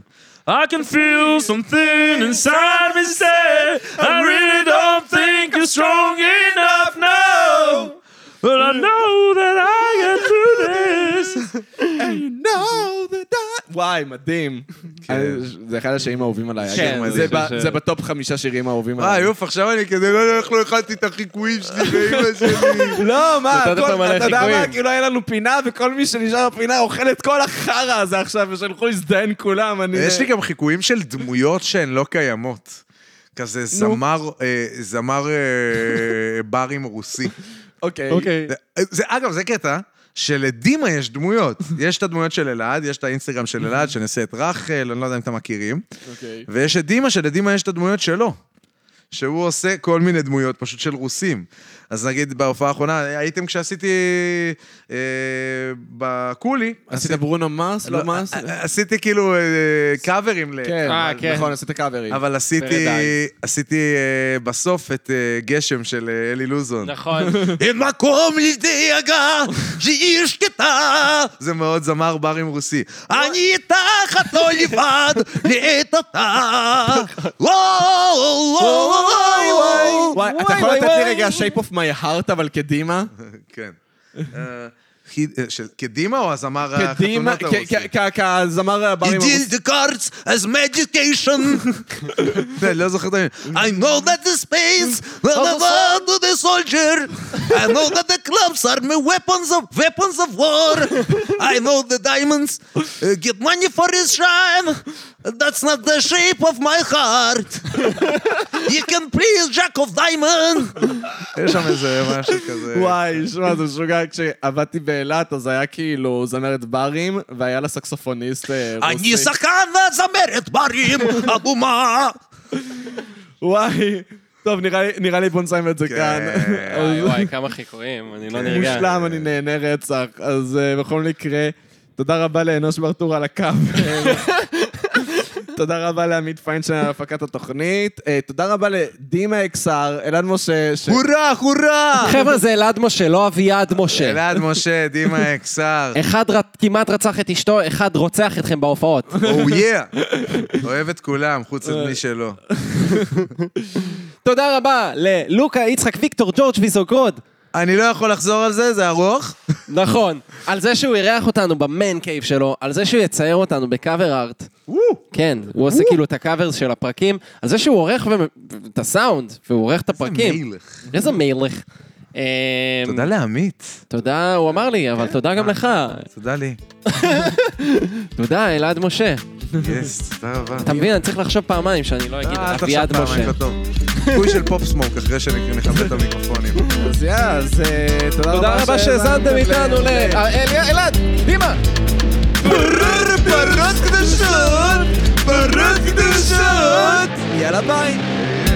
[SPEAKER 10] I can feel something inside me say I really don't think you're strong enough now But I know that I get through this
[SPEAKER 2] know that I... וואי, מדהים. אני- זה אחד השירים האהובים עליי.
[SPEAKER 4] כן,
[SPEAKER 2] אגב.
[SPEAKER 4] זה
[SPEAKER 2] כן. זה
[SPEAKER 4] שיר
[SPEAKER 2] ב-
[SPEAKER 4] ש-
[SPEAKER 2] זה בטופ חמישה שירים האהובים
[SPEAKER 3] אה,
[SPEAKER 2] עליי.
[SPEAKER 3] יוף, עכשיו אני כזה, לא, לא, איך לא הכנתי את החיקויים שלי לאמא שלי.
[SPEAKER 2] לא, מה,
[SPEAKER 4] נתת
[SPEAKER 2] הכל-
[SPEAKER 4] מלא
[SPEAKER 2] אתה יודע מה,
[SPEAKER 4] חיקויים.
[SPEAKER 2] כאילו היה לנו פינה, וכל מי שנשאר בפינה אוכל את כל החרא הזה עכשיו, ושלחו להזדיין כולם, אני...
[SPEAKER 3] יש לי גם חיקויים של דמויות שהן לא קיימות. כזה זמר, אה, זמר אה, ברים רוסי.
[SPEAKER 2] אוקיי.
[SPEAKER 3] זה- זה, אגב, זה קטע שלדימה יש דמויות. יש את הדמויות של אלעד, יש את האינסטגרם של אלעד, שאני עושה את רחל, אני לא יודע אם אתם מכירים.
[SPEAKER 2] אוקיי.
[SPEAKER 3] ויש את דימה, שלדימה יש את הדמויות שלו. שהוא עושה כל מיני דמויות פשוט של רוסים. אז נגיד בהופעה האחרונה, הייתם כשעשיתי אה, בקולי,
[SPEAKER 2] עשית ברונו מרס? לא מרס?
[SPEAKER 3] עשיתי כאילו אה, קאברים ל...
[SPEAKER 2] כן,
[SPEAKER 4] אה,
[SPEAKER 2] אבל-
[SPEAKER 4] כן.
[SPEAKER 2] נכון, עשית קאברים.
[SPEAKER 3] אבל עשיתי,
[SPEAKER 4] פרדייז.
[SPEAKER 3] עשיתי אה, בסוף את אה, גשם של אה, אלי לוזון.
[SPEAKER 4] נכון.
[SPEAKER 3] אין מקום לדאגה, שאיש קטע. זה מאוד זמר ברים רוסי. אני איתך, את לא לבד, לעת עתה. לא, לא, לא, לא.
[SPEAKER 2] וואי, אתה יכול לתת לי רגע shape of my heart, אבל קדימה?
[SPEAKER 3] כן. אה, חיד- אה, של- קדימה או הזמר
[SPEAKER 2] קדימה,
[SPEAKER 3] אה, החתונות
[SPEAKER 2] כ-
[SPEAKER 3] הרוסי?
[SPEAKER 2] כ- כ- כזמר הברים הרוסי.
[SPEAKER 3] the cards as medication. לא זוכר את המילים. I know that the space, the love to the soldier. I know that the clubs are my weapons of weapons of war. I know the diamonds uh, get money for his shine. That's not the shape of my heart. You can please jack of diamond. יש שם איזה משהו כזה.
[SPEAKER 2] וואי, שמע, זה משוגע, כשעבדתי באילת, אז היה כאילו זמרת ברים, והיה לה סקסופוניסט אה, רוסי.
[SPEAKER 3] אני שחקן והזמרת ברים, אבו מה.
[SPEAKER 2] וואי, טוב, נראה לי- נראה לי בוא נסיים את זה כאן.
[SPEAKER 4] כן, אה, וואי, וואי, כמה חיקויים, אני לא נרגע.
[SPEAKER 2] כן. מושלם, אני נהנה רצח. אז אה, בכל מקרה, תודה רבה לאנוש ברטור על הקו. תודה רבה לעמית פיינשטיין על הפקת התוכנית. אה, תודה רבה לדימה אקסר, אלעד משה, ש...
[SPEAKER 3] הורא, הורא!
[SPEAKER 4] חבר'ה, זה אלעד משה, לא אביעד
[SPEAKER 2] כן.
[SPEAKER 4] משה.
[SPEAKER 3] אלעד משה, דימה אקסר,
[SPEAKER 4] אחד ר- כמעט רצח את אשתו, אחד רוצח אתכם בהופעות.
[SPEAKER 3] או יא! "Oh, אוהב את כולם, חוץ את מי שלא.
[SPEAKER 4] תודה רבה ללוקה, יצחק, ויקטור, ג'ורג' ויזוגרוד.
[SPEAKER 3] אני לא יכול לחזור על זה, זה ארוך.
[SPEAKER 4] נכון. על זה שהוא אירח אותנו במן קייב שלו, על זה שהוא יצייר אותנו בקאבר ארט. כן, הוא עושה כאילו את הקאברס של הפרקים, על זה שהוא עורך ו- את הסאונד, והוא עורך את הפרקים.
[SPEAKER 3] מילך.
[SPEAKER 4] איזה מילך. אמ,
[SPEAKER 3] תודה כן. אה. לעמית.
[SPEAKER 4] תודה, הוא אמר לי, אבל תודה גם לך.
[SPEAKER 3] תודה לי.
[SPEAKER 4] תודה, אלעד משה.
[SPEAKER 3] יס, תודה רבה.
[SPEAKER 4] אתה מבין, אני צריך לחשוב פעמיים שאני לא אגיד
[SPEAKER 3] אה, אתה
[SPEAKER 4] אביעד
[SPEAKER 3] עכשיו פעמיים, לא
[SPEAKER 4] משה.
[SPEAKER 3] טוב. חיקוי של פופ סמוק אחרי שנכבד את המיקרופונים.
[SPEAKER 2] אז יא, אז אה, תודה רבה
[SPEAKER 4] תודה רבה שהאזנתם איתנו ל...
[SPEAKER 2] ל-
[SPEAKER 4] אה, אלעד, דימה!
[SPEAKER 3] פרות קדושות! פרות קדושות!
[SPEAKER 2] יאללה ביי.